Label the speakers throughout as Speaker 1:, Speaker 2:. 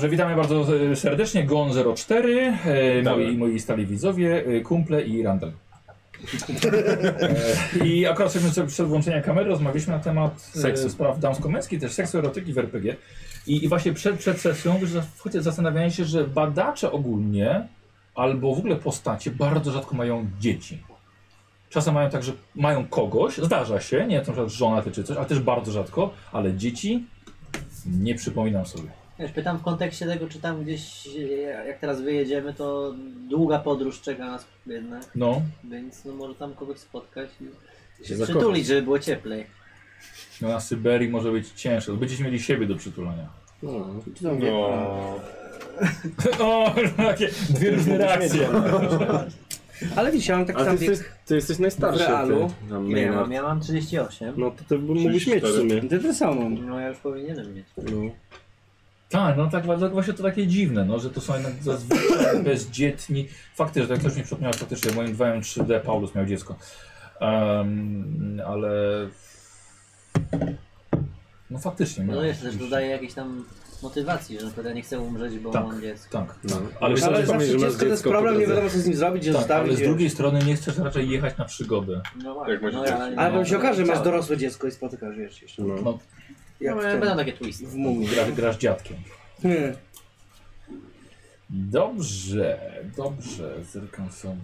Speaker 1: Dobrze, witamy bardzo e, serdecznie Gon04, e, moi, moi stali widzowie, e, kumple i Randall. E, I akurat jesteśmy przed- przed włączeniem kamery, rozmawialiśmy na temat e,
Speaker 2: Seksu.
Speaker 1: spraw damsko-męskich, też seksu, erotyki w RPG. I, i właśnie przed, przed sesją wiesz, zas- choć zastanawiałem się, że badacze ogólnie, albo w ogóle postacie, bardzo rzadko mają dzieci. Czasem mają tak, że mają kogoś, zdarza się, nie, na przykład żona ty czy coś, ale też bardzo rzadko, ale dzieci nie przypominam sobie.
Speaker 3: Wiesz, pytam w kontekście tego, czy tam gdzieś, e, jak teraz wyjedziemy, to długa podróż czeka nas jednak,
Speaker 1: No,
Speaker 3: więc no może tam kogoś spotkać i się
Speaker 2: Się zakochać.
Speaker 3: przytulić, żeby było cieplej.
Speaker 1: No na Syberii może być ciężko. Będziecie mieli siebie do przytulania.
Speaker 2: No,
Speaker 4: No,
Speaker 1: o, takie dwie różne reakcje.
Speaker 5: Ale widzisz, ja mam tak
Speaker 2: ale ty
Speaker 5: samo
Speaker 2: jesteś,
Speaker 5: wiek...
Speaker 2: ty jesteś najstarszy.
Speaker 5: W realu.
Speaker 2: Ty,
Speaker 4: No,
Speaker 2: tam,
Speaker 3: Ile ja mam?
Speaker 2: Maynard.
Speaker 3: Ja mam 38.
Speaker 2: No to ty mógłbyś mieć w
Speaker 4: 34.
Speaker 2: sumie.
Speaker 5: Ty tyle samo mam.
Speaker 3: No ja już powinienem mieć.
Speaker 2: No.
Speaker 1: Tak, no tak wa- właśnie to takie dziwne, no, że to są jednak zazwyczaj bezdzietni. Fakty, że tak ktoś nie przypomniał, faktycznie moim 2 3D Paulus miał dziecko. Em, ale... No faktycznie miał.
Speaker 3: No jeszcze też dodaję jakiejś tam motywacji, że na przykład ja nie chcę umrzeć, bo
Speaker 1: Tak.
Speaker 3: mam dziecko.
Speaker 1: Tak.
Speaker 2: No.
Speaker 1: Ale
Speaker 2: Myślę,
Speaker 5: Ale
Speaker 2: że pamięć,
Speaker 5: zawsze
Speaker 2: że masz
Speaker 5: dziecko to jest
Speaker 2: dziecko,
Speaker 5: problem,
Speaker 2: to
Speaker 5: nie
Speaker 2: za-
Speaker 5: wiadomo co z nim zrobić, gdzie
Speaker 1: tak, ale
Speaker 5: zostawić.
Speaker 1: z
Speaker 5: wiesz.
Speaker 1: drugiej strony nie chcesz raczej jechać na przygodę.
Speaker 3: No
Speaker 4: Jak
Speaker 3: właśnie.
Speaker 4: macie
Speaker 3: No,
Speaker 4: dziecko?
Speaker 3: ja,
Speaker 5: Ale potem się
Speaker 3: ja-
Speaker 5: okaże, że masz
Speaker 3: chciałem.
Speaker 5: dorosłe dziecko i spotykasz, wiesz, jeszcze.
Speaker 2: No.
Speaker 1: No,
Speaker 5: Jak
Speaker 3: No,
Speaker 5: w,
Speaker 3: będą
Speaker 5: tym,
Speaker 3: takie twisty.
Speaker 5: w mumii.
Speaker 1: gra, grasz dziadkiem.
Speaker 5: Hmm.
Speaker 1: Dobrze, dobrze, zerkam sobie.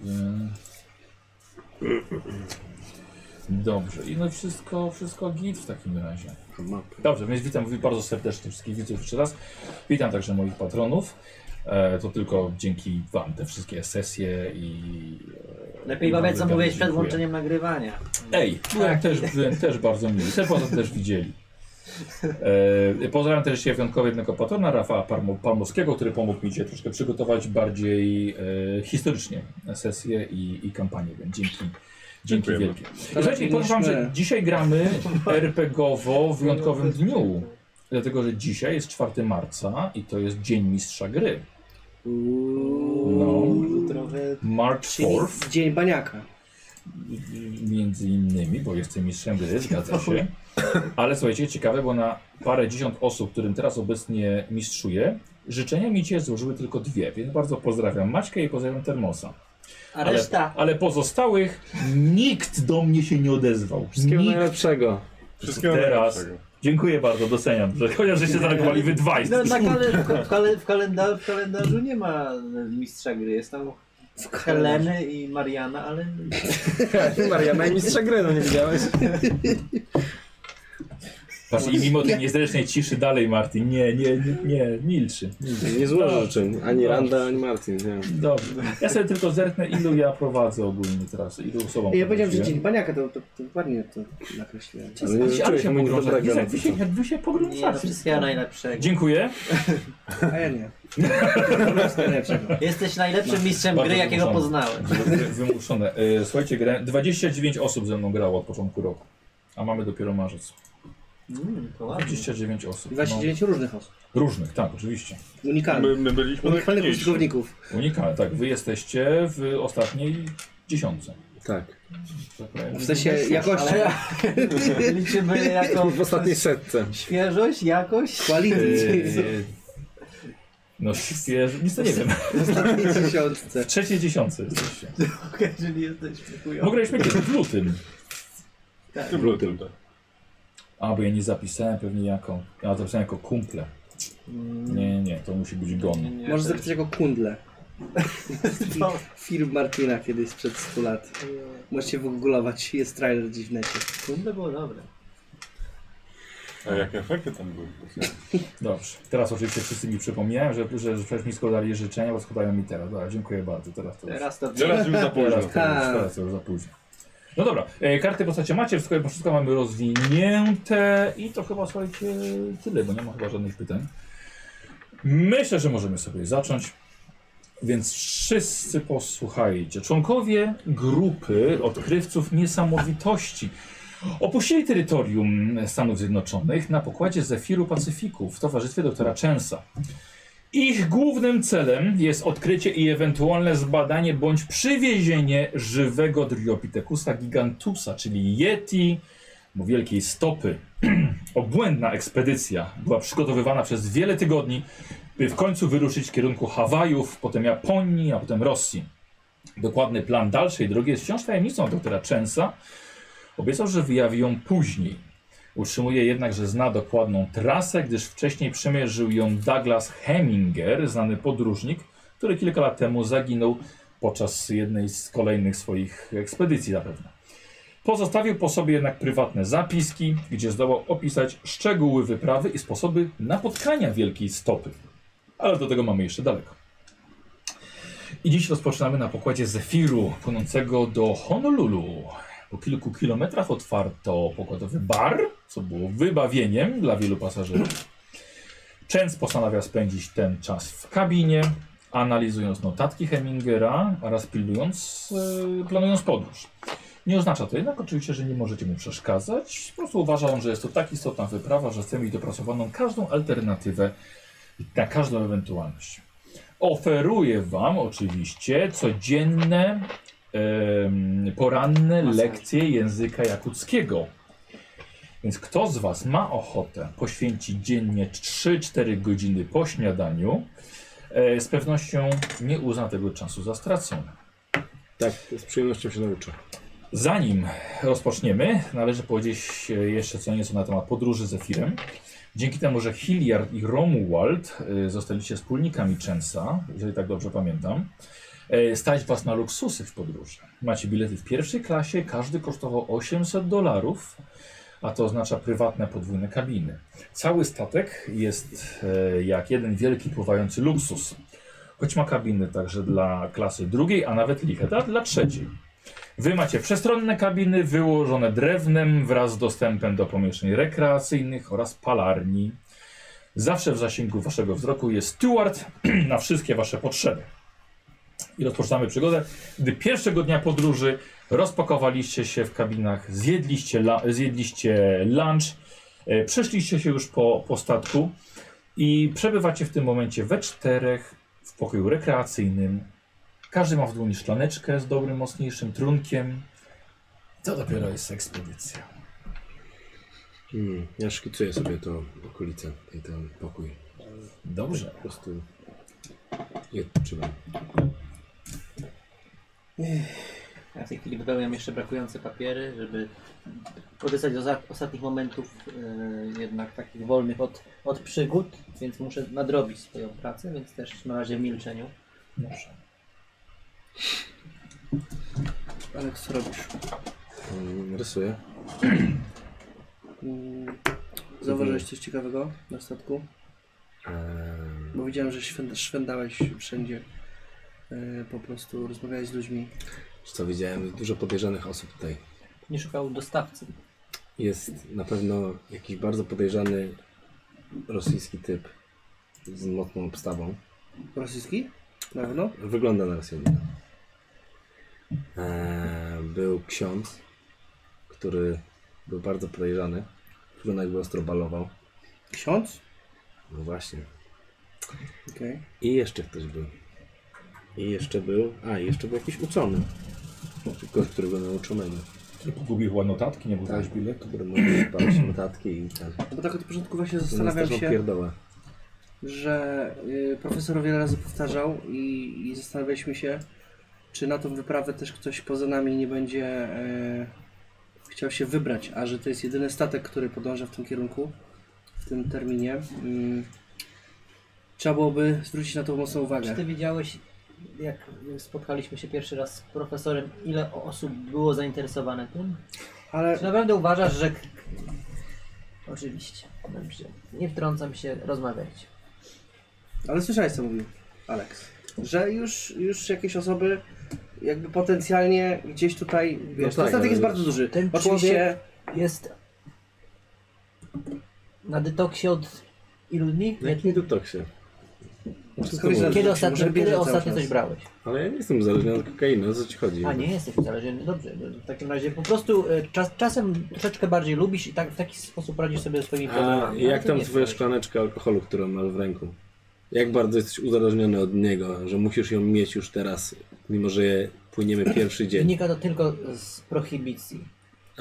Speaker 1: Dobrze, i no wszystko, wszystko git w takim razie.
Speaker 2: Mapy.
Speaker 1: Dobrze, więc witam wi- bardzo serdecznie wszystkich widzów jeszcze raz. Witam także moich patronów. E, to tylko dzięki wam te wszystkie sesje i... e,
Speaker 3: Lepiej
Speaker 1: i wam
Speaker 3: bawiać, co
Speaker 1: bardzo
Speaker 3: mówiłeś przed
Speaker 1: dziękuję.
Speaker 3: włączeniem nagrywania.
Speaker 1: Ej, tak, też, też bardzo miły. Te poza tym też widzieli. E, pozdrawiam też się wyjątkowo jednego patrona, Rafała Parmo, Palmowskiego, który pomógł mi dzisiaj troszkę przygotować bardziej e, historycznie sesję i, i kampanię, więc dzięki. Dzięki
Speaker 4: Dziękujemy.
Speaker 1: wielkie. Słuchajcie, powiem wam, że
Speaker 5: Powinniśmy-
Speaker 1: dzisiaj gramy RPGowo w wyjątkowym dniu. Dlatego, że dzisiaj jest 4 marca i to jest Dzień Mistrza Gry. No.
Speaker 5: Trochę...
Speaker 1: March
Speaker 5: Czyli
Speaker 1: 4th.
Speaker 5: dzień baniaka.
Speaker 1: Między innymi, bo jestem mistrzem gry, zgadza się. Ale słuchajcie, ciekawe, bo na parę dziesiąt osób, którym teraz obecnie mistrzuję, życzenia mi cię złożyły tylko dwie, więc bardzo pozdrawiam Maćkę i pozdrawiam Termosa.
Speaker 3: A reszta?
Speaker 1: Ale pozostałych nikt do mnie się nie odezwał.
Speaker 2: Wszystkiego
Speaker 1: Nikt.
Speaker 2: najlepszego.
Speaker 4: wszystkiego
Speaker 1: Teraz.
Speaker 4: najlepszego.
Speaker 1: Dziękuję bardzo, doceniam, że chociaż żeście zareagowali wy dwaj.
Speaker 3: No, na kale, w, kale, w, kalenda, w kalendarzu nie ma e, mistrza gry. Jest tam Heleny i Mariana, ale
Speaker 2: Maria, najmistrza gry, no nie widziałeś?
Speaker 1: Patrz, I mimo tej niezręcznej ciszy dalej, Martin, nie, nie, nie, nie milczy.
Speaker 2: Nie złożę życzeń. Ani Randa, ani Martin. Nie.
Speaker 1: Dobrze. Ja sobie tylko zerknę, ilu ja prowadzę ogólnie teraz, ilu osobom
Speaker 5: Ja powiedziałem, że
Speaker 1: prowadziłem.
Speaker 5: dzień baniaka, to, to, to ładnie to nakreśliłem.
Speaker 2: Ale nie
Speaker 1: Ale
Speaker 2: życzyłeś
Speaker 1: się
Speaker 2: mu nic
Speaker 1: pogrążacie.
Speaker 2: dobrego.
Speaker 1: Jak wy się, jak wy się
Speaker 3: nie, no,
Speaker 1: pogrążacie.
Speaker 3: wszystkiego najlepszego.
Speaker 1: Dziękuję.
Speaker 5: A ja nie. To jest najlepszego.
Speaker 3: Jesteś najlepszym mistrzem
Speaker 1: Bardzo
Speaker 3: gry, jakiego
Speaker 1: wymuszony.
Speaker 3: poznałem.
Speaker 1: Wy- Wymuszone. E, Słuchajcie, grałem- 29 osób ze mną grało od początku roku. A mamy dopiero marzec.
Speaker 3: Mm, to ładnie.
Speaker 1: 29 osób. No,
Speaker 5: 29 różnych osób.
Speaker 1: różnych, tak, oczywiście.
Speaker 5: Unikalnych.
Speaker 4: My, my byliśmy
Speaker 5: Unikalnych
Speaker 4: najfajniejsi.
Speaker 5: użytkowników.
Speaker 1: Unikane, tak. Wy jesteście w ostatniej dziesiątce.
Speaker 2: Tak.
Speaker 1: Tak powiem.
Speaker 5: W sensie jakości.
Speaker 3: Ale liczymy jako
Speaker 2: No, W ostatniej setce.
Speaker 3: świeżość, jakość.
Speaker 5: Quality.
Speaker 1: E, No świeżo, nic to nie wiem.
Speaker 5: W ostatniej tysiączce.
Speaker 1: W trzeciej dziesiątce jesteście.
Speaker 3: Jeżeli jesteśmy
Speaker 1: No
Speaker 3: chujowi.
Speaker 1: graliśmy kiedyś w lutym.
Speaker 4: W tym lutym, tak.
Speaker 1: A, bo ja nie zapisałem pewnie jako, ja zapisałem jako kumple. Nie, nie, nie, to musi być gon.
Speaker 3: Nie, nie,
Speaker 5: Może
Speaker 3: to jest-
Speaker 5: zapytać jako kundle.
Speaker 3: No,
Speaker 5: Film Martina kiedyś sprzed 100 lat. Możecie wygooglować, jest trailer gdzieś w necie.
Speaker 3: Sekundę było dobre.
Speaker 4: A jakie efekty tam były?
Speaker 1: Dobrze. Teraz oczywiście wszyscy mi przypomniałem, że, że, że przecież mi składali życzenia, bo składają mi teraz. Dobra, dziękuję bardzo. Teraz to już, teraz
Speaker 3: Teraz to
Speaker 4: Teraz już za
Speaker 1: to już,
Speaker 4: późno.
Speaker 5: Tak.
Speaker 1: teraz to już za późno. No dobra, e, karty postacie macie, wszystko, wszystko mamy rozwinięte i to chyba słuchajcie tyle, bo nie ma chyba żadnych pytań. Myślę, że możemy sobie zacząć. Więc wszyscy posłuchajcie. Członkowie grupy odkrywców niesamowitości opuścili terytorium Stanów Zjednoczonych na pokładzie Zefiru Pacyfiku w towarzystwie doktora Chensa. Ich głównym celem jest odkrycie i ewentualne zbadanie bądź przywiezienie żywego Dryopithekusa gigantusa, czyli Yeti o wielkiej stopy. Obłędna ekspedycja była przygotowywana przez wiele tygodni by w końcu wyruszyć w kierunku Hawajów, potem Japonii, a potem Rosji. Dokładny plan dalszej drogi jest wciąż tajemnicą doktora Chensa. Obiecał, że wyjawi ją później. Utrzymuje jednak, że zna dokładną trasę, gdyż wcześniej przemierzył ją Douglas Heminger, znany podróżnik, który kilka lat temu zaginął podczas jednej z kolejnych swoich ekspedycji zapewne. Pozostawił po sobie jednak prywatne zapiski, gdzie zdołał opisać szczegóły wyprawy i sposoby napotkania wielkiej stopy. Ale do tego mamy jeszcze daleko. I dziś rozpoczynamy na pokładzie Zefiru, płynącego do Honolulu. Po kilku kilometrach otwarto pokładowy bar, co było wybawieniem dla wielu pasażerów. Częst postanawia spędzić ten czas w kabinie, analizując notatki Hemingera oraz pilnując, e, planując podróż. Nie oznacza to jednak oczywiście, że nie możecie mu przeszkadzać. Po prostu uważa on, że jest to tak istotna wyprawa, że chce mieć dopracowaną każdą alternatywę na każdą ewentualność. Oferuje Wam oczywiście codzienne, em, poranne lekcje języka jakuckiego. Więc kto z Was ma ochotę poświęcić dziennie 3-4 godziny po śniadaniu, e, z pewnością nie uzna tego czasu za stracony.
Speaker 6: Tak, z przyjemnością się nauczę.
Speaker 1: Zanim rozpoczniemy, należy powiedzieć e, jeszcze co nieco na temat podróży z Efirem. Dzięki temu, że Hilliard i Romuald e, zostaliście wspólnikami Chensa, jeżeli tak dobrze pamiętam, e, stać was na luksusy w podróży. Macie bilety w pierwszej klasie, każdy kosztował 800 dolarów, a to oznacza prywatne podwójne kabiny. Cały statek jest e, jak jeden wielki pływający luksus, choć ma kabiny także dla klasy drugiej, a nawet licheda dla trzeciej. Wy macie przestronne kabiny wyłożone drewnem wraz z dostępem do pomieszczeń rekreacyjnych oraz palarni. Zawsze w zasięgu waszego wzroku jest steward na wszystkie wasze potrzeby. I rozpoczynamy przygodę. Gdy pierwszego dnia podróży rozpakowaliście się w kabinach, zjedliście, la, zjedliście lunch, e, przeszliście się już po, po statku i przebywacie w tym momencie we czterech w pokoju rekreacyjnym każdy ma w dłoni szklaneczkę z dobrym, mocniejszym trunkiem. To dopiero jest ekspedycja.
Speaker 6: Hmm, ja szkicuję sobie tą okolicę, i ten pokój.
Speaker 1: Dobrze.
Speaker 6: Po prostu je odczuwam.
Speaker 3: Ja w tej chwili wypełniam jeszcze brakujące papiery, żeby korzystać do za- ostatnich momentów e, jednak takich wolnych od, od przygód, więc muszę nadrobić swoją pracę, więc też na razie w milczeniu.
Speaker 1: Dobrze.
Speaker 5: Ale co robisz?
Speaker 6: Mm, Rysuję.
Speaker 5: Mm, mhm. Zauważyłeś coś ciekawego na statku?
Speaker 6: Eee,
Speaker 5: Bo widziałem, że szwenda- szwendałeś wszędzie. E, Po prostu rozmawiałeś z ludźmi.
Speaker 6: co widziałem? Dużo podejrzanych osób tutaj.
Speaker 3: Nie szukał dostawcy.
Speaker 6: Jest na pewno jakiś bardzo podejrzany rosyjski typ z mocną obstawą.
Speaker 5: Rosyjski? Na pewno?
Speaker 6: Wygląda na Rosjanina. Eee, był ksiądz, który był bardzo podejrzany. Trunek był ostro balował.
Speaker 5: Ksiądz?
Speaker 6: No właśnie.
Speaker 5: Okej.
Speaker 6: I jeszcze ktoś był. I jeszcze był. A, i jeszcze był jakiś uczony. Znaczy, Tylko, który był nauczony.
Speaker 1: Który pogubił chyba notatki, nie było tak. biletu.
Speaker 6: Który mógł spalić notatki i ten.
Speaker 5: Bo tak od początku właśnie
Speaker 6: Zastanawiam
Speaker 5: zastanawiam się,
Speaker 6: Pierdołę.
Speaker 5: że y, profesor wiele razy powtarzał i, i zastanawialiśmy się, czy na tą wyprawę też ktoś poza nami nie będzie y, chciał się wybrać, a że to jest jedyny statek, który podąża w tym kierunku, w tym terminie. y, trzeba byłoby zwrócić na to mocną
Speaker 3: Czy
Speaker 5: uwagę.
Speaker 3: ty widziałeś, jak spotkaliśmy się pierwszy raz z profesorem, ile osób było zainteresowane tym?
Speaker 5: Ale
Speaker 3: Czy naprawdę uważasz, że... k- Oczywiście. Dobrze. Nie wtrącam się, rozmawiajcie.
Speaker 5: Ale słyszałeś co mówił Alex, że już, już jakieś osoby jakby potencjalnie gdzieś tutaj, wiesz,
Speaker 6: tak,
Speaker 5: ten statek
Speaker 6: ale
Speaker 5: jest bardzo duży.
Speaker 3: ten
Speaker 5: Oczywiście
Speaker 3: człowiek- Jest... Na detoksie od ilu dni?
Speaker 6: No jak nie dotoksie. się. Wszystko
Speaker 5: Skoro się
Speaker 6: mówię.
Speaker 3: Kiedy
Speaker 5: Może
Speaker 3: ostatnio,
Speaker 5: bierze
Speaker 3: kiedy
Speaker 5: cały
Speaker 3: ostatnio
Speaker 5: czas.
Speaker 3: coś brałeś?
Speaker 6: Ale ja nie jestem uzależniony od kokainy, o co ci chodzi?
Speaker 3: A nie jesteś uzależniony, dobrze. no, W takim razie po prostu e, czas, czasem troszeczkę bardziej lubisz i tak, w taki sposób radzisz sobie ze swoimi
Speaker 6: A
Speaker 3: problemami. ale
Speaker 6: jak
Speaker 3: no, to
Speaker 6: tam
Speaker 3: nie
Speaker 6: twoja
Speaker 3: jest
Speaker 6: szklaneczka alkoholu, którą masz w ręku? Jak bardzo jesteś uzależniony od niego, że musisz ją mieć już teraz, mimo że płyniemy pierwszy dzień?
Speaker 3: Wynika to tylko z prohibicji.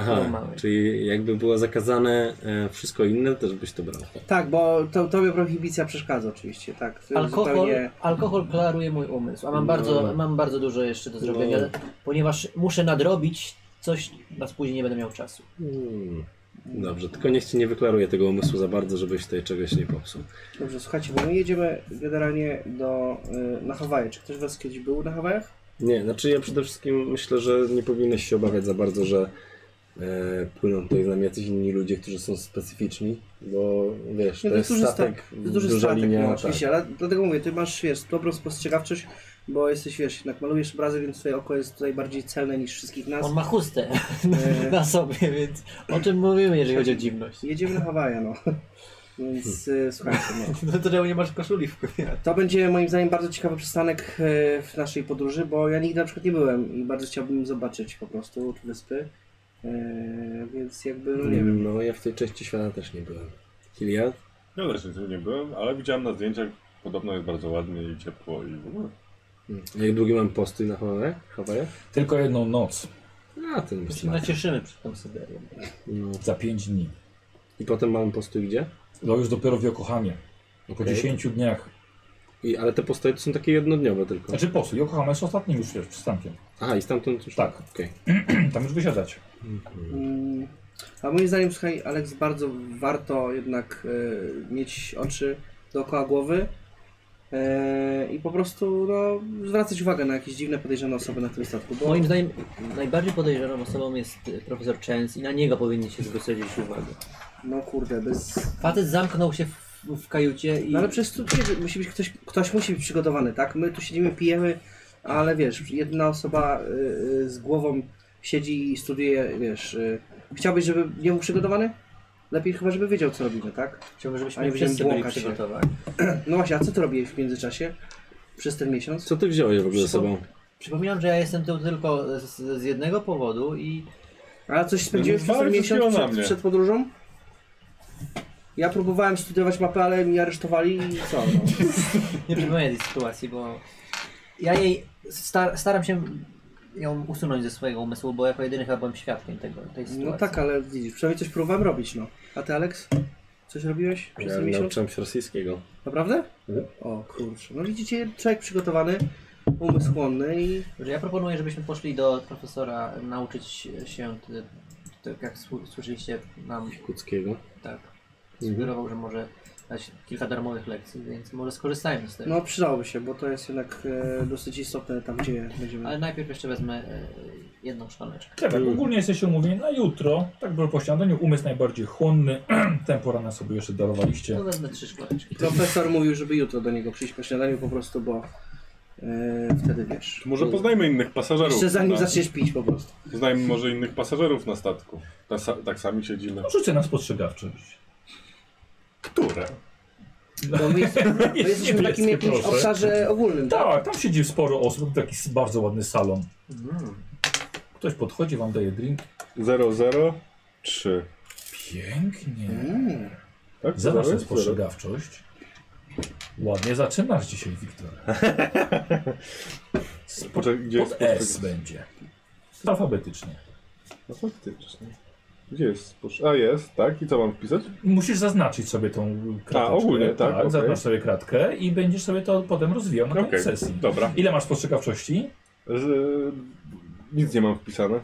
Speaker 2: Aha,
Speaker 3: Normalnie.
Speaker 2: czyli jakby było zakazane e, wszystko inne, też byś to brał.
Speaker 5: Tak, bo to, tobie prohibicja przeszkadza oczywiście, tak. To jest
Speaker 3: Alkohol,
Speaker 5: zupełnie-
Speaker 3: alkohol klaruje mój umysł, a mam,
Speaker 2: No.
Speaker 3: bardzo, mam bardzo dużo jeszcze do zrobienia,
Speaker 2: No.
Speaker 3: ponieważ muszę nadrobić coś, na później nie będę miał czasu.
Speaker 2: Hmm. Dobrze, tylko niech ci nie wyklaruje tego umysłu za bardzo, żebyś tutaj czegoś nie popsuł.
Speaker 5: Dobrze, słuchajcie, bo my jedziemy generalnie do, y, na Hawaje. Czy ktoś z was kiedyś był na Hawajach?
Speaker 2: Nie, znaczy ja przede wszystkim myślę, że nie powinieneś się obawiać za bardzo, że e, płyną tutaj z nami jacyś inni ludzie, którzy są specyficzni, bo wiesz,
Speaker 5: Nie,
Speaker 2: to jest statek,
Speaker 5: sta- to jest duży
Speaker 2: duża
Speaker 5: statek,
Speaker 2: linia.
Speaker 5: no, oczywiście, ale dlatego mówię, ty masz, wiesz, dobrą spostrzegawczość, bo jesteś, wiesz, jednak malujesz obrazy, więc twoje oko jest tutaj bardziej celne niż wszystkich nas.
Speaker 3: On ma chustę
Speaker 5: E,
Speaker 3: na sobie, więc o czym mówimy, jeżeli chodzi o dziwność?
Speaker 5: jedziemy na Hawaje, no. Więc y, słuchajcie, no.
Speaker 3: No to czemu nie masz koszuli w kupie?
Speaker 5: To będzie moim zdaniem bardzo ciekawy przystanek e, w naszej podróży, bo ja nigdy na przykład nie byłem i bardzo chciałbym zobaczyć po prostu wyspy. E, więc jakby, no nie wiem.
Speaker 2: Tak. No ja w tej części świata też nie byłem. Hilia?
Speaker 4: Ja też tu nie byłem, ale widziałem na zdjęciach, podobno jest bardzo ładnie i ciepło i w ogóle.
Speaker 2: Hmm. Jak długi mam postój na Hawajach? Hawajach?
Speaker 1: Tylko jedną noc
Speaker 2: A, ten
Speaker 3: My
Speaker 2: jest
Speaker 3: się nacieszymy przed tą Syberią.
Speaker 2: no.
Speaker 1: za 5 dni.
Speaker 2: I potem mam postój gdzie?
Speaker 1: No już dopiero w Yokohamie. Po 10 dniach.
Speaker 2: I, ale te postoje to są takie jednodniowe tylko.
Speaker 1: Znaczy po co? Yokohama jest ostatnim już wiesz, przystankiem.
Speaker 2: Aha, i stamtąd już...
Speaker 1: Tak.
Speaker 2: Okej.
Speaker 1: Tam już wysiadać.
Speaker 2: Mhm.
Speaker 5: Mm, A moim zdaniem, słuchaj, Aleks, bardzo warto jednak e, mieć oczy dookoła głowy e, i po prostu no, zwracać uwagę na jakieś dziwne, podejrzane osoby na tym statku. Bo
Speaker 3: Moim zdaniem najbardziej podejrzaną osobą jest y, profesor Chance i na niego powinni się zwrócić uwagę.
Speaker 5: No kurde, bez...
Speaker 3: Facet zamknął się w, w kajucie i...
Speaker 5: No ale przecież tu nie, wiem, musi być ktoś, ktoś musi być przygotowany, tak? My tu siedzimy, pijemy, ale wiesz, jedna osoba y, y, z głową siedzi i studiuje, wiesz... Y, chciałbyś, żeby nie był przygotowany? Lepiej chyba, żeby wiedział, co robimy, tak?
Speaker 3: Chciałbym,
Speaker 5: A nie
Speaker 3: żebyśmy
Speaker 5: będziemy
Speaker 3: wszyscy byli
Speaker 5: błąkać się.
Speaker 3: przygotowani.
Speaker 5: No właśnie, a co ty robiłeś w międzyczasie? Przez ten miesiąc?
Speaker 2: Co ty wziąłeś w ogóle ze sobą?
Speaker 3: Przypominam, że ja jestem tu tylko z, z jednego powodu i
Speaker 5: A coś spędziłeś
Speaker 4: No,
Speaker 5: przez ten
Speaker 4: zwalił
Speaker 5: miesiąc
Speaker 4: wszystkiego na
Speaker 5: przed,
Speaker 4: mnie.
Speaker 5: przed podróżą? Ja próbowałem studiować mapę, ale mnie aresztowali i co? No.
Speaker 3: nie przypominam tej sytuacji, bo ja jej sta, staram się ją usunąć ze swojego umysłu, bo jako jedyny chyba byłem świadkiem tego, tej sytuacji.
Speaker 5: no tak, ale widzisz, przynajmniej coś próbowałem robić, no. A ty, Aleks? Coś robiłeś przez
Speaker 2: Ja
Speaker 5: ten miesiąc?
Speaker 2: nauczyłem się rosyjskiego.
Speaker 5: Naprawdę?
Speaker 2: Mhm.
Speaker 5: O kurczę, no widzicie, człowiek przygotowany, umysł chłonny i...
Speaker 3: Że ja proponuję, żebyśmy poszli do profesora nauczyć się, t- t- jak słu- słyszeliście nam,
Speaker 2: Kuckiego.
Speaker 3: tak, sugerował, że może dać kilka darmowych lekcji, więc może skorzystajmy z tego.
Speaker 5: No przydałoby się, bo to jest jednak e, dosyć istotne tam, gdzie
Speaker 3: Ale
Speaker 5: będziemy...
Speaker 3: najpierw jeszcze wezmę e, jedną szklaneczkę. No,
Speaker 1: Trefek, ogólnie jesteście umówieni na jutro. Tak było po śniadaniu. Umysł najbardziej chłonny. Tempo rana sobie jeszcze darowaliście.
Speaker 3: To wezmę trzy szklaneczki.
Speaker 5: Profesor mówił, żeby jutro do niego przyjść po śniadaniu po prostu, bo e, wtedy wiesz...
Speaker 4: Może tak? poznajmy innych pasażerów.
Speaker 5: Mm. Jeszcze zanim
Speaker 4: na,
Speaker 5: zaczniesz pić po prostu.
Speaker 4: Poznajmy może innych pasażerów na statku. Ta, sa, tak sami siedzimy.
Speaker 1: No, Rzucę na spostrzegawczość.
Speaker 4: Które?
Speaker 5: Bo my, jesteśmy- my jesteśmy w takim
Speaker 1: Niebieskie,
Speaker 5: jakimś
Speaker 1: proszę.
Speaker 5: obszarze ogólnym, tak?
Speaker 1: Tak, tam siedzi sporo osób. Taki s- bardzo ładny salon.
Speaker 3: Mm.
Speaker 1: Ktoś podchodzi, wam daje drink.
Speaker 4: 003.
Speaker 1: Pięknie.
Speaker 5: Mm.
Speaker 4: Tak?
Speaker 1: Za waszą
Speaker 4: Zero, zero.
Speaker 1: spostrzegawczość. Ładnie zaczynasz dzisiaj, Wiktor. Spo-
Speaker 4: Poczekaj, gdzie jest
Speaker 1: Pod S
Speaker 4: spostrzegawczość?
Speaker 1: będzie. Alfabetycznie.
Speaker 4: No faktycznie. Gdzie jest spostrzegawczość? A jest, tak? I co mam wpisać?
Speaker 1: Musisz zaznaczyć sobie tą kratkę.
Speaker 4: ogólnie, tak, okej.
Speaker 1: Zaznacz sobie kratkę i będziesz sobie to potem rozwijał na koniec
Speaker 4: Okej,
Speaker 1: sesji.
Speaker 4: dobra.
Speaker 1: Ile masz spostrzegawczości?
Speaker 4: Z, nic nie mam wpisane.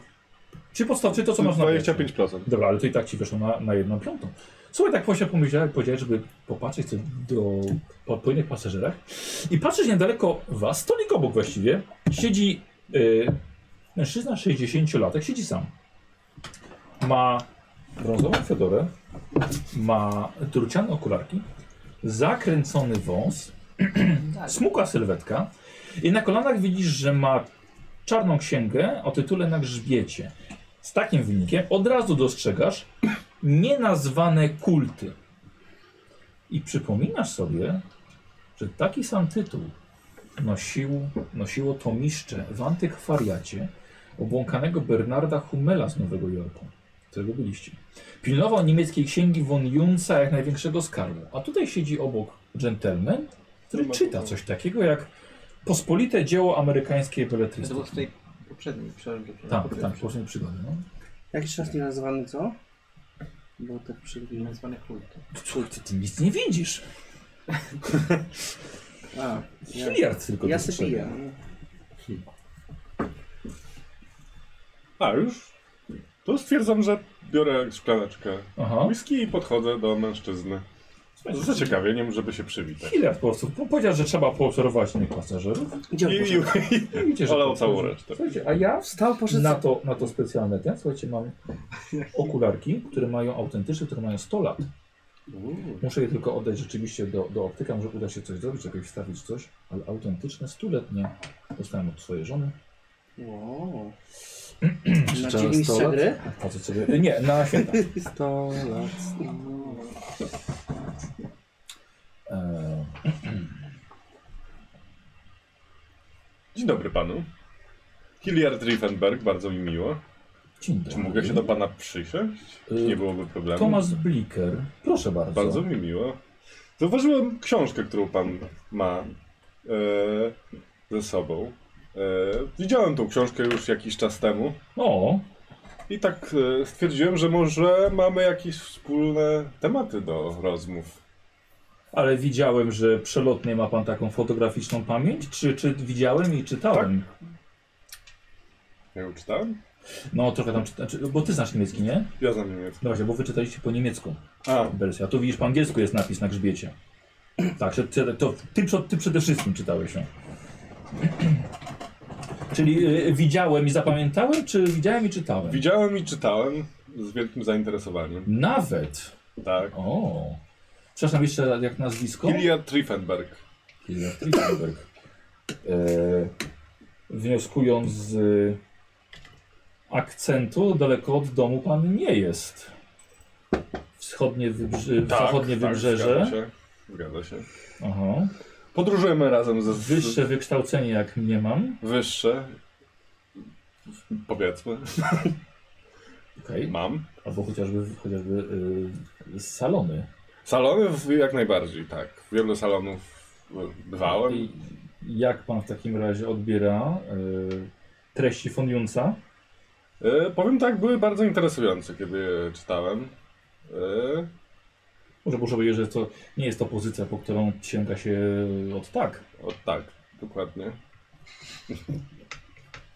Speaker 1: Czy podstawczy to, co masz na plecach?
Speaker 4: 25%.
Speaker 1: Dobra, ale to i tak ci wyszło na, na jedną piątą. Słuchaj, tak właśnie pomyślałem, powiedziałeś, żeby popatrzeć co do, po, po innych pasażerach. I patrzysz niedaleko was, stolik obok właściwie, siedzi y, mężczyzna 60-latek, siedzi sam. Ma brązową fedorę, ma druciane okularki, zakręcony wąs,
Speaker 3: Tak.
Speaker 1: smukła sylwetka i na kolanach widzisz, że ma czarną księgę o tytule na grzbiecie. Z takim wynikiem od razu dostrzegasz nienazwane kulty. I przypominasz sobie, że taki sam tytuł nosił, nosiło to miszcze w antykwariacie obłąkanego Bernarda Hummela z Nowego Jorku, którego byliście. Pilnował niemieckiej księgi von Junsa jak największego skarbu. A tutaj siedzi obok dżentelmen, który czyta coś takiego jak pospolite dzieło amerykańskiej
Speaker 3: To było
Speaker 1: beletrystyki.
Speaker 3: w tej poprzedniej przerwie.
Speaker 2: Tak,
Speaker 1: Tam, tam, po prostu przygody. No.
Speaker 5: Jakiś czas nie nazwany co? Bo tak przed chwilą.
Speaker 3: Nazwany kult.
Speaker 1: Cóż, ty, ty nic nie widzisz.
Speaker 5: A, ja,
Speaker 1: Miliard tylko
Speaker 5: ja
Speaker 1: do
Speaker 5: sobie
Speaker 1: potrzeby.
Speaker 5: piję.
Speaker 4: A, już? To stwierdzam, że biorę szklaneczkę
Speaker 1: Aha.
Speaker 4: whisky i podchodzę do mężczyzny. Z zaciekawieniem, żeby się przywitać.
Speaker 1: Miliard po prostu. Po- Powiedział, że trzeba poobserwować innych pasażerów.
Speaker 5: Gdzie
Speaker 4: I,
Speaker 5: on
Speaker 4: i,
Speaker 5: poszedł?
Speaker 4: i
Speaker 1: I widzicie, że
Speaker 4: olał
Speaker 1: to-
Speaker 4: całą resztę.
Speaker 1: Słuchajcie, a ja
Speaker 5: Wstał, poszedł...
Speaker 1: na to, na to specjalne ten, słuchajcie, mam okularki, które mają autentyczne, które mają 100 lat. Muszę je tylko oddać rzeczywiście do, do optyka, może uda się coś zrobić, żeby wstawić coś, ale autentyczne, stuletnie dostałem od swojej żony.
Speaker 5: Wow. Na
Speaker 2: Jeszcze
Speaker 5: dzień
Speaker 2: raz
Speaker 5: mistrza
Speaker 2: to?
Speaker 5: gry?
Speaker 1: Patrzę sobie, nie, na święta.
Speaker 2: 100 lat.
Speaker 1: Eee,
Speaker 4: Dzień dobry panu. Hilliard Riefenberg, bardzo mi miło.
Speaker 1: dzień
Speaker 4: Czy
Speaker 1: dobry. Y,
Speaker 4: mogę się do pana przysiąść? Czy nie byłoby problemu?
Speaker 1: Tomasz Bliker, proszę bardzo.
Speaker 4: Bardzo mi miło. Zauważyłem książkę, którą pan ma e, ze sobą. E, widziałem tą książkę już jakiś czas temu
Speaker 1: O,
Speaker 4: i tak e, stwierdziłem, że może mamy jakieś wspólne tematy do rozmów.
Speaker 1: ale widziałem, że przelotnie ma pan taką fotograficzną pamięć, czy, czy widziałem i czytałem?
Speaker 4: Ja ją czytałem?
Speaker 1: No trochę tam czytałem, czy- bo ty znasz niemiecki, nie?
Speaker 4: Ja znam niemiecki.
Speaker 1: Dobra, bo wy czytaliście po niemiecku.
Speaker 4: A,
Speaker 1: wersja. Tu widzisz, po angielsku jest napis na grzbiecie. Tak, że ty, to ty, przed- ty przede wszystkim czytałeś ją. Czyli y, widziałem i zapamiętałem, czy widziałem i czytałem?
Speaker 4: widziałem i czytałem z wielkim zainteresowaniem.
Speaker 1: Nawet.
Speaker 4: Tak.
Speaker 1: O. Przepraszam, jeszcze jak nazwisko?
Speaker 4: Hilliard Riefenberg.
Speaker 1: Hilliard Trachtenberg. E, wnioskując z akcentu, daleko od domu pan nie jest. Wschodnie, wybrze- zachodnie
Speaker 4: Tak, Zgadza
Speaker 1: wybrzeże.
Speaker 4: się. Zgadza się.
Speaker 1: Aha.
Speaker 4: Podróżujemy razem ze
Speaker 1: Wyższe wykształcenie jak nie mam.
Speaker 4: Wyższe. Powiedzmy.
Speaker 1: Okej.
Speaker 4: Mam.
Speaker 1: Albo chociażby, chociażby y, salony.
Speaker 4: Salony w- jak najbardziej, tak. Wiele salonów y, bywałem.
Speaker 1: I jak pan w takim razie odbiera y, treści von Junsa?
Speaker 4: E, powiem tak, były bardzo interesujące, kiedy je czytałem. E,
Speaker 1: Może muszę powiedzieć, że to nie jest to pozycja, po którą sięga się od tak.
Speaker 4: o tak, dokładnie.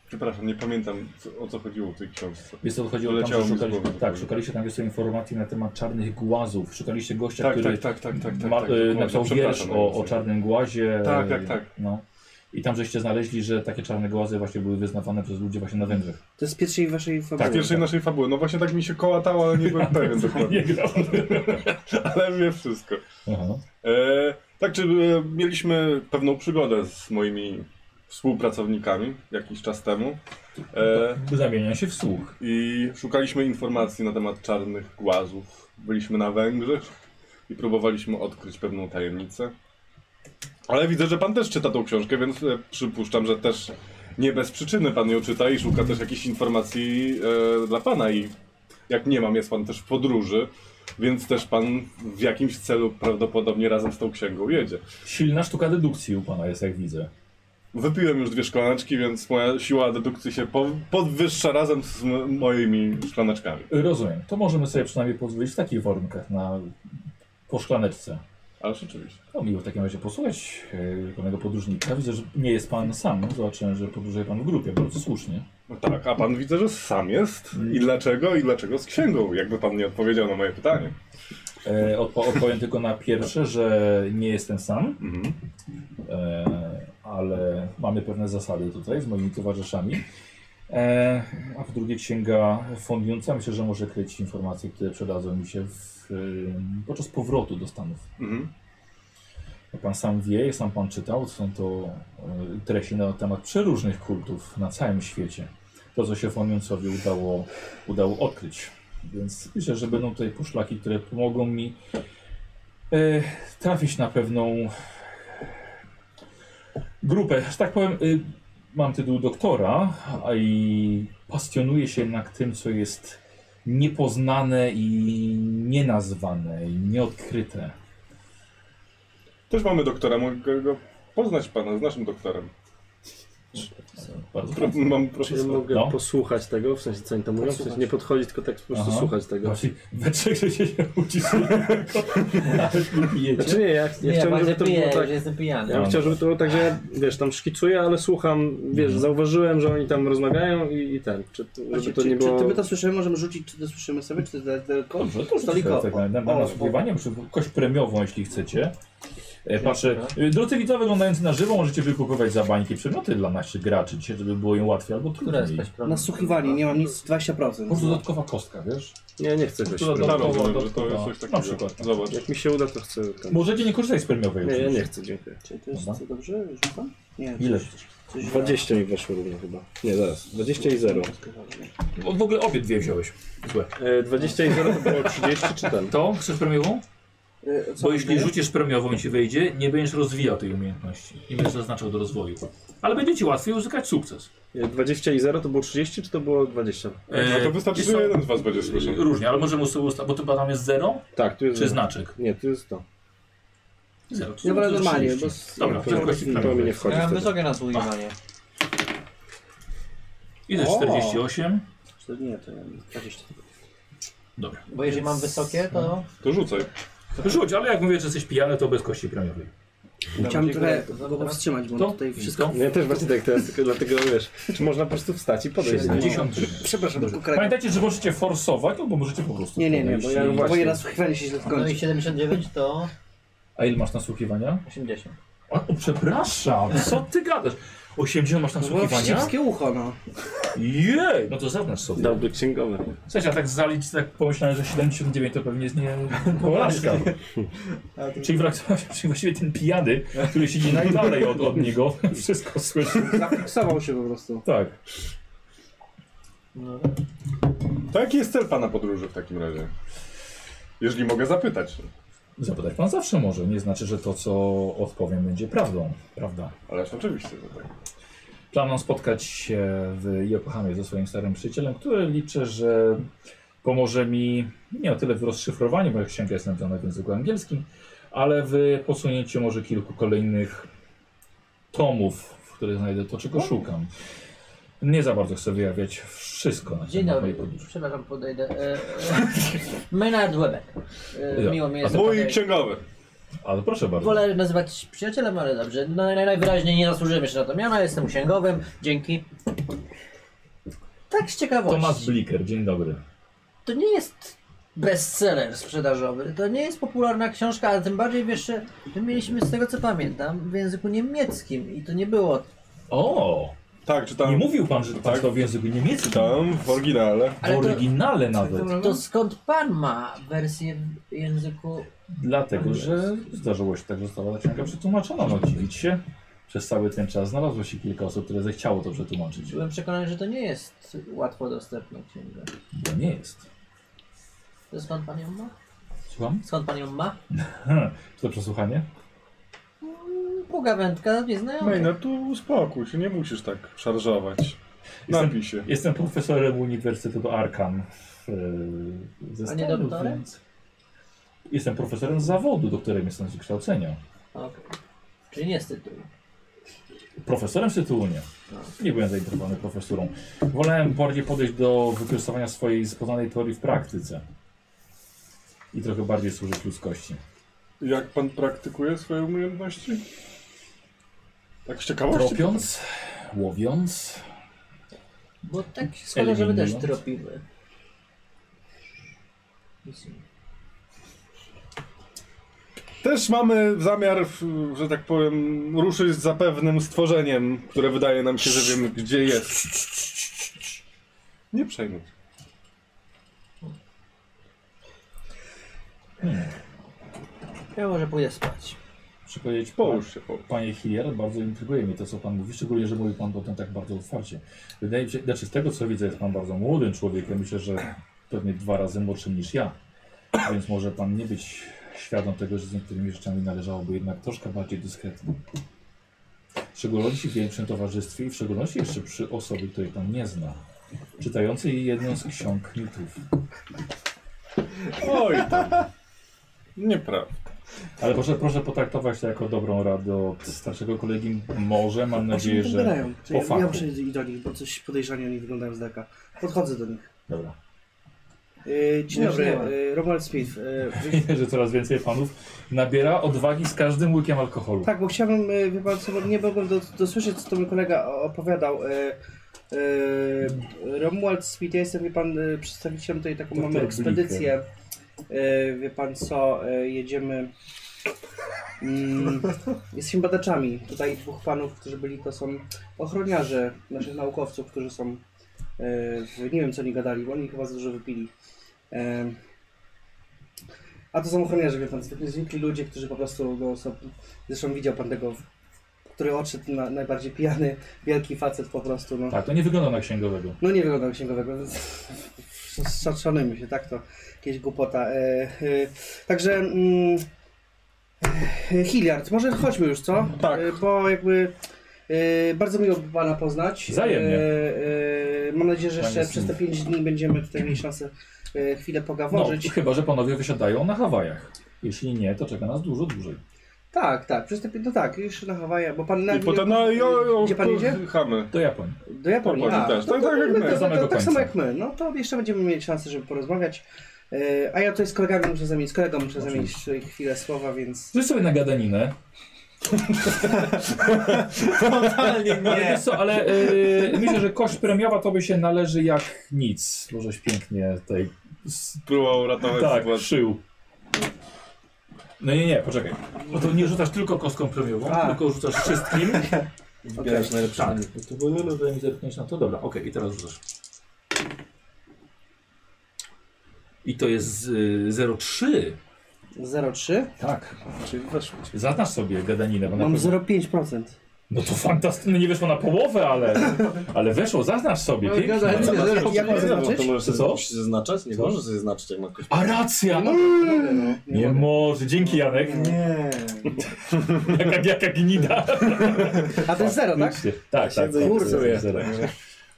Speaker 4: Przepraszam, nie pamiętam co, o co chodziło w tej książce.
Speaker 1: Więc to chodzi o tam,
Speaker 4: Wyleciało
Speaker 1: że
Speaker 4: mi z
Speaker 1: szukaliście,
Speaker 4: głowy.
Speaker 1: tak, szukaliście tam jeszcze informacji na temat czarnych głazów. Szukaliście gościa,
Speaker 4: Tak,
Speaker 1: który
Speaker 4: tak, tak, tak, tak, tak,
Speaker 1: ma,
Speaker 4: tak.
Speaker 1: y,
Speaker 4: dokładnie.
Speaker 1: napisał wiersz
Speaker 4: Przepraszam
Speaker 1: o, o
Speaker 4: najmocniej.
Speaker 1: czarnym głazie.
Speaker 4: Tak, tak, tak.
Speaker 1: No. I tam żeście znaleźli, że takie czarne głazy właśnie były wyznawane przez ludzi właśnie na Węgrzech.
Speaker 5: To jest z pierwszej waszej fabuły.
Speaker 4: Z pierwszej naszej fabuły. No właśnie tak mi się kołatało, ale nie byłem pewien dokładnie.
Speaker 1: grał.
Speaker 4: Ale wie wszystko.
Speaker 1: Aha. no.
Speaker 4: E, tak, czy e, mieliśmy pewną przygodę z moimi współpracownikami jakiś czas temu e,
Speaker 1: Zamienia się w słuch.
Speaker 4: i szukaliśmy informacji na temat czarnych głazów. Byliśmy na Węgrzech i próbowaliśmy odkryć pewną tajemnicę. Ale widzę, że pan też czyta tą książkę, więc e, przypuszczam, że też nie bez przyczyny pan ją czyta i szuka też jakichś informacji e, dla pana. I jak nie mam, jest pan też w podróży, więc też pan w jakimś celu prawdopodobnie razem z tą księgą jedzie.
Speaker 1: Silna sztuka dedukcji u pana jest, jak widzę.
Speaker 4: Wypiłem już dwie szklaneczki, więc moja siła dedukcji się po, podwyższa razem z m- moimi szklaneczkami.
Speaker 1: Rozumiem. To możemy sobie przynajmniej pozwolić w takich warunkach na po szklaneczce.
Speaker 4: Ale rzeczywiście.
Speaker 1: No miło w takim razie posłuchać e, panego podróżnika. Widzę, że nie jest pan sam. Zobaczyłem, że podróżuje pan w grupie, bardzo słusznie.
Speaker 4: No tak, a pan widzę, że sam jest. I dlaczego? I dlaczego z księgą? Jakby pan nie odpowiedział na moje pytanie.
Speaker 1: E, odpo odpowiem tylko na pierwsze, że nie jestem sam,
Speaker 4: Mhm.
Speaker 1: e, ale mamy pewne zasady tutaj z moimi towarzyszami. E, a po drugie księga fondująca myślę, że może kryć informacje, które przydadzą mi się w, e, podczas powrotu do Stanów.
Speaker 4: Mhm.
Speaker 1: Jak pan sam wie, sam pan czytał, są to e, treści na temat przeróżnych kultów na całym świecie. To, co się Foniusowi udało, udało odkryć. Więc myślę, że będą tutaj poszlaki, które pomogą mi e, trafić na pewną grupę. Że tak powiem, e, mam tytuł doktora a i pasjonuję się jednak tym, co jest niepoznane i nienazwane i nieodkryte.
Speaker 4: Też mamy doktora, mogę go poznać pana z naszym doktorem.
Speaker 1: Bardzo
Speaker 4: Pro, mam
Speaker 2: Czy ja
Speaker 4: profesora.
Speaker 2: mogę
Speaker 1: No.
Speaker 2: posłuchać tego? W sensie co oni tam mówią? W sensie nie podchodzić, tylko tak po prostu
Speaker 1: Aha.
Speaker 2: słuchać tego.
Speaker 1: Właśnie, we trzech się się uciszyli. Nawet nie pijecie.
Speaker 2: Znaczy nie, ja, ja
Speaker 3: Nie,
Speaker 2: chciałbym,
Speaker 3: bardzo
Speaker 2: żeby to
Speaker 3: piję,
Speaker 2: było tak...
Speaker 3: że jestem pijany.
Speaker 2: Ja bym chciał, żeby to było tak, że ja, wiesz, tam szkicuję, ale słucham, wiesz, zauważyłem, że oni tam rozmawiają i, i ten, czy, to- żeby
Speaker 5: Właśnie,
Speaker 2: to
Speaker 5: czy,
Speaker 2: nie
Speaker 5: czy
Speaker 2: było...
Speaker 5: ty my to słyszymy, możemy rzucić, czy to słyszymy sobie, czy to jest daleko?
Speaker 1: Dobrze, No, to tak,
Speaker 5: Stolikowo.
Speaker 1: stolikowo. Na, na,
Speaker 5: O,
Speaker 1: na spływanie, przy kość premiową, jeśli chcecie. E, Patrzę.
Speaker 3: Dobra.
Speaker 1: e, Drodzy widzowie wyglądający na żywo, możecie wykupować za bańki przedmioty dla naszych graczy, dzisiaj, żeby było ją łatwiej albo
Speaker 3: Która
Speaker 1: trudniej.
Speaker 3: jest
Speaker 1: Po
Speaker 3: paść problem?
Speaker 5: Nasłuchiwanie, nie mam nic, 20%.
Speaker 1: prostu dodatkowa kostka, wiesz?
Speaker 2: Nie, nie chcę czegoś.
Speaker 1: To
Speaker 4: Tam
Speaker 1: dodatkowo,
Speaker 4: No, rozumiem, że to
Speaker 1: dodatkowo.
Speaker 4: jest coś takiego.
Speaker 1: Na przykład.
Speaker 4: Zobacz.
Speaker 2: Jak mi się uda, to chcę tam...
Speaker 1: Możecie nie korzystać z premiowej
Speaker 2: Nie, ja
Speaker 1: oczywiście.
Speaker 2: nie chcę, dziękuję.
Speaker 5: Czy to jest
Speaker 1: Dobra.
Speaker 5: co, dobrze? Rzucam? Nie.
Speaker 1: Ile?
Speaker 5: Coś
Speaker 2: 20 mi weszło równo chyba. Nie, zaraz. 20 i 0.
Speaker 1: O, W ogóle obie dwie wziąłeś. Złe.
Speaker 2: E, 20 i 0 to było 30 czy ten?
Speaker 1: To chcesz premiową?
Speaker 5: E, co
Speaker 1: Bo jeśli
Speaker 5: mówię?
Speaker 1: rzucisz premiową i ci wyjdzie, nie będziesz rozwijał tej umiejętności. Nie będziesz zaznaczał do rozwoju. Ale będzie ci łatwiej uzyskać sukces.
Speaker 2: E, 20 i 0 to było 30 czy to było 20?
Speaker 4: No to wystarczy,
Speaker 1: wiesz
Speaker 4: że
Speaker 1: co?
Speaker 4: jeden z was będzie słyszał.
Speaker 1: Różnie, ale możemy sobie ustawić, bo to tam jest zero,
Speaker 2: Tak, tu jest...
Speaker 1: czy
Speaker 2: zero.
Speaker 1: znaczek?
Speaker 2: Nie, tu jest to.
Speaker 1: Zero. to
Speaker 5: Ja wolę
Speaker 1: to
Speaker 5: normalnie, bo...
Speaker 1: 30. Dobra,
Speaker 2: to,
Speaker 1: to kości
Speaker 2: to, mi nie
Speaker 1: premiowej.
Speaker 2: wchodzi
Speaker 3: Ja mam
Speaker 2: wtedy.
Speaker 3: wysokie nasłuchiwanie.
Speaker 2: Tak.
Speaker 1: Ile? 48?
Speaker 5: To Nie, to ja mam 20.
Speaker 1: Dobra.
Speaker 3: Bo jeżeli mam wysokie, to...
Speaker 4: To rzucaj.
Speaker 1: Rzuć, ale jak mówię, że jesteś pijany, to bez kości premiowej.
Speaker 5: Chciałem
Speaker 3: dziękuję.
Speaker 5: trochę go powstrzymać, bo on
Speaker 1: To?
Speaker 5: tutaj wszystko...
Speaker 2: No ja też właśnie tak teraz, tylko dlatego wiesz, czy można po prostu wstać i podejść do nich?
Speaker 1: 53.
Speaker 5: Przepraszam, tylko krak.
Speaker 1: Pamiętajcie, że możecie forsować, albo możecie po prostu.
Speaker 5: Nie, nie, nie,
Speaker 1: podejść.
Speaker 5: bo
Speaker 2: No
Speaker 5: ja
Speaker 2: właśnie.
Speaker 5: moje nasłuchiwanie się źle
Speaker 3: No i
Speaker 5: skończy.
Speaker 3: 79 to
Speaker 1: A ile masz nasłuchiwania?
Speaker 3: 80.
Speaker 1: O, o, przepraszam, co ty gadasz? 80 masz
Speaker 5: No bo
Speaker 1: nasłuchiwania?
Speaker 5: wszystkie ucho, no.
Speaker 1: Jej! No to zaznacz sobie.
Speaker 2: Dałby księgowy.
Speaker 1: Słuchajcie, a tak zaliczyć, tak pomyślałem, że 79 to pewnie jest nie porażka. Czyli wracałeś, czyli właściwie ten pijany, który siedzi najdalej od, od niego, wszystko słyszy.
Speaker 5: Zafiksował się po prostu.
Speaker 1: Tak.
Speaker 3: No,
Speaker 4: To jaki jest cel pana podróży w takim razie? Jeżeli mogę zapytać.
Speaker 1: Zapytać pan zawsze może, nie znaczy, że to co odpowiem będzie prawdą, prawda?
Speaker 4: Ależ oczywiście, że tak.
Speaker 1: Planom spotkać się w Yokohamie ze swoim starym przyjacielem, który liczę, że pomoże mi nie o tyle w rozszyfrowaniu, bo jak księga jest napisana w języku angielskim, ale w posunięciu może kilku kolejnych tomów, w których znajdę to, czego szukam. Nie za bardzo chcę wyjawiać wszystko na
Speaker 3: Dzień
Speaker 1: temat
Speaker 3: dobry,
Speaker 1: mojej podróży.
Speaker 3: przepraszam, podejdę. E, e, Maynard Webek. E,
Speaker 1: Ja.
Speaker 3: miło mi jest.
Speaker 4: Mój
Speaker 3: tutaj-
Speaker 4: księgowy.
Speaker 1: Ale proszę bardzo.
Speaker 3: Wolę nazywać przyjacielem, ale dobrze. No, naj- najwyraźniej nie zasłużyłem jeszcze na to miano, jestem księgowym. Dzięki. Tak z ciekawości.
Speaker 1: Tomasz Bliker, dzień dobry.
Speaker 3: To nie jest bestseller sprzedażowy. To nie jest popularna książka, a tym bardziej wiesz, że my mieliśmy z tego co pamiętam w języku niemieckim i to nie było.
Speaker 1: O!
Speaker 4: Tak, czytałem.
Speaker 1: Nie mówił pan, że pan
Speaker 4: Tak.
Speaker 1: to w języku niemieckim.
Speaker 4: Czytałem w oryginale.
Speaker 1: W
Speaker 3: Ale to,
Speaker 1: oryginale nawet.
Speaker 3: to skąd pan ma wersję w języku
Speaker 1: Dlatego, że zdarzyło się tak, że została ta książka przetłumaczona. No dziwić się. Przez cały ten czas znalazło się kilka osób, które zechciało to przetłumaczyć.
Speaker 3: Byłem przekonany, że to nie jest łatwo dostępna księga.
Speaker 1: Bo nie jest.
Speaker 3: To skąd pan ją ma?
Speaker 1: Słucham?
Speaker 3: Skąd pan ją ma?
Speaker 1: Czy to przesłuchanie?
Speaker 3: Mm, Pogawędka nieznajoma.
Speaker 4: Maynard, tu uspokój się, nie musisz tak szarżować.
Speaker 1: Jestem-
Speaker 4: Napij się.
Speaker 1: Jestem profesorem Uniwersytetu Arkham w, e, ze
Speaker 3: A nie
Speaker 1: Stanów,
Speaker 3: doktorem?
Speaker 1: więc... Jestem profesorem z zawodu, doktorem jestem z wykształcenia.
Speaker 4: no.
Speaker 3: Okej. Czyli nie z tytułu.
Speaker 1: Profesorem z tytułu nie. Nie byłem zainteresowany profesurą. Wolałem bardziej podejść do wykorzystywania swojej poznanej teorii w praktyce. I trochę bardziej służyć ludzkości.
Speaker 4: Jak pan praktykuje swoje umiejętności? Tak z ciekawości.
Speaker 1: Tropiąc, łowiąc.
Speaker 3: Bo tak się składa, że my
Speaker 4: no.
Speaker 3: też
Speaker 1: Eliminując.
Speaker 3: tropimy.
Speaker 4: Też mamy zamiar, w- że tak powiem, ruszyć za pewnym stworzeniem, które wydaje nam się, że wiemy gdzie jest. Nie przejmuj. się.
Speaker 3: Ja może pójdę spać.
Speaker 1: Muszę powiedzieć, po,
Speaker 4: Połóż się, połóż.
Speaker 1: panie Hilliard, bardzo intryguje mnie to, co pan mówi, szczególnie, że mówi pan o tym tak bardzo otwarcie. Wydaje mi się, znaczy z tego, co widzę, jest pan bardzo młodym człowiekiem, myślę, że pewnie dwa razy młodszym niż ja, więc może pan nie być świadom tego, że z niektórymi rzeczami należałoby jednak troszkę bardziej dyskretnie. W szczególności w większym towarzystwie i w szczególności jeszcze przy osobie, której pan nie zna, czytającej jedną z ksiąg mitów.
Speaker 4: Oj tam. Nieprawda.
Speaker 1: Ale proszę, proszę potraktować to jako dobrą radę od starszego kolegi. Może, mam
Speaker 5: Właśnie mi
Speaker 1: nadzieję,
Speaker 5: tak
Speaker 1: że...
Speaker 5: gadają.
Speaker 1: po
Speaker 5: To ja,
Speaker 1: fachu.
Speaker 5: ja muszę iść do nich, bo coś podejrzanie oni wyglądają z daleka. Podchodzę do nich.
Speaker 1: Dobra.
Speaker 5: Yy, dzień
Speaker 3: Nie
Speaker 5: dobry,
Speaker 3: wzięła.
Speaker 5: yy, Romuald Smith. Yy,
Speaker 1: że coraz więcej panów nabiera odwagi z każdym łykiem alkoholu.
Speaker 5: tak, bo chciałbym, yy, wie pan co, bo nie mogłem do, dosłyszeć, co to mój kolega o- opowiadał. Yy, yy, Romuald Smith, ja jestem, wie pan, yy, przedstawicielem tutaj taką
Speaker 1: Doktor
Speaker 5: mamy ekspedycję. Yy, wie pan co, yy, jedziemy... Mm, jesteśmy badaczami. Tutaj dwóch panów, którzy byli, to są ochroniarze naszych naukowców, którzy są. e, w- Nie wiem, co oni gadali, bo oni chyba za dużo wypili. E, A to są ochroniarze, wie pan, zwykli, zwykli ludzie, którzy po prostu. No, są, zresztą widział pan tego, który odszedł na, najbardziej pijany, wielki facet po prostu. No.
Speaker 1: Tak, to nie wygląda na księgowego.
Speaker 5: No nie wyglądał księgowego, więc sz- szanujmy się, tak to jakieś głupota. E, e, także mm, e, Hilliard, może chodźmy już, co?
Speaker 4: Tak.
Speaker 5: E, bo jakby e, bardzo miło Pana poznać.
Speaker 1: Wzajemnie.
Speaker 5: E, e, mam nadzieję, że jeszcze
Speaker 1: Wzajemnie.
Speaker 5: przez te 5 dni będziemy tutaj mieli szansę e, chwilę
Speaker 1: No,
Speaker 5: pogaworzyć.
Speaker 1: chyba, że panowie wysiadają na Hawajach. Jeśli nie, to czeka nas dużo dłużej.
Speaker 5: Tak, tak, przez te, pi- no tak, jeszcze na Hawaje, bo Pan... na-
Speaker 4: I potem na jo, jo,
Speaker 5: Gdzie Pan jedzie?
Speaker 4: Chamy.
Speaker 1: Do Japonii.
Speaker 5: Do Japonii,
Speaker 4: Dokładnie,
Speaker 5: a,
Speaker 4: też.
Speaker 5: to-
Speaker 4: Tak,
Speaker 5: to-
Speaker 4: tak jak
Speaker 5: to-
Speaker 4: my.
Speaker 5: to- to-
Speaker 1: Samego
Speaker 5: Tak samo
Speaker 1: końca.
Speaker 5: jak my. No to jeszcze będziemy mieli szansę, żeby porozmawiać. E, A ja tutaj z kolegami muszę zamienić, z kolegą muszę zamienić tutaj chwilę słowa, więc...
Speaker 1: Zrób sobie na gadaninę.
Speaker 3: Totalnie
Speaker 1: Ale, wiesz co, ale y, myślę, że kość premiowa to by się należy jak nic. Możeś pięknie tej. s-
Speaker 4: Próbował ratować
Speaker 1: Tak,
Speaker 4: sytuację.
Speaker 1: szył. No nie, nie, poczekaj. No to nie rzucasz tylko kostką premiową,
Speaker 5: A.
Speaker 1: tylko rzucasz wszystkim.
Speaker 5: Zbierasz
Speaker 1: Tak. najlepsze. Tak, to było nie mi zerknąć na to. Dobra, okej, i teraz rzucasz. I to jest y, 03.
Speaker 5: 0,3?
Speaker 1: Tak.
Speaker 2: Czyli weszło ci.
Speaker 1: Zaznasz sobie gadaninę. Bo na
Speaker 5: Mam
Speaker 1: pewno-
Speaker 5: 0,5%.
Speaker 1: No to fantastyczne, nie weszło na połowę, ale, ale weszło, zaznasz sobie.
Speaker 3: No,
Speaker 1: Pięknie.
Speaker 3: gadaninę.
Speaker 2: co,
Speaker 5: jak
Speaker 2: to-
Speaker 5: jak mam
Speaker 2: to-
Speaker 5: zaznaczyć?
Speaker 2: To możesz
Speaker 1: Co?
Speaker 2: sobie musisz zaznaczać? Nie
Speaker 1: Co?
Speaker 2: możesz sobie zaznaczyć, jak ma ktoś...
Speaker 1: A racja!
Speaker 5: No, no, no,
Speaker 1: Nie
Speaker 5: mogę.
Speaker 1: może, dzięki Janek.
Speaker 3: Nie.
Speaker 1: Jaka, jaka gnida.
Speaker 5: A to jest 0, tak?
Speaker 1: Faktycznie. Tak, tak.
Speaker 2: Siedzę i
Speaker 1: tak,
Speaker 2: rysuję.
Speaker 1: zero, zero.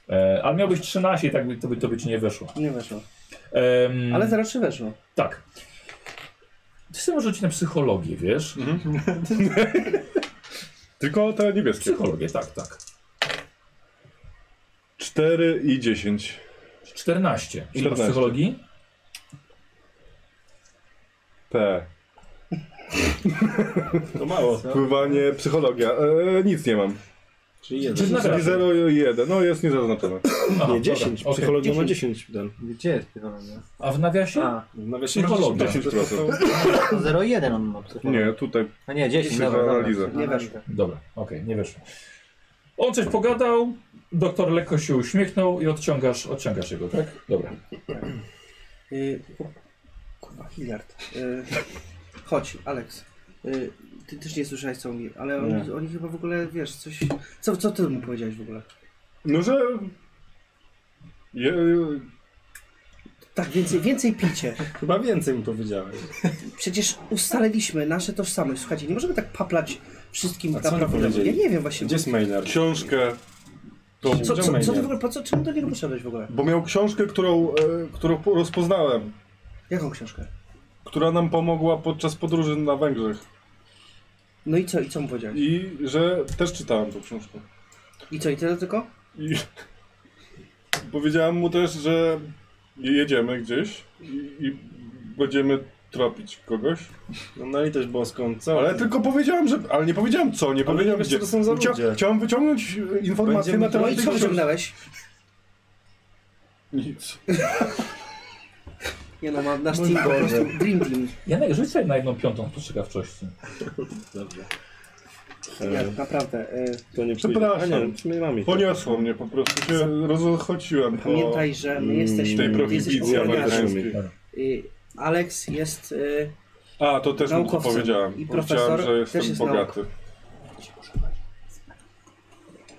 Speaker 1: E, ale miałbyś 13 i tak by, to, by, to by ci nie weszło.
Speaker 5: Nie weszło.
Speaker 4: Mm.
Speaker 1: Em,
Speaker 5: Ale 0,3 weszło.
Speaker 1: Tak. Ty sobie możesz rzucić na psychologię, wiesz?
Speaker 4: Tylko te niebieskie.
Speaker 1: Psychologię, tak, tak.
Speaker 4: 4 i 10.
Speaker 1: 14. Ile masz
Speaker 4: 14.
Speaker 1: psychologii?
Speaker 4: P.
Speaker 2: To mało.
Speaker 4: Pływanie, psychologia. E, nic nie mam.
Speaker 2: Czyli
Speaker 1: Czy
Speaker 5: No
Speaker 2: jeden.
Speaker 1: zna-
Speaker 4: Czyli 0 i 1. No jest niezaznaczone.
Speaker 1: Aha,
Speaker 2: Nie, 10.
Speaker 1: dobra, okej.
Speaker 2: Psychologia ma 10. Dan.
Speaker 3: Gdzie jest psychologia?
Speaker 1: A w nawiasie?
Speaker 3: A,
Speaker 2: Nawet
Speaker 1: Psychologia.
Speaker 4: 10%.
Speaker 3: to 0,1 on ma psychologię.
Speaker 4: Nie, tutaj.
Speaker 3: A nie, 10,
Speaker 4: Dzisiaj
Speaker 3: dobra,
Speaker 4: za
Speaker 3: dobra.
Speaker 4: analizę.
Speaker 5: Nie weszło.
Speaker 1: Dobra, okej, nie wyszło. On coś pogadał, doktor lekko się uśmiechnął i odciągasz, odciągasz jego, tak? Dobra.
Speaker 5: Y, o, Kurwa, Hilliard. Y, Chodź, Alex. Y, Ty też nie słyszałeś co mi, ale oni, oni chyba w ogóle, wiesz, coś... Co, co ty mu powiedziałeś w ogóle?
Speaker 4: No że. Je,
Speaker 5: Tak, więcej, więcej picie.
Speaker 2: no. Chyba więcej mi powiedziałeś.
Speaker 5: Przecież ustaliliśmy nasze tożsamość. Słuchajcie, nie możemy tak paplać wszystkim
Speaker 2: A co oni
Speaker 5: naprawdę. Ja
Speaker 2: powiedzieli?
Speaker 5: nie wiem właśnie.
Speaker 2: Gdzie jest Maynard?
Speaker 4: książkę. To,
Speaker 5: co, co, co ty w
Speaker 2: Maynard?
Speaker 5: ogóle, po co, czemu do niego poszedłeś w ogóle?
Speaker 4: bo miał książkę, którą, e, którą po- rozpoznałem.
Speaker 5: Jaką książkę?
Speaker 4: Która nam pomogła podczas podróży na Węgrzech.
Speaker 5: No i co, i co mu powiedziałeś?
Speaker 4: I że też czytałem tą książkę.
Speaker 5: I co, i tyle tylko?
Speaker 4: I powiedziałem mu też, że jedziemy gdzieś i, i będziemy tropić kogoś.
Speaker 2: No, na litość boską, co?
Speaker 4: Ale tylko powiedziałem, że. Ale nie powiedziałem co, nie
Speaker 2: Ale
Speaker 4: powiedziałem
Speaker 2: wiesz,
Speaker 4: gdzie.
Speaker 2: co to są za
Speaker 4: Chcia-
Speaker 2: ludzie.
Speaker 4: Chciałem wyciągnąć e, informacje
Speaker 2: Będziemy
Speaker 4: na
Speaker 5: No
Speaker 4: temat
Speaker 5: i
Speaker 4: tej
Speaker 5: co
Speaker 4: książki.
Speaker 5: wyciągnąłeś?
Speaker 4: Nic.
Speaker 5: Nie no, ma nasz team po
Speaker 2: Boże.
Speaker 5: prostu Dream Team.
Speaker 1: Janek, rzuć sobie na jedną piątą spostrzegawczości.
Speaker 2: Dobrze.
Speaker 5: Ja,
Speaker 2: E,
Speaker 5: naprawdę. y,
Speaker 2: to nie
Speaker 4: Przepraszam.
Speaker 2: przyjdzie. A nie, my mamy.
Speaker 4: Poniosło mnie, po prostu się rozchodziłem po
Speaker 5: Pamiętaj, że my
Speaker 2: Mm,
Speaker 5: jesteśmy...
Speaker 4: tej
Speaker 5: Ty jesteś
Speaker 4: prohibicji
Speaker 5: ochroniarzem.
Speaker 4: amerykańskiej.
Speaker 5: Y, Alex jest... y,
Speaker 4: A, to też mu to
Speaker 5: Naukowcem
Speaker 4: powiedziałem.
Speaker 5: i
Speaker 4: Powiedziałem,
Speaker 5: profesor
Speaker 4: że jestem
Speaker 5: też jest
Speaker 4: bogaty.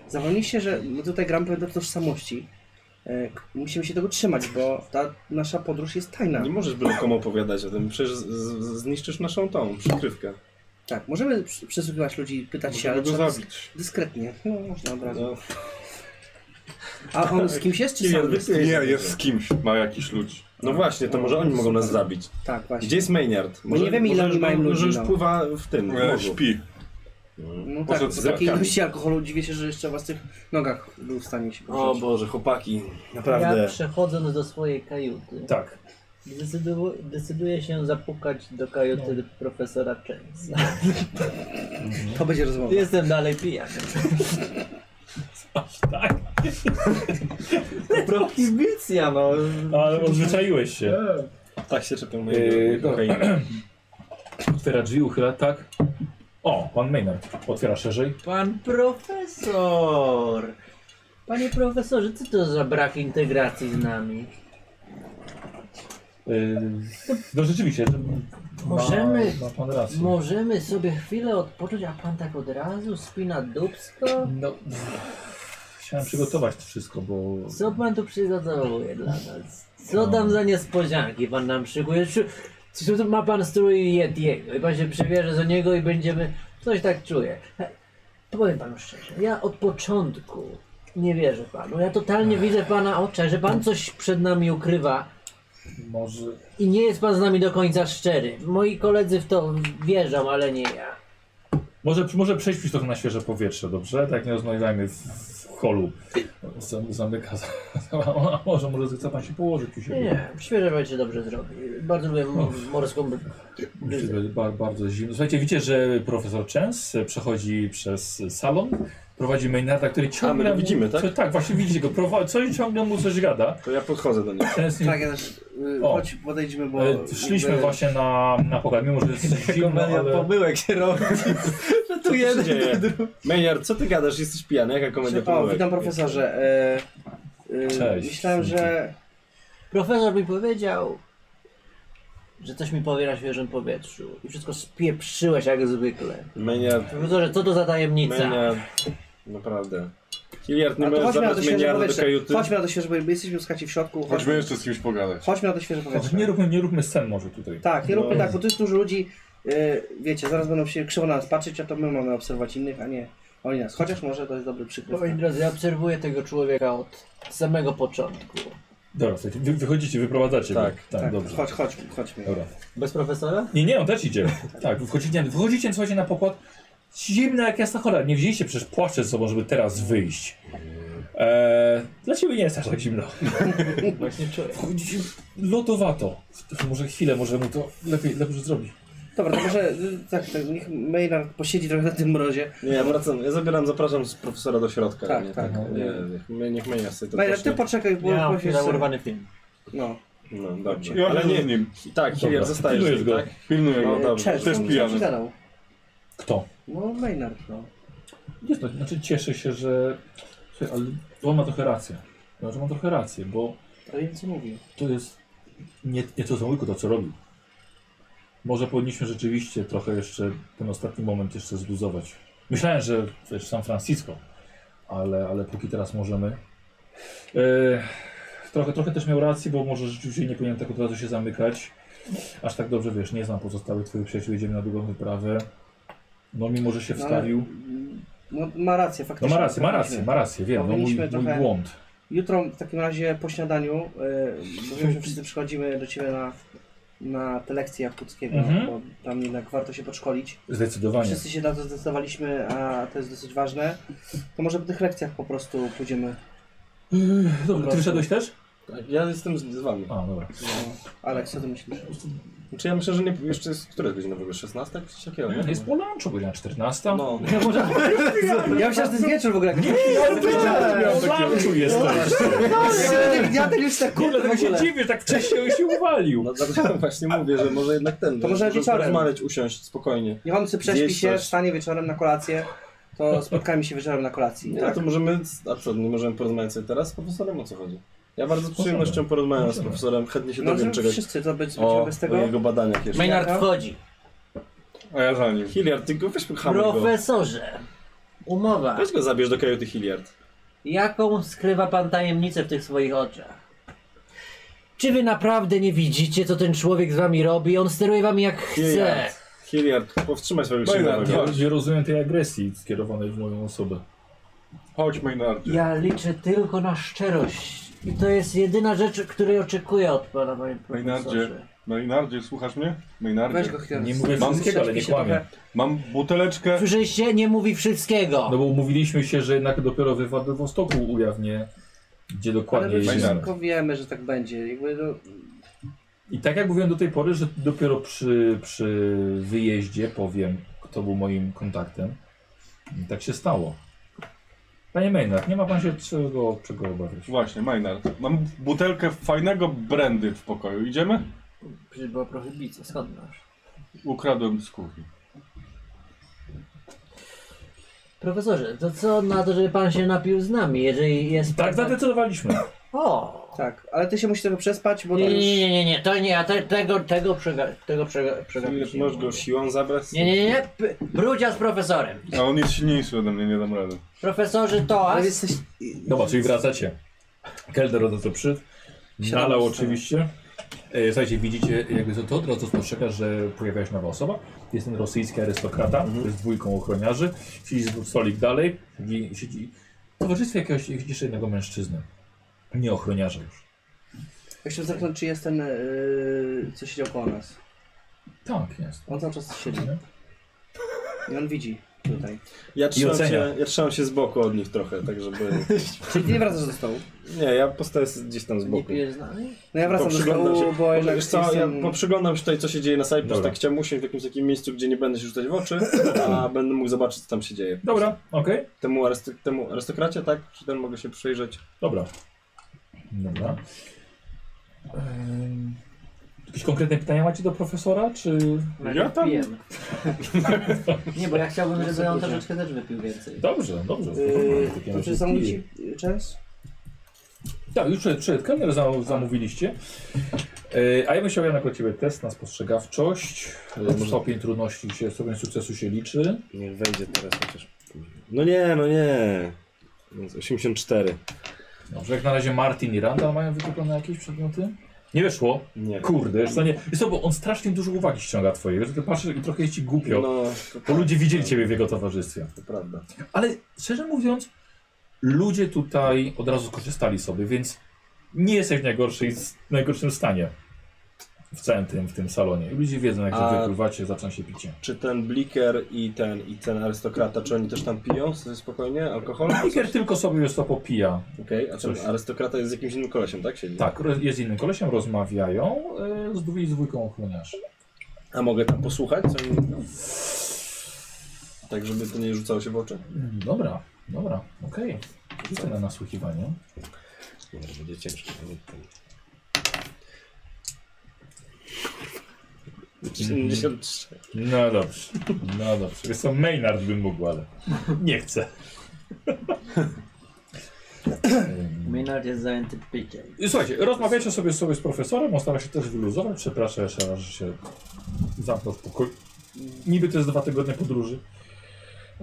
Speaker 5: Zapomnieliście, że my tutaj gramy pewne tożsamości. E, k- Musimy się tego trzymać, bo ta nasza podróż jest tajna.
Speaker 2: Nie możesz byle komu opowiadać o tym, przecież z, z, zniszczysz naszą tą przykrywkę.
Speaker 5: Tak, możemy przy- przesłuchiwać ludzi, pytać się,
Speaker 4: Możemy
Speaker 5: ale
Speaker 4: go
Speaker 5: trzeba dysk-
Speaker 4: zabić.
Speaker 5: dyskretnie. No, można od razu.
Speaker 2: No.
Speaker 5: A on z kimś jest, czy
Speaker 7: Kilian,
Speaker 5: sam jest?
Speaker 7: wypij.
Speaker 4: Nie, jest z kimś, ma jakiś ludzi.
Speaker 2: No właśnie, to może oni mogą nas zabić.
Speaker 5: Tak, właśnie.
Speaker 2: Gdzie jest Maynard? Może,
Speaker 5: No nie wiemy, ile
Speaker 2: może,
Speaker 5: oni
Speaker 2: już-
Speaker 5: mają
Speaker 2: Może
Speaker 5: ludzi,
Speaker 2: już
Speaker 5: no.
Speaker 2: pływa w tym, w
Speaker 4: E,
Speaker 2: morzu.
Speaker 4: śpi.
Speaker 5: No tak,
Speaker 4: Poszedł
Speaker 5: z
Speaker 4: z
Speaker 5: takiej
Speaker 4: rakami.
Speaker 5: ilości alkoholu dziwię się, że jeszcze w własnych nogach był w stanie się
Speaker 2: O
Speaker 5: poruszać.
Speaker 2: Boże, chłopaki,
Speaker 3: Ja
Speaker 2: naprawdę.
Speaker 3: przechodząc do swojej kajuty,
Speaker 1: Tak.
Speaker 3: decydu- decyduję się zapukać do kajuty
Speaker 4: No.
Speaker 3: profesora Częsa.
Speaker 5: To będzie rozmowa.
Speaker 3: Jestem dalej pijany.
Speaker 1: Tak,
Speaker 3: Prohibicja, no.
Speaker 1: ale odzwyczaiłeś się.
Speaker 2: Tak się czepiam
Speaker 1: Yy,
Speaker 2: mojego kokainy.
Speaker 1: Otwiera drzwi, uchyla, tak. O, pan Maynard. Otwiera szerzej.
Speaker 3: Pan profesor! Panie profesorze, co to za brak integracji z nami?
Speaker 1: Yy, no rzeczywiście. że ma-
Speaker 3: Możemy-
Speaker 1: Ma pan rację.
Speaker 3: Możemy sobie chwilę odpocząć, a pan tak od razu spina dubsko?
Speaker 1: No, chciałem przygotować to wszystko, bo...
Speaker 3: Co pan tu przygotowuje dla nas? Co tam za niespodzianki pan nam szykuje? Czy, czy tu ma pan strój Yetiego i pan się przebierze za niego i będziemy... Coś tak czuję. He, Powiem panu szczerze, ja od początku nie wierzę panu. Ja totalnie widzę w pana oczach, że pan coś przed nami ukrywa
Speaker 1: Może...
Speaker 3: i nie jest pan z nami do końca szczery. Moi koledzy w to wierzą, ale nie ja.
Speaker 1: Może, może przejdźmy trochę na świeże powietrze, dobrze? Tak nie rozmawiajmy w, w holu. Zam- Zamyka. za- A może, może chce pan się położyć u
Speaker 3: Nie,
Speaker 1: siebie?
Speaker 3: nie, świeże powietrze dobrze zrobi. Bardzo lubię m- morską br-
Speaker 1: Myślę,
Speaker 3: bryzę.
Speaker 1: że ba- bardzo zimno. Słuchajcie, widzicie, że profesor Chens przechodzi przez salon, prowadzi Maynarda, który ciągle...
Speaker 2: my go
Speaker 1: mu-
Speaker 2: widzimy, tak?
Speaker 1: Co, tak, właśnie widzicie go. Prowadzi, coś ciągle mu coś gada.
Speaker 2: To ja podchodzę do nich.
Speaker 1: Chens nie...
Speaker 5: Tak, ja też. y,
Speaker 1: O.
Speaker 5: Chodź, podejdźmy, bo.
Speaker 1: e, Szliśmy
Speaker 5: jakby-
Speaker 1: właśnie na, na pokład, mimo że jest zimno, ale...
Speaker 2: pomyłek się robi. Że tu jeden, dzieje? Maynard, co ty gadasz? Jesteś pijany? Jaka komedia
Speaker 5: O,
Speaker 2: pomyłek?
Speaker 5: witam profesorze. E, e,
Speaker 1: Cześć.
Speaker 5: Myślałem, że.
Speaker 3: Profesor mi powiedział, że coś mi powie na świeżym powietrzu. I wszystko spieprzyłeś jak zwykle.
Speaker 2: Maynard,
Speaker 3: Profesorze, co to za tajemnica?
Speaker 2: Maynard, naprawdę. Hilliard, nie
Speaker 5: A to
Speaker 2: możesz
Speaker 5: chodźmy na to
Speaker 2: zabrać
Speaker 5: świeże
Speaker 2: Maynarda do
Speaker 5: powietrze.
Speaker 2: kajuty?
Speaker 5: Chodźmy na to świeże powietrze, bo jesteśmy skaci w środku. Chodźmy,
Speaker 4: Chodźmy jeszcze z kimś pogadać.
Speaker 5: chodźmy na to świeże powietrze.
Speaker 1: Nie róbmy, nie róbmy scen może tutaj.
Speaker 5: Tak, nie róbmy
Speaker 2: No.
Speaker 5: tak, bo tu jest dużo ludzi. e, wiecie, zaraz będą się krzywo na nas patrzeć, a to my mamy obserwować innych, a nie oni nas. Chociaż może to jest dobry przykład.
Speaker 3: Moi drodzy, ja obserwuję tego człowieka od samego początku.
Speaker 1: Dobra, słuchajcie, wy, wychodzicie, wyprowadzacie
Speaker 2: Tak,
Speaker 1: go. Tak,
Speaker 5: Tak,
Speaker 1: dobrze.
Speaker 5: chodź, chodź, chodźmy.
Speaker 1: Dobra.
Speaker 3: Bez profesora?
Speaker 1: Nie, nie, on też idzie. Tak, wchodzicie, wchodzicie słuchajcie, na pokład. Zimno jak jasna cholera. Nie wzięliście przecież płaszcze ze sobą, żeby teraz wyjść. Eee, dla ciebie nie jest aż tak zimno.
Speaker 3: Tak Właśnie czuję.
Speaker 1: Wchodzicie lodowato. To Może chwilę, może mu to lepiej, lepiej zrobić.
Speaker 5: Dobra, to może y, tak, tak, niech Maynard posiedzi trochę na tym mrozie.
Speaker 2: Nie, ja wracam, ja zabieram, zapraszam z profesora do środka.
Speaker 5: Tak,
Speaker 2: nie,
Speaker 5: tak.
Speaker 2: Nie, nie, niech Maynard sobie to
Speaker 5: Maynard, ty
Speaker 2: pocznie.
Speaker 5: poczekaj, bo
Speaker 3: Ja mam
Speaker 5: bo się-
Speaker 3: chwilę urwany film.
Speaker 5: No.
Speaker 2: No, dobrze.
Speaker 4: Ja
Speaker 2: Ale nie,
Speaker 4: z nim.
Speaker 2: tak, Hilliard,
Speaker 1: Dobra,
Speaker 2: zostajesz,
Speaker 1: pilnujesz
Speaker 2: z nim,
Speaker 1: go.
Speaker 2: tak?
Speaker 4: Pilnuję
Speaker 2: No,
Speaker 4: go.
Speaker 2: dobrze.
Speaker 5: Y, Cześć,
Speaker 4: Też
Speaker 5: on
Speaker 4: pijany.
Speaker 5: się gadał.
Speaker 1: Kto?
Speaker 5: No, Maynard, no.
Speaker 1: Jest to, znaczy cieszę się, że... Słuchaj, ale on ma trochę rację. Znaczy ma trochę rację, bo
Speaker 5: To wiem, co mówił.
Speaker 1: to jest nie, nie to zamówiku, to co robił. Może powinniśmy rzeczywiście trochę jeszcze ten ostatni moment jeszcze zluzować. Myślałem, że też San Francisco, ale, ale póki teraz możemy. E, trochę, trochę też miał rację, bo może rzeczywiście nie powinien tak od razu się zamykać. Aż tak dobrze wiesz, nie znam pozostałych twoich przyjaciół, jedziemy na długą wyprawę. No mimo, że się
Speaker 5: No, ale-
Speaker 1: wstawił.
Speaker 5: No, ma rację,
Speaker 1: No
Speaker 5: faktycznie.
Speaker 1: ma rację, ma rację, ma rację, wiem, no mój,
Speaker 5: Powinniśmy
Speaker 1: mój
Speaker 5: trochę-
Speaker 1: błąd.
Speaker 5: Jutro w takim razie po śniadaniu, y, bo wiem, że wszyscy przychodzimy do Ciebie na, na te lekcje Jakuckiego,
Speaker 1: Mhm.
Speaker 5: bo tam jednak warto się podszkolić.
Speaker 1: Zdecydowanie.
Speaker 5: Wszyscy się na to zdecydowaliśmy, a to jest dosyć ważne. To może po tych lekcjach po prostu pójdziemy,
Speaker 1: Dobra, ty wyszedłeś też?
Speaker 2: Tak, Ja jestem z, z wami.
Speaker 1: A, dobra.
Speaker 5: no, Aleks, co Ty myślisz?
Speaker 2: Znaczy ja myślę, że nie, jeszcze jest, która jest godzina w ogóle? 16? Coś takiego, nie?
Speaker 1: Jest po lunchu godzina 14.
Speaker 2: No,
Speaker 5: Ja myślałem, że to jest wieczór w ogóle. Nie,
Speaker 1: Lunchu jest to.
Speaker 5: ja ten już tak
Speaker 1: Kurde,
Speaker 5: kurde w
Speaker 1: tak się
Speaker 5: ogóle.
Speaker 1: dziwię, tak wcześniej się uwalił.
Speaker 2: no dlatego właśnie mówię, że może jednak ten.
Speaker 5: To może wieczorem.
Speaker 2: Rozmawiać, usiąść spokojnie.
Speaker 5: Niech on sobie prześpi
Speaker 2: Zjeść
Speaker 5: się,
Speaker 2: coś.
Speaker 5: wstanie wieczorem na kolację, to spotkajmy się wieczorem na kolacji,
Speaker 2: Nie, no
Speaker 5: tak?
Speaker 2: to możemy, a co, nie możemy porozmawiać sobie teraz z profesorem, o co chodzi? Ja bardzo z przyjemnością porozmawiam z
Speaker 1: Możemy.
Speaker 2: profesorem, chętnie się
Speaker 5: No,
Speaker 2: dowiem
Speaker 5: żeby
Speaker 2: czegoś
Speaker 5: wszyscy to być,
Speaker 2: o,
Speaker 5: będziemy bez
Speaker 2: o
Speaker 5: tego.
Speaker 2: jego badaniach jeszcze.
Speaker 3: Maynard
Speaker 5: Jaka?
Speaker 3: wchodzi.
Speaker 4: A ja za nim.
Speaker 2: Hilliard, ty go weźmy hamuj go.
Speaker 3: Profesorze, umowa.
Speaker 2: Weź go zabierz do kajuty Hilliard.
Speaker 3: Jaką skrywa pan tajemnicę w tych swoich oczach? Czy wy naprawdę nie widzicie, co ten człowiek z wami robi? On steruje wami jak chce.
Speaker 2: Hilliard, Hilliard powstrzymaj swojego
Speaker 4: Maynard,
Speaker 2: silnego.
Speaker 4: chodź.
Speaker 1: Ja nie rozumiem tej agresji skierowanej w moją osobę.
Speaker 4: Chodźmy na arcie.
Speaker 3: Ja liczę tylko na szczerość. I to jest jedyna rzecz, której oczekuję od pana, panie profesorze.
Speaker 4: Maynardzie, Maynardzie, słuchasz mnie? Maynardzie,
Speaker 5: Weź go chwilę.
Speaker 1: Nie mówię
Speaker 4: Mam-
Speaker 1: wszystkiego, ale nie
Speaker 5: Prześpij się
Speaker 1: kłamię.
Speaker 5: trochę.
Speaker 4: mam buteleczkę.
Speaker 3: Słyszeliście? Nie mówi wszystkiego.
Speaker 1: No bo umówiliśmy się, że jednak dopiero we Władywostoku ujawnię, gdzie
Speaker 5: Ale
Speaker 1: dokładnie
Speaker 5: my
Speaker 1: jest.
Speaker 4: Maynard.
Speaker 5: wszystko wiemy, że tak będzie. Jakby no,
Speaker 1: I tak jak mówiłem do tej pory, że dopiero przy, przy wyjeździe powiem, kto był moim kontaktem. I tak się stało. Panie Maynard, nie ma pan się czego, czego obawiać.
Speaker 4: Właśnie, Maynard. Mam butelkę fajnego brandy w pokoju. Idziemy?
Speaker 3: Przecież była prohibicja, skąd masz?
Speaker 4: Ukradłem z kuchni.
Speaker 3: Profesorze, to co na to, żeby pan się napił z nami, jeżeli jest...
Speaker 1: Tak
Speaker 3: pan...
Speaker 1: zadecydowaliśmy.
Speaker 3: O!
Speaker 5: tak, ale ty się musisz tego przespać, bo
Speaker 3: Nie,
Speaker 5: to
Speaker 3: nie,
Speaker 5: już...
Speaker 3: nie, nie, nie, to nie, ja te, tego, tego przega... tego przega... przegapiłem.
Speaker 2: Możesz go siłą zabrać?
Speaker 3: Nie, nie, nie, p- brudzia z profesorem.
Speaker 4: A on jest silniejszy ode mnie, nie dam rady.
Speaker 3: Profesorze Toas,
Speaker 5: Ale jesteś...
Speaker 1: Dobra, czyli No wracacie. Kelder od to przyszedł. Nalał oczywiście. E, Słuchajcie, widzicie, jakby to, to od razu spostrzega, że pojawia się nowa osoba. Jest ten rosyjski arystokrata
Speaker 5: Mhm.
Speaker 1: który z dwójką ochroniarzy. Siedzi z- stolik dalej. Siedzi, siedzi w towarzystwie jakiegoś jeszcze jednego mężczyzny. Nie ochroniarza już.
Speaker 5: Chciałem zerknąć, czy jest ten, yy, co siedział koło nas.
Speaker 1: Tak, jest.
Speaker 5: On cały czas siedzi i on widzi tutaj.
Speaker 2: Ja trzymam,
Speaker 1: ocenia.
Speaker 2: się, ja trzymam się z boku od nich trochę, tak żeby...
Speaker 5: Czyli ty nie wracasz do stołu.
Speaker 2: Nie, ja postaję gdzieś tam z
Speaker 3: nie
Speaker 2: boku.
Speaker 3: pijesz z nami?
Speaker 5: No ja wracam do
Speaker 2: Poprzyglądam się.
Speaker 5: stołu, bo
Speaker 2: Może,
Speaker 5: jednak
Speaker 2: wiesz co,
Speaker 5: jestem...
Speaker 2: ja poprzyglądam się tutaj, co się dzieje na sali, po prostu
Speaker 1: Dobra.
Speaker 2: tak chciałem usiąść w jakimś takim miejscu, gdzie nie będę się rzucać w oczy, a będę mógł zobaczyć, co tam się dzieje.
Speaker 1: Dobra, okej.
Speaker 2: Temu, arysty- temu arystokracie, tak? Czy ten mogę się przyjrzeć?
Speaker 1: Dobra. Dobra. Ehm, Jakieś konkretne pytania macie do profesora, czy...
Speaker 4: Ja tam-
Speaker 3: Pijemy. nie, bo ja chciałbym, żeby on troszeczkę też wypił więcej.
Speaker 1: Dobrze, dobrze.
Speaker 5: Yy,
Speaker 1: W takim
Speaker 5: to
Speaker 1: razie
Speaker 5: czy
Speaker 1: piję.
Speaker 5: zamówicie część?
Speaker 1: Tak, już przed, przed kamerą zam, zamówiliście. E, a ja bym chciał jednak od Ciebie test na spostrzegawczość. E, Stopień trudności, się, stopień sukcesu się liczy.
Speaker 2: Niech wejdzie teraz chociaż. No nie, no nie. Więc 84.
Speaker 1: Dobrze, jak na razie Martin i Randall mają wykupione jakieś przedmioty? Nie wyszło.
Speaker 2: Nie.
Speaker 1: Kurde, wiesz co, nie. Wiesz co, bo on strasznie dużo uwagi ściąga Twojej. wiesz, Ty patrzysz i trochę jest Ci głupio,
Speaker 2: No,
Speaker 1: bo ludzie widzieli Ciebie w jego towarzystwie.
Speaker 2: to prawda.
Speaker 1: Ale szczerze mówiąc, ludzie tutaj od razu skorzystali sobie, więc nie jesteś w najgorszej, najgorszym stanie w całym tym, w tym salonie. Ludzie wiedzą, jak
Speaker 2: A-
Speaker 1: A... wypływacie, zaczyna się picie.
Speaker 2: Czy ten bliker i ten, i ten arystokrata, czy oni też tam piją sobie spokojnie alkohol?
Speaker 1: Tiger tylko sobie już to popija.
Speaker 2: Okej, a ten
Speaker 1: Coś.
Speaker 2: arystokrata jest z jakimś innym kolesiem, tak? Siedzi?
Speaker 1: Tak, ro- jest z innym kolesiem, rozmawiają y, z dwój- z dwójką ochroniarzy.
Speaker 2: A mogę tam posłuchać, co oni mówią? Tak, żeby to nie rzucało się w oczy.
Speaker 1: Mm, Dobra, dobra, okej. Rzucę na nasłuchiwanie.
Speaker 2: Nie, będzie ciężko.
Speaker 5: Mm.
Speaker 1: No dobrze, no dobrze. Jest to Maynard bym mógł, ale nie chcę. Ym,
Speaker 3: Maynard jest zajęty piciem.
Speaker 1: I Słuchajcie, rozmawiacie sobie, sobie z profesorem, on stara się też wyluzować. Przepraszam jeszcze raz, że się zamknął w pokoju. Niby to jest dwa tygodnie podróży,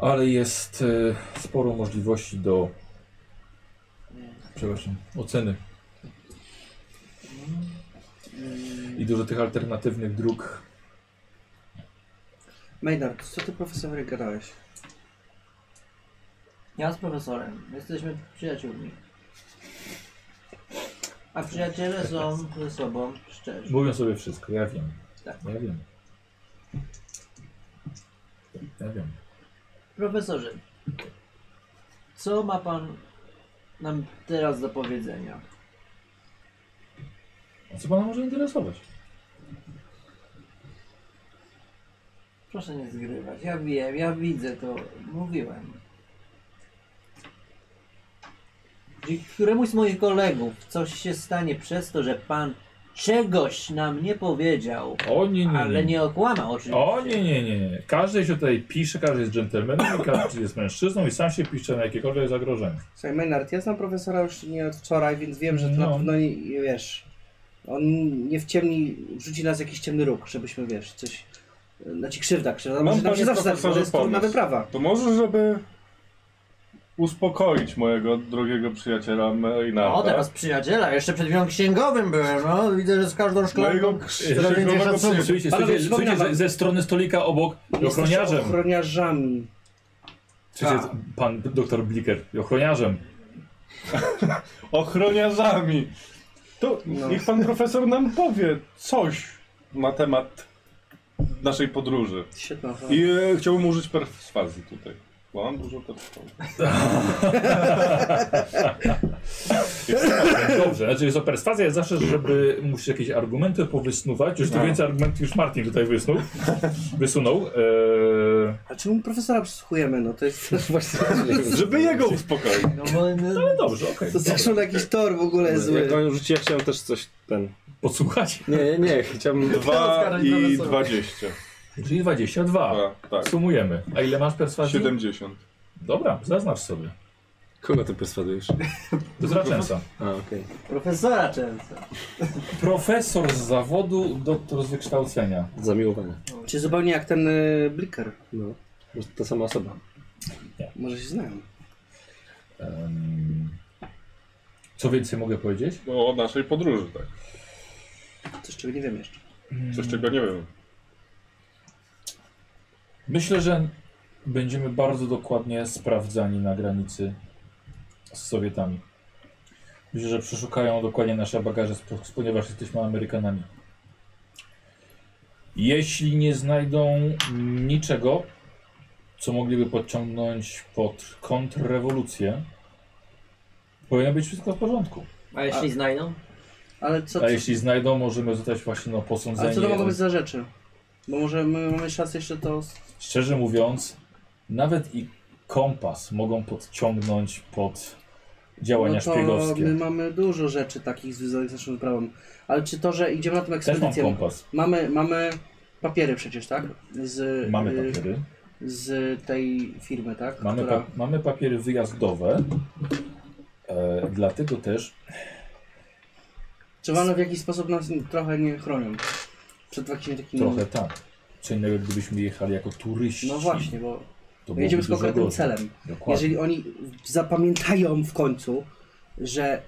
Speaker 1: ale jest e, sporo możliwości do przepraszam, oceny. I dużo tych alternatywnych dróg.
Speaker 5: Maynard, co ty profesorowi gadałeś?
Speaker 3: Ja z profesorem. Jesteśmy przyjaciółmi. A przyjaciele są ze sobą szczerzy.
Speaker 1: Mówią sobie wszystko, ja wiem.
Speaker 3: Tak.
Speaker 1: Ja wiem. Ja wiem.
Speaker 3: Profesorze, co ma pan nam teraz do powiedzenia?
Speaker 1: A co pana może interesować?
Speaker 3: Proszę nie zgrywać. Ja wiem, ja widzę to. Mówiłem. Dzięki któremuś z moich kolegów coś się stanie przez to, że pan czegoś nam nie powiedział,
Speaker 1: O nie, nie, nie.
Speaker 3: ale nie okłamał oczywiście.
Speaker 1: O nie, nie, nie, nie. Każdy się tutaj pisze, każdy jest dżentelmenem, i każdy jest mężczyzną i sam się pisze na jakiekolwiek zagrożenie.
Speaker 5: Słuchaj, Maynard, ja znam profesora już nie od wczoraj, więc wiem, że to na
Speaker 1: No.
Speaker 5: pewno nie, nie wiesz. On nie w ciemni rzuci nas w jakiś ciemny róg, żebyśmy wiesz, coś. Znaczy krzywda, krzywda.
Speaker 4: Mam,
Speaker 5: Może nam
Speaker 4: panie
Speaker 5: się zawsze
Speaker 4: profesorze,
Speaker 5: zdarzyć, bo to jest trudna
Speaker 4: pomysł.
Speaker 5: wyprawa.
Speaker 4: To może, żeby uspokoić mojego drogiego przyjaciela tak? Maynarda.
Speaker 3: O, No, teraz przyjaciela, jeszcze przed chwilą księgowym byłem, no widzę, że z każdą
Speaker 4: Mojego
Speaker 3: szklanką coraz więcej
Speaker 4: księgowego
Speaker 3: szacunku.
Speaker 1: Słuchajcie,
Speaker 5: Panowie,
Speaker 1: słuchajcie,
Speaker 5: przypominam
Speaker 1: słuchajcie
Speaker 5: wam-
Speaker 1: ze, ze strony stolika obok
Speaker 5: Jesteście
Speaker 1: ochroniarzem.
Speaker 5: Ochroniarzami.
Speaker 1: Przecież
Speaker 5: Tak.
Speaker 1: pan doktor Bliker ochroniarzem.
Speaker 4: Ochroniarzami! To
Speaker 5: No.
Speaker 4: niech pan profesor nam powie coś na temat naszej podróży.
Speaker 5: Świetna osoba.
Speaker 4: I e, chciałbym użyć perswazji tutaj. Bo mam dużo perswazji.
Speaker 1: Dobrze, znaczy jest to perswazja jest zawsze, żeby musisz jakieś argumenty powysnuwać. Już tu
Speaker 4: No.
Speaker 1: więcej argumentów już Martin tutaj wysnuł, wysunął. E,
Speaker 5: A czemu profesora przysłuchujemy? No to jest też właśnie...
Speaker 4: Żeby jego uspokoić.
Speaker 3: No, bo, no,
Speaker 1: ale dobrze, okej.
Speaker 5: To zresztą jakiś tor w
Speaker 6: No,
Speaker 5: ogóle jest zły.
Speaker 2: Jak on rzuci, ja chciałem też coś ten.
Speaker 1: Podsłuchać.
Speaker 2: Nie, nie, nie, chciałbym.
Speaker 4: Dwa
Speaker 3: Oskarżaj
Speaker 4: i
Speaker 3: profesora.
Speaker 4: 20.
Speaker 1: Czyli 22.
Speaker 4: A, tak.
Speaker 1: Sumujemy. A ile masz perswazji?
Speaker 4: 70.
Speaker 1: Dobra, zaznacz sobie.
Speaker 2: Kogo ty perswadujesz?
Speaker 1: To jest Raczęsa.
Speaker 2: A, okej.
Speaker 3: profesora często.
Speaker 1: Profesor z zawodu, doktor z wykształcenia.
Speaker 2: Zamiłowanie.
Speaker 5: Czy zupełnie jak ten y, bliker.
Speaker 2: No. Może to ta sama osoba.
Speaker 5: Może się znają.
Speaker 1: Em, co więcej mogę powiedzieć?
Speaker 4: No, o naszej podróży, tak.
Speaker 5: Coś czego nie wiem jeszcze.
Speaker 4: Coś czego nie wiem.
Speaker 1: Myślę, że będziemy bardzo dokładnie sprawdzani na granicy z Sowietami. Myślę, że przeszukają dokładnie nasze bagaże, sp- ponieważ jesteśmy Amerykanami. Jeśli nie znajdą niczego, co mogliby podciągnąć pod kontrrewolucję, powinno być wszystko w porządku.
Speaker 3: A jeśli znajdą?
Speaker 5: Ale co,
Speaker 1: A jeśli znajdą, możemy zostać właśnie no, posądzeni.
Speaker 5: ale co to mogą być za rzeczy? Bo może my mamy szansę jeszcze to...
Speaker 1: Szczerze mówiąc, nawet i kompas mogą podciągnąć pod działania
Speaker 5: No to
Speaker 1: szpiegowskie.
Speaker 5: my mamy dużo rzeczy takich związanych z naszą wyprawą. Ale czy to, że idziemy na tą
Speaker 1: Też mam
Speaker 5: ekspedycję...
Speaker 1: kompas.
Speaker 5: Mamy, mamy papiery przecież, tak? Z,
Speaker 1: Mamy
Speaker 5: y,
Speaker 1: papiery.
Speaker 5: z tej firmy, tak?
Speaker 1: Mamy,
Speaker 5: Która...
Speaker 1: pa mamy papiery wyjazdowe. E, dlatego też
Speaker 5: Czy one w jakiś sposób nas trochę nie chronią? Przed jakimiś takimi...
Speaker 1: trochę tak. Co innego, gdybyśmy jechali jako turyści.
Speaker 5: Mm. No właśnie, bo
Speaker 1: to
Speaker 5: my jedziemy z
Speaker 1: byłoby dużo
Speaker 5: konkretnym
Speaker 1: gorzej.
Speaker 5: celem.
Speaker 1: Dokładnie.
Speaker 5: Jeżeli oni zapamiętają w końcu, że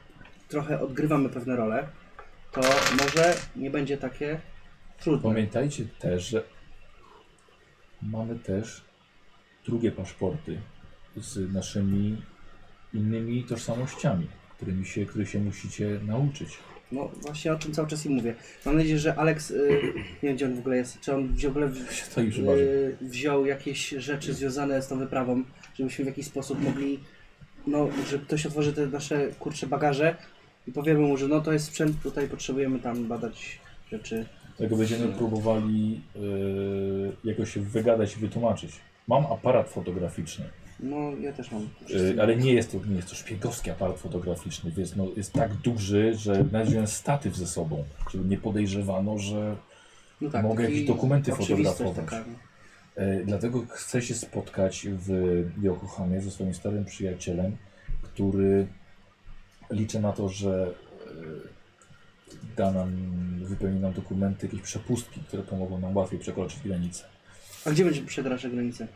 Speaker 5: trochę odgrywamy pewne role, to może nie będzie takie trudne.
Speaker 1: Pamiętajcie też, że mamy też drugie paszporty z naszymi innymi tożsamościami, którymi się, których się musicie nauczyć.
Speaker 5: No właśnie o czym cały czas im mówię. Mam nadzieję, że Alex, y, nie wiem gdzie on w ogóle jest, czy on w ogóle w,
Speaker 1: To już yy...
Speaker 5: y, wziął jakieś rzeczy związane z tą wyprawą, żebyśmy w jakiś sposób mogli, no, że ktoś otworzy te nasze kurcze bagaże i powiemy mu, że no to jest sprzęt, tutaj potrzebujemy tam badać rzeczy.
Speaker 1: Tego będziemy próbowali yy, jakoś się wygadać i wytłumaczyć. Mam aparat fotograficzny,
Speaker 5: No ja też mam.
Speaker 1: yy, ale nie jest, to, nie jest to szpiegowski aparat fotograficzny, więc no, jest tak duży, że znalazłem statyw ze sobą, żeby nie podejrzewano, że
Speaker 5: No
Speaker 1: mogę
Speaker 5: taki
Speaker 1: jakieś dokumenty
Speaker 5: oczywistość
Speaker 1: fotografować.
Speaker 5: taka, no.
Speaker 1: E, Dlatego chcę się spotkać w Yokohamie ze swoim starym przyjacielem, który liczę na to, że e, da nam, wypełni nam dokumenty, jakieś przepustki, które pomogą nam łatwiej przekroczyć granicę.
Speaker 5: A gdzie będziemy przekraczać granicę?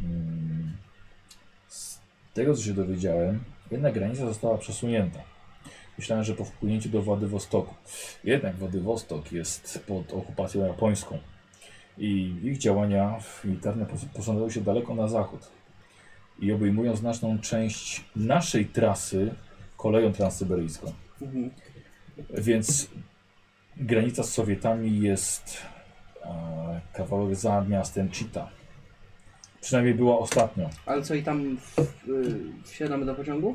Speaker 1: Mm, Z tego, co się dowiedziałem, jednak granica została przesunięta. Myślałem, że po wpłynięciu do Władywostoku. Jednak Władywostok jest pod okupacją japońską i ich działania militarne pos- posądzały się daleko na zachód i obejmują znaczną część naszej trasy koleją transsyberyjską.
Speaker 5: Mhm.
Speaker 1: Więc granica z Sowietami jest e, kawałek za miastem Chita. Przynajmniej była ostatnio.
Speaker 5: Ale co i tam w, y, wsiadamy do pociągu?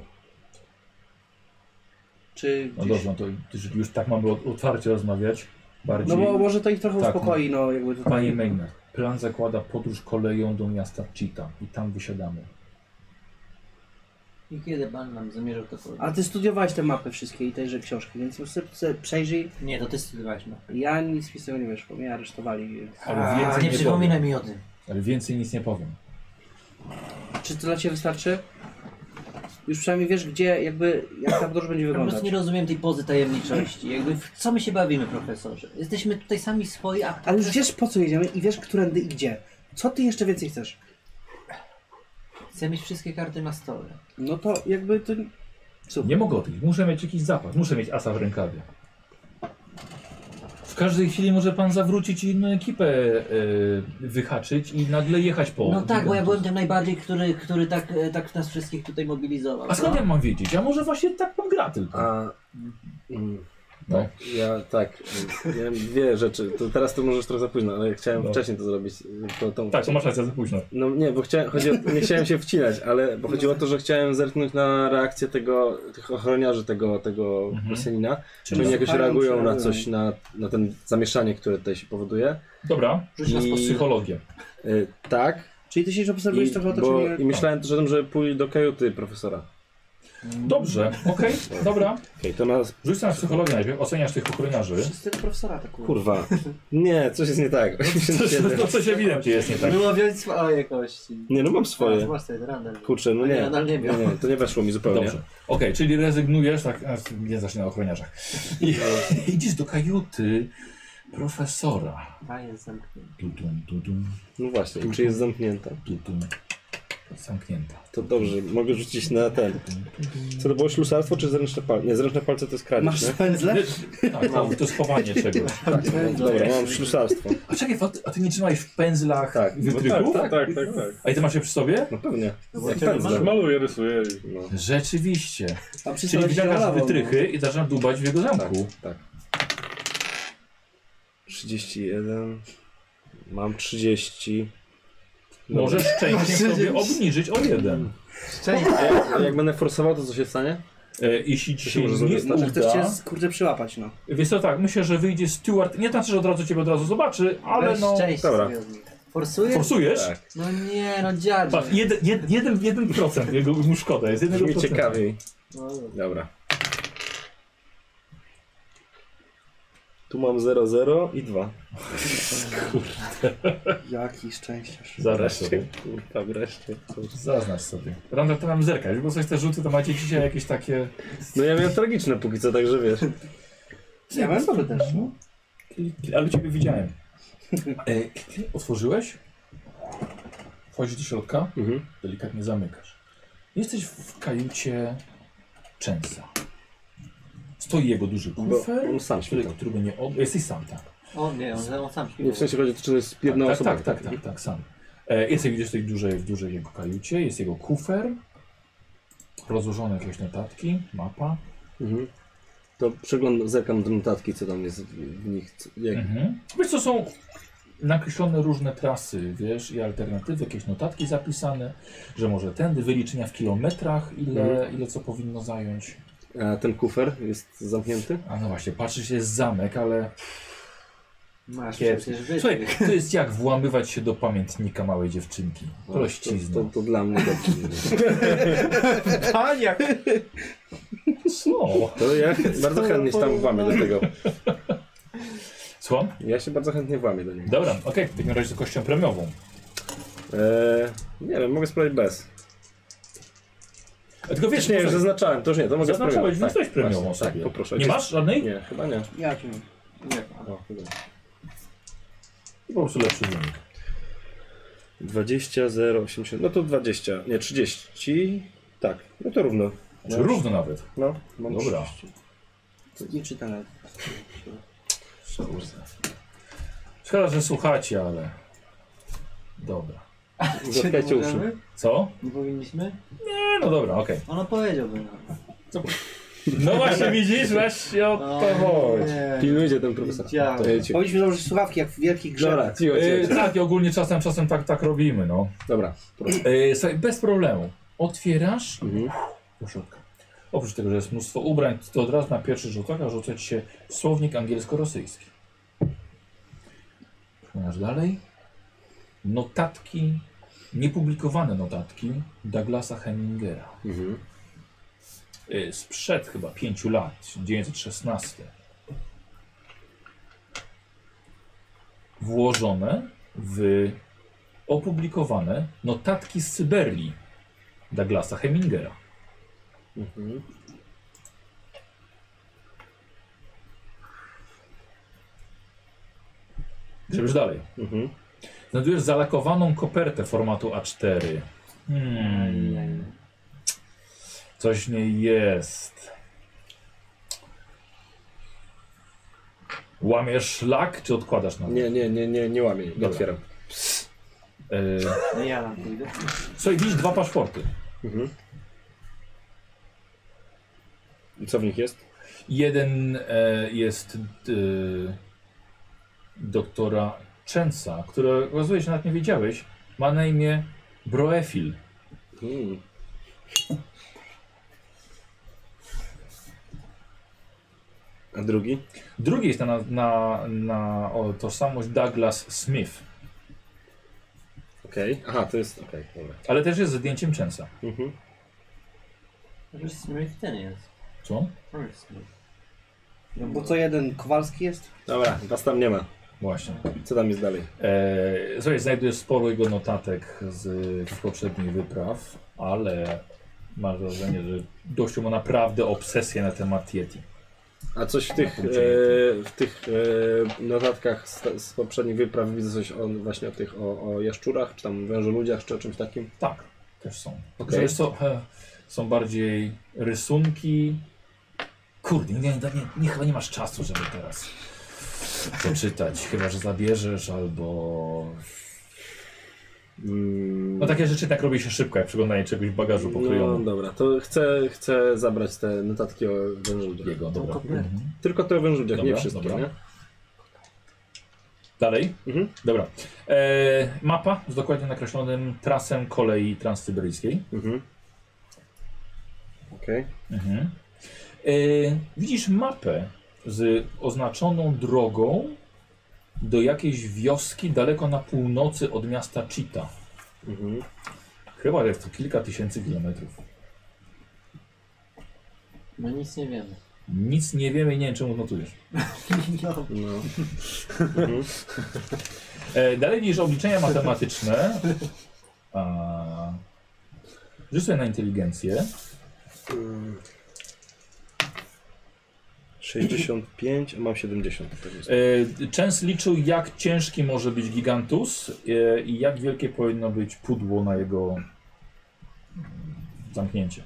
Speaker 5: Czy
Speaker 1: No
Speaker 5: gdzieś...
Speaker 1: dobrze, no to jeżeli już tak mamy o- otwarcie rozmawiać, bardziej...
Speaker 5: No bo może to ich trochę
Speaker 1: Tak, no.
Speaker 5: uspokoi, no jakby to
Speaker 1: Panie Maynard, plan zakłada podróż koleją do miasta Chita i tam wysiadamy.
Speaker 3: I kiedy pan nam zamierzał to powiedzieć?
Speaker 5: A ty studiowałeś te mapy wszystkie i tejże książki, więc już sobie- sobie przejrzyj.
Speaker 3: Nie, to ty studiowałeś no.
Speaker 5: Ja nic mi z tego nie wiesz, bo mnie aresztowali. więc-
Speaker 1: Ale
Speaker 3: A,
Speaker 1: więcej
Speaker 3: nie
Speaker 1: nie,
Speaker 3: przypominaj
Speaker 1: powiem.
Speaker 3: mi o tym.
Speaker 1: Ale więcej nic nie powiem.
Speaker 5: Czy to dla ciebie wystarczy? Już przynajmniej wiesz, gdzie, jakby, jak ta podróż będzie
Speaker 3: Ja po
Speaker 5: wyglądać.
Speaker 3: prostu nie rozumiem tej pozy tajemniczości. Jakby w co my się bawimy, profesorze? Jesteśmy tutaj sami swoi, a
Speaker 5: Ale już wiesz, po co jedziemy i wiesz, którędy i gdzie. Co ty jeszcze więcej chcesz?
Speaker 3: chcę mieć wszystkie karty na stole.
Speaker 5: No to jakby to...
Speaker 1: Nie mogę odejść, muszę mieć jakiś zapach, muszę mieć asa w rękawie. każdej chwili może pan zawrócić i inną ekipę e, wyhaczyć i nagle jechać po.
Speaker 3: No tak, bo ja byłem tym najbardziej, który, który tak, e, tak nas wszystkich tutaj mobilizował.
Speaker 1: A skąd
Speaker 3: no.
Speaker 1: ja mam wiedzieć? A może właśnie tak pan gra tylko.
Speaker 6: A... Mm,
Speaker 1: No.
Speaker 6: tak, ja tak, y, miałem dwie rzeczy, to teraz to możesz trochę za późno, ale chciałem
Speaker 1: No.
Speaker 6: wcześniej to zrobić. y, To, tą...
Speaker 1: Tak, to masz rację, za późno.
Speaker 6: No nie, bo chciałem, chodzi o, nie chciałem się wcinać, ale bo chodziło o to, że chciałem zerknąć na reakcję tego, tych ochroniarzy tego, tego
Speaker 1: Mhm.
Speaker 6: Rosjanina. Czy
Speaker 1: Czyli
Speaker 6: oni jakoś
Speaker 5: słuchają,
Speaker 6: reagują
Speaker 5: czy
Speaker 6: na
Speaker 5: reagują?
Speaker 6: coś, na, na ten zamieszanie, które tutaj się powoduje?
Speaker 1: Dobra,
Speaker 3: Rzuć nas
Speaker 6: I-
Speaker 3: po
Speaker 1: psychologię.
Speaker 6: Y, tak.
Speaker 5: Czyli ty się obserwujesz
Speaker 6: I,
Speaker 5: trochę
Speaker 6: bo,
Speaker 5: otoczenie.
Speaker 6: I myślałem też o tym, że pójdę do kajuty profesora.
Speaker 1: Dobrze, okej, dobra.
Speaker 6: Okej, to nas...
Speaker 1: Rzuć sobie na psychologię najpierw, oceniasz tych ochroniarzy.
Speaker 5: Wszyscy do profesora tak atakują.
Speaker 6: Kurwa. Nie, coś jest nie tak.
Speaker 1: To coś ewidentnie jest nie tak.
Speaker 3: Było więc swoje kości.
Speaker 6: nie, no mam swoje.
Speaker 3: Masz ten randel.
Speaker 6: Kurczę, no nie.
Speaker 3: Nadal nie wiem.
Speaker 6: nie, to nie weszło mi zupełnie.
Speaker 1: Dobrze. Okej, czyli rezygnujesz, tak, a, nie zacznę na ochroniarzach. I, idziesz do kajuty profesora.
Speaker 3: A jest zamknięty.
Speaker 1: Tutum, tutum,
Speaker 6: No właśnie, i czy jest zamknięta?
Speaker 1: tutum. Zamknięta.
Speaker 6: To dobrze, mogę rzucić na ten. Co to było ślusarstwo czy zręczne palce? Nie, zręczne palce to jest
Speaker 5: Masz
Speaker 6: kradzież, nie?
Speaker 5: pędzle?
Speaker 1: Tak, to, to schowanie czegoś.
Speaker 6: Dobra, mam ślusarstwo.
Speaker 1: A czekaj, a ty- a ty nie trzymałeś w pędzlach
Speaker 6: Tak,
Speaker 1: wytrychów?
Speaker 4: Tak, tak, tak, tak.
Speaker 1: A i ty masz je przy sobie?
Speaker 6: No pewnie.
Speaker 3: No,
Speaker 6: Jak
Speaker 3: to
Speaker 6: pędzle.
Speaker 4: Maluję, rysuję i...
Speaker 6: No,
Speaker 1: Rzeczywiście.
Speaker 5: A przy
Speaker 1: Czyli
Speaker 5: stole się
Speaker 1: wyciągasz
Speaker 5: nalało, no.
Speaker 1: wytrychy i zaczynasz dubać w jego
Speaker 6: tak,
Speaker 1: zamku.
Speaker 6: tak. 31. Mam 30. Dobra.
Speaker 1: Możesz szczęście sobie obniżyć o jeden.
Speaker 6: A jak- a jak będę forsował, to co się stanie?
Speaker 1: E, jeśli ci
Speaker 6: się
Speaker 1: się
Speaker 6: może
Speaker 1: nie
Speaker 6: zrobić?
Speaker 1: uda...
Speaker 6: Znaczy,
Speaker 5: Że no. Chcesz cię, z- kurde, przyłapać, no.
Speaker 1: Wiesz co, tak, myślę, że wyjdzie Steward. Nie znaczy, że od razu ciebie od razu zobaczy, ale
Speaker 3: Weź
Speaker 1: no...
Speaker 3: szczęście
Speaker 6: dobra.
Speaker 3: sobie od nich. Forsujesz?
Speaker 1: Forsujesz?
Speaker 6: Tak.
Speaker 3: No nie, no dziadzie.
Speaker 1: Patrz, jeden, jed, jeden, jeden procent jego mu szkoda jest. Jednego
Speaker 6: Brzmi
Speaker 1: procenta.
Speaker 6: ciekawiej.
Speaker 3: No,
Speaker 6: Dobra. Tu mam 00 i 2.
Speaker 5: Jaki szczęściarz.
Speaker 1: Zaraz sobie.
Speaker 6: Kurwa, wreszcie.
Speaker 1: Zaznacz sobie. Randall, to mam zerkać, bo coś te rzuty to macie dzisiaj jakieś takie...
Speaker 6: No ja miałem tragiczne póki co, także wiesz.
Speaker 5: Ja mam dobry też.
Speaker 1: No, ale ciebie widziałem. E, ty otworzyłeś? Wchodzisz do środka,
Speaker 6: Mhm.
Speaker 1: delikatnie zamykasz. Jesteś w kajucie Częsa. Stoi jego duży
Speaker 6: Bo
Speaker 1: kufer,
Speaker 6: on sam
Speaker 1: który,
Speaker 6: świta.
Speaker 1: którego nie od... Jesteś sam, tak.
Speaker 3: on nie, on, on sam
Speaker 6: Nie,
Speaker 3: śpiewał.
Speaker 6: w sensie chodzi o to, czy to jest jedna
Speaker 1: tak,
Speaker 6: osoba.
Speaker 1: Tak, tak, tak, tak, sam. E, jesteś widzisz tej dużej, w dużej jego kajucie, jest jego kufer, rozłożone jakieś notatki, mapa.
Speaker 6: Mhm. To przeglądam, zerkam do notatki, co tam jest w w nich. co- Jak...
Speaker 1: Mhm. Wiesz co, są nakreślone różne trasy, wiesz, i alternatywy, jakieś notatki zapisane, że może tędy, wyliczenia w kilometrach, ile,
Speaker 6: Mhm.
Speaker 1: ile co powinno zająć.
Speaker 6: A ten kufer jest zamknięty?
Speaker 1: A no właśnie, patrzy się jest zamek, ale...
Speaker 3: Masz
Speaker 1: Kiepski.
Speaker 3: przecież wytrych.
Speaker 1: Słuchaj, to jest jak włamywać się do pamiętnika małej dziewczynki. Prościzna.
Speaker 6: No, To, to, to dla mnie dobrze.
Speaker 5: Paniak!
Speaker 1: Co?
Speaker 6: To ja bardzo chętnie się tam włamię do tego.
Speaker 1: Słucham?
Speaker 6: Ja się bardzo chętnie włamię do niego.
Speaker 1: Dobra, okej, w takim razie z kością premiową.
Speaker 6: Eee, nie wiem, mogę spróbować bez.
Speaker 1: A tylko wiesz,
Speaker 6: Nie,
Speaker 1: poza-
Speaker 6: już zaznaczałem, to już nie, to mogę
Speaker 1: Zaznaczałeś,
Speaker 6: spróbować.
Speaker 1: więc weź premiową
Speaker 6: właśnie,
Speaker 1: sobie.
Speaker 6: Tak, poproszę.
Speaker 1: Nie masz żadnej?
Speaker 6: Nie, chyba nie.
Speaker 5: Ja cię mam.
Speaker 3: Nie,
Speaker 6: O, chyba.
Speaker 1: I po prostu lepszy wynik.
Speaker 6: 20, 0, 80, no to 20, nie, 30, tak, no to równo.
Speaker 1: Czy Znaczy, równo nawet.
Speaker 6: No, mam
Speaker 1: Dobra.
Speaker 6: 30.
Speaker 5: Nie czytam nawet.
Speaker 1: Szkoda, że słuchacie, ale... Dobra.
Speaker 6: Zatkajcie uszy.
Speaker 1: Co?
Speaker 3: Nie powinniśmy?
Speaker 1: Nie, no dobra, okej.
Speaker 3: Ono powiedziałby nam.
Speaker 1: No właśnie widzisz, właśnie o to chodzi.
Speaker 3: nie.
Speaker 6: Pilnujcie ten profesor.
Speaker 3: Widziałem.
Speaker 6: To jedźcie.
Speaker 5: Powinniśmy założyć słuchawki jak w wielkich
Speaker 6: Dobra,
Speaker 5: grzechach.
Speaker 6: cicho,
Speaker 1: Yy,
Speaker 6: cicho.
Speaker 1: tak, i ogólnie czasem, czasem tak, tak robimy, no.
Speaker 6: Dobra, proszę.
Speaker 1: Yy, słuchaj, bez problemu. Otwierasz
Speaker 6: Mhm.
Speaker 1: do środka. Oprócz tego, że jest mnóstwo ubrań, to od razu na pierwszy rzut oka rzuca ci się słownik angielsko-rosyjski. Masz dalej. Notatki, niepublikowane notatki Douglasa Hemingera.
Speaker 6: Mhm.
Speaker 1: Y, sprzed chyba pięciu lat, 1916. Włożone w opublikowane notatki z Syberii Douglasa Hemingera.
Speaker 6: Mhm.
Speaker 1: Grzebiesz dalej.
Speaker 6: Mhm.
Speaker 1: Znajdujesz zalakowaną kopertę formatu A4. Hmm. Coś w niej jest. Łamiesz szlak, czy odkładasz na
Speaker 6: Nie, nie, nie, nie, nie łamię, nie
Speaker 1: Dobra.
Speaker 6: otwieram.
Speaker 1: Yy,
Speaker 3: No ja tam pójdę.
Speaker 1: Słuchaj, widzisz dwa paszporty.
Speaker 6: Mhm. I co w nich jest?
Speaker 1: Jeden e, jest e, doktora Częsa, który okazuje się nawet nie wiedziałeś. Ma na imię Broefil.
Speaker 6: Mm. A drugi?
Speaker 1: Drugi jest na, na, na o, tożsamość Douglas Smith,
Speaker 6: Okej. Aha, to jest. Okej, dobra.
Speaker 1: ale też jest ze zdjęciem Częsa.
Speaker 6: Mhm.
Speaker 3: Już Smith ten jest.
Speaker 1: Co?
Speaker 3: To jest Smith.
Speaker 5: No bo co jeden, Kowalski jest?
Speaker 6: Dobra, was tam nie ma.
Speaker 1: Właśnie.
Speaker 6: Co tam jest dalej?
Speaker 1: E, słuchaj, znajdujesz sporo jego notatek z poprzednich wypraw, ale masz wrażenie, że gościu ma naprawdę obsesję na temat Yeti.
Speaker 6: A coś w tych, e, w tych e, notatkach z, z poprzednich wypraw widzę coś o, właśnie o tych o, o jaszczurach, czy tam wężoludziach, czy o czymś takim.
Speaker 1: Tak, też są.
Speaker 6: Okej.
Speaker 1: Okay. Są, e, są bardziej rysunki. Kurde, nie, nie, nie, chyba nie masz czasu, żeby teraz to czytać. Chyba, że zabierzesz albo...
Speaker 6: Mm,
Speaker 1: No takie rzeczy tak robi się szybko, jak przeglądanie czegoś w bagażu
Speaker 6: no
Speaker 1: pokryjonym.
Speaker 6: dobra, to chcę, chcę zabrać te notatki o wężoludziach.
Speaker 1: Jego, dobra.
Speaker 3: kopnę.
Speaker 1: Mhm.
Speaker 6: Tylko te o wężoludziach, nie
Speaker 1: Dobra,
Speaker 6: wszystkie,
Speaker 1: dobra.
Speaker 6: nie?
Speaker 1: Dalej?
Speaker 6: Mhm.
Speaker 1: Dobra. E, mapa z dokładnie nakreślonym trasem kolei transsyberyjskiej.
Speaker 6: Mhm. Okej.
Speaker 1: Mhm. E, widzisz mapę z oznaczoną drogą do jakiejś wioski daleko na północy od miasta Chita.
Speaker 6: Mhm.
Speaker 1: Chyba jest to kilka tysięcy kilometrów.
Speaker 3: No nic nie wiemy.
Speaker 1: Nic nie wiemy i nie wiem czemu notujesz.
Speaker 3: No.
Speaker 6: No.
Speaker 1: E, dalej niż obliczenia matematyczne. A... Rzuć sobie na inteligencję.
Speaker 6: 65, a mam 70. tak jest.
Speaker 1: E, Częs liczył, jak ciężki może być gigantus e, i jak wielkie powinno być pudło na jego zamknięcie.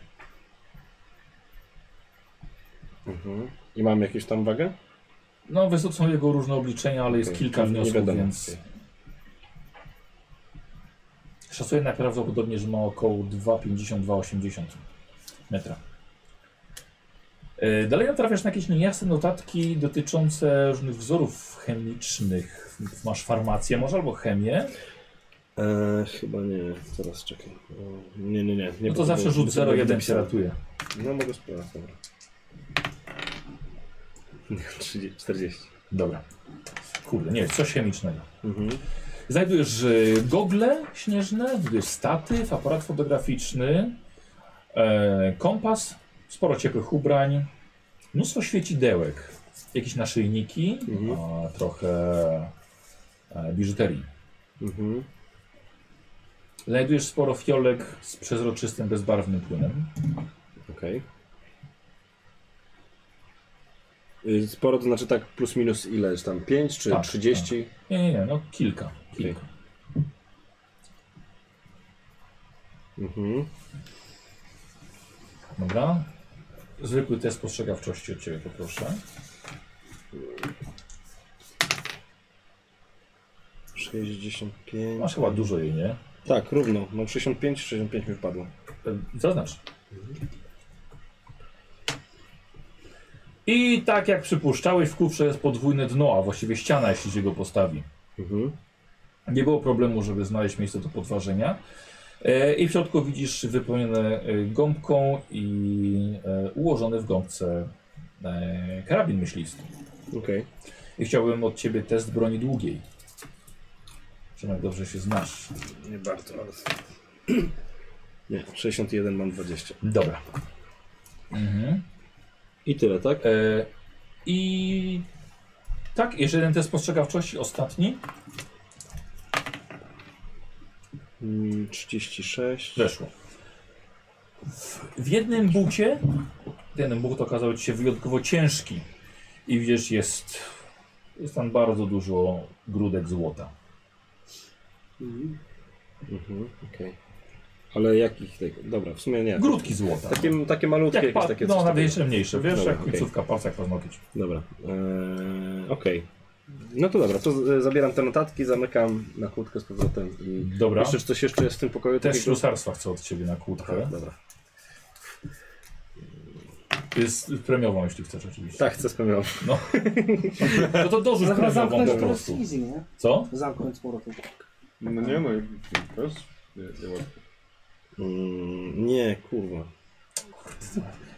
Speaker 6: Mhm. I mam jakieś tam wagę?
Speaker 1: No, wiesz, to są jego różne obliczenia, ale jest
Speaker 6: Okej,
Speaker 1: kilka
Speaker 6: nie
Speaker 1: wniosków,
Speaker 6: wiadomo.
Speaker 1: więc szacuję najprawdopodobniej, że ma około 2,50-2,80 metra. E, Dalej natrafiasz na jakieś niejasne notatki dotyczące różnych wzorów chemicznych. Masz farmację, może albo chemię. No
Speaker 6: E, chyba nie, teraz czekaj. O, Nie, nie, nie. nie
Speaker 1: No to zawsze rzut 0,1 się ratuje.
Speaker 6: No mogę spróbować, dobra. Nie, 30, 40.
Speaker 1: Dobra. Kurde, nie, coś chemicznego.
Speaker 6: Mhm.
Speaker 1: Znajdujesz y, gogle śnieżne, znajdujesz statyw, aparat fotograficzny, e, kompas, sporo ciepłych ubrań, mnóstwo świecidełek, jakieś naszyjniki,
Speaker 6: Mhm.
Speaker 1: a, trochę e, biżuterii.
Speaker 6: Mhm.
Speaker 1: Znajdujesz sporo fiolek z przezroczystym, bezbarwnym płynem.
Speaker 6: Okej. Y, Sporo to znaczy tak plus minus ile? Czy tam 5 czy
Speaker 1: Tak,
Speaker 6: 30?
Speaker 1: Nie, nie, nie, no kilka, kilka.
Speaker 6: Mhm.
Speaker 1: Dobra. Zwykły test postrzegawczości od Ciebie poproszę.
Speaker 6: 65.
Speaker 1: Masz chyba dużo jej, nie?
Speaker 6: Tak, równo. Mam 65, 65 mi wpadło.
Speaker 1: E, Zaznacz. I tak jak przypuszczałeś, w kufrze jest podwójne dno, a właściwie ściana, jeśli się go postawi.
Speaker 6: Mhm.
Speaker 1: Nie było problemu, żeby znaleźć miejsce do podważenia. E, I w środku widzisz wypełnione e, gąbką i e, ułożony w gąbce e, karabin myśliwski.
Speaker 6: Okej.
Speaker 1: I chciałbym od ciebie test broni długiej. Przemek, dobrze się znasz.
Speaker 6: Nie bardzo, ale... Nie, 61 mam 20.
Speaker 1: Dobra. Mhm.
Speaker 6: I tyle, tak?
Speaker 1: E, I tak, jeszcze jeden test postrzegawczości, ostatni.
Speaker 6: Mm, 36.
Speaker 1: Weszło. W, w jednym bucie, jeden but okazał się wyjątkowo ciężki. I widzisz, jest, jest tam bardzo dużo grudek złota.
Speaker 6: Mhm, okej. Ale jakich tego? Dobra, w sumie nie.
Speaker 1: Grudki złota.
Speaker 6: Takie, takie malutkie,
Speaker 1: Jak
Speaker 6: jakieś
Speaker 1: pa...
Speaker 6: takie
Speaker 1: no,
Speaker 6: coś
Speaker 1: nawet
Speaker 6: takiego.
Speaker 1: jeszcze mniejsze, wiesz,
Speaker 6: Dobra,
Speaker 1: jak
Speaker 6: okej.
Speaker 1: końcówka, palcach paznokieć.
Speaker 6: Dobra, eee, okej. No to dobra, to z- zabieram te notatki, zamykam na kłódkę z powrotem. I
Speaker 1: Dobra.
Speaker 6: Jeszcze czy coś jeszcze jest w tym pokoju?
Speaker 1: Też
Speaker 6: takiego? Tak,
Speaker 1: ślusarstwa chcę od ciebie na kłódkę.
Speaker 6: Dobra.
Speaker 1: Jest premiową, jeśli chcesz oczywiście.
Speaker 6: Tak, chcę spełniam. Tak.
Speaker 1: No to dorzuć premiową po
Speaker 5: Zamknąć teraz
Speaker 1: prostu.
Speaker 5: easy, nie?
Speaker 1: Co?
Speaker 5: Zamknąć z powrotem.
Speaker 4: No nie no, i to jest... Nie, nie łatwo.
Speaker 6: Mm, nie, kurwa.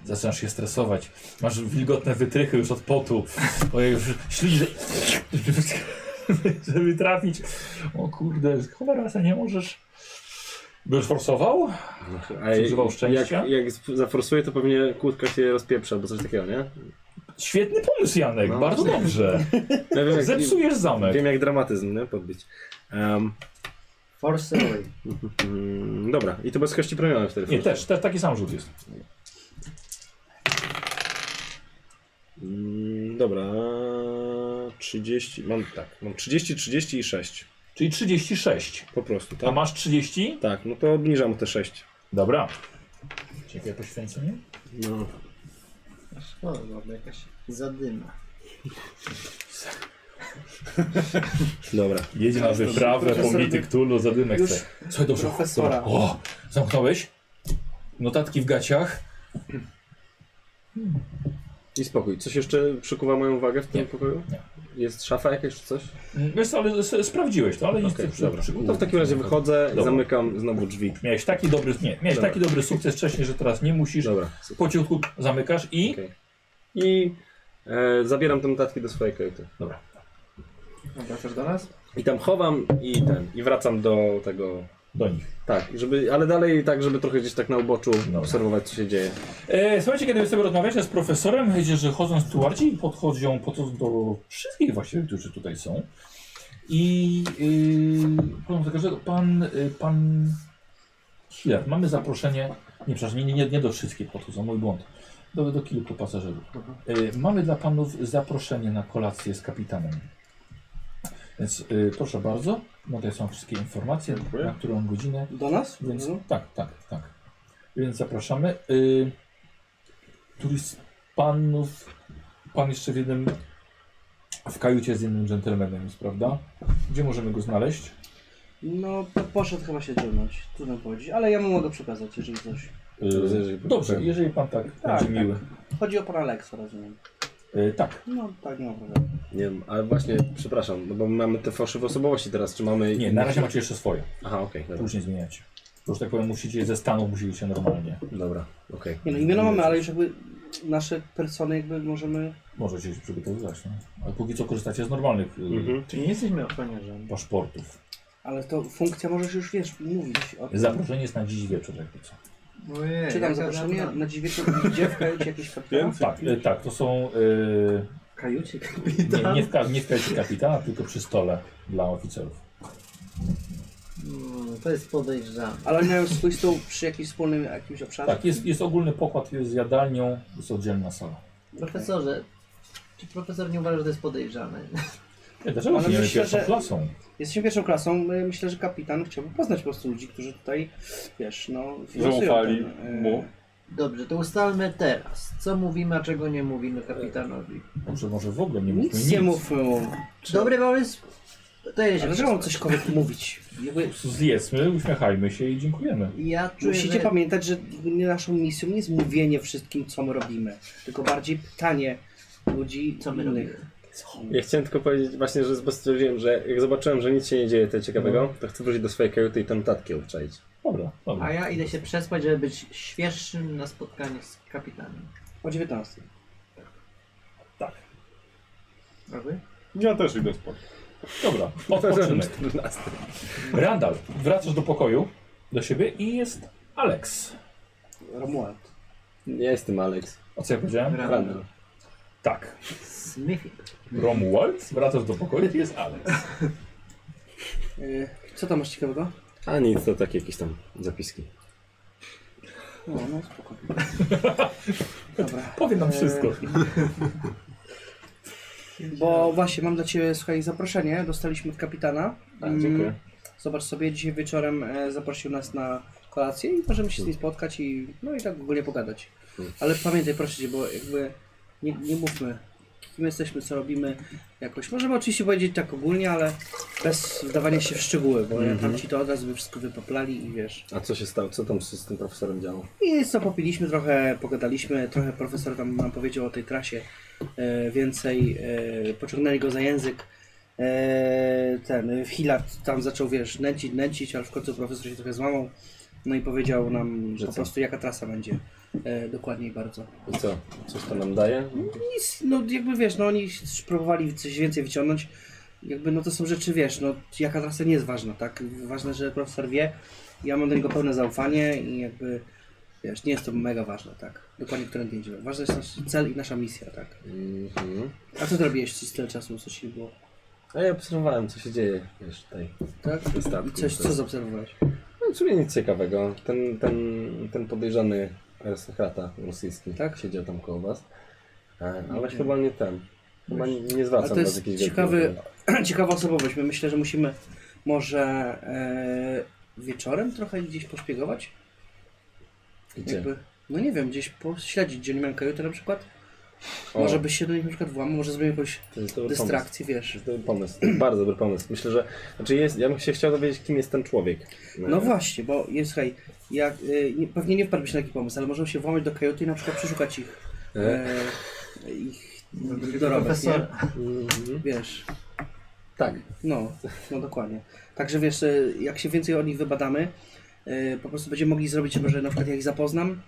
Speaker 1: Zaczynasz się stresować. Masz wilgotne wytrychy już od potu. Ojej, już śliże. Żeby trafić. O kurde, cholera, se nie możesz. Byś forsował?
Speaker 6: A
Speaker 1: Zużywał szczęścia?
Speaker 6: Jak, jak sp- zaforsuję, to pewnie kłódka się rozpieprza, bo coś takiego, nie?
Speaker 1: Świetny pomysł, Janek,
Speaker 6: No.
Speaker 1: bardzo dobrze.
Speaker 6: Ja wiem, jak,
Speaker 1: Zepsujesz zamek.
Speaker 6: wiem jak dramatyzm, nie? Podbić. Em,
Speaker 3: Force away.
Speaker 6: mm, dobra, i to bez kości premiowej wtedy.
Speaker 1: Nie, tak. też, też taki sam rzut jest.
Speaker 6: Mm, dobra, 30, mam tak, mam 30, 30 i 6.
Speaker 1: Czyli 36.
Speaker 6: Po prostu,
Speaker 1: A
Speaker 6: tak?
Speaker 1: masz 30?
Speaker 6: Tak, no to obniżam te 6.
Speaker 1: Dobra. Ciekawe poświęcenie?
Speaker 6: No.
Speaker 3: Szkoda, dobra, jakaś zadyma.
Speaker 6: Dobra.
Speaker 1: Jedzie na wyprawę,
Speaker 5: profesor-
Speaker 1: pobity Cthulhu, zadymek
Speaker 5: Już
Speaker 1: chce. Słuchaj, dobrze.
Speaker 5: profesora.
Speaker 1: Dobra. O, zamknąłeś? Notatki w gaciach?
Speaker 6: I spokój. Coś jeszcze przykuwa moją uwagę w tym
Speaker 1: Nie.
Speaker 6: pokoju?
Speaker 1: Nie.
Speaker 6: Jest szafa jakaś czy coś?
Speaker 1: Mm, Wiesz co, ale s- sprawdziłeś to, ale nic
Speaker 6: Okej,
Speaker 1: okay,
Speaker 6: dobra. No To w takim razie wychodzę,
Speaker 1: Dobra.
Speaker 6: zamykam znowu drzwi.
Speaker 1: Miałeś taki dobry, nie, miałeś
Speaker 6: Dobra.
Speaker 1: taki dobry sukces wcześniej, że teraz nie musisz.
Speaker 6: Dobra.
Speaker 1: Po ciutku zamykasz i...
Speaker 6: Okej. I e, zabieram te notatki do swojej kajuty.
Speaker 1: Dobra.
Speaker 3: Wracasz do nas?
Speaker 6: I tam chowam i ten. I wracam do tego.
Speaker 1: Do nich.
Speaker 6: Tak, żeby, ale dalej tak, żeby trochę gdzieś tak na uboczu
Speaker 1: Dobra.
Speaker 6: obserwować co się dzieje.
Speaker 1: E, słuchajcie, kiedy sobie rozmawiacie z profesorem, wiecie, że chodzą stuarci i podchodzą po to do wszystkich właściwie, którzy tutaj są. I yy, powiem do każdego, pan, y, pan Hiller, mamy zaproszenie, nie przepraszam, nie, nie, nie do wszystkich podchodzą, mój błąd, do, do kilku pasażerów. Y, mamy dla panów zaproszenie na kolację z kapitanem. Więc y, proszę bardzo, no tutaj są wszystkie informacje,
Speaker 4: Dziękuję.
Speaker 1: na którą godzinę
Speaker 5: Do nas?
Speaker 1: więc
Speaker 5: Mhm.
Speaker 1: tak, tak, tak. Więc zapraszamy. Y, któryś z panów, pan jeszcze w jednym, w kajucie z jednym dżentelmenem jest, prawda? Gdzie możemy go znaleźć? Y,
Speaker 5: No, to poszedł chyba się ciągnąć. Trudno powiedzieć, ale ja mu mogę przekazać, jeżeli coś.
Speaker 6: Yy,
Speaker 1: Dobrze, jeżeli pan tak, będzie miły.
Speaker 5: Chodzi o pana Lexa, rozumiem.
Speaker 1: Y, tak,
Speaker 5: No, tak, nie ma problemu.
Speaker 6: Nie wiem, ale właśnie, przepraszam, no bo my mamy te fałszywe osobowości teraz, czy mamy...
Speaker 1: nie, na razie macie jeszcze swoje,
Speaker 6: Aha, okej, dobra.
Speaker 1: później zmieniacie. Bo, że tak powiem, musicie je ze stanu, musicie się normalnie.
Speaker 6: Dobra, okej.
Speaker 5: Nie no, imiona mamy, ale już jakby nasze persony jakby możemy...
Speaker 1: Możecie się przygotowywać, no. Ale póki co korzystacie z normalnych y,
Speaker 6: Mhm.
Speaker 3: Czyli nie jesteśmy ochroniarzem.
Speaker 1: paszportów.
Speaker 5: Ale to funkcja możesz już, wiesz, mówić o tym.
Speaker 1: Zaproszenie jest na dziś wieczór, jakby co.
Speaker 3: Ojej,
Speaker 5: Czytam
Speaker 3: jaka
Speaker 5: zaproszenie,
Speaker 3: zadyma.
Speaker 5: na dziewięciu dziewka i jakieś kapitana.
Speaker 1: Tak, y, tak, to są... Y,
Speaker 3: Kajucie
Speaker 1: Nie,
Speaker 5: Tak.
Speaker 3: kapitan.
Speaker 1: nie w, ka- nie w kajucie kapitana, tylko przy stole dla oficerów.
Speaker 3: Mm, to jest podejrzane.
Speaker 5: Ale oni mają swój stół przy jakimś wspólnym jakimś obszarze.
Speaker 1: Tak, jest, jest ogólny pokład, jest z jadalnią, jest oddzielna sala.
Speaker 3: Profesorze, czy profesor nie uważa, że to jest podejrzane?
Speaker 1: Nie, dlaczego
Speaker 5: Ale
Speaker 1: nie
Speaker 5: myślę,
Speaker 1: pierwszą
Speaker 5: że-
Speaker 1: klasą?
Speaker 5: Jesteśmy pierwszą klasą, my- myślę, że kapitan chciałby poznać po prostu ludzi, którzy tutaj, wiesz, no... finansują
Speaker 4: Zaufali
Speaker 5: ten, e,
Speaker 4: mu.
Speaker 3: Dobrze, to ustalmy teraz. Co mówimy, a czego nie mówimy kapitanowi.
Speaker 1: Może, może w ogóle nie mówmy
Speaker 5: Nic nie mówmy mu.
Speaker 3: Dobry pomysł? To ja się
Speaker 5: Ale trzeba mu coś komuś mówić. Jakby
Speaker 1: Zjedzmy, uśmiechajmy się i dziękujemy.
Speaker 3: Ja czuję,
Speaker 5: Musicie
Speaker 3: że...
Speaker 5: pamiętać, że nie- naszą misją nie jest mówienie wszystkim, co my robimy, tylko bardziej pytanie ludzi,
Speaker 3: Co my
Speaker 5: innych.
Speaker 3: robimy?
Speaker 6: Ja chciałem tylko powiedzieć właśnie, że zbestwiłem, że jak zobaczyłem, że nic się nie dzieje tego ciekawego, to chcę wrócić do swojej kajuty i tam notatki obczaić.
Speaker 1: Dobra, dobra.
Speaker 3: A ja idę się przespać, żeby być świeższym na spotkaniu z kapitanem.
Speaker 5: O 19.
Speaker 1: Tak.
Speaker 3: A wy?
Speaker 4: Ja też idę spać.
Speaker 1: Dobra, odpoczynek. Randall, wracasz do pokoju, do siebie i jest Alex.
Speaker 5: Romuald.
Speaker 6: Ja jestem Alex.
Speaker 1: A co ja powiedziałem?
Speaker 3: Ra-
Speaker 6: Randall.
Speaker 1: Tak.
Speaker 3: Smyfik.
Speaker 1: Romuald, wracasz do pokoju i jest Alex.
Speaker 5: Y, co tam masz ciekawego?
Speaker 6: A nic, to takie jakieś tam zapiski.
Speaker 5: No, no spoko. Dobra.
Speaker 1: Powiem nam
Speaker 5: E,
Speaker 1: wszystko.
Speaker 5: Bo właśnie mam dla Ciebie, słuchaj, zaproszenie. Dostaliśmy od kapitana.
Speaker 6: A, dziękuję.
Speaker 5: Mm, Zobacz sobie, dzisiaj wieczorem e, zaprosił nas na kolację i możemy się z nim spotkać i no i tak ogólnie pogadać. Ale pamiętaj, proszę cię, bo jakby nie, nie mówmy, kim jesteśmy, co robimy jakoś. Możemy oczywiście powiedzieć tak ogólnie, ale bez wdawania się w szczegóły, bo ja tam ci to od razu by wszystko wypaplali i wiesz.
Speaker 6: A co się stało? Co tam z, z tym profesorem działo?
Speaker 5: I co, popiliśmy trochę, pogadaliśmy, trochę profesor tam nam powiedział o tej trasie e, więcej, e, pociągnęli go za język. E, ten e, Hilat tam zaczął, wiesz, nęcić, nęcić, ale w końcu profesor się trochę złamał. No i powiedział nam
Speaker 6: Że
Speaker 5: po
Speaker 6: co?
Speaker 5: prostu jaka trasa będzie. E, dokładniej bardzo.
Speaker 6: I co? Coś to nam daje?
Speaker 5: Nic, no jakby wiesz, no oni próbowali coś więcej wyciągnąć. Jakby no to są rzeczy, wiesz, no jaka trasa nie jest ważna, tak? Ważne, że profesor wie. Ja mam do niego pełne zaufanie i jakby, wiesz, nie jest to mega ważne, tak? Dokładnie, które będziemy. Ważny jest nasz cel i nasza misja, tak?
Speaker 6: Mhm.
Speaker 5: A co ty robiłeś przez tyle czasu, co ci było?
Speaker 6: A ja obserwowałem, co się dzieje wiesz, tutaj.
Speaker 5: Tak?
Speaker 6: na statku.
Speaker 5: I coś, co zaobserwowałeś?
Speaker 6: No, w sumie nic ciekawego. Ten, ten, ten podejrzany arystokrata rosyjski
Speaker 5: Tak?
Speaker 6: siedział tam koło was. A, ale
Speaker 5: Mhm.
Speaker 6: chyba nie ten. Chyba nie, nie
Speaker 5: Ale
Speaker 6: zwracam
Speaker 5: to
Speaker 6: was
Speaker 5: jest
Speaker 6: jakiejś
Speaker 5: ciekawy, ciekawa osobowość. My myślę, że musimy może e, wieczorem trochę gdzieś poszpiegować.
Speaker 6: Gdzie?
Speaker 5: Jakby, no nie wiem, gdzieś pośledzić, gdzie nie mają kajuty na przykład.
Speaker 6: O,
Speaker 5: Może byś się do nich na przykład włamał, może zrobił jakąś
Speaker 6: to jest dobry pomysł.
Speaker 5: dystrakcję, wiesz.
Speaker 6: To jest Pomysł, to jest bardzo dobry pomysł. Myślę, że. Znaczy jest, ja bym się chciał dowiedzieć, kim jest ten człowiek. E,
Speaker 5: No właśnie, bo jest, słuchaj, jak, y, nie, pewnie nie wpadłbyś na taki pomysł, ale możemy się włamać do kajuty i na przykład przeszukać ich,
Speaker 6: E,
Speaker 5: e, ich dorobek, nie?
Speaker 3: Profesor,
Speaker 6: mhm.
Speaker 5: Wiesz,
Speaker 6: Tak.
Speaker 5: no, no dokładnie. Także wiesz, y, jak się więcej o nich wybadamy, y, po prostu będziemy mogli zrobić, może na przykład ja ich zapoznam,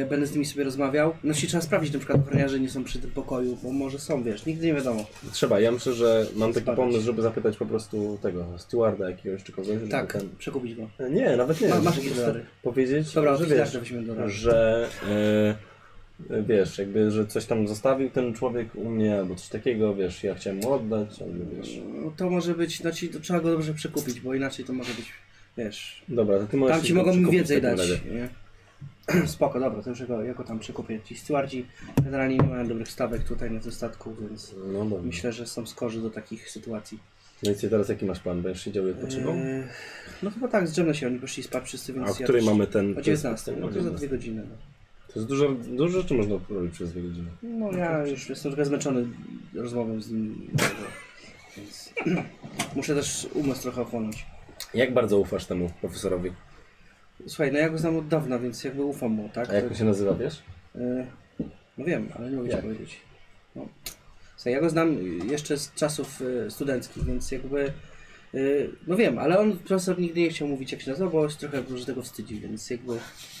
Speaker 5: y, będę z nimi sobie rozmawiał. No się trzeba sprawdzić, na przykład ochroniarze nie są przy tym pokoju, bo może są, wiesz, nigdy nie wiadomo.
Speaker 6: Trzeba, ja myślę, że mam taki
Speaker 5: Spadać.
Speaker 6: pomysł, żeby zapytać po prostu tego stewarda jakiegoś czy kogoś. żeby
Speaker 5: Tak,
Speaker 6: Ten... E,
Speaker 5: przekupić go.
Speaker 6: Nie, nawet nie.
Speaker 5: Ma-
Speaker 6: żeby
Speaker 5: masz
Speaker 6: po
Speaker 5: jakieś
Speaker 6: prostu
Speaker 5: dolary?
Speaker 6: Powiedzieć,
Speaker 5: Dobra,
Speaker 6: że
Speaker 5: że
Speaker 6: wiesz,
Speaker 5: weźmiemy do rady.
Speaker 6: że e, wiesz, jakby, że coś tam zostawił ten człowiek u mnie albo coś takiego, wiesz, ja chciałem mu oddać, albo wiesz.
Speaker 5: No, To może być, znaczy to trzeba go dobrze przekupić, bo inaczej to może być, wiesz,
Speaker 6: Dobra, to ty możesz...
Speaker 5: tam ci
Speaker 6: się
Speaker 5: mogą
Speaker 6: no, przekupić
Speaker 5: więcej
Speaker 6: w takim
Speaker 5: dać.
Speaker 6: razie.
Speaker 5: nie? Spoko, dobra, to już go, ja go tam przekupię. Ci stewardzi generalnie nie mają dobrych stawek tutaj na tym statku, więc
Speaker 6: No dobra.
Speaker 5: myślę, że są skorzy do takich sytuacji.
Speaker 6: No i co teraz jaki masz plan? Będziesz siedział i odpoczywał?
Speaker 5: Eee, no chyba tak, zdrzemnę się, oni poszli spać wszyscy, więc
Speaker 6: A o
Speaker 5: ja
Speaker 6: której
Speaker 5: też-
Speaker 6: mamy ten...
Speaker 5: O 19, no
Speaker 6: O
Speaker 5: to za
Speaker 6: 19.
Speaker 5: dwie godziny. No,
Speaker 6: To jest dużo, dużo rzeczy można robić przez dwie godziny.
Speaker 5: no ja już jestem trochę zmęczony rozmową z nim, dlatego- więc muszę też umysł trochę ochłonąć.
Speaker 6: Jak bardzo ufasz temu profesorowi?
Speaker 5: Tak, Słuchaj, no ja go znam od dawna, więc jakby ufam mu, tak?
Speaker 6: A jak on się nazywa, wiesz?
Speaker 5: Y, No wiem, ale nie mogę ci
Speaker 6: Jak?
Speaker 5: powiedzieć. No. Słuchaj, ja go znam y, jeszcze z czasów y, studenckich, więc jakby... y, No wiem, ale on profesor nigdy nie chciał mówić jak się nazywa, bo się trochę dużo tego wstydzi, więc jakby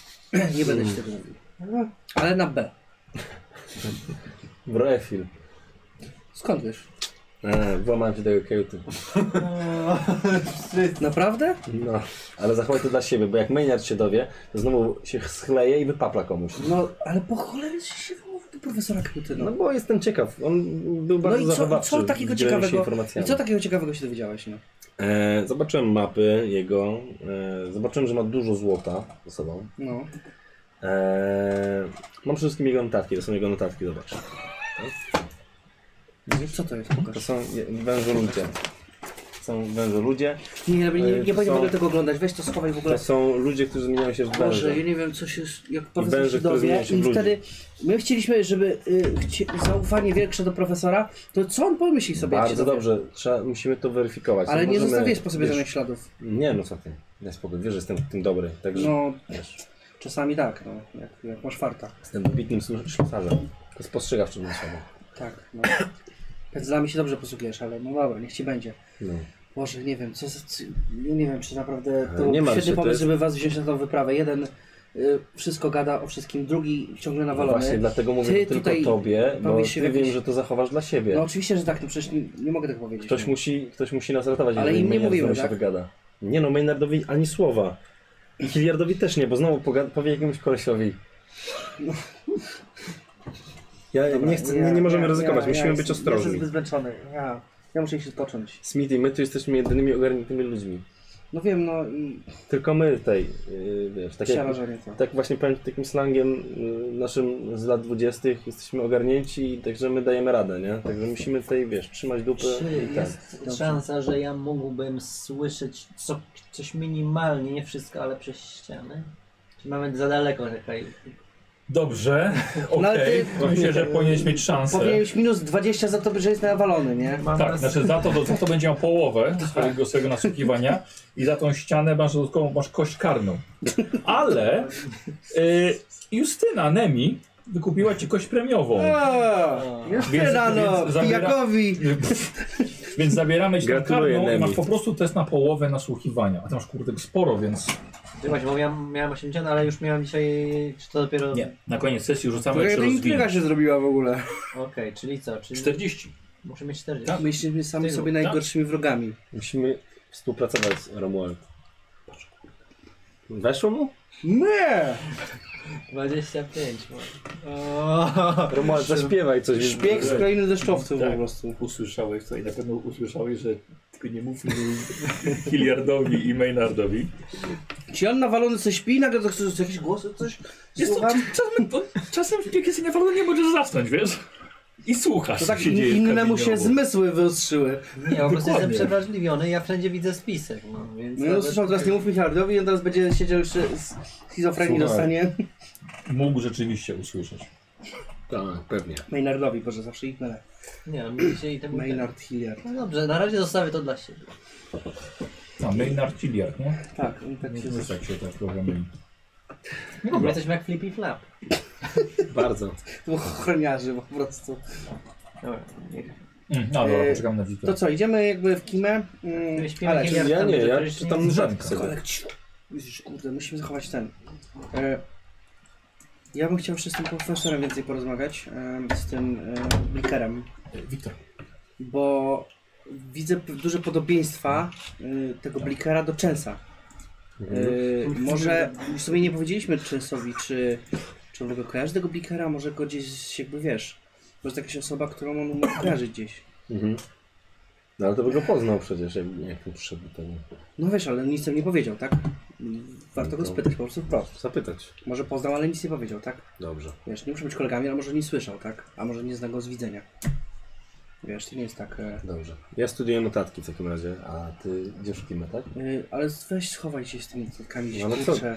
Speaker 5: nie będę ci tego mówił. Ale na B.
Speaker 6: Brefil.
Speaker 5: Skąd wiesz?
Speaker 6: Eee, włamałem się do jego kajuty.
Speaker 5: Naprawdę?
Speaker 6: No, ale zachowaj to dla siebie, bo jak meniacz się dowie, to znowu się schleje i wypapla komuś.
Speaker 5: No, ale po cholerę ci się wymówił do profesora Krytyna.
Speaker 6: No
Speaker 5: No,
Speaker 6: bo jestem ciekaw, on był bardzo
Speaker 5: i co,
Speaker 6: zachowawczy.
Speaker 5: co takiego
Speaker 6: w dzieleniu się
Speaker 5: ciekawego? I
Speaker 6: informacjami.
Speaker 5: co tak- takiego ciekawego się dowiedziałeś, no?
Speaker 6: E, zobaczyłem mapy jego, e, zobaczyłem, że ma dużo złota ze sobą.
Speaker 5: No.
Speaker 6: E, mam przede wszystkim jego notatki, to są jego notatki, zobacz.
Speaker 5: Co to jest?
Speaker 6: To
Speaker 5: Pokaż.
Speaker 6: są je- wężoludzie. Są wężoludzie,
Speaker 5: Nie, nie, nie, nie,
Speaker 6: To są-
Speaker 5: będę tego oglądać, weź to schowaj w ogóle.
Speaker 6: to są ludzie, którzy zmieniają się w węże.
Speaker 5: Boże, ja nie wiem, co się, jak profesor
Speaker 6: węże,
Speaker 5: się
Speaker 6: które
Speaker 5: dowie
Speaker 6: zmieniają się w
Speaker 5: i
Speaker 6: ludzi.
Speaker 5: wtedy my chcieliśmy, żeby y, chci zaufanie większe do profesora, to co on pomyśli sobie? jak się
Speaker 6: Bardzo
Speaker 5: dowie?
Speaker 6: dobrze, trzeba, musimy to weryfikować.
Speaker 5: Ale nie
Speaker 6: możemy-
Speaker 5: zostawiłeś po sobie
Speaker 6: wiesz,
Speaker 5: żadnych śladów.
Speaker 6: Nie, no co ty. Daj spokój, wiesz, że jestem w tym dobry. Także
Speaker 5: No,
Speaker 6: wiesz,
Speaker 5: czasami tak, no, jak, jak masz farta.
Speaker 6: jestem bitnym ślusarzem. To spostrzegawczym osobą.
Speaker 5: Tak, no. Pędzlami się dobrze posługujesz, ale no dobra, niech ci będzie.
Speaker 6: No.
Speaker 5: Boże, nie wiem, co za... co- ja Nie wiem, czy naprawdę
Speaker 6: Ale
Speaker 5: to
Speaker 6: nie
Speaker 5: nie
Speaker 6: martw
Speaker 5: świetny
Speaker 6: się, to
Speaker 5: pomysł,
Speaker 6: jest-
Speaker 5: żeby was wziąć na tą wyprawę. Jeden y, wszystko gada o wszystkim, drugi ciągle
Speaker 6: No
Speaker 5: nawalony.
Speaker 6: właśnie, dlatego mówię
Speaker 5: Ty
Speaker 6: to tylko
Speaker 5: tutaj
Speaker 6: tobie, bo ty
Speaker 5: bawisz się w
Speaker 6: wiem,
Speaker 5: jakieś-
Speaker 6: że to zachowasz dla siebie.
Speaker 5: No oczywiście, że tak, no przecież nie, nie mogę tak powiedzieć.
Speaker 6: ktoś,
Speaker 5: no.
Speaker 6: musi, ktoś musi nas ratować,
Speaker 5: Ale
Speaker 6: jeżeli
Speaker 5: im nie
Speaker 6: Maynard
Speaker 5: mówimy,
Speaker 6: znowu się
Speaker 5: tak?
Speaker 6: wygada. Nie no, Maynardowi ani słowa. I Hilliardowi też nie, bo znowu poga- powie jakiemuś kolesiowi. Ja nie chcę, nie, nie możemy ryzykować, musimy być
Speaker 5: jestem-
Speaker 6: ostrożni.
Speaker 5: Jestem zbyt zmęczony. Ja, ja muszę się odpocząć.
Speaker 6: Smithy, my tu jesteśmy jedynymi ogarniętymi ludźmi.
Speaker 5: No wiem, no i
Speaker 6: Tylko my tej, yy, wiesz, tak jak,
Speaker 5: przerażenie to.
Speaker 6: tak właśnie powiem takim slangiem yy, naszym z lat 20. jesteśmy ogarnięci, także my dajemy radę, nie? Także musimy tej, wiesz, trzymać dupy
Speaker 3: Czy
Speaker 6: i tak.
Speaker 3: jest szansa, że ja mógłbym słyszeć co, coś minimalnie, nie wszystko, ale przez ścianę? Czy mamy za daleko tutaj?
Speaker 1: Dobrze,
Speaker 5: No, ale
Speaker 1: okej.
Speaker 5: ty-
Speaker 1: Myślę, że powinieneś mieć szansę.
Speaker 5: Powinieneś minus 20 za to, że jest nawalony, nie?
Speaker 3: Mam
Speaker 1: Tak,
Speaker 3: nas-
Speaker 1: znaczy za to, za to będzie miał połowę
Speaker 8: Tak.
Speaker 1: swojego, swojego nasłuchiwania i za tą ścianę masz dodatkową, masz kość karną. Ale y, Justyna Nemi wykupiła ci kość premiową.
Speaker 5: O,
Speaker 1: Więc-
Speaker 5: jeszcze rano,
Speaker 1: więc zabiera-
Speaker 5: pijakowi.
Speaker 1: Więc zabieramy ci tą
Speaker 6: Gratuluję,
Speaker 1: karną i masz
Speaker 6: Nemi.
Speaker 1: po prostu test na połowę nasłuchiwania. A ty masz kurde sporo, więc
Speaker 3: Czy Właśnie, bo miałem, miałem 80, ale już miałem dzisiaj, czy to dopiero...
Speaker 1: nie. Na koniec sesji rzucamy
Speaker 5: Taka
Speaker 1: jeszcze
Speaker 5: to intryga
Speaker 1: rozwinięcie.
Speaker 5: się zrobiła w ogóle.
Speaker 3: Okej, czyli co? Czyli
Speaker 1: 40.
Speaker 3: muszę mieć 40.
Speaker 1: Tak.
Speaker 5: My jesteśmy sami
Speaker 1: Ty,
Speaker 5: sobie
Speaker 1: tak?
Speaker 5: najgorszymi wrogami.
Speaker 6: Musimy współpracować z Romuald. Weszło mu?
Speaker 5: Nie!
Speaker 3: 25 może. O,
Speaker 6: Romuald, zaśpiewaj coś.
Speaker 5: Szpieg z krainy deszczowców
Speaker 8: Tak.
Speaker 5: po prostu.
Speaker 8: Usłyszałeś to i na pewno usłyszałeś, że tylko nie mów mi- Hilliardowi i Maynardowi.
Speaker 5: Czy on nawalony coś śpi, nagle to chcesz jakieś głosy, coś
Speaker 1: Jest to,
Speaker 5: słucham?
Speaker 1: czasem, to, czasem jak jesteś naprawdę nie możesz zasnąć, wiesz? I słuchasz,
Speaker 5: To
Speaker 1: co
Speaker 5: tak
Speaker 1: się dzieje w
Speaker 5: innemu
Speaker 1: kabinie
Speaker 5: się
Speaker 1: obok.
Speaker 5: zmysły wyostrzyły.
Speaker 3: nie, po prostu jestem
Speaker 1: Dokładnie.
Speaker 3: przewrażliwiony, ja wszędzie widzę spisek. No, więc
Speaker 5: No i
Speaker 3: nawet-
Speaker 5: usłyszał teraz nie mów Michardowi, on teraz będzie siedział jeszcze z
Speaker 6: Słuchaj.
Speaker 5: schizofrenii dostanie.
Speaker 1: Mógł rzeczywiście usłyszeć.
Speaker 6: Tak, pewnie.
Speaker 5: Maynardowi, Boże, zawsze ignorę.
Speaker 3: Nie, no, mi się i tam...
Speaker 5: Maynard Hilliard.
Speaker 3: No dobrze, na razie zostawię to dla siebie.
Speaker 1: A, Maynard Hilliard, No, nie?
Speaker 5: Tak, on tak się
Speaker 1: Wiesz, jak się tak programuje.
Speaker 3: My jesteśmy jak Flippy Flap.
Speaker 6: Bardzo.
Speaker 5: To Ochroniarzy po prostu.
Speaker 3: Dobra, niech.
Speaker 1: Mm, No dobra,
Speaker 5: Eee,
Speaker 1: poczekam na Wiktora.
Speaker 5: To co, idziemy jakby w kimę? Mm,
Speaker 3: Śpiewaj
Speaker 5: ale-
Speaker 3: Hilliard.
Speaker 6: Ja nie, ja
Speaker 3: Tam
Speaker 6: czytam
Speaker 1: jest żadnego.
Speaker 6: rzadko sobie.
Speaker 5: Ale ciu- Widzisz, kurde, musimy zachować ten. E, ja bym chciał jeszcze z tym profesorem więcej porozmawiać, e, z tym e, Blickerem,
Speaker 1: Wiktor.
Speaker 5: bo widzę p- duże podobieństwa e, tego Blickera do Częsa. E, może już sobie nie powiedzieliśmy Częsowi, czy, czy on w ogóle kojarzy tego Blickera, może go gdzieś jakby wiesz. Może to jakaś osoba, którą on mógł kojarzyć gdzieś.
Speaker 6: Mhm. No ale to by go poznał przecież, jak, jak mu przyszedł do tego.
Speaker 5: No wiesz, ale nic tam nie powiedział, tak? Warto go spytać po prostu wprost.
Speaker 6: Zapytać.
Speaker 5: Może poznał, ale nic nie powiedział, tak?
Speaker 6: Dobrze.
Speaker 5: Wiesz, nie muszą być kolegami, ale może nie słyszał, tak? A może nie zna go z widzenia. Wiesz, to nie jest tak. E,
Speaker 6: Dobrze. Ja studiuję notatki w takim razie, a ty idziesz w kimę, tak?
Speaker 5: y, ale weź schowaj się z tymi notatkami,
Speaker 6: No, ale
Speaker 5: no,
Speaker 6: co?
Speaker 5: kurczę.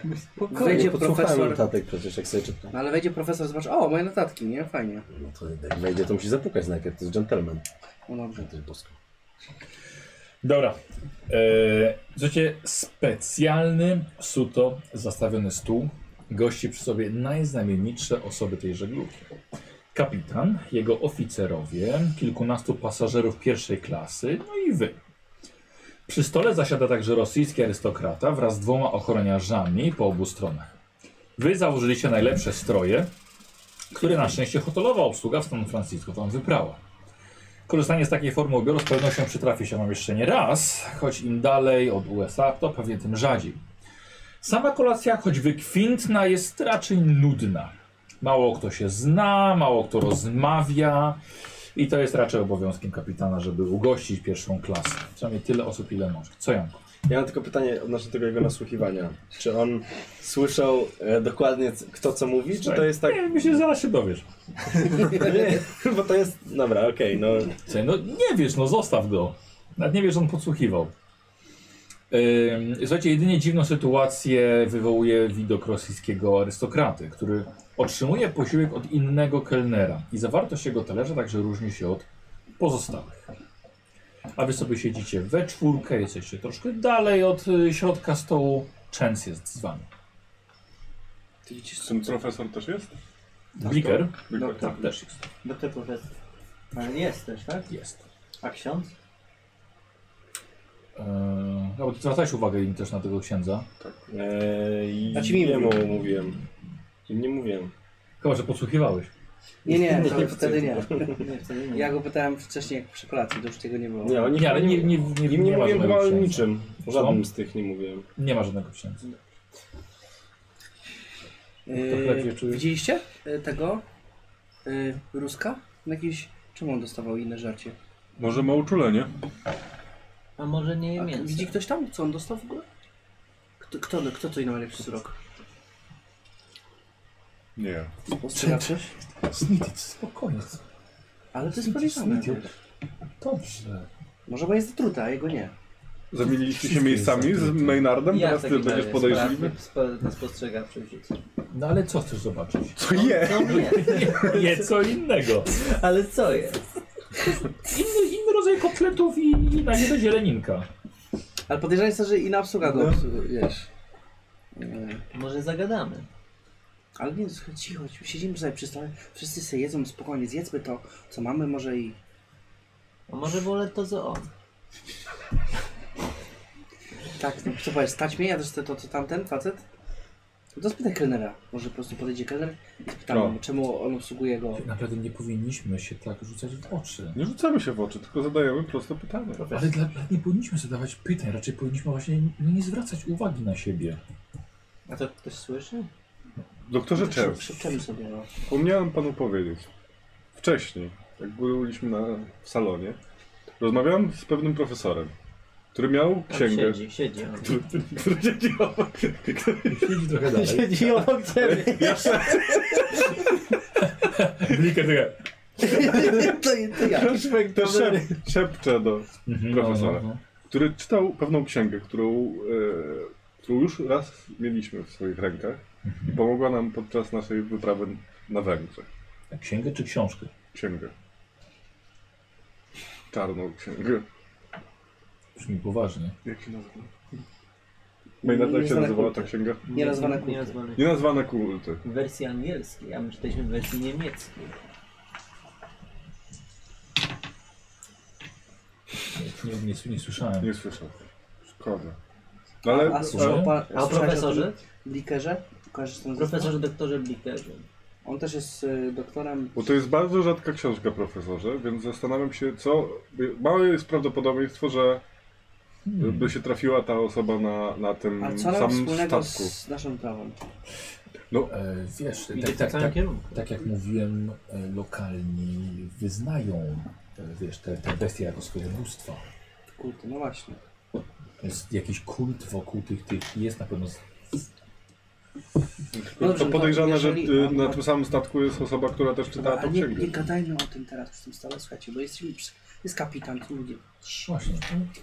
Speaker 6: Nie
Speaker 5: Wejdzie
Speaker 6: podsłuchałem
Speaker 5: profesor.
Speaker 6: notatek przecież, jak sobie czytam.
Speaker 5: No ale wejdzie profesor, zobacz, o, moje notatki, nie? Fajnie.
Speaker 6: No to jak wejdzie, to musi zapukać najpierw, to jest gentleman.
Speaker 5: No dobrze.
Speaker 6: To jest bosko.
Speaker 1: Dobra. Eee, Słuchajcie, specjalny, suto zastawiony stół gości przy sobie najznamienitsze osoby tej żeglugi. Kapitan, jego oficerowie, kilkunastu pasażerów pierwszej klasy, no i wy. Przy stole zasiada także rosyjski arystokrata wraz z dwoma ochroniarzami po obu stronach. Wy założyliście najlepsze stroje, które na szczęście hotelowa obsługa w San Francisco wam wyprała. Korzystanie z takiej formy ubioru z pewnością przytrafi się Wam jeszcze nie raz, choć im dalej od USA, to pewnie tym rzadziej. Sama kolacja, choć wykwintna, jest raczej nudna. Mało kto się zna, mało kto rozmawia i to jest raczej obowiązkiem kapitana, żeby ugościć pierwszą klasę. Przynajmniej tyle osób, ile może. Co ja?
Speaker 6: Ja mam tylko pytanie odnośnie tego jego nasłuchiwania. Czy on słyszał e, dokładnie c- kto co mówi, czy to jest tak...
Speaker 1: Nie, myślę, że zaraz się dowiesz.
Speaker 6: Nie, bo to jest... Dobra, okej, no...
Speaker 1: Słuchaj, no nie wiesz, no zostaw go. Nawet nie wiesz, że on podsłuchiwał. Ym, Słuchajcie, jedynie dziwną sytuację wywołuje widok rosyjskiego arystokraty, który otrzymuje posiłek od innego kelnera i zawartość jego talerza także różni się od pozostałych. A wy sobie siedzicie we czwórkę, jesteście troszkę dalej od y, środka stołu. Częs jest z wami.
Speaker 5: Ty widzisz,
Speaker 4: Czy profesor też jest?
Speaker 1: Bliker?
Speaker 4: Tylko-
Speaker 1: Tak, też jest.
Speaker 3: Doktor profesor. Ale jest też, tak?
Speaker 1: Jest.
Speaker 3: A ksiądz?
Speaker 1: Yy, no, bo ty zwracałeś uwagę im też na tego księdza.
Speaker 6: Eee,
Speaker 5: Znaczy mi
Speaker 6: nie
Speaker 5: mówił.
Speaker 6: mu mówiłem. Im nie mówiłem.
Speaker 1: Chyba, że podsłuchiwałeś.
Speaker 5: Nie, nie, to wtedy nie.
Speaker 3: Nie, wtedy nie.
Speaker 5: Ja go pytałem wcześniej jak przy kolacji, to już tego nie było.
Speaker 6: Nie, oni
Speaker 1: Nie, ale nie, nie, nie, nie,
Speaker 6: Im nie,
Speaker 1: ma
Speaker 6: mówiłem chyba
Speaker 1: żadnego
Speaker 6: o
Speaker 1: księdza.
Speaker 6: niczym. O Żadnym z tych nie mówiłem.
Speaker 1: Nie ma żadnego księdza.
Speaker 5: Y,
Speaker 1: lepiej czuje.
Speaker 5: widzieliście y, tego? Y, Ruska? No Jakiś... Czemu on dostawał inne żarcie?
Speaker 4: Może ma uczulenie?
Speaker 3: A może nie je
Speaker 5: A,
Speaker 3: mięso?
Speaker 5: widzi ktoś tam, co on dostał w ogóle? Kto, kto, kto to inny lepszy surok?
Speaker 4: Nie.
Speaker 5: Spostrzegacie?
Speaker 1: Snitić, spokojnie.
Speaker 5: Ale to jest
Speaker 1: Snitić,
Speaker 5: podejrzane.
Speaker 1: Snitić. Dobrze.
Speaker 5: Może ma jest zatruta, a jego nie.
Speaker 4: Zamieniliście się
Speaker 1: Wszystkie
Speaker 4: miejscami
Speaker 1: jest
Speaker 4: z
Speaker 1: zamknięte.
Speaker 4: Maynardem?
Speaker 3: Ja
Speaker 4: Teraz
Speaker 3: w
Speaker 4: ty
Speaker 3: takim
Speaker 4: będziesz
Speaker 3: razie
Speaker 4: podejrzliwy?
Speaker 3: spra- spo- Na spostrzegawczym rzucę.
Speaker 1: No ale co chcesz zobaczyć?
Speaker 4: Co je?
Speaker 3: No nie,
Speaker 1: Nie, co innego.
Speaker 3: ale co jest?
Speaker 1: Inny, inny rodzaj kotletów i i na niego zieleninka.
Speaker 5: Ale podejrzane jest to, że inna obsługa go obsłu- wiesz. Yy,
Speaker 3: Może zagadamy.
Speaker 5: Ale nie, słuchaj, cicho, cicho, siedzimy sobie przy stole, wszyscy sobie jedzą spokojnie, zjedzmy to, co mamy może i...
Speaker 3: A może wolę to, co on.
Speaker 5: Tak, no co powiesz, stać mnie, ja też chcę to, co tamten facet? No To spytaj kelnera, może po prostu podejdzie kelner i spytam,
Speaker 4: No.
Speaker 5: czemu on obsługuje go.
Speaker 1: Naprawdę nie powinniśmy się tak rzucać w oczy.
Speaker 4: Nie rzucamy się w oczy, tylko zadajemy proste pytania.
Speaker 1: Ale dla, dla- nie powinniśmy zadawać pytań, raczej powinniśmy właśnie nie, nie zwracać uwagi na siebie.
Speaker 3: A to ktoś słyszy?
Speaker 4: Doktorze Czerw,
Speaker 5: Szepczemy sobie, no.
Speaker 4: Wspomniałem panu powiedzieć. Wcześniej, jak byliśmy na, w salonie, rozmawiałem z pewnym profesorem, który miał
Speaker 3: Tam
Speaker 4: księgę.
Speaker 3: Siedzi, siedzi. on.
Speaker 4: Który, który siedzi obok.
Speaker 1: Siedzi trochę dalej.
Speaker 3: Siedzi obok ciebie.
Speaker 1: Blikę trochę.
Speaker 5: to, to ja.
Speaker 4: To szep, szepcze do.
Speaker 1: Mhm,
Speaker 4: Profesora. Który czytał pewną księgę, którą, e, którą już raz mieliśmy w swoich rękach i pomogła nam podczas naszej wyprawy na Węgrzech.
Speaker 1: no. Księgę czy książkę?
Speaker 4: Księgę. Czarną księgę.
Speaker 1: Brzmi poważnie.
Speaker 4: Jak się nazywa? Maynard, jak się
Speaker 5: Niezależny
Speaker 4: nazywała ta
Speaker 5: kultur.
Speaker 4: księga?
Speaker 5: Nierazwane kulty.
Speaker 3: Nierazwane.
Speaker 4: Nienazwane kulty.
Speaker 3: W wersji angielskiej, a my czytaliśmy w wersji niemieckiej.
Speaker 1: Nie, nie, nie słyszałem.
Speaker 4: Nie słyszę. Szkoda. No ale
Speaker 5: A,
Speaker 1: słuchaj,
Speaker 4: e,
Speaker 5: słyszał pan,
Speaker 3: A o
Speaker 5: słyszałeś
Speaker 3: profesorze?
Speaker 5: tym Blikerze? Kojarzysz ten
Speaker 3: Profesorze doktorze Blickerze.
Speaker 5: On też jest y, doktorem.
Speaker 4: bo to jest bardzo rzadka książka, profesorze, więc zastanawiam się, co. Małe jest prawdopodobieństwo, że
Speaker 1: Hmm.
Speaker 4: by się trafiła ta osoba na, na
Speaker 5: A
Speaker 4: tym
Speaker 5: co nam
Speaker 4: samym
Speaker 5: wspólnego
Speaker 4: statku.
Speaker 5: z naszym prawem?
Speaker 1: E, wiesz,
Speaker 3: Idzie
Speaker 1: tak,
Speaker 3: w tym
Speaker 1: tak,
Speaker 3: samym
Speaker 1: tak,
Speaker 3: kierunku.
Speaker 1: tak jak mówiłem, e, lokalni wyznają e, wiesz, te, te bestie jako swoje bóstwa.
Speaker 5: Kulty, no właśnie.
Speaker 1: Jest jakiś kult wokół tych, tych jest na pewno. z-
Speaker 5: No dobrze,
Speaker 4: to
Speaker 5: no
Speaker 4: podejrzane,
Speaker 5: to
Speaker 4: że
Speaker 5: jeżeli-
Speaker 4: y, na
Speaker 5: no-
Speaker 4: tym samym statku jest osoba, która też czytała
Speaker 5: A
Speaker 4: tą
Speaker 5: nie,
Speaker 4: księgę.
Speaker 5: nie gadajmy o tym teraz przy tym stole, słuchajcie, bo jesteśmy przy, jest kapitan, tu ludzie.
Speaker 1: Właśnie.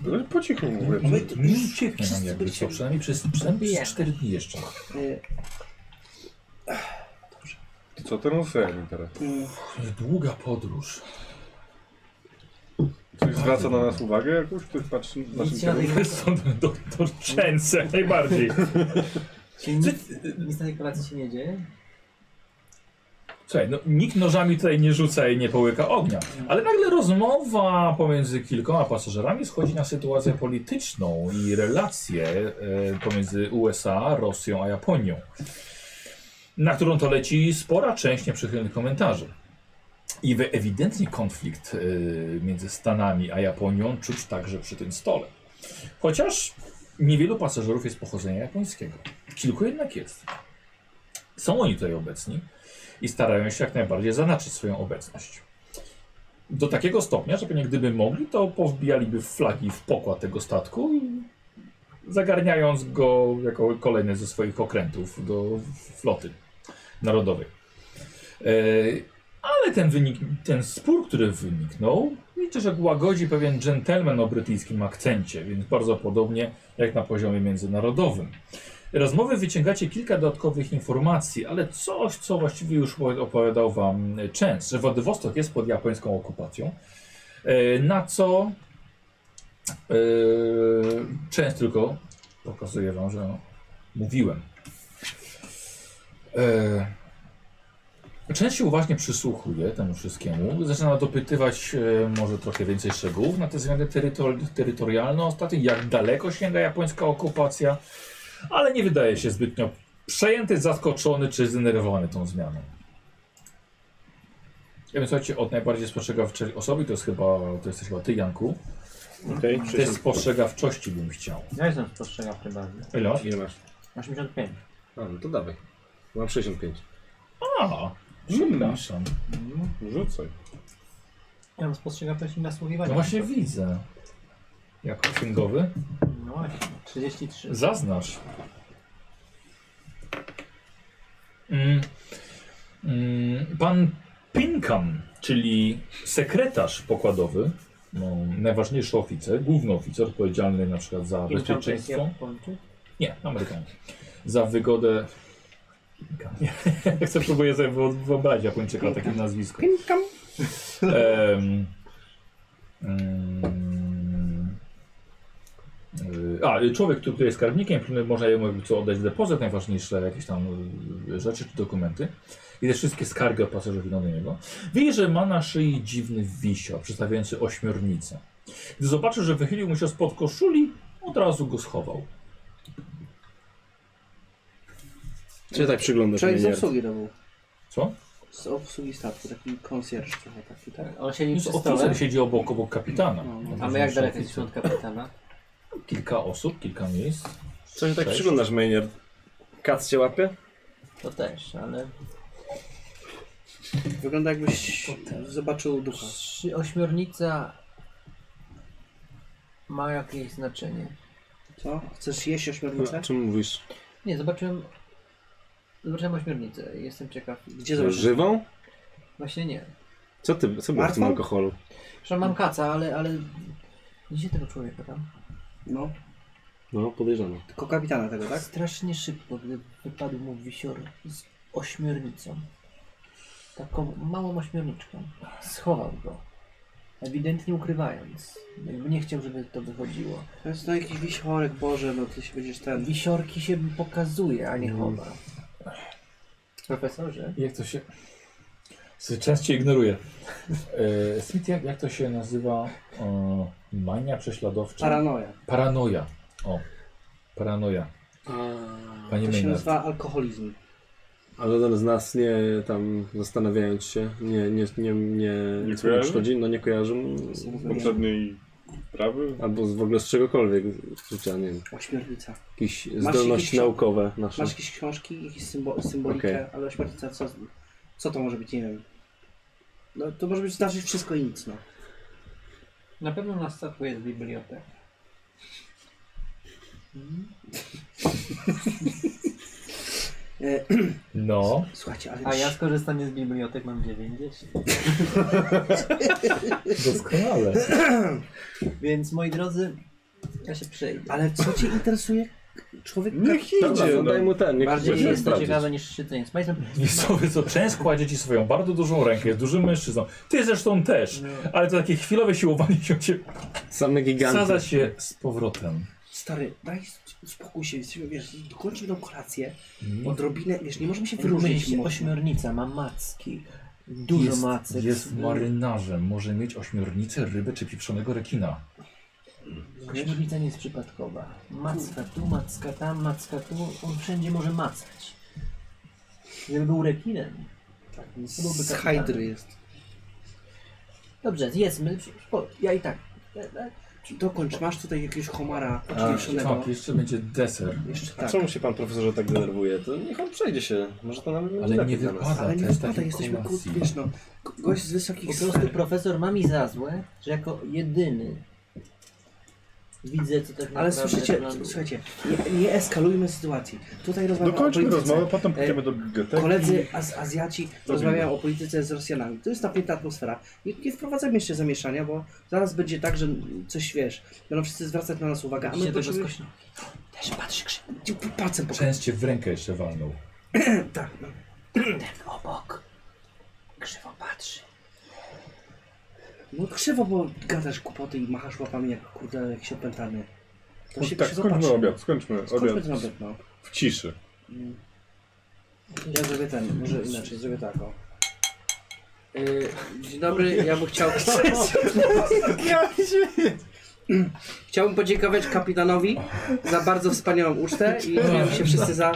Speaker 4: Ale po cichu mówię.
Speaker 5: Mhm.
Speaker 1: Nie, nie ucieknie nam
Speaker 5: wszyscy
Speaker 1: jakby co,
Speaker 5: byliśmy-
Speaker 1: przynajmniej przez, przynajmniej
Speaker 3: Bijemy.
Speaker 1: przez 4 dni jeszcze.
Speaker 5: Y,
Speaker 4: Co ten ocean teraz?
Speaker 5: y,
Speaker 1: To jest długa podróż.
Speaker 4: Ktoś zwraca na nas uwagę jakąś? Ktoś patrzy w naszym
Speaker 3: Nic na tej
Speaker 4: kierunku?
Speaker 1: Stąd do, do Częse najbardziej.
Speaker 3: Czyli nic, nic na tej kolacji się nie dzieje?
Speaker 1: Słuchaj, no, nikt nożami tutaj nie rzuca i nie połyka ognia. Ale nagle rozmowa pomiędzy kilkoma pasażerami schodzi na sytuację polityczną i relacje e, pomiędzy USA, Rosją a Japonią. Na którą to leci spora część nieprzychylnych komentarzy. I we- ewidentnie konflikt e, między Stanami a Japonią czuć także przy tym stole. Chociaż niewielu pasażerów jest pochodzenia japońskiego. Kilku jednak jest. Są oni tutaj obecni i starają się jak najbardziej zanaczyć swoją obecność. Do takiego stopnia, że pewnie gdyby mogli, to powbijaliby flagi w pokład tego statku i zagarniając go jako kolejny ze swoich okrętów do floty narodowej. E, Ale ten, wynik, ten spór, który wyniknął, liczę, że łagodzi pewien dżentelmen o brytyjskim akcencie, więc bardzo podobnie jak na poziomie międzynarodowym. Rozmowy wyciągacie kilka dodatkowych informacji, ale coś, co właściwie już opowiadał wam Częs, że Władywostok jest pod japońską okupacją, e, na co e, Częs tylko pokazuje wam, że no, mówiłem. E, Częs się uważnie przysłuchuje temu wszystkiemu, zaczyna dopytywać e, może trochę więcej szczegółów na te zmiany terytor terytorialne ostatnie, jak daleko sięga japońska okupacja, ale nie wydaje się zbytnio przejęty, zaskoczony czy zdenerwowany tą zmianą. Ja wiem, słuchajcie, od najbardziej spostrzegawczej osoby, to jest chyba, to jesteś chyba ty, Janku.
Speaker 2: Okej,
Speaker 1: Te spostrzegawczości bym chciał.
Speaker 3: Ja jestem spostrzegawczym bardziej.
Speaker 1: Ile masz?
Speaker 2: Ile masz?
Speaker 3: 85.
Speaker 2: A, no to dawaj. Mam 65.
Speaker 1: A, przepraszam.
Speaker 4: Rzucaj.
Speaker 3: Ja mam spostrzegawczość i nasłuchiwanie.
Speaker 1: No właśnie widzę. jako księgowy.
Speaker 3: No właśnie, 33.
Speaker 1: Zaznacz. Mm. Mm. Pan Pinkham, czyli sekretarz pokładowy, no, najważniejszy oficer, główny oficer odpowiedzialny na przykład za bezpieczeństwo.
Speaker 3: Japończyk?
Speaker 1: Nie, Amerykanie. Za wygodę. Jak sobie próbuję sobie wyo- wyobrazić Japończyka o takim nazwisku.
Speaker 5: Pinkam.
Speaker 1: Em, mm, y, a, y, człowiek, który, który jest skarbnikiem, który można jemu jakby co oddać depozyt, najważniejsze jakieś tam y, rzeczy czy dokumenty. I te wszystkie skargi od pasażerów idą do niego. Widzi, że ma na szyi dziwny wisior, przedstawiający ośmiornicę. Gdy zobaczył, że wychylił mu się spod koszuli, od razu go schował.
Speaker 2: Czy tak przyglądasz
Speaker 5: Człowiek z
Speaker 2: mnie,
Speaker 5: obsługi to był.
Speaker 1: Co?
Speaker 5: Z obsługi statku, taki konsjerż trochę taki, tak?
Speaker 3: On siedzi
Speaker 1: Jest
Speaker 3: przy stole,
Speaker 1: oficer, siedzi obok, obok kapitana.
Speaker 5: No, no.
Speaker 3: a my jak daleko jesteśmy od kapitana?
Speaker 1: Kilka osób, kilka miejsc.
Speaker 2: Co się tak
Speaker 1: Cześć.
Speaker 2: przyglądasz, Mejnier? Kac cię łapie?
Speaker 3: To też, ale
Speaker 5: Wygląda jakbyś zobaczył ducha.
Speaker 3: czy ośmiornica ma jakieś znaczenie?
Speaker 5: Co? Chcesz jeść ośmiornicę?
Speaker 2: czym mówisz?
Speaker 3: Nie, zobaczyłem, zobaczyłem ośmiornicę i jestem ciekaw.
Speaker 5: Gdzie zobaczysz?
Speaker 2: Żywą?
Speaker 3: Właśnie nie.
Speaker 2: Co ty, co było w tym
Speaker 5: Martwą?
Speaker 2: alkoholu?
Speaker 3: Że mam kaca, ale, ale gdzie tego człowieka tam?
Speaker 5: No,
Speaker 2: No, podejrzane.
Speaker 5: tylko kapitana tego, tak?
Speaker 3: Strasznie szybko, gdy wypadł mu wisior z ośmiornicą. Taką małą ośmiorniczką. Schował go. Ewidentnie ukrywając. Jakby nie chciał, żeby to wychodziło.
Speaker 5: To jest no jakiś wisiorek, Boże, no ty się będziesz ten...
Speaker 3: Wisiorki się pokazuje, a nie chowa. Mhm. Profesorze?
Speaker 1: Jak to się. Sy- Częściej ignoruję. E, Smith, jak, jak to się nazywa? E, mania prześladowcza?
Speaker 5: Paranoja.
Speaker 1: Paranoja. O, paranoja. Panie
Speaker 5: To się
Speaker 1: Maynard.
Speaker 5: nazywa alkoholizm.
Speaker 2: A żaden z nas nie tam zastanawiając się, nie, nie, nie, nie,
Speaker 4: Nie
Speaker 2: co mi
Speaker 4: kojarzy?
Speaker 2: przychodzi, no nie kojarzą
Speaker 4: Z poprzedniej sprawy?
Speaker 2: albo z, w ogóle z czegokolwiek z życia, nie wiem,
Speaker 5: Ośmiornica.
Speaker 2: jakieś
Speaker 5: Masz
Speaker 2: zdolności
Speaker 5: jakieś-
Speaker 2: naukowe nasze.
Speaker 5: Masz jakieś książki, jakieś symbo symbolikę,
Speaker 2: Okej.
Speaker 5: ale ośmiornica, co, co to może być, nie wiem. No to może być znaczyć wszystko i nic, no.
Speaker 3: Na pewno na statku jest biblioteka.
Speaker 5: E,
Speaker 1: No.
Speaker 5: słuchajcie, ale...
Speaker 3: A ja skorzystanie z bibliotek mam 90.
Speaker 1: Doskonale.
Speaker 3: Więc moi drodzy, ja się przejdę.
Speaker 5: Ale co cię interesuje? Człowiek...
Speaker 4: Niech
Speaker 2: Dobra,
Speaker 4: idzie,
Speaker 2: no daj mu ten, niech
Speaker 3: Bardziej
Speaker 2: sobie
Speaker 3: jest to
Speaker 2: sprawdzić.
Speaker 3: ciekawe niż szydzenie z majstrem.
Speaker 1: Wisowy co często kładzie ci swoją bardzo dużą rękę, jest dużym mężczyzną. Ty zresztą też.
Speaker 3: No,
Speaker 1: Ale to takie chwilowe siłowanie się cię
Speaker 2: Same giganty.
Speaker 1: sadza się z powrotem.
Speaker 5: Stary, daj spokój się, jesteśmy, wiesz, dokończmy tą kolację,
Speaker 1: Nie.
Speaker 5: odrobinę, wiesz, nie możemy się
Speaker 3: Różni
Speaker 5: wyróżnić
Speaker 3: się
Speaker 5: mocno.
Speaker 3: ośmiornica, ma macki. Dużo
Speaker 1: jest,
Speaker 3: macek.
Speaker 1: Jest marynarzem, może mieć ośmiornicę, rybę czy pieprzonego rekina.
Speaker 3: Ośmiornica nie jest przypadkowa. Macka tu, macka tam, macka tu. On wszędzie może macać. Gdyby był rekinem. Tak, to byłby
Speaker 5: Z
Speaker 3: kapitanem.
Speaker 5: hajdry jest.
Speaker 3: Dobrze, zjedzmy. Po- Ja i tak. E, e,
Speaker 5: Dokończ, masz tutaj jakiegoś homara
Speaker 1: Tak,
Speaker 5: ośmieszonego.
Speaker 1: jeszcze będzie deser.
Speaker 5: Jeszcze
Speaker 2: A
Speaker 5: tak.
Speaker 2: czemu się pan profesorze tak denerwuje? To niech on przejdzie się, może to nawet będzie
Speaker 1: Ale
Speaker 2: lepiej
Speaker 1: nie
Speaker 2: dla nas.
Speaker 1: wypada.
Speaker 5: Ale nie
Speaker 1: Też
Speaker 5: wypada,
Speaker 1: takiej
Speaker 5: jesteśmy,
Speaker 1: kolacji.
Speaker 5: kurde, wiesz no, go- gość z
Speaker 3: Po
Speaker 5: wysokich
Speaker 3: prostu
Speaker 5: sfer.
Speaker 3: profesor ma mi za złe, że jako jedyny widzę, co tak naprawdę
Speaker 5: Ale słyszycie,
Speaker 3: planuje.
Speaker 5: słuchajcie, nie, nie eskalujmy sytuacji. Tutaj rozmawiamy o
Speaker 4: Dokończmy
Speaker 5: polityce.
Speaker 4: No rozmowę, tak. potem
Speaker 5: E,
Speaker 4: pójdziemy do biblioteki.
Speaker 5: Koledzy az Azjaci rozmawiają o polityce z Rosjanami. To jest napięta atmosfera. Nie, nie wprowadzajmy jeszcze zamieszania, bo zaraz będzie tak, że coś wiesz, będą wszyscy zwracać na nas uwagę, a my
Speaker 3: Widzicie tego
Speaker 5: będziemy...
Speaker 3: skośno.
Speaker 5: Też patrz, krzyk, palcem po
Speaker 1: Częście w rękę jeszcze walnął.
Speaker 5: Tak, no.
Speaker 3: Ten obok. Krzywo patrzy.
Speaker 5: no krzywo, bo gadasz głupoty i machasz łapami jak kurde jakiś opętany. To
Speaker 4: No
Speaker 5: się
Speaker 4: tak,
Speaker 5: krzywo
Speaker 4: skończmy
Speaker 5: patrzy.
Speaker 4: obiad, skończmy
Speaker 5: Skończmy
Speaker 4: obiad
Speaker 5: ten obiad, no.
Speaker 4: w ciszy.
Speaker 5: Ja zrobię ten, może inaczej, zrobię tak, o. Yy, dzień dobry, ja bym chciał... Chciałbym podziękować kapitanowi za bardzo wspaniałą ucztę i czujemy się wszyscy za,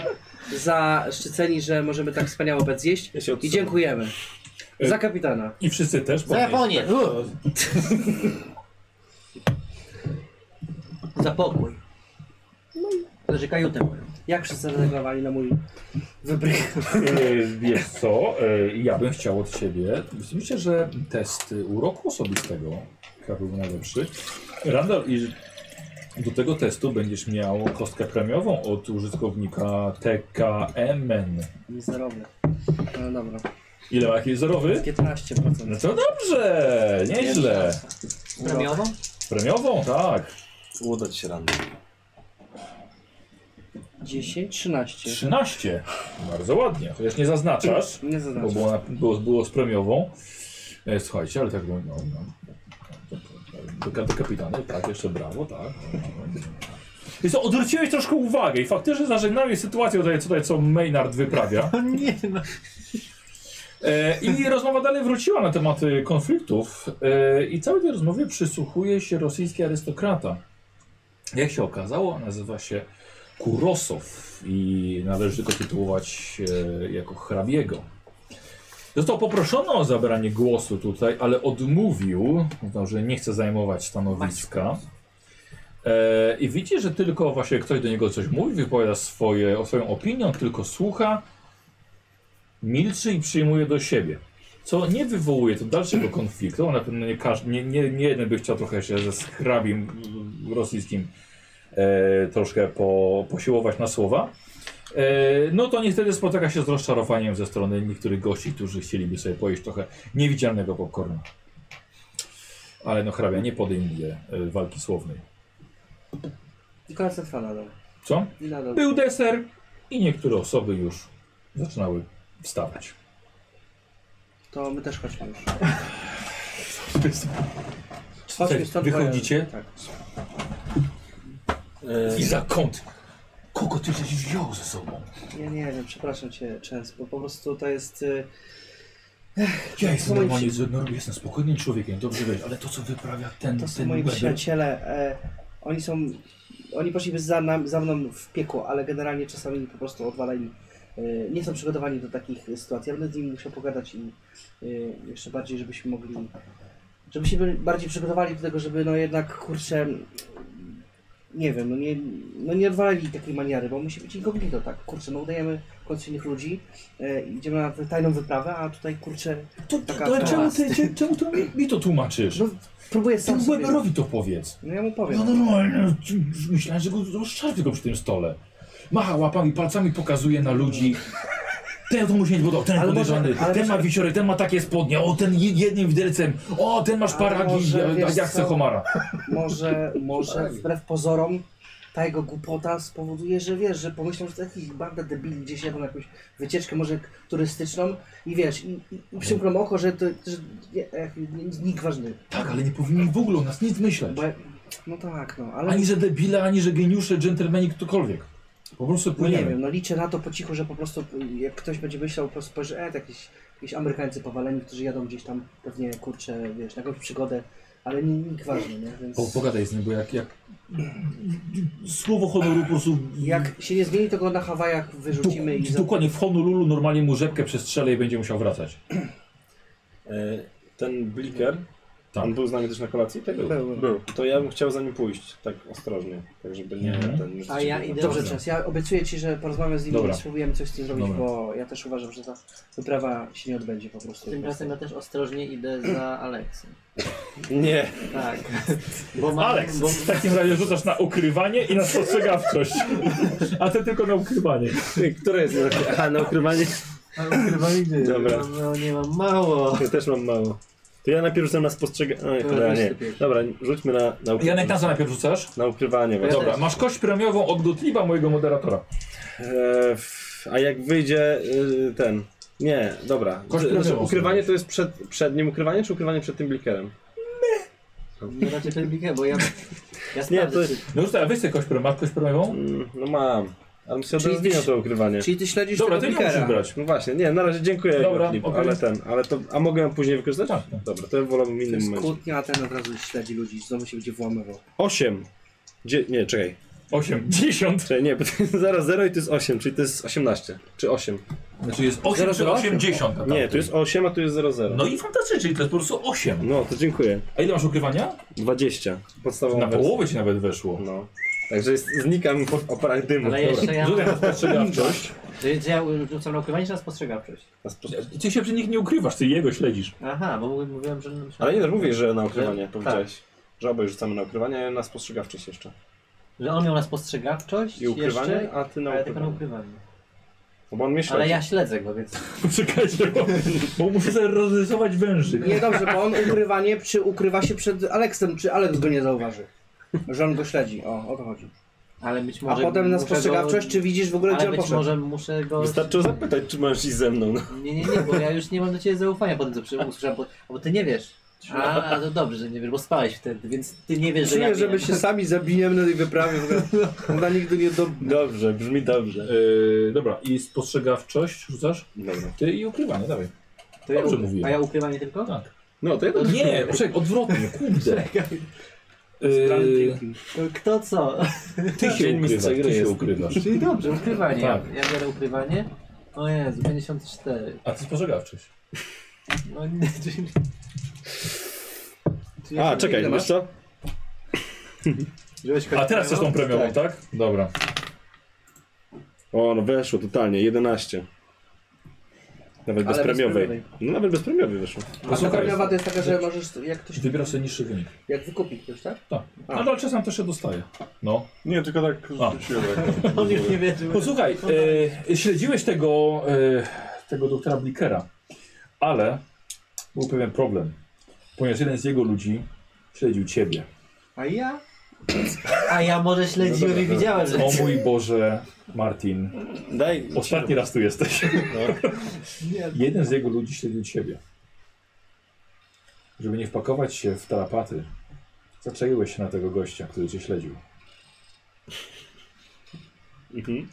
Speaker 5: zaszczyceni, że możemy tak wspaniały obiad zjeść
Speaker 2: Ja się
Speaker 5: i
Speaker 2: odsuwam.
Speaker 5: dziękujemy. Za kapitana.
Speaker 1: I wszyscy też.
Speaker 3: Za
Speaker 1: podnieś-
Speaker 3: Japonię! Za pokój. Znaczy kajutę moją.
Speaker 5: Jak wszyscy zareagowali na mój wybrych?
Speaker 1: E, Wiesz co, e, ja bym chciał od ciebie. Myślę, że test uroku osobistego chyba byłby najlepszy. Randall, i- Do tego testu będziesz miał kostkę premiową od użytkownika TKMN.
Speaker 5: Zerowy. No dobra.
Speaker 1: Ile ma jakiś zerowy?
Speaker 5: 15%.
Speaker 1: No to dobrze, nieźle.
Speaker 3: Premiowo?
Speaker 1: Premiową, tak.
Speaker 6: Uda ci się rano.
Speaker 5: 10, 13.
Speaker 1: 13. Bardzo ładnie, chociaż nie zaznaczasz,
Speaker 5: Nie
Speaker 1: bo
Speaker 5: zaznaczam.
Speaker 1: było, na, było, było z premiową. E, słuchajcie, ale tak no, no, no. Do, do kapitana, tak, jeszcze brawo, tak. No, no, no. I co, odwróciłeś troszkę uwagę i faktycznie zażegnałeś sytuację tutaj, tutaj co Maynard wyprawia.
Speaker 3: No nie no.
Speaker 1: E, I rozmowa dalej wróciła na temat e, konfliktów e, i całej tej rozmowie przysłuchuje się rosyjski arystokrata. Jak się okazało, nazywa się Kurosow i należy go tytułować e, jako hrabiego. Został poproszony o zabranie głosu tutaj, ale odmówił, uznał, że nie chce zajmować stanowiska. E, I widzi, że tylko właśnie ktoś do niego coś mówi, wypowiada swoje, o swoją opinię, on tylko słucha milczy i przyjmuje do siebie. Co nie wywołuje to dalszego konfliktu. Na pewno nie, każdy, nie, nie, nie jeden by chciał trochę się ze skrabim mm, rosyjskim e, troszkę po, posiłować na słowa. E, no to niestety spotyka się z rozczarowaniem ze strony niektórych gości, którzy chcieliby sobie pojeść trochę niewidzialnego popcornu. Ale no hrabia nie podejmuje e, walki słownej.
Speaker 5: Konca trwa nadal.
Speaker 1: Co?
Speaker 5: I nadal.
Speaker 1: Był deser i niektóre osoby już zaczynały wstawać.
Speaker 5: To my też chodźmy już.
Speaker 1: Cześć, wychodzicie?
Speaker 5: Tak.
Speaker 1: I za kąt. Kogo ty żeś wziął ze sobą?
Speaker 5: Ja nie wiem, przepraszam cię często, bo po prostu to jest... y,
Speaker 1: Ja jestem
Speaker 5: moi
Speaker 1: normalnie, z- no, jestem spokojnym człowiekiem, dobrze wiesz, ale to co wyprawia ten,
Speaker 5: To są
Speaker 1: ten
Speaker 5: moi
Speaker 1: Weber-
Speaker 5: przyjaciele. E, oni są... Oni poszliby za, nam, za mną w piekło, ale generalnie czasami po prostu odwalają. E, nie są przygotowani do takich sytuacji. Ja będę z nimi musiał pogadać i e, jeszcze bardziej, żebyśmy mogli... Żebyśmy byli bardziej przygotowali do tego, żeby no jednak, kurczę... Nie wiem, no nie, no nie odwalali takiej maniary, bo musi być inkognito, tak? Kurczę, no udajemy w końcu innych ludzi, e, idziemy na tajną wyprawę, a tutaj, kurczę,
Speaker 1: To, to,
Speaker 5: Taka
Speaker 1: to, czemu, ty,
Speaker 5: toast.
Speaker 1: ty, czemu to mi, mi to tłumaczysz?
Speaker 5: No, próbuję sam
Speaker 1: Temu
Speaker 5: sobie...
Speaker 1: Weberowi to powiedz.
Speaker 5: No ja mu powiem.
Speaker 1: No normalnie, myślałem, że go rozczarpię go przy tym stole. Macha łapami, palcami pokazuje na ludzi. Ten to mu się nie podobał, ten
Speaker 5: Ale może-
Speaker 1: podejrzany,
Speaker 5: ale
Speaker 1: ten
Speaker 5: może-
Speaker 1: ma wiciory, ten ma takie spodnie, o ten je- jednym widelcem, o ten ma szparagi,
Speaker 5: może,
Speaker 1: ja, ja,
Speaker 5: wiesz
Speaker 1: ja chcę
Speaker 5: co?
Speaker 1: homara.
Speaker 5: Może, może wbrew pozorom ta jego głupota spowoduje, że wiesz, że pomyślą, że to jakiś banda debili gdzieś jadą na jakąś wycieczkę może k- turystyczną i wiesz, i, i, i przymkną oko, że to że, nie, e, nie- nikt ważny.
Speaker 1: Tak, ale nie powinni w ogóle o nas nic myśleć.
Speaker 5: Bo, no tak, no, ale
Speaker 1: Ani że debile, ani że geniusze, dżentelmeni, ktokolwiek. Po prostu
Speaker 5: no, nie
Speaker 1: płyniemy.
Speaker 5: wiem, no liczę na to po cichu, że po prostu y, jak ktoś będzie myślał, po prostu powie, że e, to jakieś, jakieś Amerykańcy powaleni, którzy jadą gdzieś tam pewnie, kurczę, wiesz, na jakąś przygodę, ale nie- nikt ważny, nie? Więc...
Speaker 1: Po, pogadaj z nim, bo jak, jak... Słowo honoru po prostu...
Speaker 5: Jak się nie zmieni, to go na Hawajach
Speaker 1: Dok-
Speaker 5: wyrzucimy i... za-
Speaker 1: dokładnie w Honolulu normalnie mu rzepkę przestrzelę i będzie musiał wracać.
Speaker 6: E, ten bliker,
Speaker 1: Tak.
Speaker 6: on był z nami też na kolacji? Tak był.
Speaker 5: Był.
Speaker 4: Był.
Speaker 6: To ja bym chciał za nim pójść, tak ostrożnie, tak żeby nie...
Speaker 1: Mhm.
Speaker 6: Ten,
Speaker 3: A ja idę-
Speaker 5: Dobrze,
Speaker 1: Dobrze.
Speaker 5: Czas. Ja obiecuję Ci, że porozmawiam z nimi
Speaker 1: Dobra.
Speaker 5: i spróbujemy coś z tym zrobić,
Speaker 1: Dobra.
Speaker 5: bo ja też uważam, że ta wyprawa się nie odbędzie po prostu.
Speaker 3: Tymczasem ja też ostrożnie idę za Aleksem.
Speaker 6: Nie.
Speaker 3: Tak. Bo
Speaker 5: No,
Speaker 3: mam,
Speaker 1: Aleks,
Speaker 3: Bo,
Speaker 1: w takim razie rzucasz na ukrywanie i na spostrzegawczość. A ty tylko na ukrywanie.
Speaker 6: Które jest na, aha, na ukrywanie?
Speaker 3: mam chyba nigdy.
Speaker 6: Dobra.
Speaker 3: Mam, no nie mam mało.
Speaker 6: Ja też mam mało. To ja najpierw rzucę na spostrzeganie.
Speaker 3: To
Speaker 6: Dobra,
Speaker 3: weź
Speaker 6: nie.
Speaker 3: ty pierwszy.
Speaker 6: Dobra, rzućmy na, na, ukry...
Speaker 1: Janek, na co najpierw rzucasz?
Speaker 6: na ukrywanie. właśnie.
Speaker 1: Dobra, masz kość premiową od Gottlieba, mojego moderatora.
Speaker 6: E, f- a jak wyjdzie y, ten. Nie, dobra.
Speaker 1: Kość
Speaker 6: Znaczy,
Speaker 1: premiową
Speaker 6: ukrywanie
Speaker 1: sobie.
Speaker 6: to jest przed, przed nim ukrywanie, czy ukrywanie przed tym blikerem?
Speaker 3: Nie raczej pelbikę, bo ja.
Speaker 6: Nie, to
Speaker 3: Ja sprawdzę, czy
Speaker 6: jest.
Speaker 1: No już teraz, weź sobie kość premiową. Masz kość premiową?
Speaker 6: Mm, no mam. Ale myślę, że
Speaker 5: Czyli
Speaker 6: rozwinął
Speaker 5: ty-
Speaker 6: to ukrywanie.
Speaker 5: Czyli Ty śledzisz
Speaker 1: Dobra, ty
Speaker 5: tego
Speaker 1: nie musisz
Speaker 5: Pickera.
Speaker 1: brać.
Speaker 6: No właśnie, nie, na razie dziękuję
Speaker 1: Dobra,
Speaker 6: Filip,
Speaker 1: okej.
Speaker 6: ale ten, ale to. A mogę ją później wykorzystać?
Speaker 1: Tak, tak.
Speaker 6: Dobra, to ja wolę w
Speaker 5: To
Speaker 6: innym
Speaker 5: jest
Speaker 6: momencie.
Speaker 5: kłótnia, a ten od razu śledzi ludzi, znowu się będzie włamywał.
Speaker 6: 8. Dzie- nie, czekaj.
Speaker 1: 8, 10.
Speaker 6: Czekaj, nie, bo to jest zaraz 0 i to jest 8, czyli to jest 18. Czy 8?
Speaker 1: Znaczy jest 8 czy 80. a
Speaker 6: Nie,
Speaker 1: tamten.
Speaker 6: tu jest 8, a tu jest 00.
Speaker 1: Tak, No i fantastycznie, czyli to jest po prostu 8.
Speaker 6: No, to dziękuję.
Speaker 1: A ile masz ukrywania?
Speaker 6: 20. Podstawowa
Speaker 1: Na
Speaker 6: wersja.
Speaker 1: połowę ci nawet weszło.
Speaker 6: No. Także jest, znikam po oparach dymu.
Speaker 3: Ale jeszcze ja.
Speaker 1: Rzucaj na spostrzegawczość.
Speaker 3: Czy czy ja rzucam na ukrywanie, czy na spostrzegawczość?
Speaker 6: Na spro-
Speaker 1: Ty się przy nich nie ukrywasz, ty jego śledzisz.
Speaker 3: Aha, bo mówiłem- mówiłem, że.
Speaker 6: Ale nie, no, mówię, że na ukrywanie
Speaker 3: Że-
Speaker 6: powiedziałeś. Że obaj rzucamy na ukrywanie, a ja na spostrzegawczość jeszcze.
Speaker 3: Że on miał na spostrzegawczość
Speaker 6: I ukrywanie,
Speaker 3: jeszcze,
Speaker 6: a ty na
Speaker 3: a ja tylko na
Speaker 6: ukrywanie.
Speaker 3: ukrywanie.
Speaker 6: No bo on mnie
Speaker 3: Ale
Speaker 6: śledzi.
Speaker 3: ja śledzę go, więc
Speaker 1: Poczekajcie, bo, bo muszę sobie rozrysować węży.
Speaker 5: Nie dobrze, bo on ukrywanie, czy ukrywa się przed Aleksem, czy Aleks go nie zauważy. Że on go śledzi, o, o to chodzi.
Speaker 3: ale być
Speaker 5: A
Speaker 3: może
Speaker 5: potem na
Speaker 3: muszę go-
Speaker 5: spostrzegawczość, czy widzisz w ogóle, gdzie
Speaker 3: Ale
Speaker 5: on
Speaker 3: być
Speaker 5: poszedł.
Speaker 3: może muszę go...
Speaker 6: Wystarczyło zapytać, czy masz iść ze mną. No.
Speaker 3: Nie, nie, nie, bo ja już nie mam do ciebie zaufania po tym, co przy- usłyszałem, bo, bo ty nie wiesz. A, a to dobrze, że nie wiesz, bo spałeś wtedy, więc ty nie wiesz, że ja
Speaker 5: Czuję, że my
Speaker 3: wiem.
Speaker 5: się sami zabijemy na tej wyprawie, w ogóle ona nigdy nie do...
Speaker 6: Dobrze, brzmi dobrze.
Speaker 1: Yy, dobra, i spostrzegawczość rzucasz?
Speaker 6: Dobra.
Speaker 1: Ty i ukrywanie, dawaj.
Speaker 3: To ja
Speaker 1: Dobrze
Speaker 3: u-
Speaker 1: mówiłem.
Speaker 3: A ja ukrywanie tylko?
Speaker 1: Tak.
Speaker 6: No, to ja
Speaker 3: To-
Speaker 1: Nie, czekaj, odwrotnie, kurde. Yy,
Speaker 5: Yy...
Speaker 3: Kto co?
Speaker 1: ty się
Speaker 6: Dzień
Speaker 1: ukrywasz,
Speaker 6: mistrza gry
Speaker 1: ty się
Speaker 6: jest.
Speaker 1: ukrywasz.
Speaker 5: No
Speaker 3: Czyli dobrze, ukrywanie.
Speaker 1: Tak.
Speaker 3: Ja, ja biorę ukrywanie. O Jezu, 54.
Speaker 1: A ty spostrzegawczość.
Speaker 3: No nie, czyli... czyli
Speaker 6: A,
Speaker 3: ja-
Speaker 6: czekaj,
Speaker 5: Ile
Speaker 6: wiesz
Speaker 5: masz?
Speaker 6: co?
Speaker 3: Wziąłeś
Speaker 1: A teraz
Speaker 6: No,
Speaker 1: chcesz tą premiową, tak? Dobra.
Speaker 6: O, no weszło totalnie, 11. Nawet bez
Speaker 5: Ale bez
Speaker 6: premiowej.
Speaker 5: premiowej.
Speaker 6: No nawet bez premiowej weszło.
Speaker 5: A ta
Speaker 1: Posłuchaj.
Speaker 5: premiowa to jest taka, że możesz, jak ktoś,
Speaker 1: Wybierasz sobie niższy wynik.
Speaker 5: jak wykupić już, tak?
Speaker 1: Tak.
Speaker 5: A.
Speaker 1: No ale czasem też się dostaje. No.
Speaker 4: Nie, tylko tak
Speaker 1: A.
Speaker 4: rzuciłem. No
Speaker 3: On już nie wierzył.
Speaker 1: Posłuchaj, e, śledziłeś tego, e, tego doktora Blickera, ale był pewien problem, ponieważ jeden z jego ludzi śledził ciebie.
Speaker 3: A ja? A ja może
Speaker 5: No
Speaker 3: śledziłem i widziałem, że...
Speaker 1: O mój Boże, Martin,
Speaker 6: Daj.
Speaker 1: ostatni raz tu jesteś.
Speaker 3: Nie.
Speaker 1: Jeden z jego ludzi śledził ciebie. Żeby nie wpakować się w tarapaty, zaczaiłeś się na tego gościa, który cię śledził.
Speaker 6: Mhm.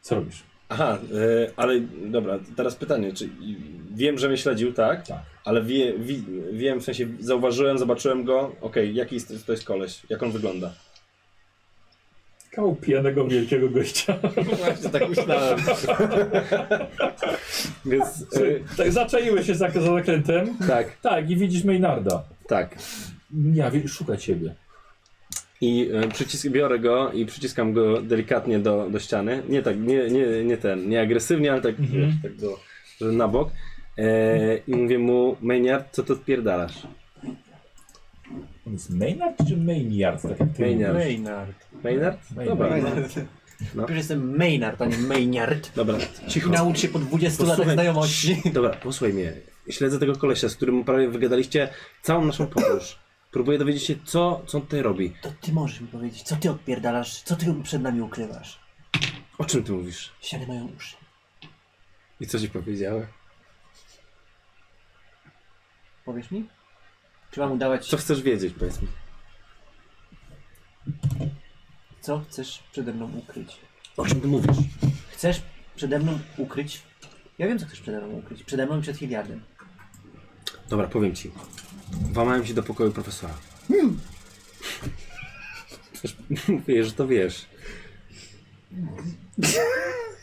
Speaker 1: Co robisz?
Speaker 6: Aha, e, ale dobra, teraz pytanie, czy i- wiem, że mnie śledził, tak?
Speaker 1: Tak.
Speaker 6: Ale wie, wi, wiem, w sensie zauważyłem, zobaczyłem go, okej, jaki jest, to jest koleś, jak on wygląda?
Speaker 1: Kawał pijanego, wielkiego gościa.
Speaker 6: Właśnie tak myślałem. Więc, e,
Speaker 1: Słuchaj, tak, zaczaiłeś się za, za zakrętem.
Speaker 6: tak,
Speaker 1: Tak, i widzisz Maynarda.
Speaker 6: tak.
Speaker 1: Ja wie- szuka ciebie.
Speaker 6: I e, przycisk, biorę go i przyciskam go delikatnie do, do ściany. Nie tak, nie, nie, nie ten, nie agresywnie, ale tak,
Speaker 1: Mhm.
Speaker 6: wiesz, tak do, że na bok. E, I mówię mu, Maynard, co to odpierdalasz?
Speaker 1: On jest Maynard czy Maynard? Tak jak ty
Speaker 6: Maynard.
Speaker 3: Maynard.
Speaker 6: Maynard?
Speaker 1: Maynard.
Speaker 6: Dobra,
Speaker 5: Maynard. No.
Speaker 3: Przecież jestem Maynard, a nie Maynard.
Speaker 6: dobra,
Speaker 3: I
Speaker 6: cicho.
Speaker 3: naucz się po 20 latach
Speaker 6: Posłuchaj.
Speaker 3: znajomości.
Speaker 6: Dobra, posłuchaj mnie. Śledzę tego kolesia, z którym prawie wygadaliście całą naszą podróż. Próbuję dowiedzieć się, co, co on tutaj robi.
Speaker 3: To ty możesz mi powiedzieć, co ty odpierdalasz, co ty przed nami ukrywasz.
Speaker 6: O czym ty mówisz?
Speaker 3: Ściany mają uszy.
Speaker 6: I co ci powiedziałem?
Speaker 3: Powiesz mi? Czy mam udawać,
Speaker 6: Co
Speaker 3: co,
Speaker 6: chcesz wiedzieć, powiedz mi?
Speaker 3: co chcesz przede mną ukryć?
Speaker 6: O czym ty mówisz?
Speaker 3: Chcesz przede mną ukryć? Ja wiem, co chcesz przede mną ukryć. Przede mną i przed Hiliardem.
Speaker 6: Dobra, powiem ci. Włamałem się do pokoju profesora. Przecież Mówię, że to wiesz.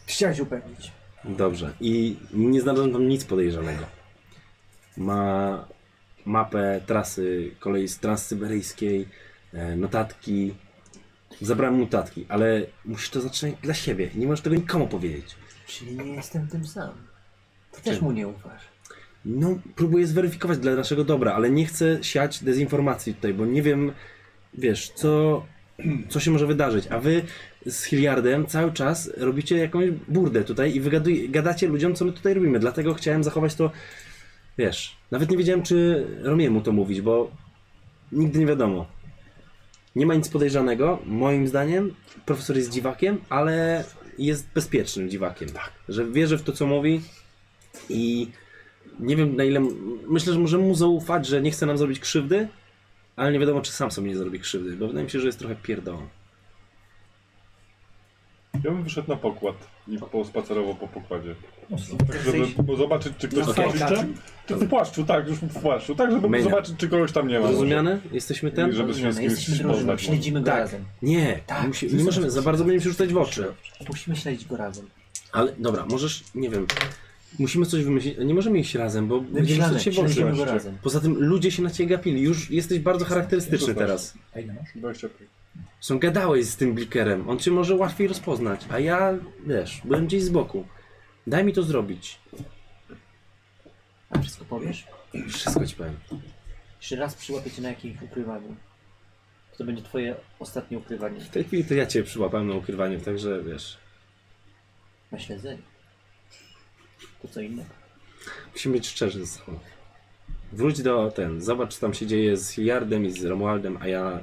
Speaker 3: Chciałeś upewnić.
Speaker 6: Dobrze. I nie znalazłem tam nic podejrzanego. Ma mapę trasy kolei z transsyberyjskiej, e, notatki. Zabrałem mu notatki, ale musisz to zatrzymać dla siebie. Nie możesz tego nikomu powiedzieć.
Speaker 3: Czyli nie jestem tym sam. Ty też mu nie ufasz.
Speaker 6: No, próbuję zweryfikować dla naszego dobra, ale nie chcę siać dezinformacji tutaj, bo nie wiem, wiesz, co, co się może wydarzyć. A wy z Hilliardem cały czas robicie jakąś burdę tutaj i wygaduj, gadacie ludziom, co my tutaj robimy. Dlatego chciałem zachować to, wiesz, nawet nie wiedziałem, czy Romiemu to mówić, bo nigdy nie wiadomo. Nie ma nic podejrzanego, moim zdaniem. Profesor jest dziwakiem, ale jest bezpiecznym dziwakiem. Tak. Że wierzy w to, co mówi i nie wiem na ile. Myślę, że możemy mu zaufać, że nie chce nam zrobić krzywdy, ale nie wiadomo, czy sam sobie nie zrobi krzywdy, bo wydaje mi się, że jest trochę pierdołą.
Speaker 4: Ja bym wyszedł na pokład i pospacerował po pokładzie.
Speaker 1: Mocno.
Speaker 4: Tak, żeby zobaczyć, czy ktoś
Speaker 5: Na
Speaker 4: w płaszczu. Czy w płaszczu, tak, już w płaszczu. Tak, żeby
Speaker 6: Mania.
Speaker 4: zobaczyć, czy kogoś tam nie ma.
Speaker 6: Rozumiane? Jesteśmy ten?
Speaker 4: I żeby się z
Speaker 3: Rozumiemy, no, jesteśmy
Speaker 4: kimś
Speaker 3: drużyną,
Speaker 4: poznać.
Speaker 3: śledzimy go
Speaker 6: Tak.
Speaker 3: razem.
Speaker 6: Nie,
Speaker 3: Tak.
Speaker 6: musi, nie możemy, za bardzo będziemy się rzucać w oczy.
Speaker 3: Musimy śledzić go razem.
Speaker 6: Ale dobra, możesz, nie wiem. Musimy coś wymyślić. Nie możemy iść razem, bo będziemy
Speaker 3: Myślane,
Speaker 6: rzucać się w oczy.
Speaker 3: śledzimy go
Speaker 4: oczywiście.
Speaker 3: razem.
Speaker 6: Poza tym ludzie się na ciebie gapili. Już jesteś bardzo charakterystyczny
Speaker 4: Zostań.
Speaker 6: teraz.
Speaker 1: A ile masz?
Speaker 4: 25.
Speaker 6: Są gadałeś z tym blikerem. On cię może łatwiej rozpoznać, a ja, wiesz, byłem gdzieś z boku. Daj mi to zrobić.
Speaker 3: A wszystko powiesz?
Speaker 6: Wszystko ci powiem.
Speaker 3: Jeszcze raz przyłapię cię na jakimś ukrywaniu. to będzie twoje ostatnie ukrywanie
Speaker 6: W tej chwili to ja cię przyłapałem na ukrywaniu, także wiesz.
Speaker 3: na śledzenie. To co innego.
Speaker 6: Musimy być szczerzy ze sobą. Wróć do ten, zobacz co tam się dzieje z Hiliardem i z Romualdem, a ja...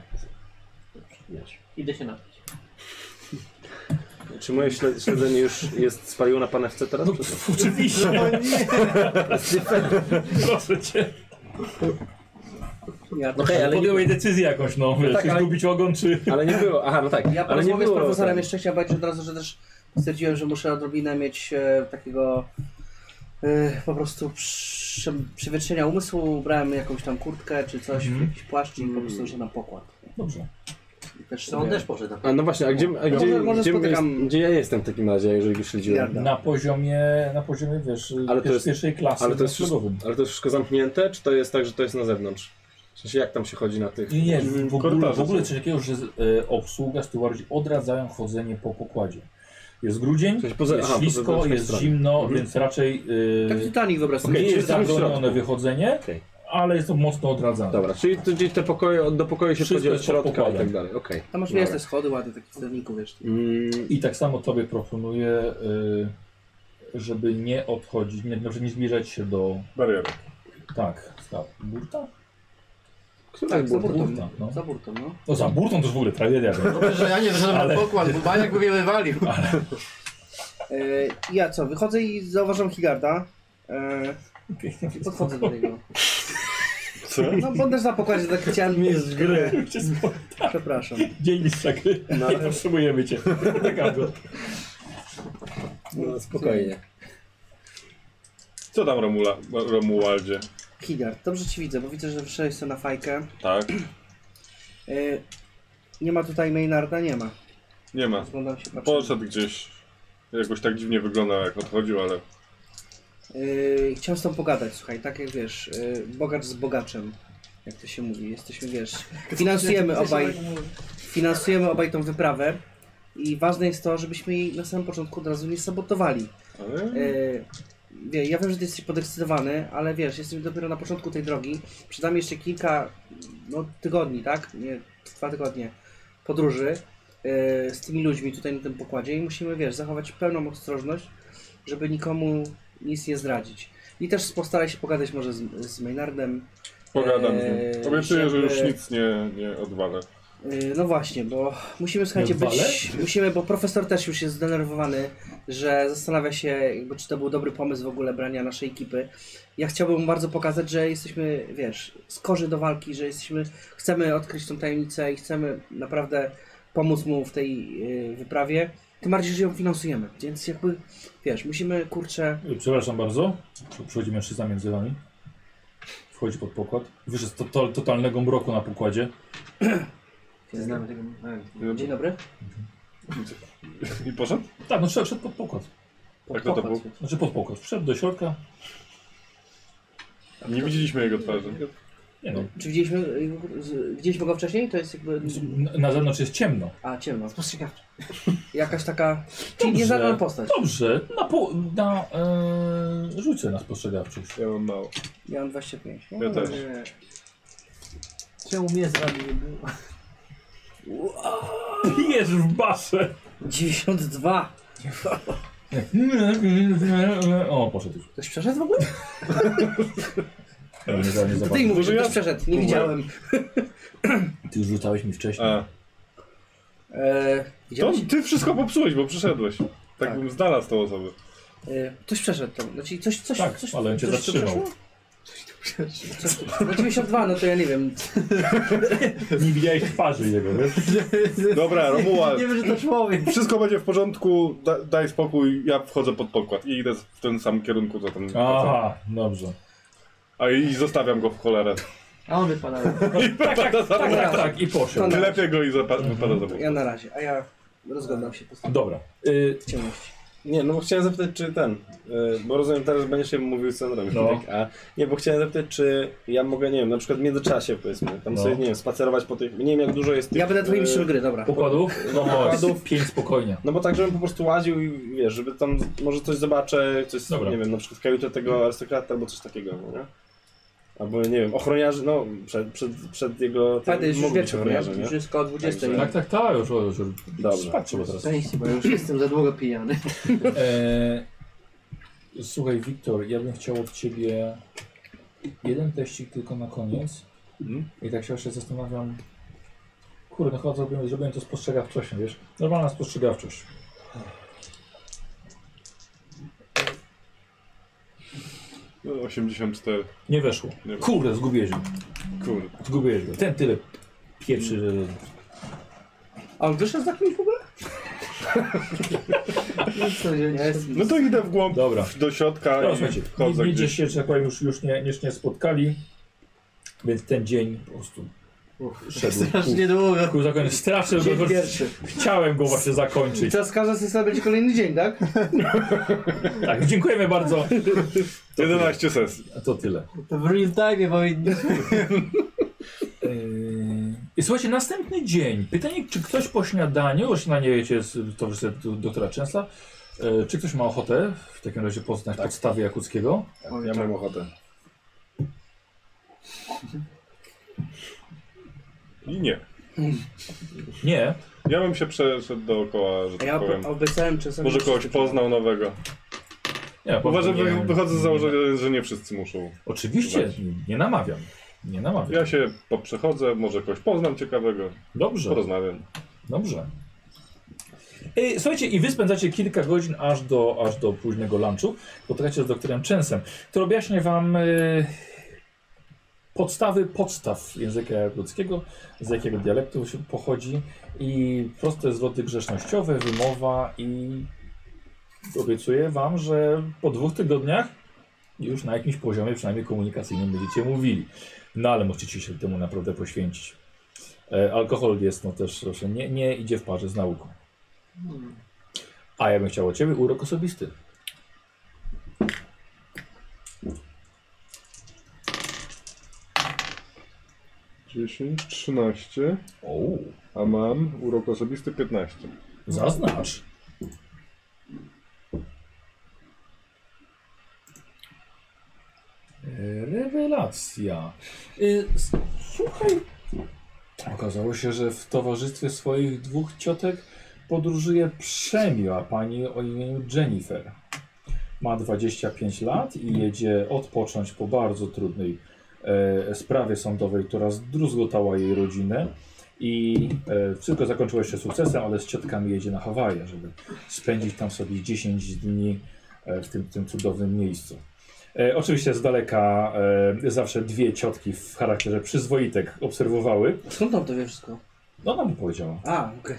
Speaker 6: Wiesz.
Speaker 3: Idę się napić.
Speaker 6: Czy moje śle- śledzenie już jest spaliło na pana chce teraz?
Speaker 1: No, pf, oczywiście. No nie. Proszę cię.
Speaker 5: Ja,
Speaker 6: No hej, ale nie,
Speaker 1: Podjąłeś decyzję jakąś, no. Wiesz,
Speaker 5: tak,
Speaker 1: czy
Speaker 5: ale-
Speaker 1: zgubić ogon, czy...
Speaker 6: ale nie było, aha, no tak.
Speaker 5: ja po
Speaker 6: ale nie
Speaker 5: rozmowie z
Speaker 6: było,
Speaker 5: profesorem
Speaker 6: tak.
Speaker 5: jeszcze chciałem powiedzieć od razu, że też stwierdziłem, że muszę odrobinę mieć e, takiego e, po prostu przy, przywietrzenia umysłu. Brałem jakąś tam kurtkę czy coś,
Speaker 1: Mhm.
Speaker 5: jakiś płaszcz i po prostu, że na pokład.
Speaker 1: Dobrze.
Speaker 5: I też
Speaker 3: To on też poszedł na
Speaker 6: A no właśnie, a gdzie, a gdzie,
Speaker 5: może- może
Speaker 6: gdzie, my jest,
Speaker 5: spotykam-
Speaker 6: gdzie ja jestem w takim razie, jeżeli go śledziłem?
Speaker 5: Hiliarda.
Speaker 1: Na poziomie, na poziomie, wiesz,
Speaker 6: No. Ale to
Speaker 1: pier-
Speaker 6: jest-
Speaker 1: pierwszej klasy no,
Speaker 6: ale to jest
Speaker 5: No,
Speaker 6: wszystko-
Speaker 1: ślubowym.
Speaker 6: Ale to jest wszystko zamknięte, czy to jest tak, że to jest na zewnątrz? W sensie jak tam się chodzi na tych...
Speaker 1: Nie, nie, w ogóle, w
Speaker 4: korytarze
Speaker 1: ogóle
Speaker 4: są.
Speaker 1: coś takiego, że e, obsługa, stewardzi odradzają chodzenie po pokładzie. Jest grudzień,
Speaker 6: W sensie poza-
Speaker 1: jest
Speaker 6: aha, poza
Speaker 1: ślisko,
Speaker 6: zewnętrznej
Speaker 1: jest
Speaker 6: stronie.
Speaker 1: zimno,
Speaker 6: Mhm.
Speaker 1: więc raczej e,
Speaker 5: Tak Titanic wyobraź sobie.
Speaker 1: nie
Speaker 6: czyli
Speaker 1: jest
Speaker 6: jesteśmy w
Speaker 1: zabronione
Speaker 6: środku.
Speaker 1: wychodzenie,
Speaker 6: Okej.
Speaker 1: ale jest to mocno odradzane.
Speaker 6: Dobra, czyli to gdzieś te pokoje, od- do pokoju się
Speaker 1: Wszystko
Speaker 6: wchodzi od
Speaker 1: jest pod
Speaker 6: środka i
Speaker 1: pokładem.
Speaker 6: tak dalej, okej.
Speaker 5: Tam masz
Speaker 6: Dobra.
Speaker 5: wiesz te schody ładne, takich sterników, wiesz.
Speaker 6: Mm,
Speaker 1: I tak samo tobie proponuję, y, żeby nie odchodzić, nie, znaczy nie zbliżać się do.
Speaker 4: Barierę.
Speaker 1: Tak, za burta?
Speaker 6: która
Speaker 5: Tak, za
Speaker 6: była?
Speaker 5: burtą.
Speaker 1: Burta, no.
Speaker 5: Za burtą, no.
Speaker 1: No za burtą to już w ogóle tragedia. no.
Speaker 9: Dobrze, że ja nie wyszedłem
Speaker 1: Ale-
Speaker 9: na pokład, bo Baniak by mnie wywalił.
Speaker 5: E, ja co, wychodzę i zauważam Higarda. E,
Speaker 1: Pięknie.
Speaker 5: i podchodzę do niego.
Speaker 4: Co?
Speaker 5: No bo też na pokładzie tak chciałem... Nie z gry. Przepraszam.
Speaker 1: Dzień mistrza gry. Nie potrzebujemy cię. Taka była.
Speaker 6: No, spokojnie.
Speaker 4: Co tam Romula, Romualdzie?
Speaker 5: Higard, dobrze ci widzę, bo widzę, że wyszedłeś sobie na fajkę.
Speaker 4: Tak?
Speaker 5: E, nie ma tutaj Maynarda, nie ma.
Speaker 4: Nie ma.
Speaker 5: Rozglądam się, patrzę.
Speaker 4: Poszedł gdzieś. Jakoś tak dziwnie wyglądał jak odchodził, ale
Speaker 5: Yy, chciałem z tobą pogadać, słuchaj, tak jak wiesz, yy, bogacz z bogaczem, jak to się mówi, jesteśmy, wiesz, finansujemy obaj, finansujemy obaj tą wyprawę i ważne jest to, żebyśmy jej na samym początku od razu nie sabotowali.
Speaker 4: Ale...
Speaker 5: Yy, wie, ja wiem, że ty jesteś podekscytowany, ale wiesz, jesteśmy dopiero na początku tej drogi, przed nami jeszcze kilka, no, tygodni, tak, nie, dwa tygodnie podróży yy, z tymi ludźmi tutaj na tym pokładzie i musimy, wiesz, zachować pełną ostrożność, żeby nikomu nic nie zdradzić. I też postaraj się pogadać może z, z Maynardem.
Speaker 4: Pogadam z
Speaker 5: Eee,
Speaker 4: nim. Obiecuję, że
Speaker 5: żeby-
Speaker 4: już nic nie, nie odwalę.
Speaker 5: Yy, no właśnie, bo musimy, słuchajcie, być... Musimy, bo profesor też już jest zdenerwowany, że zastanawia się, jakby, czy to był dobry pomysł w ogóle brania naszej ekipy. Ja chciałbym mu bardzo pokazać, że jesteśmy, wiesz, skorzy do walki, że jesteśmy... Chcemy odkryć tą tajemnicę i chcemy naprawdę pomóc mu w tej yy, wyprawie. Tym bardziej, że ją finansujemy, więc jakby, wiesz, musimy, kurczę...
Speaker 1: Przepraszam bardzo. Tu Przychodzi mężczyzna między wami. Wchodzi pod pokład. Wyszedł z to, totalnego mroku na pokładzie.
Speaker 3: Nie znamy tego.
Speaker 5: Dzień dobry.
Speaker 4: I poszedł?
Speaker 1: Tak, no wszedł wszedł pod pokład.
Speaker 4: Tak to to był?
Speaker 1: Znaczy pod pokład. Wszedł do środka.
Speaker 4: Nie widzieliśmy jego twarzy.
Speaker 1: Nie no,
Speaker 5: Czy widzieliśmy, y, z- widzieliśmy go wcześniej? To jest jakby...
Speaker 1: na- na zewnątrz jest ciemno.
Speaker 5: A, ciemno.
Speaker 3: Spostrzegawczy.
Speaker 5: Jakaś taka... Czyli nieznana postać.
Speaker 1: Dobrze, na, po, na e, rzucę na spostrzegawczość.
Speaker 4: Ja mam mało.
Speaker 5: Ja mam 25. No.
Speaker 4: Ja też.
Speaker 3: Czemu mnie z wami nie było?
Speaker 1: Pijesz w baszę!
Speaker 5: 92!
Speaker 1: O, poszedł już.
Speaker 5: Ktoś przeszedł w ogóle?
Speaker 1: Ja nie, nie
Speaker 5: To
Speaker 1: zobaczę.
Speaker 5: ty mi mówisz, że
Speaker 4: ja-
Speaker 5: ktoś przeszedł. Nie
Speaker 4: Próbuję.
Speaker 5: widziałem.
Speaker 1: Ty już rzucałeś mi wcześniej.
Speaker 4: A,
Speaker 5: E,
Speaker 4: to
Speaker 5: widziałeś?
Speaker 4: ty wszystko popsułeś, bo przyszedłeś. Tak,
Speaker 5: Tak.
Speaker 4: bym znalazł tą osobę.
Speaker 5: E, ktoś przeszedł tam. Znaczy coś, coś,
Speaker 1: Tak,
Speaker 5: coś,
Speaker 1: ale on cię
Speaker 5: coś tu
Speaker 1: zatrzymał.
Speaker 5: przeszło? Coś tu przeszło. No 92, no to ja nie wiem.
Speaker 1: Nie widziałeś twarzy jego, wiesz?
Speaker 4: Dobra, Romuald.
Speaker 3: Nie wiem, że to człowiek.
Speaker 4: Wszystko będzie w porządku, da, daj spokój, ja wchodzę pod pokład i idę w tym samym kierunku, co tam wchodzę.
Speaker 1: Aha, dobrze.
Speaker 4: A i zostawiam go w cholerę.
Speaker 3: A on wypada.
Speaker 1: Tak, tak, tak, tak, tak, tak. i
Speaker 5: To
Speaker 1: poszedł.
Speaker 5: na-
Speaker 4: Lepiej go i zapa- wypada za
Speaker 5: Ja na razie, a ja rozglądam się po prostu
Speaker 1: Dobra. Y,
Speaker 5: w ciemności.
Speaker 6: Nie, no bo chciałem zapytać, czy ten, y, bo rozumiem teraz, że będziesz się mówił z Sandrem,
Speaker 1: No.
Speaker 6: tak, a nie, bo chciałem zapytać, czy ja mogę, nie wiem, na przykład w międzyczasie, powiedzmy, tam
Speaker 1: No.
Speaker 6: sobie, nie wiem, spacerować po tych, nie wiem, jak dużo jest tych...
Speaker 5: Ja będę twoim
Speaker 6: y,
Speaker 5: mistrzem gry, dobra.
Speaker 1: pokładów? No,
Speaker 6: Pokładów.
Speaker 1: chodź. Pięć spokojnie.
Speaker 6: No bo tak, żebym po prostu łaził i wiesz, żeby tam może coś zobaczę, coś,
Speaker 1: Dobra.
Speaker 6: nie wiem, na przykład kajutę tego arystokrata albo coś takiego, no nie?
Speaker 2: Albo nie wiem, ochroniarzy, no przed, przed, przed jego... tym
Speaker 5: Pamiętaj, jest już
Speaker 2: mogą być
Speaker 5: wieczór, nie?
Speaker 2: ochroniarze,
Speaker 5: Już jest koło 20.
Speaker 2: Także-
Speaker 1: Tak, tak, tak, już, już, już.
Speaker 2: Dobrze.
Speaker 1: Spać trzeba teraz.
Speaker 3: Szczęście, bo ja już jestem za długo pijany.
Speaker 1: E, słuchaj, Wiktor, ja bym chciał od ciebie jeden teścik tylko na koniec. I tak się jeszcze zastanawiam. Kurde, no chyba zrobiłem, zrobiłem to spostrzegawczością, wiesz? Normalna spostrzegawczość.
Speaker 4: No, 84.
Speaker 1: Nie weszło.
Speaker 4: Nie weszło.
Speaker 1: Kurde, zgubiłeś go.
Speaker 4: Kurde.
Speaker 1: Zgubiłeś go. Ten tyle pieprzy, że...
Speaker 5: A on wyszedł za kimś w ogóle?
Speaker 4: No to idę w głąb
Speaker 1: Dobra.
Speaker 4: do środka
Speaker 1: No,
Speaker 4: i
Speaker 1: słuchajcie,
Speaker 4: chodzę
Speaker 1: nie- nigdzie
Speaker 4: gdzieś.
Speaker 1: się, że tak powiem, już, już nie, już nie spotkali, więc ten dzień po prostu szedł.
Speaker 10: Strasznie długo.
Speaker 1: Kurde, zakończę. Strasznie,
Speaker 5: Dzień
Speaker 1: bo-
Speaker 5: pierwszy. Tak.
Speaker 1: chciałem go właśnie
Speaker 5: I
Speaker 1: zakończyć.
Speaker 5: teraz każda sesja będzie kolejny dzień, tak?
Speaker 1: Tak, dziękujemy bardzo.
Speaker 4: 11 sesji.
Speaker 1: To tyle.
Speaker 3: To w real time powinni.
Speaker 1: Yy, I słuchajcie, następny dzień. Pytanie, czy ktoś po śniadaniu, o śniadanie wiecie z towarzystwem do- doktora Częsla, e, czy ktoś ma ochotę w takim razie poznać podstawy Jakuckiego?
Speaker 4: Ja mam ochotę. I nie.
Speaker 1: Nie.
Speaker 4: Ja bym się przeszedł dookoła, że
Speaker 5: A
Speaker 4: tak
Speaker 5: ja
Speaker 4: powiem.
Speaker 5: ob- obiecałem czasem.
Speaker 4: Może
Speaker 5: że-
Speaker 4: kogoś poznał nowego.
Speaker 1: nie
Speaker 4: Uważam,
Speaker 1: nie,
Speaker 4: że
Speaker 1: nie.
Speaker 4: wychodzę z założenia, że nie wszyscy muszą.
Speaker 1: Oczywiście, nie namawiam. Nie namawiam.
Speaker 4: Ja się poprzechodzę, może kogoś poznam ciekawego,
Speaker 5: Tak.
Speaker 1: Dobrze.
Speaker 4: porozmawiam.
Speaker 1: Dobrze. Ej, Słuchajcie, i wy spędzacie kilka godzin aż do, aż do późnego lunchu. Spotykacie się z doktorem Częsem, który objaśnia wam e, podstawy podstaw języka ludzkiego, z jakiego dialektu się pochodzi i proste zwroty grzecznościowe, wymowa i obiecuję wam, że po dwóch tygodniach już na jakimś poziomie, przynajmniej komunikacyjnym, będziecie mówili. No ale musicie się temu naprawdę poświęcić. E, alkohol jest no też, proszę, nie, nie idzie w parze z nauką. A ja bym chciał o ciebie urok osobisty.
Speaker 4: Dziesięć, 13,
Speaker 1: O,
Speaker 4: a mam urok osobisty 15.
Speaker 1: zaznacz. E, Rewelacja. Y, s- Słuchaj. Okazało się, że w towarzystwie swoich dwóch ciotek podróżuje przemiła pani o imieniu Jennifer. Ma 25 lat i jedzie odpocząć po bardzo trudnej e, sprawie sądowej, która zdruzgotała jej rodzinę. I e, wszystko zakończyło się sukcesem, ale z ciotkami jedzie na Hawaje, żeby spędzić tam sobie 10 dni e, w tym, tym cudownym miejscu. E, oczywiście z daleka e, zawsze dwie ciotki w charakterze przyzwoitek obserwowały.
Speaker 5: Skąd on to wie wszystko?
Speaker 1: No ona mi powiedziała.
Speaker 5: A, okej.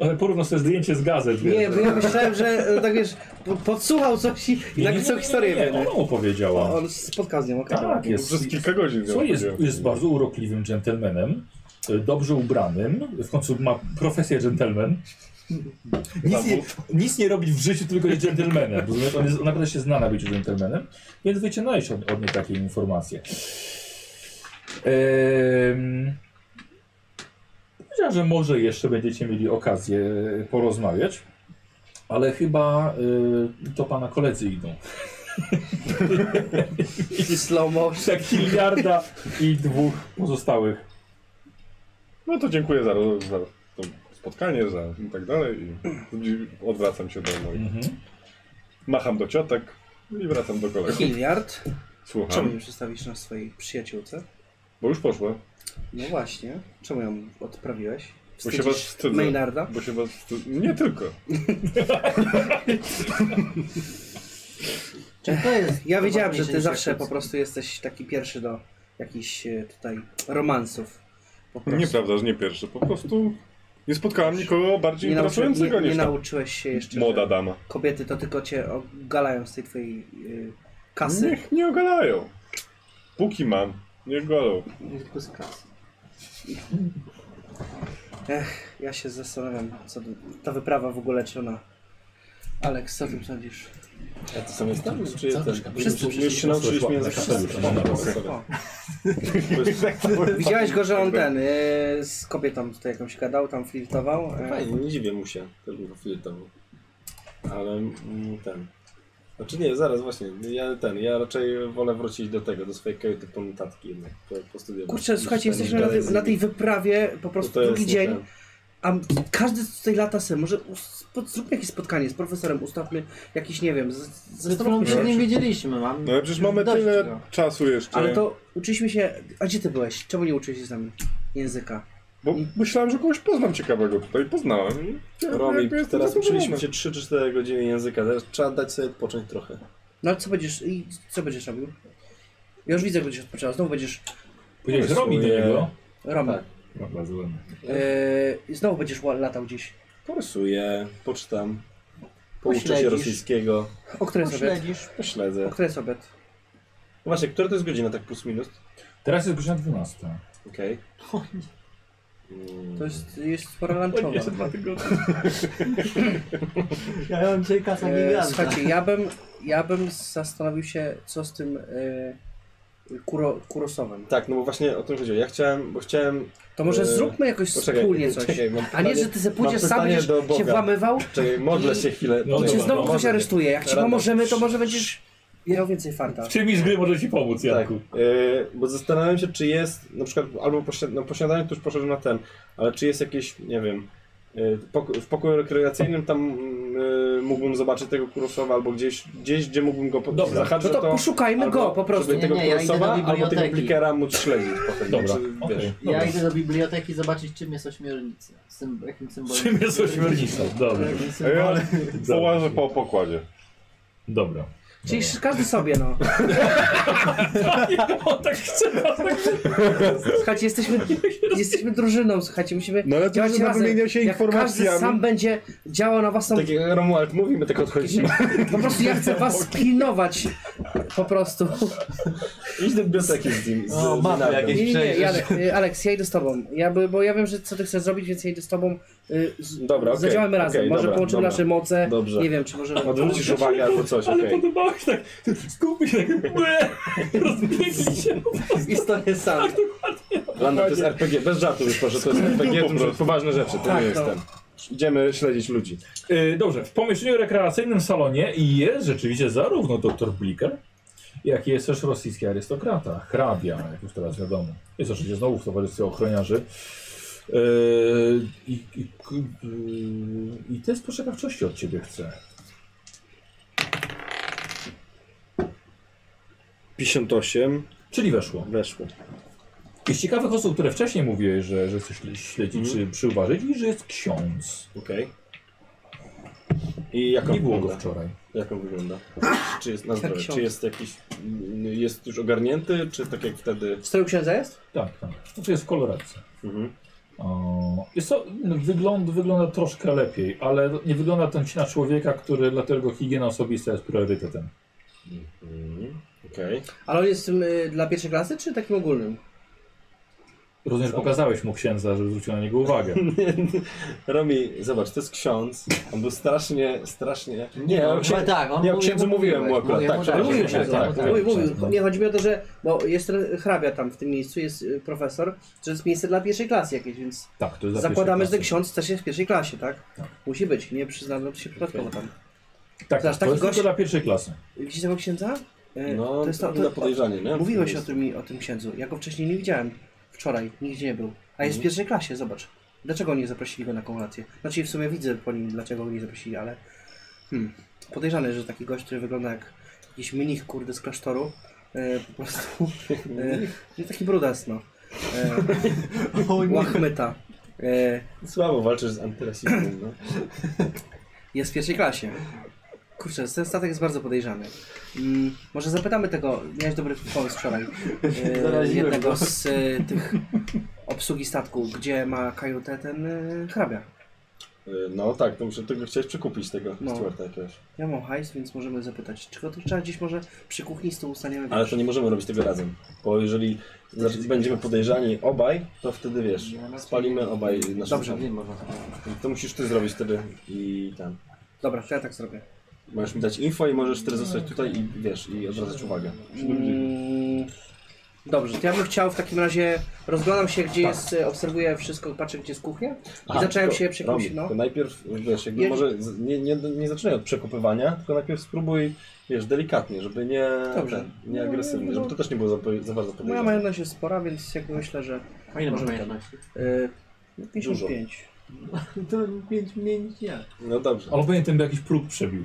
Speaker 1: Ale E, porówno sobie zdjęcie z gazet.
Speaker 5: Nie,
Speaker 1: wiesz.
Speaker 5: bo ja myślałem, że e, tak wiesz, po- podsłuchał coś i i
Speaker 1: Nie,
Speaker 5: tak
Speaker 1: nie,
Speaker 5: całą
Speaker 1: nie,
Speaker 5: historię
Speaker 1: nie,
Speaker 5: wie, nie?
Speaker 1: Ona mu powiedziała.
Speaker 5: On spotkał z nią, okej.
Speaker 1: Tak, jest.
Speaker 4: Przez kilka godzin.
Speaker 1: Słuchaj, jest,
Speaker 4: chodziłem.
Speaker 1: jest bardzo urokliwym dżentelmenem, e, dobrze ubranym, w końcu ma profesję dżentelmen. Nic nie, nic nie robi w życiu, tylko jest dżentelmenem. Rozumiesz? On, jest, on naprawdę się zna na byciu dżentelmenem, więc wyciągnąłeś od, od niej takie informacje. Ehm, Powiedziała, że może jeszcze będziecie mieli okazję porozmawiać, ale chyba e, to pana koledzy idą.
Speaker 5: I slow motion.
Speaker 1: Tak Hilliarda i dwóch pozostałych
Speaker 4: No to dziękuję za, za to spotkanie, za i tak dalej. I odwracam się do moich.
Speaker 1: Mhm.
Speaker 4: Macham do ciotek i wracam do kolegów.
Speaker 5: Hilliard. Czemu
Speaker 4: Słucham,
Speaker 5: nie przedstawisz nas swojej przyjaciółce?
Speaker 4: bo już poszło.
Speaker 5: No właśnie. Czemu ją odprawiłeś?
Speaker 4: Bo się was
Speaker 5: Wstydzisz
Speaker 4: wstydzę.
Speaker 5: Maynarda?
Speaker 4: Bo się was wstyd... Nie tylko.
Speaker 3: Czy to jest?
Speaker 5: Ja wiedziałem, że
Speaker 3: ważniejsze
Speaker 5: ty
Speaker 3: niż
Speaker 5: zawsze po
Speaker 3: jakoś-
Speaker 5: prostu jesteś taki pierwszy do jakichś e, tutaj romansów. Po prostu.
Speaker 4: Nieprawda, że nie pierwszy. Po prostu nie spotkałam nikogo bardziej
Speaker 5: Nie, nauczy, nie,
Speaker 4: interesującego
Speaker 5: nie
Speaker 4: niż ta
Speaker 5: nauczyłeś się jeszcze,
Speaker 4: młoda
Speaker 5: że
Speaker 4: dama.
Speaker 5: kobiety to tylko cię ogalają z tej twojej y, kasy.
Speaker 4: Niech nie ogalają. Póki mam, nie golą.
Speaker 3: Tylko z kasy.
Speaker 5: Ja się zastanawiam, co tu- ta wyprawa w ogóle, czy ona... Alex, co ty sądzisz?
Speaker 7: Ja to sam
Speaker 6: tak
Speaker 7: jestem? Czy jestem?
Speaker 5: Wszyscy
Speaker 7: Już się nauczyliśmy języka
Speaker 1: Wszyscy.
Speaker 5: O. Widziałeś go, że on ten, y, z kobietą tutaj jakąś gadał, tam flirtował. y,
Speaker 7: Fajnie, nie dziwię mu się. Też bym go flirtował. Ale mm, ten...
Speaker 6: Znaczy nie, zaraz właśnie, ja ten, ja raczej wolę wrócić do tego, do swojej kajuty po notatki jednak, po, po studiach.
Speaker 5: Kurczę,
Speaker 6: Niż
Speaker 5: słuchajcie,
Speaker 6: ten-
Speaker 5: jesteśmy na, tej- na tej wyprawie, po prostu
Speaker 6: To jest
Speaker 5: drugi
Speaker 6: nie
Speaker 5: dzień.
Speaker 6: ten.
Speaker 5: A m- każdy z tutaj lata se, może us- pod- zróbmy jakieś spotkanie z profesorem, ustawmy jakieś, nie wiem, z-
Speaker 3: Ale to
Speaker 5: zastanówmy się.
Speaker 3: przed nim wiedzieliśmy, mam.
Speaker 4: No ale przecież mamy
Speaker 3: dość
Speaker 4: tyle
Speaker 3: tego.
Speaker 4: czasu jeszcze.
Speaker 5: Ale to uczyliśmy się, a gdzie ty byłeś? Czemu nie uczyłeś się z nami języka?
Speaker 4: Bo myślałem, że kogoś poznam ciekawego tutaj. Poznałem i
Speaker 6: Robi,
Speaker 4: jakby jestem
Speaker 6: teraz
Speaker 4: zadowolony.
Speaker 6: uczyliśmy się 3 czy 4 godziny języka, teraz trzeba dać sobie odpocząć trochę.
Speaker 5: No ale co będziesz, i co będziesz robił? Ja już widzę, jak będziesz odpoczywał, znowu będziesz
Speaker 1: Powiedziałeś, robi do
Speaker 6: Rysuję.
Speaker 1: niego.
Speaker 5: Roman.
Speaker 6: Tak.
Speaker 1: Dobra, złem.
Speaker 5: Yy, i znowu będziesz ła- latał gdzieś.
Speaker 6: Porysuję, poczytam, pouczę się
Speaker 3: Pośledzisz.
Speaker 6: rosyjskiego,
Speaker 5: O której jest obiad?
Speaker 3: Śledzisz.
Speaker 6: pośledzę.
Speaker 5: O której jest obiad?
Speaker 6: No Właśnie, która to jest godzina, tak plus minus?
Speaker 1: Teraz jest godzina 12.
Speaker 6: Okej.
Speaker 5: To jest, jest spora lunchowa.
Speaker 3: Ja mam dzisiaj kasa
Speaker 1: E,
Speaker 5: Yy,
Speaker 3: giganta.
Speaker 5: słuchajcie, ja bym, ja bym zastanowił się, co z tym yy, kuro, kurosowem.
Speaker 6: Tak, no bo właśnie o tym chodziło. Ja chciałem, bo chciałem...
Speaker 5: To może
Speaker 6: Yy,
Speaker 5: zróbmy jakoś
Speaker 6: Poczekaj,
Speaker 5: wspólnie coś.
Speaker 6: Czekaj, mam
Speaker 5: A nie,
Speaker 6: pytanie-
Speaker 5: że ty se pójdziesz
Speaker 6: mam
Speaker 5: sam,
Speaker 6: pytanie
Speaker 5: będziesz
Speaker 6: do
Speaker 5: się
Speaker 6: Boga.
Speaker 5: włamywał
Speaker 6: Czekaj, modlę się chwilę.
Speaker 1: No
Speaker 5: i cię
Speaker 1: dobra,
Speaker 5: znowu
Speaker 1: no,
Speaker 5: ktoś
Speaker 1: dobra.
Speaker 5: aresztuje. Jak ci
Speaker 6: Rada.
Speaker 5: pomożemy, to może będziesz miał więcej farta.
Speaker 1: W czymś gry może ci pomóc,
Speaker 6: Tak,
Speaker 1: Janku.
Speaker 6: yy, bo zastanawiam się, czy jest, na przykład, albo pośle- no, posiadanie to już poszedłem na ten, ale czy jest jakieś, nie wiem, yy, poko- w pokoju rekreacyjnym tam yy, mógłbym zobaczyć tego Kurosawa, albo gieś, gdzieś, gdzie mógłbym go po-
Speaker 1: Dobra,
Speaker 6: zahaczyć,
Speaker 5: No to poszukajmy
Speaker 6: albo
Speaker 5: go po prostu.
Speaker 6: Żeby
Speaker 3: Nie,
Speaker 6: tego
Speaker 3: nie, ja idę do
Speaker 6: Kurosawa, albo tego
Speaker 3: biblioteki.
Speaker 6: Plikera móc śledzić potem.
Speaker 1: Dobra,
Speaker 6: Czy,
Speaker 1: okej.
Speaker 6: wiesz,
Speaker 1: Dobra.
Speaker 3: Ja idę do biblioteki zobaczyć, czym jest ośmiornica. Z tym, jakim symbolem.
Speaker 1: Czym jest ośmiornica? E, Dobra.
Speaker 3: Jakim
Speaker 4: A
Speaker 3: symbolem.
Speaker 4: ja połażę po pokładzie.
Speaker 1: Dobra.
Speaker 5: Czyli każdy sobie, no.
Speaker 1: On tak chce.
Speaker 5: Słuchajcie, jesteśmy, jesteśmy drużyną, słuchajcie, musimy
Speaker 4: No ale
Speaker 5: działać
Speaker 4: drużyna
Speaker 5: razem.
Speaker 4: wymienia się
Speaker 5: Jak każdy
Speaker 4: informacjami.
Speaker 5: sam będzie działał na własną...
Speaker 6: Tak jak Romuald mówi, my tak odchodzimy.
Speaker 5: Po prostu ja chcę was pilnować. Po prostu.
Speaker 6: Idź do biblioteki z nim. Z,
Speaker 10: O, mapy
Speaker 6: Nardą.
Speaker 10: jakieś.
Speaker 5: Nie, nie, nie,
Speaker 10: Przejrzysz.
Speaker 5: Janek, y, Aleks, ja idę z tobą. Ja, by- bo ja wiem, że co ty chcesz zrobić, więc ja idę z tobą. y, Z,
Speaker 6: Dobra, okej,
Speaker 5: Zadziałamy razem,
Speaker 6: okej,
Speaker 5: może
Speaker 6: dobra,
Speaker 5: połączymy
Speaker 6: dobra.
Speaker 5: nasze moce.
Speaker 6: Dobrze.
Speaker 5: Nie wiem, czy możemy...
Speaker 6: Odwrócisz uwagę albo coś,
Speaker 1: Ale
Speaker 6: okej.
Speaker 1: podobało się tak. Skupi się tak. Łe! Rozbiegli się. Tak,
Speaker 5: I stoję sam.
Speaker 6: Lando, to jest RPG, bez żartów już proszę, to jest RPG, to są poważne rzeczy, to
Speaker 5: Tak,
Speaker 6: nie
Speaker 5: no.
Speaker 6: jestem. Idziemy śledzić ludzi.
Speaker 1: E, Dobrze, w pomieszczeniu rekreacyjnym salonie jest rzeczywiście zarówno doktor Bliker, jak i jest też rosyjski arystokrata, hrabia, jak już teraz wiadomo. Jest oczywiście znowu w towarzystwie ochroniarzy. E, I, i, k- y, I test poczekawczości od ciebie chce.
Speaker 6: 58,
Speaker 1: Czyli weszło.
Speaker 6: weszło.
Speaker 1: I z ciekawych osób, które wcześniej mówiłeś, że, że chcesz śledzić czy przyuważyć, i że jest ksiądz.
Speaker 6: Okej. I jak on
Speaker 1: Nie było go
Speaker 6: wygląda?
Speaker 1: wczoraj.
Speaker 6: Jak on wygląda? Czy jest na zdrowie?
Speaker 5: ksiądz.
Speaker 6: Czy jest jakiś... mm, Jest już ogarnięty, czy tak jak wtedy?
Speaker 5: W stroju księdza jest?
Speaker 1: Tak, tak. No to jest w koloradce.
Speaker 6: Mhm.
Speaker 1: O, Jest to, no, wygląd, wygląda troszkę lepiej, ale nie wygląda ten na człowieka, który dla którego higiena osobista jest priorytetem.
Speaker 6: Mhm. Okej.
Speaker 5: Ale on jest y, dla pierwszej klasy, czy takim ogólnym?
Speaker 1: Rozumiem, że pokazałeś mu księdza, żeby zwrócił na niego uwagę.
Speaker 6: Romi, zobacz, to jest ksiądz. On był strasznie, strasznie... Nie, o
Speaker 3: Chyba
Speaker 6: księ...
Speaker 3: tak, on
Speaker 6: nie, o
Speaker 3: mówi-
Speaker 6: księdzu mówiłem mu akurat,
Speaker 3: mówię
Speaker 6: tak,
Speaker 3: mu
Speaker 6: przepraszam,
Speaker 5: mówił
Speaker 6: księdzu,
Speaker 5: księdza,
Speaker 6: tak,
Speaker 1: tak.
Speaker 5: Mówi, mówił,
Speaker 1: no.
Speaker 5: nie, chodzi mi o to, że bo jest ten hrabia tam w tym miejscu, jest y, profesor, że jest miejsce dla pierwszej klasy jakieś, więc
Speaker 1: Tak, to jest dla
Speaker 5: zakładamy,
Speaker 1: pierwszej
Speaker 5: że ten
Speaker 1: klasy.
Speaker 5: ksiądz też jest w pierwszej klasie, tak? Musi być, nie przyznano to się przypadkowo tam.
Speaker 1: Tak,
Speaker 5: Zobacz,
Speaker 1: to
Speaker 5: taki
Speaker 1: jest
Speaker 5: gość-
Speaker 1: tylko dla pierwszej klasy.
Speaker 5: Widzisz tego księdza? Y,
Speaker 6: No, to jest to, na podejrzanie, nie?
Speaker 5: Mówiłeś o
Speaker 6: Jest.
Speaker 5: tym, o tym księdzu. Ja go wcześniej nie widziałem. Wczoraj nigdzie nie był. A jest w pierwszej klasie, zobacz. Dlaczego nie zaprosili go na kolację? Znaczy w sumie widzę po nim, dlaczego go nie zaprosili, ale... Hmm. Podejrzane, że taki gość, który wygląda jak jakiś mnich, kurde, z klasztoru. E, po prostu... E, no taki brudas, no. E, łachmyta. E,
Speaker 6: Słabo walczysz z antyrasizmem, no.
Speaker 5: jest w pierwszej klasie. Kurczę, ten statek jest bardzo podejrzany. Mm, może zapytamy tego, miałeś dobry pomysł wczoraj, e,
Speaker 10: Zaraziłem
Speaker 5: jednego
Speaker 10: go.
Speaker 5: z e, tych obsługi statku, gdzie ma kajutę ten e, hrabia.
Speaker 6: Y, No tak, to muszę tego chciałeś przekupić tego
Speaker 5: No.
Speaker 6: Stewarta jakiegoś.
Speaker 5: Ja mam hajs, więc możemy zapytać, czy go tu trzeba gdzieś może przy kuchni z tyłu ustaniemy.
Speaker 6: Ale to nie możemy robić tego razem, bo jeżeli znaczy, będziemy podejrzani obaj, no to wtedy wiesz, spalimy obaj naszą
Speaker 5: Dobrze.
Speaker 6: szafę.
Speaker 3: Nie można.
Speaker 6: To musisz ty zrobić wtedy i tam.
Speaker 5: Dobra, to ja tak zrobię.
Speaker 6: Możesz mi dać info i możesz wtedy zostać tutaj i wiesz, i odwracać uwagę.
Speaker 5: Mm, Dobrze, to ja bym chciał w takim razie, rozglądam się gdzie jest, y, obserwuję wszystko, patrzę gdzie jest kuchnia i zacząłem
Speaker 6: Tak. to-
Speaker 5: się przy
Speaker 6: Robi,
Speaker 5: jakimś, no.
Speaker 6: To najpierw, wiesz, jakby
Speaker 5: Ja-
Speaker 6: może z- nie, nie, nie zaczynaj od przekopywania, tylko najpierw spróbuj, wiesz, delikatnie, żeby nie,
Speaker 5: Dobrze. No,
Speaker 6: ten, nie agresywnie, żeby to też nie było za, za bardzo
Speaker 5: Moja
Speaker 6: podejrzane.
Speaker 5: majątność jest spora, więc jakby myślę, że
Speaker 3: A ile masz
Speaker 5: Może
Speaker 3: umiejętności?
Speaker 5: y, 55.
Speaker 3: To 5 mniej niż ja.
Speaker 6: No dobrze.
Speaker 1: Ale powinien ten by jakiś próg przebił.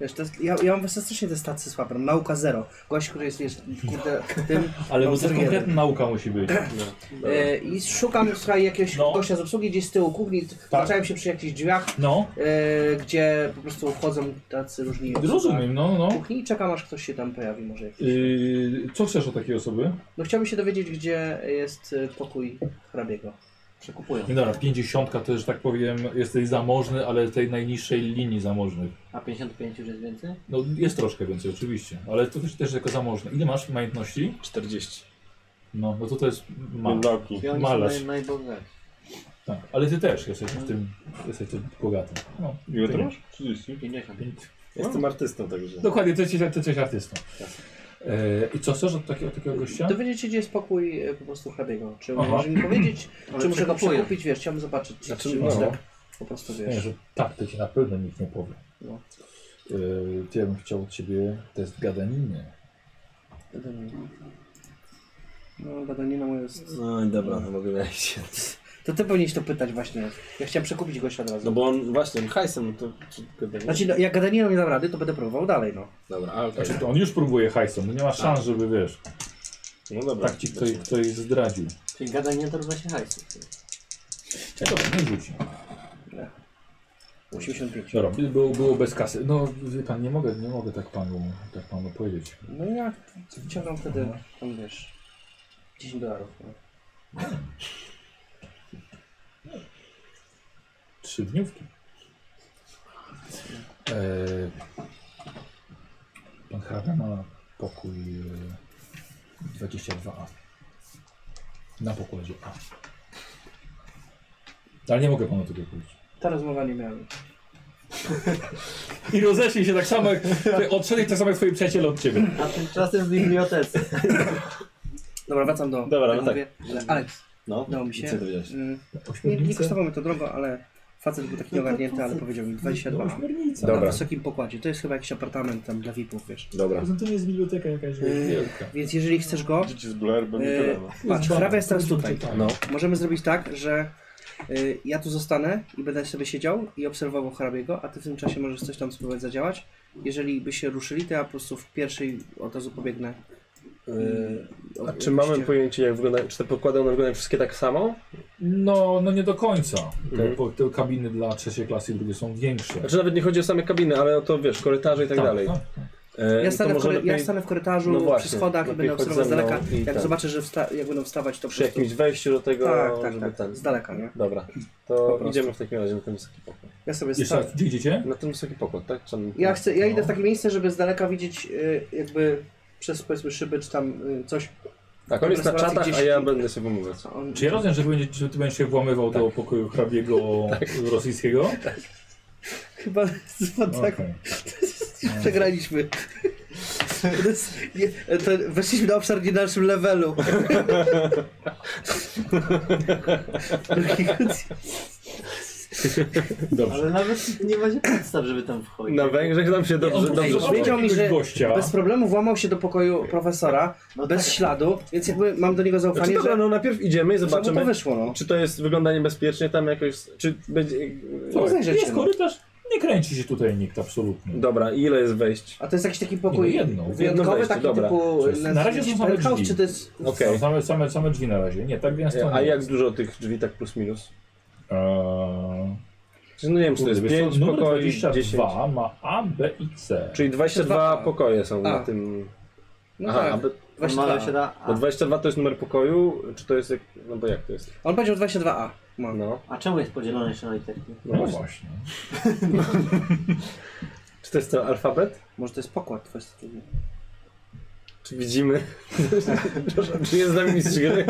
Speaker 5: Wiesz, to jest, ja, ja mam fantastycznie te stacje słabe, nauka zero. Gość, który jest, wiesz, kurde, tym
Speaker 1: Ale
Speaker 5: No,
Speaker 1: no,
Speaker 5: zero
Speaker 1: też konkretna nauka musi być.
Speaker 5: y, i szukam, słuchaj, jakiegoś
Speaker 1: No. Tak.
Speaker 5: gościa z obsługi gdzieś z tyłu kuchni, zacząłem się przy jakichś drzwiach,
Speaker 1: No,
Speaker 5: y, gdzie po prostu wchodzą tacy różni
Speaker 1: rozumiem, no, no.
Speaker 5: na kuchni i czekam, aż ktoś się tam pojawi może jakiś.
Speaker 1: Yy, co chcesz o takiej osoby?
Speaker 5: No chciałbym się dowiedzieć, gdzie jest y, pokój hrabiego.
Speaker 3: Przekupują.
Speaker 1: Nie dobra, 50 to, że tak powiem, jesteś zamożny, ale tej najniższej linii zamożnych.
Speaker 3: A 55 już jest więcej?
Speaker 1: No jest troszkę więcej oczywiście, ale to też, też jako zamożny. Ile masz majątności?
Speaker 6: 40.
Speaker 1: No, no to to jest ma.
Speaker 4: Mędoki.
Speaker 3: I oni
Speaker 1: Malarz.
Speaker 3: są naj, najbogatsi.
Speaker 1: Tak. Ale ty też jesteś w tym, jesteś tym bogatym. No,
Speaker 4: Ile
Speaker 1: ty
Speaker 4: ty
Speaker 1: nie.
Speaker 4: masz? 30.
Speaker 3: 50.
Speaker 6: Jestem artystą, także.
Speaker 1: Dokładnie, ty jesteś, ty jesteś artystą. E, I co chcesz od takiego, takiego gościa?
Speaker 5: Dowiedzieć się, gdzie jest pokój y, po prostu hrabiego. Czy
Speaker 1: Aha.
Speaker 5: może mi powiedzieć,
Speaker 3: Ale
Speaker 5: czy muszę go
Speaker 3: przekupują.
Speaker 5: przekupić, wiesz, chciałbym zobaczyć, czy,
Speaker 6: Znaczy,
Speaker 5: czy
Speaker 6: no.
Speaker 5: może tak po prostu,
Speaker 1: Nie,
Speaker 5: wiesz.
Speaker 1: że tak, to ci na pewno nikt nie powie.
Speaker 5: No.
Speaker 1: E, to ja bym chciał od ciebie test gadaniny.
Speaker 5: Gadanina. No, gadanina moja jest...
Speaker 6: No i dobra, no mogę wejść.
Speaker 5: To ty powinieneś to pytać właśnie. Ja chciałem przekupić gościa od
Speaker 6: No
Speaker 5: razu.
Speaker 6: bo on właśnie, on hajsem, to... to-
Speaker 5: Znaczy, no, jak gadaniną nie dam rady, to będę próbował dalej, no.
Speaker 6: Dobra, ale okej.
Speaker 1: Znaczy, to on już próbuje hajsem, no nie ma szans, żeby wiesz,
Speaker 6: No dobra.
Speaker 1: tak ci ktoś, ktoś zdradził.
Speaker 3: Czyli gadanie to równa się hajsu.
Speaker 1: Czego nie rzuci?
Speaker 5: 85.
Speaker 1: Dobra, by- było, było bez kasy. No wie pan, nie mogę, nie mogę tak panu, tak panu powiedzieć.
Speaker 5: No i ja wyciągam wtedy, tam wiesz, 10 dolarów. No.
Speaker 1: Trzy dniówki. E, pan hrabia ma pokój e, 22A. Na pokładzie A. Ale nie mogę panu tego powiedzieć.
Speaker 5: Ta rozmowa nie miała. nic.
Speaker 1: I rozeszli się tak samo, jak, odszedli tak samo jak twoi przyjaciele od ciebie.
Speaker 3: A tymczasem w bibliotece.
Speaker 5: Dobra, wracam do...
Speaker 6: Dobra, no tak.
Speaker 5: mówię, że Alex,
Speaker 6: No,
Speaker 5: udało mi
Speaker 6: i
Speaker 5: się.
Speaker 6: Co dowiedziałeś?
Speaker 5: Mm, nie,
Speaker 1: Mhm.
Speaker 5: nie kosztowało mi to drogo, ale facet był taki nieogarnięty, ale powiedział mi 22. Na
Speaker 6: Dobra.
Speaker 5: wysokim pokładzie. To jest chyba jakiś apartament tam dla VIP-ów, wiesz.
Speaker 6: Dobra.
Speaker 7: Poza tym No to jest biblioteka jakaś
Speaker 5: Yy,
Speaker 1: Wielka.
Speaker 5: Więc jeżeli chcesz go,
Speaker 4: Dzieci z Blair, bo nie
Speaker 5: Yy,
Speaker 4: tyle. no.
Speaker 5: patrz, hrabia jest teraz tutaj.
Speaker 1: No.
Speaker 5: Możemy zrobić tak, że y, ja tu zostanę i będę sobie siedział i obserwował hrabiego, a ty w tym czasie możesz coś tam spróbować zadziałać. Jeżeli by się ruszyli, to ja po prostu w pierwszej od razu pobiegnę.
Speaker 6: Yy,
Speaker 5: O-
Speaker 6: a czy
Speaker 5: oczywiście.
Speaker 6: mamy pojęcie, jak wygląda, czy te pokłady one wyglądają wszystkie tak samo?
Speaker 1: No, no nie do końca. Te,
Speaker 6: Mhm.
Speaker 1: po- te kabiny dla trzeciej klasy i drugie są większe.
Speaker 5: Tak,
Speaker 6: Znaczy nawet nie chodzi o same kabiny, ale o to wiesz, korytarze i tak, dalej. E,
Speaker 5: Ja
Speaker 6: i to
Speaker 5: stanę, w
Speaker 6: może
Speaker 5: kory-
Speaker 6: lepiej
Speaker 5: ja stanę w korytarzu,
Speaker 6: No
Speaker 5: przy
Speaker 6: właśnie,
Speaker 5: schodach i
Speaker 6: lepiej
Speaker 5: będę
Speaker 6: chodź
Speaker 5: obserwować z
Speaker 6: ze mną
Speaker 5: daleka.
Speaker 6: i
Speaker 5: Jak
Speaker 6: tak.
Speaker 5: zobaczę, że wsta- jak będą wstawać, to po
Speaker 6: przy
Speaker 5: prostu...
Speaker 6: jakimś wejściu do tego,
Speaker 5: Tak, tak,
Speaker 6: żeby
Speaker 5: tak,
Speaker 6: ten...
Speaker 5: z daleka, nie?
Speaker 6: Dobra,
Speaker 5: Po
Speaker 6: to
Speaker 5: prostu.
Speaker 6: idziemy w takim razie na ten wysoki pokój.
Speaker 5: Ja sobie
Speaker 1: Jeszcze
Speaker 5: stanę.
Speaker 1: raz, gdzie idziecie?
Speaker 6: Na ten wysoki pokój, tak? Czy on-
Speaker 5: Ja, chcę, ja idę
Speaker 1: No.
Speaker 5: w takie miejsce, żeby z daleka widzieć y, jakby przez powiedzmy szyby czy tam y, coś.
Speaker 6: Tak, on jest na
Speaker 5: restauracji
Speaker 6: czatach,
Speaker 5: gdzieś-
Speaker 6: a ja będę sobie pomówić.
Speaker 5: co On...
Speaker 1: Czy ja rozumiem, że, będzie, że ty będziesz się włamywał
Speaker 5: Tak.
Speaker 1: do pokoju hrabiego rosyjskiego?
Speaker 5: Chyba tak
Speaker 1: Okej. No,
Speaker 5: Przegraliśmy. To jest, nie, to weszliśmy na obszar nie dalszym levelu.
Speaker 1: Dobrze.
Speaker 3: Ale nawet nie macie podstaw, żeby tam wchodzić.
Speaker 6: Na Węgrzech tam się dobrze,
Speaker 1: Ej,
Speaker 6: dobrze
Speaker 1: ej,
Speaker 6: szło.
Speaker 5: powiedział mi, że
Speaker 1: jakiegoś gościa.
Speaker 5: Bez problemu włamał się do pokoju profesora,
Speaker 3: No
Speaker 5: bez
Speaker 3: tak.
Speaker 5: śladu, więc jakby mam do niego
Speaker 6: Znaczy,
Speaker 5: zaufanie,
Speaker 6: dobra,
Speaker 5: że,
Speaker 6: no najpierw idziemy i
Speaker 5: że mu to
Speaker 6: zobaczymy,
Speaker 5: wyszło. No.
Speaker 6: czy to jest, wygląda niebezpiecznie tam jakoś, czy będzie...
Speaker 5: No, zajrzeć się,
Speaker 1: Jest
Speaker 5: no.
Speaker 1: korytarz, nie kręci się tutaj nikt absolutnie.
Speaker 6: Dobra, ile jest wejść?
Speaker 5: A to jest jakiś taki
Speaker 1: Nie,
Speaker 5: pokój
Speaker 1: no, jedno, jedno
Speaker 5: wyjątkowy,
Speaker 6: wejście,
Speaker 5: taki
Speaker 6: dobra.
Speaker 5: typu...
Speaker 1: Czyli na razie są same
Speaker 5: penthouse,
Speaker 1: drzwi.
Speaker 5: czy to jest...
Speaker 6: Okej.
Speaker 1: Są Same, same, same drzwi na razie. Nie, tak więc
Speaker 5: E,
Speaker 1: to
Speaker 6: A
Speaker 1: nie.
Speaker 6: jak dużo tych drzwi tak plus minus?
Speaker 1: Eee,
Speaker 6: Czy No nie wiem, czy to jest
Speaker 1: wiesz co,
Speaker 6: 5
Speaker 1: numer
Speaker 6: pokoi, 10...
Speaker 1: 22 ma A, B i C.
Speaker 6: Czyli 22
Speaker 5: 22.
Speaker 6: pokoje są
Speaker 5: A.
Speaker 6: na tym...
Speaker 5: No
Speaker 6: Aha,
Speaker 5: tak,
Speaker 6: aby...
Speaker 3: Normalnie
Speaker 5: 22A.
Speaker 3: się da.
Speaker 6: bo
Speaker 3: A,
Speaker 6: 22 to jest numer pokoju, czy to jest jak... No bo jak to jest?
Speaker 5: On powiedział 22A. Ma.
Speaker 6: No,
Speaker 3: a czemu jest podzielone jeszcze na literki?
Speaker 1: No właśnie.
Speaker 6: czy to jest ten alfabet?
Speaker 5: Może to jest pokład
Speaker 6: Czy
Speaker 5: 22.
Speaker 6: Czy widzimy? Przepraszam, czy jest z nami mistrz gry?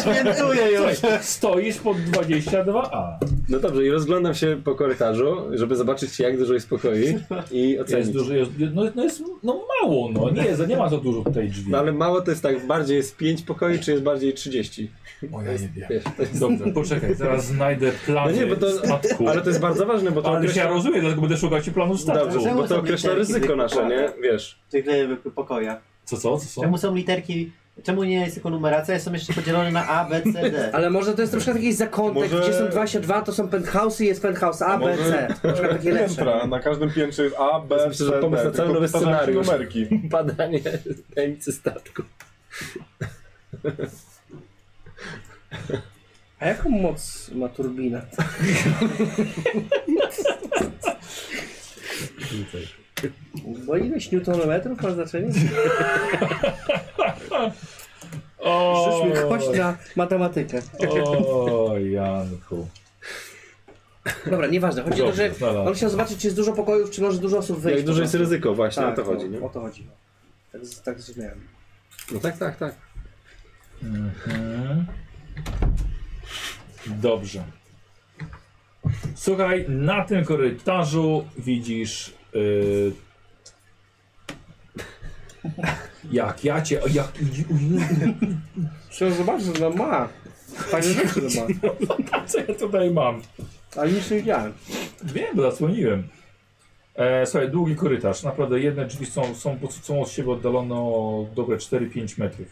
Speaker 1: Świętuję już! tak Stoisz pod 22A.
Speaker 6: No dobrze, i rozglądam się po korytarzu, żeby zobaczyć jak dużo jest pokoi i
Speaker 1: Jest
Speaker 6: ocenić.
Speaker 1: dużo, jest, no, no jest no mało, no nie, jest, nie ma za dużo tutaj drzwi.
Speaker 6: No ale mało to jest tak, bardziej jest 5 pokoi, czy jest bardziej 30?
Speaker 1: O, ja nie wiem.
Speaker 6: Wiesz, to jest...
Speaker 1: Dobrze, poczekaj, zaraz znajdę plany
Speaker 6: No nie, bo to-
Speaker 1: statku.
Speaker 6: Ale to jest bardzo ważne, bo to
Speaker 1: Ale
Speaker 6: określa...
Speaker 1: ja rozumiem, dlatego będę szukał ci planu statku.
Speaker 6: Dobrze, bo to tak.
Speaker 3: Czemu
Speaker 6: określa
Speaker 3: są literki
Speaker 6: ryzyko nasze, nie?
Speaker 3: wykładane?
Speaker 6: Wiesz.
Speaker 3: W tych lewych pokojach.
Speaker 1: Co, co, co, co?
Speaker 3: Czemu są literki, czemu nie jest tylko numeracja, są jeszcze podzielone na A, B, C, D.
Speaker 5: Ale może to jest troszkę jakiś zakątek,
Speaker 4: Może-
Speaker 5: gdzie są 22, to są penthouse'y, jest penthouse A, B,
Speaker 4: może-
Speaker 5: C. Na przykład takie lepsze.
Speaker 4: Piętra, na każdym piętrze jest A, B, C,
Speaker 6: Myślę, że
Speaker 4: D,
Speaker 6: pomysł na cały
Speaker 4: tylko
Speaker 6: nowy
Speaker 4: powtarzają się
Speaker 6: scenariusz.
Speaker 4: numerki.
Speaker 6: Badanie tajemnicy statku.
Speaker 5: A jaką moc ma turbina? Bo ileś newtonometrów ma znaczenie?
Speaker 1: O,
Speaker 5: Przyszły kość na matematykę.
Speaker 1: o, Janku.
Speaker 5: Dobra, nieważne. Chodzi o to, że
Speaker 1: Dobrze, znalazłem.
Speaker 5: on chciał zobaczyć, czy jest dużo pokojów, czy może dużo osób wyjść.
Speaker 6: Jak duże No jest
Speaker 5: po prostu.
Speaker 6: ryzyko właśnie,
Speaker 5: tak,
Speaker 6: o to chodzi, nie?
Speaker 5: O to chodzi. Tak, z- tak zrozumiałem.
Speaker 6: No tak, tak, tak.
Speaker 1: Mhm. Dobrze. Słuchaj, na tym korytarzu widzisz. y, Jak ja cię. Jak,
Speaker 5: Trzeba zobaczyć, że ona ma. Fajne rzeczy że ma.
Speaker 1: co ja tutaj mam?
Speaker 5: Ale nic nie widziałem.
Speaker 1: Wiem, bo zasłoniłem. E, słuchaj, długi korytarz. Naprawdę jedne drzwi są, są, po- są od siebie oddalone o dobre 4-5 metrów.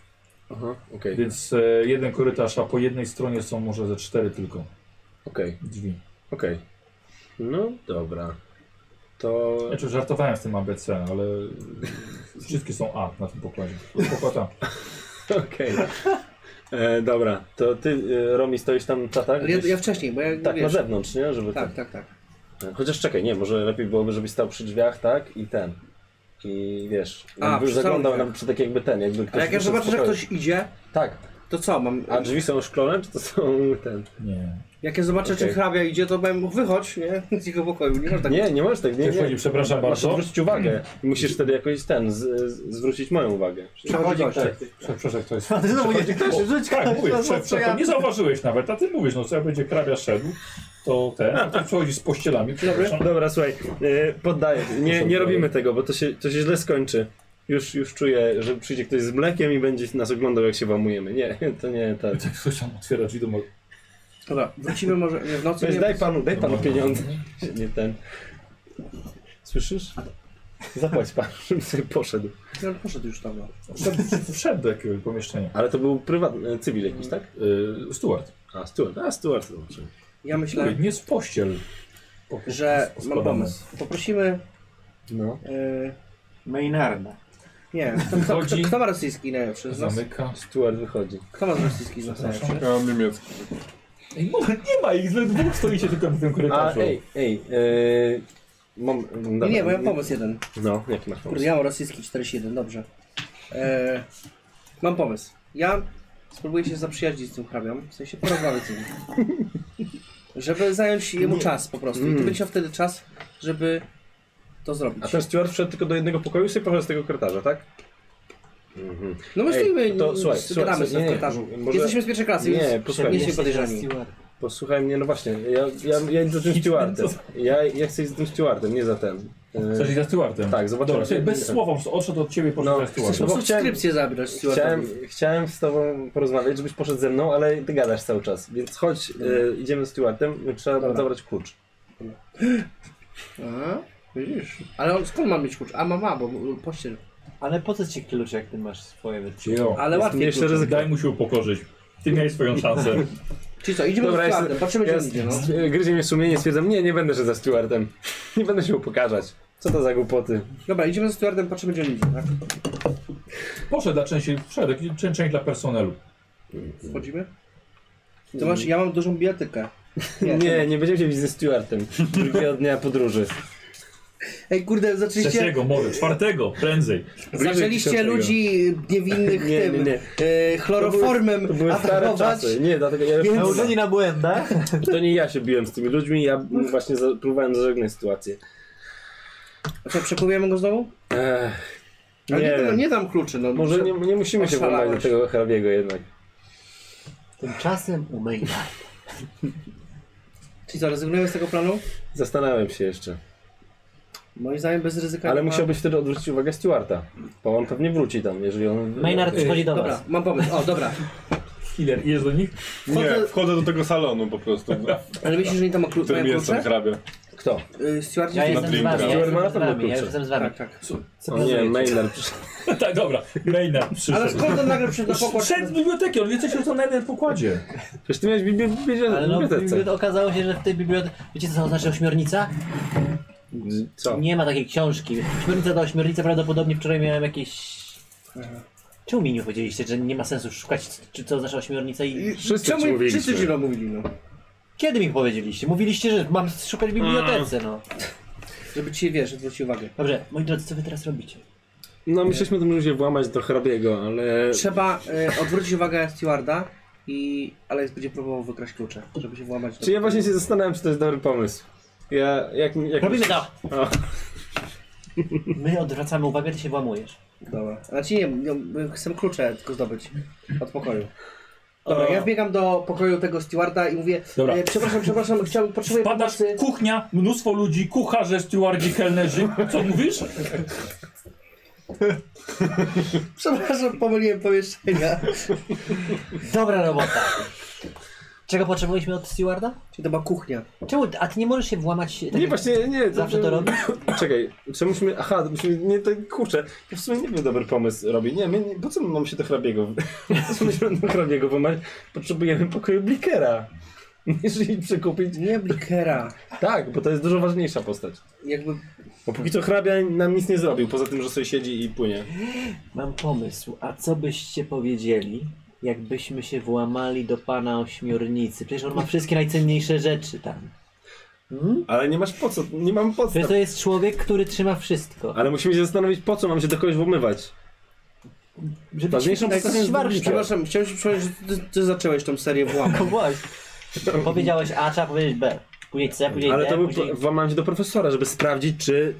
Speaker 6: Aha, okej,
Speaker 1: Więc e, jeden korytarz, a po jednej stronie są może ze cztery tylko
Speaker 6: okej,
Speaker 1: drzwi.
Speaker 6: okej. No dobra. To...
Speaker 1: Znaczy, żartowałem z tym ABC, ale wszystkie są A na tym pokładzie. Pokład A.
Speaker 6: Okej. E, Dobra, to ty, e, Romi, stoisz tam na tak?
Speaker 5: Ale ja, ja wcześniej, bo ja
Speaker 6: Tak, na
Speaker 5: wiesz,
Speaker 6: zewnątrz, nie? Żeby
Speaker 5: Tak, tak, tak.
Speaker 6: ten- Chociaż czekaj, nie, może lepiej byłoby, żebyś stał przy drzwiach, tak? I ten. I wiesz,
Speaker 5: A,
Speaker 6: jakby
Speaker 5: przy samych
Speaker 6: zaglądał
Speaker 5: drzwiach.
Speaker 6: nam przy tak jakby ten, jakby ktoś
Speaker 5: A jak ja
Speaker 6: wyszedł z
Speaker 5: zobaczę, że
Speaker 6: pokoju.
Speaker 5: ktoś idzie,
Speaker 6: Tak,
Speaker 5: to co mam?
Speaker 6: a drzwi są szklone, czy to są ten...
Speaker 1: Nie.
Speaker 5: Jak ja zobaczę,
Speaker 6: Okej.
Speaker 5: czy hrabia idzie, to powiem, wychodź, nie? Z jego pokoju. Nie masz tak.
Speaker 6: Nie, nie możesz tak, nie,
Speaker 1: Ktoś
Speaker 6: nie.
Speaker 1: chodzi, przepraszam
Speaker 6: Masz
Speaker 1: bardzo.
Speaker 6: zwrócić uwagę. Musisz wtedy jakoś ten, z, z, zwrócić moją uwagę.
Speaker 5: Przechodzi gość.
Speaker 1: Przepraszam, to jest.
Speaker 10: A ty znowu nie ktoś rzuć
Speaker 1: Tak, mówię, prze,
Speaker 10: co
Speaker 1: prze, nie zauważyłeś nawet, a ty mówisz, no co jak będzie hrabia szedł, to ten, a to przychodzi z pościelami, przepraszam.
Speaker 6: Dobra, słuchaj, e, poddaję. Nie, nie
Speaker 1: Proszę,
Speaker 6: robimy
Speaker 1: dalej.
Speaker 6: tego, bo to się, to się źle skończy. Już, już czuję, że przyjdzie ktoś z mlekiem i będzie nas oglądał, jak się łamujemy. Nie, to nie tak.
Speaker 1: Tak, ktoś tam otwiera drzwi do mojego...
Speaker 5: Dobra, wrócimy może nie, w nocy.
Speaker 6: Weź,
Speaker 5: nie,
Speaker 6: daj panu, daj panu pieniądze. Nie ten. Słyszysz? Zapłać pan, żeby sobie poszedł.
Speaker 5: Ja poszedł już tam. No.
Speaker 1: Wszedł, wszedł do jakiegoś pomieszczenia.
Speaker 6: Ale to był prywatny, cywil jakiś, tak?
Speaker 1: Yy, Stuart,
Speaker 6: A, Stuart, a Stuart to znaczy.
Speaker 5: Ja
Speaker 1: mówię,
Speaker 5: myślę,
Speaker 1: nie z pościel.
Speaker 5: Tak. że mam
Speaker 1: Składamy.
Speaker 5: pomysł. Poprosimy.
Speaker 6: No.
Speaker 5: Yy,
Speaker 10: Maynarda.
Speaker 5: nie, kto, kto, kto,
Speaker 1: Chodzi.
Speaker 5: kto ma rosyjski najlepszy z nas?
Speaker 1: Zamyka.
Speaker 6: Stuart wychodzi.
Speaker 5: Kto ma rosyjski z nas najlepszy?
Speaker 4: Ja mam niemiecki.
Speaker 1: Ej, może nie ma ich, ze dwóch stoicie tylko na tym
Speaker 6: A,
Speaker 1: korytarzu.
Speaker 6: ej, ej, yy, mam, dobra.
Speaker 5: Nie, nie, bo ja mam pomysł jeden.
Speaker 6: No, jaki masz pomysł?
Speaker 5: Kurde, ja mam rosyjski 41, dobrze. E, mam pomysł. Ja spróbuję się zaprzyjaźnić z tym hrabią, w sensie porozmawiać z nim. Żeby zająć jemu czas po prostu. I to
Speaker 6: Mm.
Speaker 5: będzie wtedy czas, żeby to zrobić.
Speaker 6: A ten steward wszedł tylko do jednego pokoju i sobie poszedł z tego korytarza, tak? Mhm.
Speaker 5: No my
Speaker 6: Ej,
Speaker 5: stoimy,
Speaker 6: to
Speaker 5: to,
Speaker 6: słuchaj,
Speaker 5: słuchaj,
Speaker 6: słuchaj,
Speaker 5: gramy
Speaker 6: słuchaj,
Speaker 5: sobie w
Speaker 6: nie,
Speaker 5: korytarzu.
Speaker 6: nie, może-
Speaker 5: Jesteśmy z pierwszej klasy,
Speaker 6: Nie,
Speaker 5: więc
Speaker 6: posłuchaj
Speaker 5: nie
Speaker 6: mnie.
Speaker 5: jesteśmy podejrzani.
Speaker 6: Posłuchaj mnie, no właśnie, ja, ja, ja idę za tym stewardem. Ja, ja chcę iść za tym stewardem, nie za ten. Yy,
Speaker 1: Coś za Stuartem.
Speaker 6: Tak, zobaczymy.
Speaker 1: Dobra, czyli bez słowa, po prostu odszedł od ciebie i poszedł
Speaker 6: No,
Speaker 1: za Stuartem.
Speaker 6: chcesz- bo chciałem-
Speaker 5: Subskrypcję zabrać
Speaker 6: Chciałem,
Speaker 5: Stuartowi.
Speaker 6: chciałem z tobą porozmawiać, żebyś poszedł ze mną, ale ty gadasz cały czas, więc chodź, yy, idziemy z stewardem, trzeba
Speaker 5: Dobra.
Speaker 6: zabrać klucz.
Speaker 5: A, widzisz. Ale on, skąd mam mieć klucz? A ma, ma, bo pościel.
Speaker 10: Ale po co ci klucz, jak ty masz swoje wytrzy?
Speaker 1: Jo.
Speaker 5: Ale łatwiej
Speaker 6: jeszcze
Speaker 5: klucz.
Speaker 6: ryzyko.
Speaker 1: Daj mu się upokorzyć. Ty miałeś swoją szansę.
Speaker 5: Czyli co, idziemy
Speaker 6: Dobra,
Speaker 5: z
Speaker 6: jestem-
Speaker 5: Stuartem, patrzymy gdzie on
Speaker 6: jest,
Speaker 5: idzie, no.
Speaker 6: Gryzie mnie sumienie, stwierdzam, nie, nie będę się za stewardem. Nie będę się upokarzać. Co to za głupoty?
Speaker 5: Dobra, idziemy z Stuartem, patrzymy gdzie on idzie, tak?
Speaker 1: Poszedł na część, wszedł, jakiś część, część dla personelu.
Speaker 5: Wchodzimy? To masz, ja mam dużą bijatykę.
Speaker 6: Nie,
Speaker 5: to-
Speaker 6: nie, będziemy się widzieć ze stewardem drugiego dnia podróży.
Speaker 5: Ej, kurde, zaczęliście...
Speaker 1: Trzeciego, może, czwartego, prędzej.
Speaker 5: Zaczęliście
Speaker 6: Bliżej
Speaker 5: ludzi niewinnych
Speaker 6: Nie,
Speaker 5: tym
Speaker 6: nie, nie.
Speaker 5: E, chloroformem
Speaker 6: To były stare
Speaker 5: atakować.
Speaker 6: czasy. Nie, dlatego ja
Speaker 5: Więc-
Speaker 6: No,
Speaker 10: Nauczeni na błędach.
Speaker 3: Tak?
Speaker 6: to nie ja się biłem z tymi ludźmi, ja m, właśnie za, próbowałem zażegnać sytuację.
Speaker 5: A co, przekupujemy go znowu?
Speaker 6: Ech,
Speaker 5: Ale
Speaker 6: Nie.
Speaker 5: nie, no, nie dam kluczy, no.
Speaker 6: Może nie, nie musimy się
Speaker 5: Oszalałeś.
Speaker 6: wglądać do tego hrabiego jednak.
Speaker 10: Tymczasem umyjna.
Speaker 5: Czyli co, rezygnujemy z tego planu?
Speaker 6: Zastanawiam się jeszcze.
Speaker 5: Moim zdaniem bez ryzyka
Speaker 6: Ale
Speaker 5: nie ma-
Speaker 6: musiałbyś wtedy odwrócić uwagę Stewarta. Bo on pewnie wróci tam, jeżeli on...
Speaker 3: Maynard przychodzi do
Speaker 5: Dobra,
Speaker 3: was.
Speaker 5: mam pomysł. O, dobra.
Speaker 1: Killer, idziesz do nich?
Speaker 4: Nie, wchodzę do tego salonu po prostu, w
Speaker 5: Ale myślisz, że nie tam klu- mają
Speaker 4: którym jestem
Speaker 5: klucze?
Speaker 4: hrabia.
Speaker 6: Kto?
Speaker 5: Y, Stewardzi
Speaker 3: Ja
Speaker 5: ja
Speaker 4: na
Speaker 3: jestem z
Speaker 4: drinka.
Speaker 3: wami, ja
Speaker 6: Steward ma na
Speaker 3: jestem z
Speaker 6: pewno
Speaker 3: wami, ja
Speaker 6: klucze.
Speaker 3: jestem z wami.
Speaker 5: Tak, tak.
Speaker 6: O nie, Maynard przyszedł.
Speaker 1: tak, dobra. Maynard
Speaker 5: Ale
Speaker 1: przyszedł.
Speaker 5: skąd on nagle przyszedł na pokład?
Speaker 1: Szedł z biblioteki, on wie coś o co na jeden pokładzie.
Speaker 6: Przecież ty miałeś w bibli-
Speaker 3: Ale no,
Speaker 6: bibli-
Speaker 3: w
Speaker 6: bibliotece.
Speaker 3: bibliotece okazało się, że w tej bibliotece... Wiecie co to znaczy ośmiornica?
Speaker 6: Co?
Speaker 3: Nie ma takiej książki. Ośmiornica do ośmiornica prawdopodobnie wczoraj miałem jakieś... Czemu mi nie powiedzieliście, że nie ma sensu szukać, czy co znaczy ośmiornica i...
Speaker 5: I-
Speaker 6: Wszyscy
Speaker 5: Czemu
Speaker 6: ci mówiliśmy.
Speaker 5: wszyscy ci to mówili, no?
Speaker 3: Kiedy mi powiedzieliście? Mówiliście, że mam szukać
Speaker 1: Mm.
Speaker 3: w bibliotece, no.
Speaker 5: Żeby ci, wiesz, zwrócić uwagę.
Speaker 3: Dobrze, moi drodzy, co wy teraz robicie?
Speaker 6: No myśleliśmy tym ludzie włamać do hrabiego, ale...
Speaker 5: Trzeba y, odwrócić uwagę stewarda i Alex będzie próbował wykraść klucze, żeby się włamać do...
Speaker 6: Czy ja właśnie się zastanawiam, czy to jest dobry pomysł. Ja, jak, jak
Speaker 3: Robimy to!
Speaker 6: O.
Speaker 3: My odwracamy uwagę, ty się włamujesz.
Speaker 5: Dobra. Znaczy nie, no, y, chcę klucze tylko zdobyć od pokoju. Dobra, ja wbiegam do pokoju tego stewarda i mówię,
Speaker 1: Dobra.
Speaker 5: e, przepraszam, przepraszam, chciałbym, potrzebuję
Speaker 1: Padasz,
Speaker 5: pomocy.
Speaker 1: kuchnia, mnóstwo ludzi, kucharze, stewardzi, kelnerzy. Co mówisz?
Speaker 5: Przepraszam, pomyliłem pomieszczenia.
Speaker 3: Dobra robota. Czego potrzebowaliśmy od stewarda?
Speaker 5: Czyli to była kuchnia.
Speaker 3: Czemu? A ty nie możesz się włamać... tak
Speaker 6: Nie,
Speaker 3: jak
Speaker 6: właśnie, nie.
Speaker 3: Zawsze to robisz?
Speaker 6: Czekaj, czy musimy... Aha, to musimy... Nie, to kurczę, to w sumie nie był dobry pomysł robić. Nie, my, nie- po co mam się do hrabiego... Po co musimy do hrabiego wymać? Potrzebujemy pokoju Blikera. Niż jej przekupić.
Speaker 5: Nie Blikera.
Speaker 6: Tak, bo to jest dużo ważniejsza postać.
Speaker 5: Jakby
Speaker 6: Bo póki co hrabia nam nic nie zrobił, poza tym, że sobie siedzi i płynie.
Speaker 10: Mam pomysł, a co byście powiedzieli, jakbyśmy się włamali do pana ośmiornicy? Przecież on ma wszystkie najcenniejsze rzeczy tam.
Speaker 6: Ale nie masz po co, nie mam
Speaker 10: Przecież
Speaker 6: podstaw.
Speaker 10: to jest człowiek, który trzyma wszystko.
Speaker 6: Ale musimy się zastanowić, po co mam się do kogoś włamywać.
Speaker 10: Żeby
Speaker 6: Ważniejszą
Speaker 10: ci-
Speaker 6: postacią jest warsztat.
Speaker 5: Przepraszam, chciałem się przypomnieć, że ty, ty zacząłeś tą serię włamów.
Speaker 10: No właśnie.
Speaker 3: Powiedziałeś A, trzeba powiedzieć B. Później C, później
Speaker 6: Ale
Speaker 3: D,
Speaker 6: to był,
Speaker 3: później...
Speaker 6: włamałem się do profesora, żeby sprawdzić, czy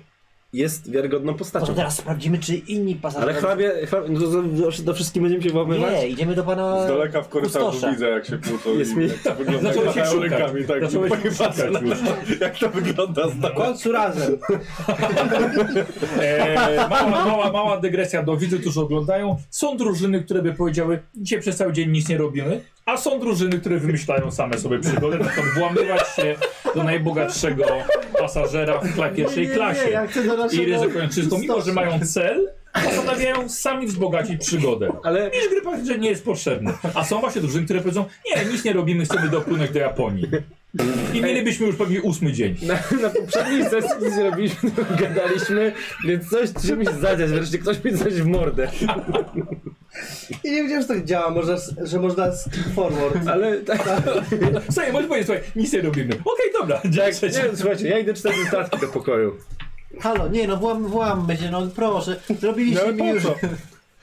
Speaker 6: jest wiarygodną
Speaker 3: To
Speaker 6: postacią.
Speaker 3: teraz sprawdzimy, czy inni pasażerowie...
Speaker 6: Ale hrabia, hrabia no to do, do wszystkich będziemy się włamywać?
Speaker 3: Nie, idziemy do pana...
Speaker 4: Z daleka w korytarzu
Speaker 3: Kustosza.
Speaker 4: widzę jak się kłócą
Speaker 6: Jest
Speaker 4: i
Speaker 6: mi-
Speaker 4: jak to wygląda
Speaker 1: Zacząłem
Speaker 4: jak
Speaker 1: się
Speaker 4: machają
Speaker 1: szukać.
Speaker 4: rękami, tak,
Speaker 1: Zacząłem się
Speaker 4: pojebane
Speaker 1: szukać
Speaker 4: już. Jak to wygląda z
Speaker 5: W
Speaker 4: daleka.
Speaker 5: końcu razem.
Speaker 1: Eee, mała, mała, mała dygresja do widzów, którzy oglądają. Są drużyny, które by powiedziały, dzisiaj przez cały dzień nic nie robimy, a są drużyny, które wymyślają same sobie przygody, na przykład włamywać się do najbogatszego pasażera w kla- pierwszej klasie. I ryzykują czysto, mimo że mają cel, postanawiają sami wzbogacić przygodę.
Speaker 6: Ale
Speaker 1: Niż gry praktycznie nie jest potrzebny. A są właśnie drużyny, które powiedzą, nie, nic nie robimy, chcemy dopłynąć do Japonii. I mielibyśmy już pewnie ósmy dzień.
Speaker 6: na, na poprzedniej sesji nic nie robiliśmy, tylko gadaliśmy, więc coś trzeba mi się zadziać, wreszcie ktoś mi coś w mordę.
Speaker 5: I nie wiedziałem, że tak działa, może, że można skip forward.
Speaker 6: Ale tak,
Speaker 1: Słuchaj, możesz powiedzieć, słuchaj, nic nie robimy. Okej, dobra, dzień
Speaker 6: tak
Speaker 1: trzeci.
Speaker 6: nie, słuchajcie, ja idę czytać notatki do pokoju.
Speaker 10: Halo, nie no, włam, włam będzie, no proszę.
Speaker 5: No,
Speaker 10: Zrobiliście mi już...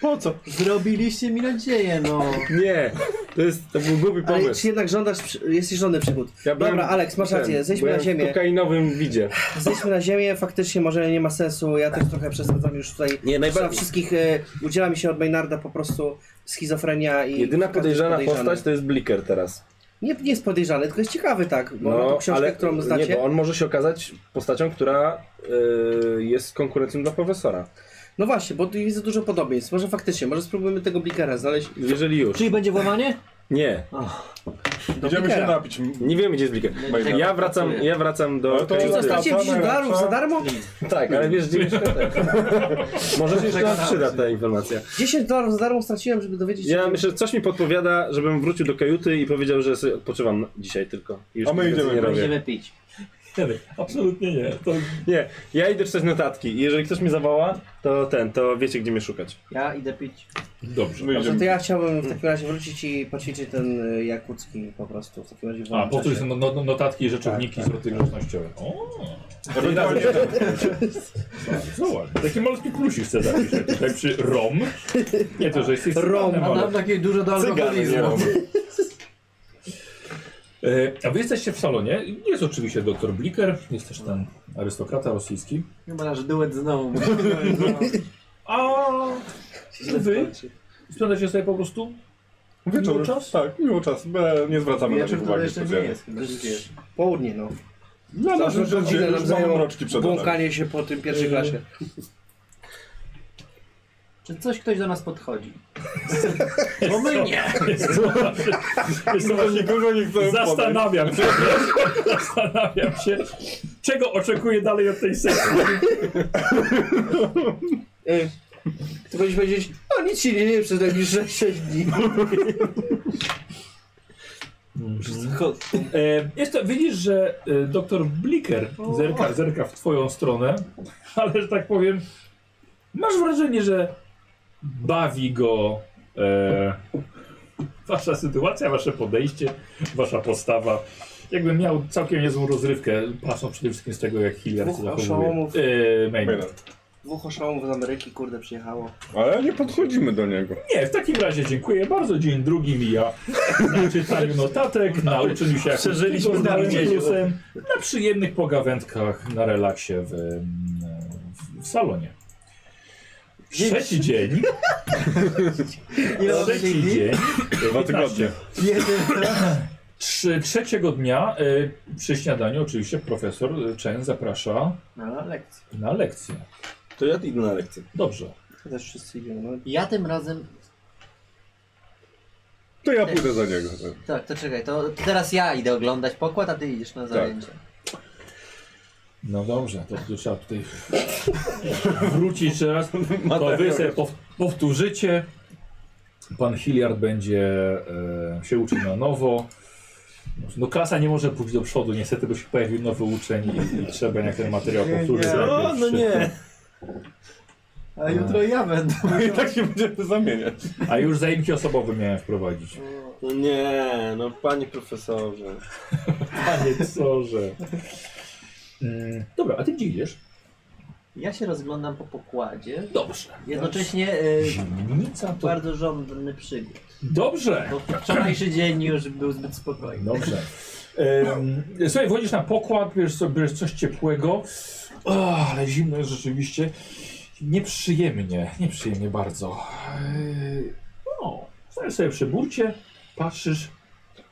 Speaker 6: Po co?
Speaker 10: Zrobiliście mi nadzieję, no.
Speaker 6: Nie, to jest, to był głupi
Speaker 5: Ale
Speaker 6: pomysł.
Speaker 5: czy jednak żądasz, przy- jesteś żądany przygód.
Speaker 6: Ja byłem-
Speaker 5: Dobra, Alex, masz rację,
Speaker 6: ten,
Speaker 5: zejdźmy
Speaker 6: byłem
Speaker 5: na ziemię.
Speaker 6: w kokainowym widzie.
Speaker 5: Zejdźmy na ziemię, faktycznie może nie ma sensu, ja też trochę przesadzam już tutaj.
Speaker 6: Nie, najbardziej-
Speaker 5: Trzeba wszystkich, y, udziela mi się od Maynarda po prostu schizofrenia i...
Speaker 6: Jedyna
Speaker 5: każdy
Speaker 6: podejrzana
Speaker 5: jest podejrzany.
Speaker 6: postać to jest Bliker teraz.
Speaker 5: Nie, nie jest podejrzany, tylko jest ciekawy, tak, bo ma tą książkę, którą znacie.
Speaker 6: No, Nie, bo on może się okazać postacią, która y, jest konkurencją dla profesora.
Speaker 5: No właśnie, bo tu widzę dużo podobieństw, może faktycznie, może spróbujemy tego Blikera znaleźć.
Speaker 6: Jeżeli już.
Speaker 3: Czyli będzie włamanie?
Speaker 6: Nie,
Speaker 4: Idziemy się
Speaker 5: Blikera.
Speaker 4: napić.
Speaker 6: nie wiemy gdzie jest Bliker.
Speaker 4: Maynard.
Speaker 6: Ja wracam, ja wracam do...
Speaker 4: Ale to-
Speaker 6: Czyli
Speaker 4: Zostaw-
Speaker 5: Zostawcie
Speaker 4: Wracamy,
Speaker 5: 50 dolarów za
Speaker 4: wracamy.
Speaker 5: darmo?
Speaker 6: Tak, ale wiesz, gdzie Może się jeszcze nam przyda ta informacja.
Speaker 5: 10 dolarów za darmo straciłem, żeby dowiedzieć się...
Speaker 6: Ja
Speaker 5: tego.
Speaker 6: myślę, że coś mi podpowiada, żebym wrócił do kajuty i powiedział, że sobie odpoczywam dzisiaj tylko. I już
Speaker 4: A my
Speaker 6: nic
Speaker 4: idziemy,
Speaker 6: nie robię.
Speaker 3: Będziemy pić.
Speaker 1: Nie, absolutnie nie. To
Speaker 6: Nie, ja idę czytać notatki i jeżeli ktoś mnie zawoła, to ten, to wiecie gdzie mnie szukać.
Speaker 3: Ja idę pić.
Speaker 1: dobrze.
Speaker 4: My
Speaker 5: Dobrze,
Speaker 4: idziemy.
Speaker 5: No to ja chciałbym w takim razie wrócić i poćwiczyć ten y, jakucki po prostu. W takim razie w
Speaker 1: A,
Speaker 5: wolnym
Speaker 1: po
Speaker 5: czasie.
Speaker 1: prostu no, no, notatki i rzeczowniki z roty grzecznościowe. O,
Speaker 4: Ewentualnie
Speaker 1: bardzo ładnie. Taki malutki plusik chcę zapisać tutaj przy ROM. Nie to, że jesteś
Speaker 5: Rom.
Speaker 1: sygnałem, ale...
Speaker 10: takie dużo do alkoholizmu.
Speaker 1: E, A wy jesteście w salonie. Jest oczywiście doktor Bliker, jest też ten arystokrata rosyjski.
Speaker 10: Chyba nasz duet znowu.
Speaker 1: A I wy spędzacie sobie po prostu
Speaker 4: Wieczór,
Speaker 1: Miło czas?
Speaker 4: tak, miło czas. Be, nie zwracamy na
Speaker 5: Wieczór
Speaker 4: nich
Speaker 5: to
Speaker 4: uwagi
Speaker 5: jeszcze nie
Speaker 4: specjalnie.
Speaker 5: jest, chyba że jest południe no.
Speaker 4: Dla nas już
Speaker 5: Zależy, ile nam
Speaker 4: już mamy
Speaker 5: zajęło
Speaker 4: mroczki przed nami.
Speaker 5: Błąkanie się po tym pierwszej klasie.
Speaker 3: Czy coś ktoś do nas podchodzi? Bo No my nie.
Speaker 1: Wiesz co,
Speaker 4: Właśnie
Speaker 1: właśnie
Speaker 4: Nikogo nie chcę podać.
Speaker 1: Zastanawiam się, wiesz? zastanawiam się, czego oczekuję dalej od tej sesji.
Speaker 5: Y, Ty będziesz powiedzieć, no nic się nie dzieje przez najbliższe 6 dni.
Speaker 1: E, jest to, widzisz, że e, doktor Blicker zerka, zerka w twoją stronę, ale że tak powiem, masz wrażenie, że bawi go e, wasza sytuacja, wasze podejście, wasza postawa. Jakby miał całkiem niezłą rozrywkę, patrząc przede wszystkim z tego, jak Hilliard się
Speaker 5: Dwóch
Speaker 1: zachowuje.
Speaker 5: oszołomów.
Speaker 1: E, Maynard.
Speaker 4: Maynard.
Speaker 5: Dwóch oszołomów z Ameryki, kurde, przyjechało.
Speaker 4: Ale nie podchodzimy do niego.
Speaker 1: Nie, w takim razie dziękuję bardzo. Dzień drugi mija. Na czytaniu notatek, na uczeniu się
Speaker 7: Przeżyliśmy
Speaker 1: akustyką z Markiem
Speaker 7: znalezienie.
Speaker 1: Plusem, na przyjemnych pogawędkach, na relaksie w, em, w, w salonie. Trzeci dzień. Trzeci dzień.
Speaker 4: Dwa tygodnie.
Speaker 1: Trzy, trzeciego dnia y, przy śniadaniu oczywiście profesor y, Chen zaprasza
Speaker 3: Na lekcję.
Speaker 1: na lekcję.
Speaker 6: To ja idę na lekcję.
Speaker 1: Dobrze.
Speaker 5: To też wszyscy idą, no.
Speaker 3: Ja tym razem...
Speaker 4: To ja pójdę za niego.
Speaker 3: Tak, to czekaj, to, to teraz ja idę oglądać pokład, a ty idziesz
Speaker 5: Tak.
Speaker 3: na zajęcie.
Speaker 1: No dobrze, to, tu trzeba tutaj wrócić jeszcze raz. To wy sobie pow, powtórzycie. Pan Hilliard będzie e, się uczył na nowo. No klasa nie może pójść do przodu, niestety, bo się pojawił nowy uczeń i, i trzeba jak ten materiał powtórzyć.
Speaker 6: Co?
Speaker 1: najpierw
Speaker 6: No
Speaker 1: przy-
Speaker 6: nie.
Speaker 3: A
Speaker 5: No.
Speaker 3: jutro ja będę.
Speaker 4: I tak się będziemy zamieniać.
Speaker 1: A już zajęcie osobowe miałem wprowadzić.
Speaker 6: No nie, no panie profesorze.
Speaker 1: Panie sorze. Mm, dobra, a ty gdzie idziesz?
Speaker 3: Ja się rozglądam po pokładzie,
Speaker 1: Dobrze.
Speaker 3: jednocześnie e,
Speaker 1: Zimnica to...
Speaker 3: bardzo żądny przygód.
Speaker 1: Dobrze.
Speaker 3: Bo wczorajszy dzień już był zbyt spokojny.
Speaker 1: Dobrze. Em, Słuchaj, wchodzisz na pokład, bierzesz sobie bierzesz coś ciepłego, o, ale zimno jest rzeczywiście. Nieprzyjemnie, nieprzyjemnie bardzo. Eee, No, stajesz sobie przy burcie, patrzysz,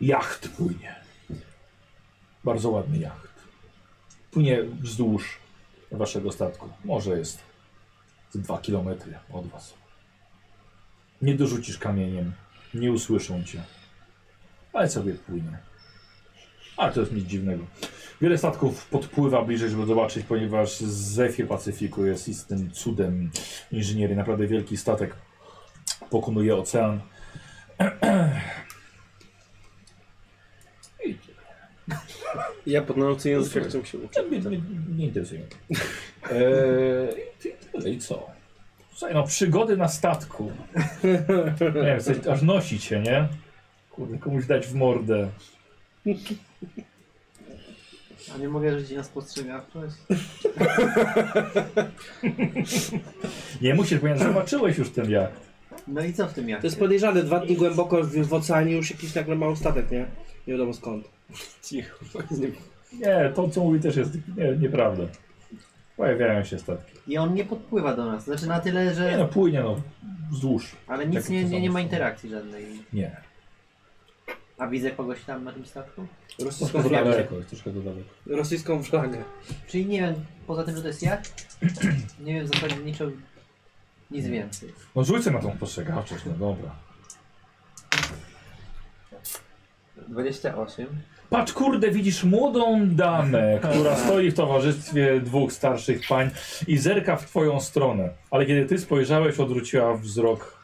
Speaker 1: jacht płynie. Bardzo ładny jacht. Płynie wzdłuż waszego statku. Może jest z dwa kilometry od was. Nie dorzucisz kamieniem, nie usłyszą cię ale sobie płynie. Ale to jest nic dziwnego. Wiele statków podpływa bliżej, żeby zobaczyć, ponieważ Zefir Pacyfiku jest istnym cudem inżynierii. Naprawdę wielki statek pokonuje ocean. I
Speaker 6: Ja pod nauce języka chcę się uczyć.
Speaker 1: Nie, nie, nie interesuje mnie. Eee, i ty- tyle i co? Słuchaj, no przygody na statku. Nie wiem, coś, aż nosi cię, nie? Kurde, komuś dać w mordę.
Speaker 3: A nie mogę rzucić na spostrzegawczość?
Speaker 1: Nie musisz, ponieważ zobaczyłeś już ten jak.
Speaker 3: No i co w tym jak?
Speaker 5: To jest podejrzane, dwa dni głęboko w, w oceanie już jakiś nagle mały statek, nie? Nie wiadomo skąd.
Speaker 6: Cicho.
Speaker 1: Nie, to co mówi też jest nie, nieprawda. Pojawiają się statki.
Speaker 3: I on nie podpływa do nas. Znaczy na tyle,
Speaker 1: Nie no,
Speaker 3: że.
Speaker 1: płynie no, wzdłuż.
Speaker 3: Ale nic
Speaker 1: Tak,
Speaker 3: nie,
Speaker 1: to
Speaker 3: nie,
Speaker 1: samo
Speaker 3: nie ma
Speaker 1: są.
Speaker 3: interakcji żadnej.
Speaker 1: Nie.
Speaker 3: A widzę kogoś tam na tym statku?
Speaker 5: Rosyjską
Speaker 1: Troszkę to
Speaker 5: flagę.
Speaker 1: daleko, jest troszkę to daleko.
Speaker 5: Rosyjską flagę.
Speaker 3: Czyli nie wiem, poza tym, że to jest jak? Nie wiem zasadniczo nic więcej.
Speaker 1: No rzucę na tą postrzegawczość, no dobra.
Speaker 3: 28.
Speaker 1: Patrz, kurde, widzisz młodą damę, która stoi w towarzystwie dwóch starszych pań i zerka w twoją stronę. Ale kiedy ty spojrzałeś, odwróciła wzrok.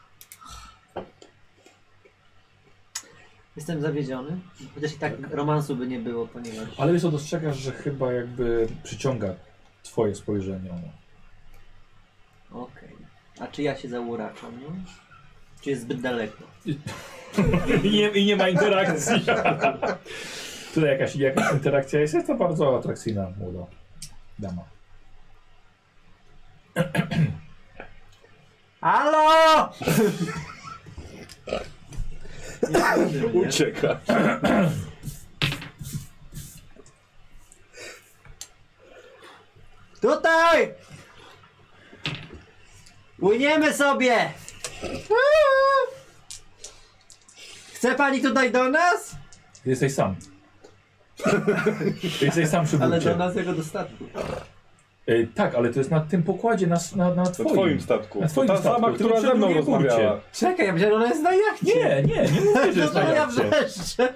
Speaker 3: Jestem zawiedziony. Chociaż i tak romansu by nie było, ponieważ.
Speaker 1: Ale wiesz, co, dostrzegasz, że chyba jakby przyciąga twoje spojrzenie no. ona.
Speaker 3: Okej. A czy ja się zauraczam? Nie? Czy jest zbyt daleko?
Speaker 1: I nie, I nie ma interakcji. Tutaj jakaś, jakaś interakcja jest. Jest to bardzo atrakcyjna młoda dama.
Speaker 3: Halo!
Speaker 4: Ucieka.
Speaker 3: Tutaj! Płyniemy sobie! Chce pani tutaj do nas?
Speaker 1: Ty jesteś sam. Ty jesteś sam przy
Speaker 3: Ale
Speaker 1: burcie.
Speaker 3: do nas jego do statku.
Speaker 1: E, tak, ale to jest na tym pokładzie, na, na, na
Speaker 4: Na
Speaker 1: twoim.
Speaker 4: twoim statku.
Speaker 1: Na twoim
Speaker 4: Ta
Speaker 1: statku,
Speaker 4: sama,
Speaker 1: tylko
Speaker 4: która
Speaker 1: przy
Speaker 4: ze mną
Speaker 1: drugiej burcie.
Speaker 4: rozmawiała.
Speaker 10: Czekaj, ja myślałem, że ona jest na
Speaker 1: Nie,
Speaker 10: jachcie.
Speaker 1: nie, nie mówię, że
Speaker 10: No
Speaker 1: jest
Speaker 10: to
Speaker 1: na
Speaker 10: ja
Speaker 1: jachcie.
Speaker 10: wreszcie.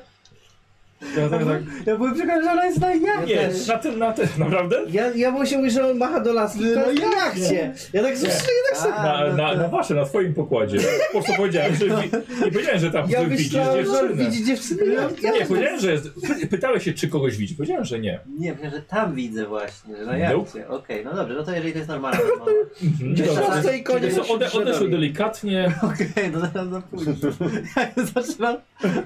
Speaker 1: Ja, tak, tak.
Speaker 10: Ja byłem przekonany, że ona jest na jachcie.
Speaker 1: Nie, na tym, na tym, naprawdę?
Speaker 5: Ja, ja mu się mówi, że on macha do lasu, to jest na jachcie. Ja tak słyszę, ja tak sobie...
Speaker 1: Na,
Speaker 3: no
Speaker 1: na, na waszym, na twoim pokładzie. Po prostu powiedziałem, że wi- nie powiedziałem, że tam
Speaker 5: Ja
Speaker 1: widzisz
Speaker 5: myślałem, że on
Speaker 1: dziewczynę.
Speaker 5: widzi dziewczynę. Ja, ja,
Speaker 1: Nie, powiedziałem, że jest, py- pytałeś się, czy kogoś widzi. Powiedziałem, że nie.
Speaker 3: Nie, myślę, że tam widzę właśnie, że na
Speaker 1: Nope.
Speaker 3: jachcie. Okej, no dobrze, no to jeżeli to jest normalne. no.
Speaker 1: Mhm,
Speaker 5: Po
Speaker 1: Dobra.
Speaker 5: prostu i koniec.
Speaker 1: Wiesz co, Ode, odeszły delikatnie,
Speaker 3: Okej, no zaraz zapójdę. Ja zaczynam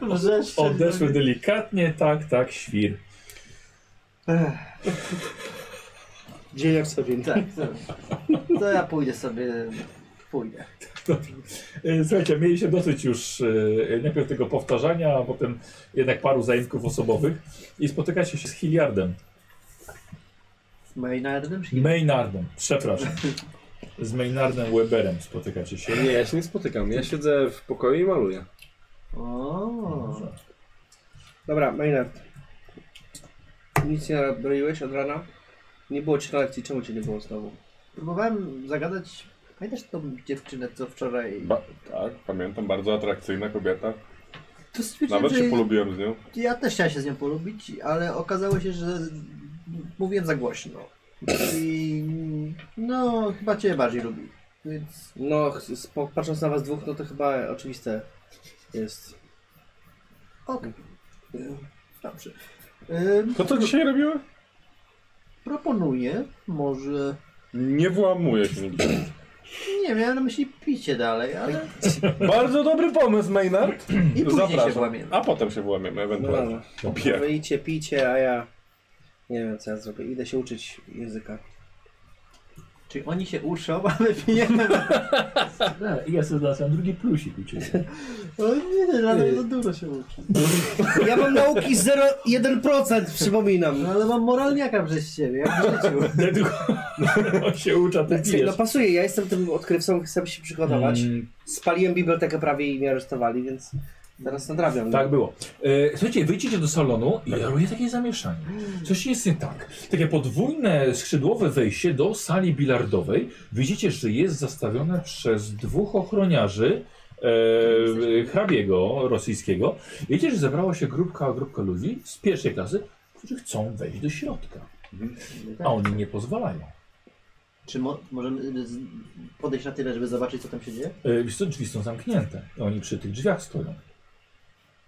Speaker 3: wrzeszczeć. no
Speaker 1: odeszły delikatnie, tak, tak, świr.
Speaker 5: Dzieje jak sobie.
Speaker 3: Tak, to, to ja pójdę sobie, pójdę.
Speaker 1: E, Słuchajcie, mieliście dosyć już e, najpierw tego powtarzania, a potem jednak paru zajętków osobowych i spotykacie się z Hilliardem,
Speaker 3: Z Maynardem? czy-
Speaker 1: Maynardem, przepraszam, z Maynardem Weberem spotykacie się.
Speaker 6: Nie, ja się nie spotykam. Ja siedzę w pokoju i maluję.
Speaker 3: O,
Speaker 5: Dobra, Maynard. Nic nie robiłeś od rana? Nie było ci na lekcji, czemu cię nie było znowu?
Speaker 3: próbowałem zagadać, pamiętasz tą dziewczynę, co wczoraj...
Speaker 4: Ba- tak, pamiętam, bardzo atrakcyjna kobieta.
Speaker 3: To stwierdziłem,
Speaker 4: Nawet
Speaker 3: że
Speaker 4: się polubiłem z nią.
Speaker 3: ja też chciałem się z nią polubić, ale okazało się, że mówiłem za głośno. I no, chyba cię bardziej lubi. Więc
Speaker 5: No, ch- spo- patrząc na was dwóch, no to chyba oczywiste jest.
Speaker 3: okej. Y, Dobrze. Y,
Speaker 4: To co dzisiaj robiły?
Speaker 3: proponuję może...
Speaker 4: Nie włamuję się nigdzie.
Speaker 3: Nie miałem na myśli picie dalej, ale
Speaker 4: Bardzo dobry pomysł, Maynard.
Speaker 3: i później
Speaker 4: Zapraszam.
Speaker 3: się włamiemy.
Speaker 4: A potem się włamiemy,
Speaker 5: No
Speaker 4: ewentualnie.
Speaker 5: dobra.
Speaker 4: Opie.
Speaker 5: Wyjdźcie, pijcie, a ja nie wiem co ja zrobię. Idę się uczyć języka.
Speaker 3: Czyli oni się uszą, a my pijemy.
Speaker 1: I ja sobie dodam drugi plusik u ciebie.
Speaker 5: No,
Speaker 3: O nie, ale za dużo się uczy.
Speaker 5: Ja mam nauki 0,1%
Speaker 3: No
Speaker 5: przypominam.
Speaker 3: ale mam moralniaka przez siebie, jak w życiu.
Speaker 1: On się uczy, a ty
Speaker 5: No
Speaker 1: pijesz.
Speaker 5: pasuje, ja jestem tym odkrywcą, chcę się przygotować.
Speaker 1: Tak Mm,
Speaker 5: Spaliłem bibliotekę prawie i mnie aresztowali, więc teraz nadrabiam. no.
Speaker 1: tak było. E, słuchajcie, wyjdziecie do salonu i ja robię takie zamieszanie. Coś jest nie tak. Takie podwójne skrzydłowe wejście do sali bilardowej. Widzicie, że jest zastawione przez dwóch ochroniarzy e, hrabiego rosyjskiego. Wiecie, że zebrała się grupka, grupka ludzi z pierwszej klasy, którzy chcą wejść do środka. A oni nie pozwalają.
Speaker 3: Czy mo możemy y, z- podejść na tyle, żeby zobaczyć, co tam się dzieje?
Speaker 1: E, Wiesz co, drzwi są zamknięte. Oni przy tych drzwiach stoją.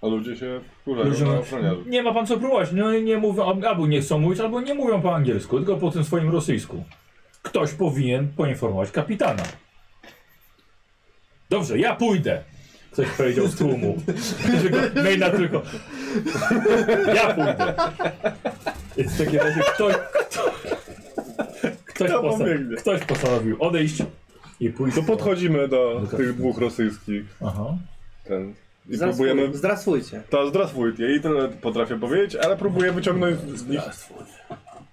Speaker 4: A ludzie się
Speaker 1: Ludzie
Speaker 4: wkurzają
Speaker 1: mówią,
Speaker 4: na ochroniarzy.
Speaker 1: Nie ma pan co próbować. No i nie mówią, albo nie chcą mówić, albo nie mówią po angielsku, tylko po tym swoim rosyjsku. Ktoś powinien poinformować kapitana. Dobrze, ja pójdę. Ktoś powiedział z tłumu. Tylko Maina tylko. Ja pójdę. Więc w takim razie ktoś. Kto, ktoś,
Speaker 4: Kto
Speaker 1: posta
Speaker 4: pobiegnie?
Speaker 1: ktoś postanowił odejść i pójść.
Speaker 4: To podchodzimy do
Speaker 1: Do
Speaker 4: tych dwóch rosyjskich.
Speaker 1: Aha.
Speaker 4: Ten. I próbujemy...
Speaker 5: Zdrasfuj, zdrasfujcie.
Speaker 4: Ta zdraswójt, jej tyle potrafię powiedzieć, ale próbuję wyciągnąć z nich,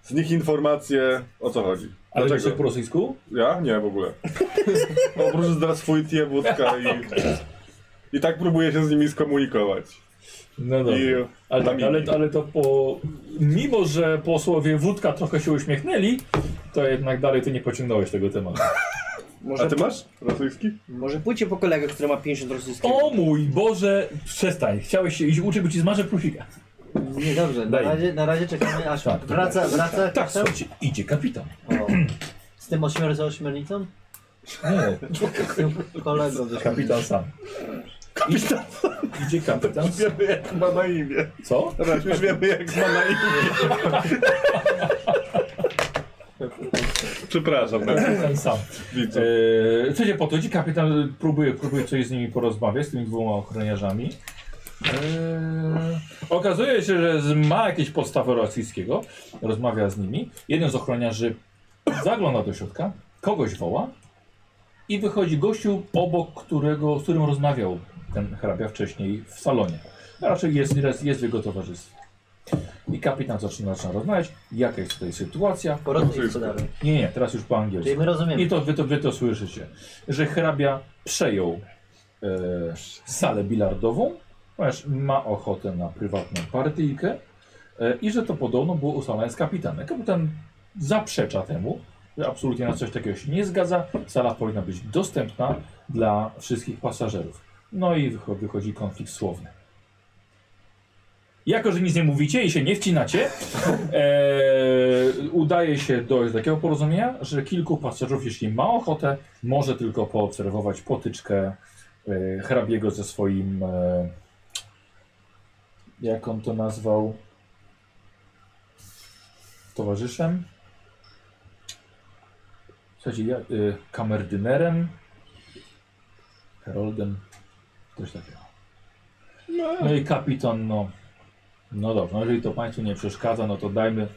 Speaker 4: z nich informacje o co chodzi.
Speaker 1: Ale
Speaker 4: Dlaczego?
Speaker 1: wiesz jak po rosyjsku?
Speaker 4: Ja? Nie, w ogóle. Oprócz zdraswójtie, wódka i... I tak próbuję się z nimi skomunikować.
Speaker 1: No
Speaker 4: I...
Speaker 1: dobrze. Ale, tak,
Speaker 4: Nami.
Speaker 1: ale, ale to po. Mimo, że posłowie wódka trochę się uśmiechnęli, to jednak dalej ty nie pociągnąłeś tego tematu.
Speaker 4: A
Speaker 5: Może,
Speaker 4: ty masz rosyjski?
Speaker 5: może pójdźcie po kolegę, który ma 50 rosyjskiego.
Speaker 1: O mój Boże, przestań. Chciałeś się iść uczyć, bo ci zmarzę plusika.
Speaker 3: Nie, dobrze, na
Speaker 1: Daj.
Speaker 3: razie, na razie czekamy, aż
Speaker 1: Tak,
Speaker 3: wraca, wraca.
Speaker 1: Tak,
Speaker 3: kapitan.
Speaker 1: słuchajcie, idzie kapitan.
Speaker 3: O. Z tym ośmior za ośmiornicą?
Speaker 1: Nie,
Speaker 3: Z tym kolegą ze
Speaker 1: kapitan sam. Kapitan Idzie kapitan.
Speaker 4: Wiemy jak ma na imię.
Speaker 1: Co?
Speaker 4: Dobra, już wiemy jak ma na imię. Przepraszam, na
Speaker 1: Kapitan sam.
Speaker 4: widzę.
Speaker 1: Eee, co się podchodzi? Kapitan próbuje, próbuje coś z nimi porozmawiać, z tymi dwoma ochroniarzami. Eee, okazuje się, że z- ma jakieś podstawy rosyjskiego. Rozmawia z nimi. Jeden z ochroniarzy zagląda do środka, kogoś woła i wychodzi gościu obok którego, z którym rozmawiał No, ten hrabia wcześniej w salonie. Raczej jest, jest, jest w jego towarzystwie. I kapitan zaczyna, zaczyna rozmawiać, jaka jest tutaj sytuacja.
Speaker 3: Po rosyjsku sprzedawaj.
Speaker 1: Nie, nie, teraz już po
Speaker 3: Czyli
Speaker 1: angielsku.
Speaker 3: my rozumiemy.
Speaker 1: I to wy, to wy to słyszycie, że hrabia przejął e, salę bilardową, ponieważ ma ochotę na prywatną partyjkę e, i że to podobno było ustalane z kapitanem. Kapitan zaprzecza temu, że absolutnie na coś takiego się nie zgadza. Sala powinna być dostępna dla wszystkich pasażerów. No i wycho- wychodzi konflikt słowny. Jako, że nic nie mówicie i się nie wcinacie, Eee, udaje się dojść do takiego porozumienia, że kilku pasażerów, jeśli ma ochotę, może tylko poobserwować potyczkę e, hrabiego ze swoim. E, jak on to nazwał? Towarzyszem? Słuchajcie, ja, e, kamerdynerem? Heroldem? Coś takiego. No i kapitan, no. No dobrze, no jeżeli to Państwu nie przeszkadza, no to dajmy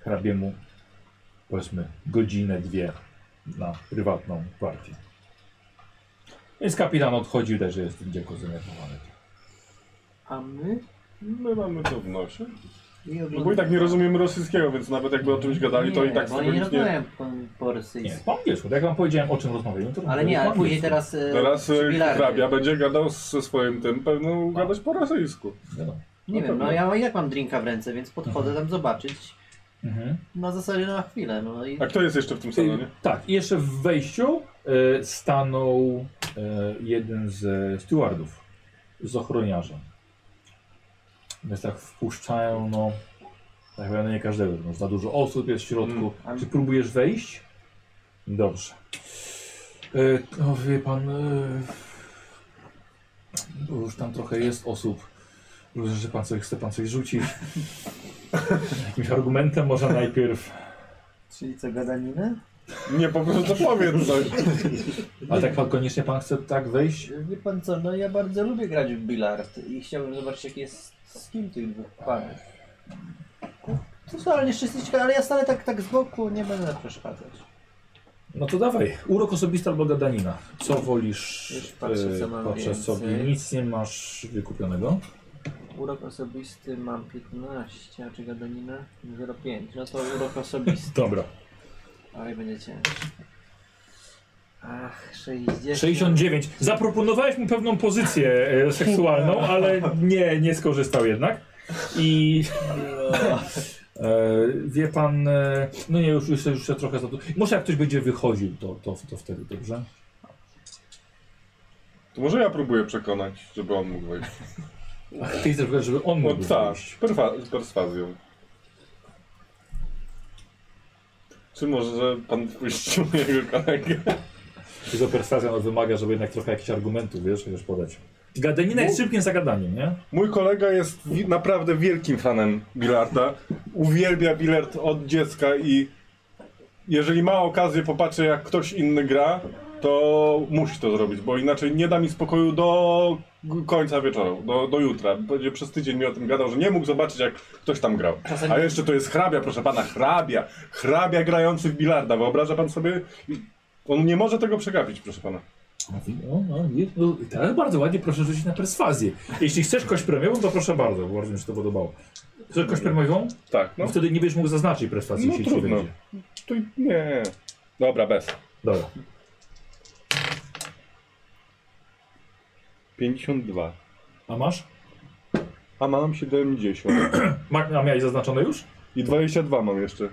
Speaker 1: hrabiemu powiedzmy godzinę, dwie na prywatną partię. Więc kapitan odchodzi, też jest tym dziecko zdenerwowany.
Speaker 3: A my?
Speaker 4: My mamy to w nosie.
Speaker 3: Nie
Speaker 4: No bo i tak nie rozumiemy rosyjskiego, więc nawet jakby o czymś gadali, to i tak z
Speaker 3: bo
Speaker 4: tego
Speaker 3: oni nie
Speaker 4: nic nie...
Speaker 3: rozmawiają po, po
Speaker 1: Nie,
Speaker 3: rosyjsku.
Speaker 1: po angielsku, tak jak Wam powiedziałem, o czym rozmawiamy, to
Speaker 3: Ale
Speaker 1: rozmawiamy
Speaker 3: nie,
Speaker 1: po
Speaker 3: ale później
Speaker 1: angielsku.
Speaker 3: teraz... e,
Speaker 4: Teraz
Speaker 3: przy
Speaker 4: e,
Speaker 3: bilardzie.
Speaker 4: hrabia będzie gadał ze swoim tym, pewno gadać po rosyjsku.
Speaker 1: Wiadomo.
Speaker 3: Nie wiem, no ja i tak mam drinka w ręce, więc podchodzę tam zobaczyć.
Speaker 1: Mhm.
Speaker 3: Na zasadzie na chwilę, no i...
Speaker 4: A kto jest jeszcze w tym salonie?
Speaker 1: Tak, i jeszcze w wejściu e, stanął e, jeden z stewardów, z ochroniarzem. Więc tak wpuszczają, no, tak powiem, nie każdego, no, za dużo osób jest w środku.
Speaker 3: Mm.
Speaker 1: Czy próbujesz wejść? Dobrze. E, no wie pan, e, bo już tam trochę jest osób, Rozumiem, że pan coś, chce pan coś rzucić. Jakimś argumentem może najpierw.
Speaker 3: Czyli co, gadaninę?
Speaker 4: Nie, po prostu powiedz coś.
Speaker 1: Ale tak pan koniecznie pan chce tak wejść?
Speaker 3: Wie pan co, no ja bardzo lubię grać w bilard i chciałbym zobaczyć jaki jest skin tych dwóch panów. Totalnie szczęśliwy, ale ja stanę tak, tak z boku, nie będę przeszkadzać.
Speaker 1: No to dawaj. Urok osobisty albo gadanina. Co wolisz?
Speaker 3: Już patrzę,
Speaker 1: e,
Speaker 3: co mam
Speaker 1: patrzę
Speaker 3: więcej.
Speaker 1: sobie. Nic nie masz wykupionego.
Speaker 3: Urok osobisty mam 15, a czy gadanina? 0,5. No to urok osobisty.
Speaker 1: Dobra.
Speaker 3: Oj, będzie ciężko. Ach, 60.
Speaker 1: 69. Zaproponowałeś mu pewną pozycję e, seksualną, ale nie, nie skorzystał jednak. I e, wie pan, e, no nie, już, już, już się trochę za to. Może jak ktoś będzie wychodził, to, to, to wtedy dobrze.
Speaker 4: To może ja próbuję przekonać, żeby on mógł wejść.
Speaker 1: Ach, ty chcesz, żeby on
Speaker 4: No
Speaker 1: mógł
Speaker 4: tak,
Speaker 1: wejść.
Speaker 4: perfa- z perswazją. Czy może pan wpuścił mojego kolegę?
Speaker 1: Tylko perswazja no, wymaga, żeby jednak trochę jakichś argumentów, wiesz, chociaż podać. Gadanina jest szybkim zagadaniem, nie?
Speaker 4: Mój kolega jest wi- naprawdę wielkim fanem bilarda. Uwielbia bilard od dziecka i jeżeli ma okazję popatrzy jak ktoś inny gra, to musi to zrobić, bo inaczej nie da mi spokoju do g- końca wieczoru, do, do jutra. Będzie przez tydzień mi o tym gadał, że nie mógł zobaczyć jak ktoś tam grał. A jeszcze to jest hrabia, proszę pana, hrabia. Hrabia grający w bilarda, wyobraża pan sobie? I On nie może tego przegapić, proszę pana.
Speaker 1: Mówi, No, no, i- no, i teraz bardzo ładnie proszę rzucić na perswazję. Jeśli chcesz kość premiową, to proszę bardzo, bo bardzo mi się to podobało. Chcesz kość premiową?
Speaker 4: Tak,
Speaker 1: No
Speaker 4: no
Speaker 1: wtedy nie będziesz mógł zaznaczyć perswazji,
Speaker 4: No
Speaker 1: jeśli ci
Speaker 4: trudno.
Speaker 1: będzie.
Speaker 4: to i- nie. Dobra, bez.
Speaker 1: Dobra.
Speaker 4: 52.
Speaker 1: A masz?
Speaker 4: A mam 70.
Speaker 1: Ma, a miałeś zaznaczone już?
Speaker 4: I 22 mam jeszcze.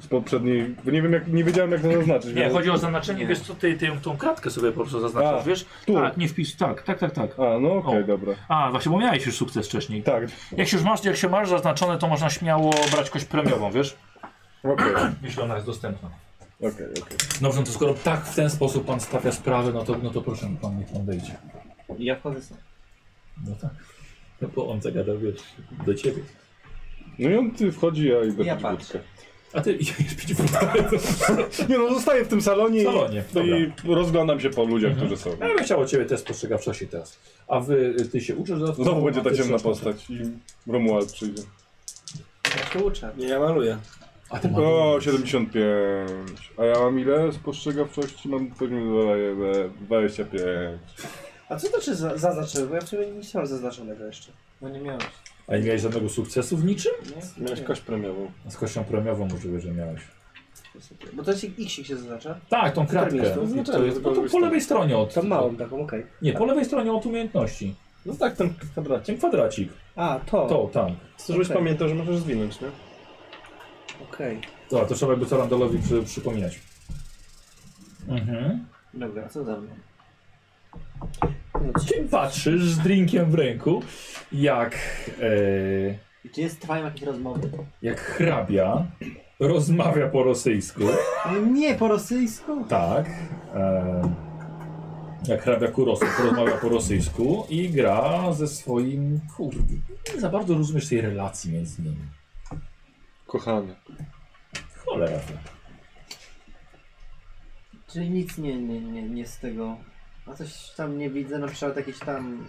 Speaker 4: Z poprzedniej. Bo nie wiem jak. Nie wiedziałem jak to zaznaczyć.
Speaker 1: Nie,
Speaker 4: więc-
Speaker 1: chodzi o zaznaczenie, wiesz co, ty, ty tą kratkę sobie po prostu zaznaczasz,
Speaker 4: A,
Speaker 1: wiesz?
Speaker 4: tu.
Speaker 1: Tak, nie wpisz, tak, tak, tak, tak.
Speaker 4: A, no okej,
Speaker 1: O.
Speaker 4: dobra.
Speaker 1: A, właśnie, bo miałeś już sukces wcześniej.
Speaker 4: Tak,
Speaker 1: Jak się już masz, jak się masz zaznaczone, to można śmiało brać kość premiową, wiesz?
Speaker 4: okej,
Speaker 1: Jeśli ona jest dostępna.
Speaker 4: okej, okej.
Speaker 1: Dobrze, no to skoro tak w ten sposób pan stawia sprawę, no to, no to proszę, pan niech pan wejdzie.
Speaker 3: Ja wchodzę sam.
Speaker 1: No tak. No bo on zagadał wiesz, do ciebie.
Speaker 4: No i on ty wchodzi, ja idę
Speaker 3: Ja
Speaker 4: pić
Speaker 3: patrzę.
Speaker 4: wódkę.
Speaker 1: A ty idziesz pić wódkę.
Speaker 4: Nie no, zostaję w tym salonie,
Speaker 1: W
Speaker 4: i-
Speaker 1: salonie, Mhm.
Speaker 4: no i rozglądam się po ludziach, którzy są.
Speaker 1: Ja bym chciał o ciebie test spostrzegawczości teraz. A wy, ty się uczysz dodatkowo?
Speaker 4: Znowu będzie
Speaker 1: a
Speaker 4: ta
Speaker 1: ty
Speaker 4: ciemna
Speaker 1: trzymasz-
Speaker 4: postać i Romuald przyjdzie.
Speaker 3: Ja się uczę.
Speaker 6: Nie, ja maluję.
Speaker 1: A ty
Speaker 4: O, 75. A ja mam ile spostrzegawczości? Mam pewnie 25.
Speaker 5: A co to czy za, zaznaczyły? Bo ja w sumie nie mam zaznaczonego jeszcze.
Speaker 11: No nie miałeś.
Speaker 1: A nie miałeś żadnego sukcesu w niczym?
Speaker 11: Nie?
Speaker 6: Miałeś kość premiową.
Speaker 1: Z kością premiową możliwe, że miałeś.
Speaker 5: Bo to jest X się zaznacza.
Speaker 1: Tak, tą kratkę.
Speaker 5: jest?
Speaker 1: I To jest, no to Tak. po lewej stronie od...
Speaker 5: Tam małą taką, okej.
Speaker 1: Nie, po lewej stronie od umiejętności.
Speaker 6: No tak, ten kwadracik.
Speaker 1: Ten kwadracik.
Speaker 5: A, to.
Speaker 1: To, tam.
Speaker 6: To żebyś
Speaker 5: Okej.
Speaker 6: pamiętał, że możesz zwinąć, nie?
Speaker 5: Okej.
Speaker 1: Dobra, to trzeba jakby co Randalowi przy, przypominać. Mhm.
Speaker 11: Dobra, co za mną?
Speaker 1: Ty patrzysz z drinkiem w ręku, jak... E,
Speaker 11: I Czy jest, trwają jakieś rozmowy?
Speaker 1: jak hrabia rozmawia po rosyjsku.
Speaker 11: No nie, po rosyjsku.
Speaker 1: Tak. E, jak hrabia Kurosów rozmawia po rosyjsku i gra ze swoim... Kurde, nie za bardzo rozumiesz tej relacji między nimi.
Speaker 4: Kochany.
Speaker 1: Cholera.
Speaker 11: Czyli nic nie, nie, nie, nie z tego. A coś tam nie widzę, na przykład jakichś tam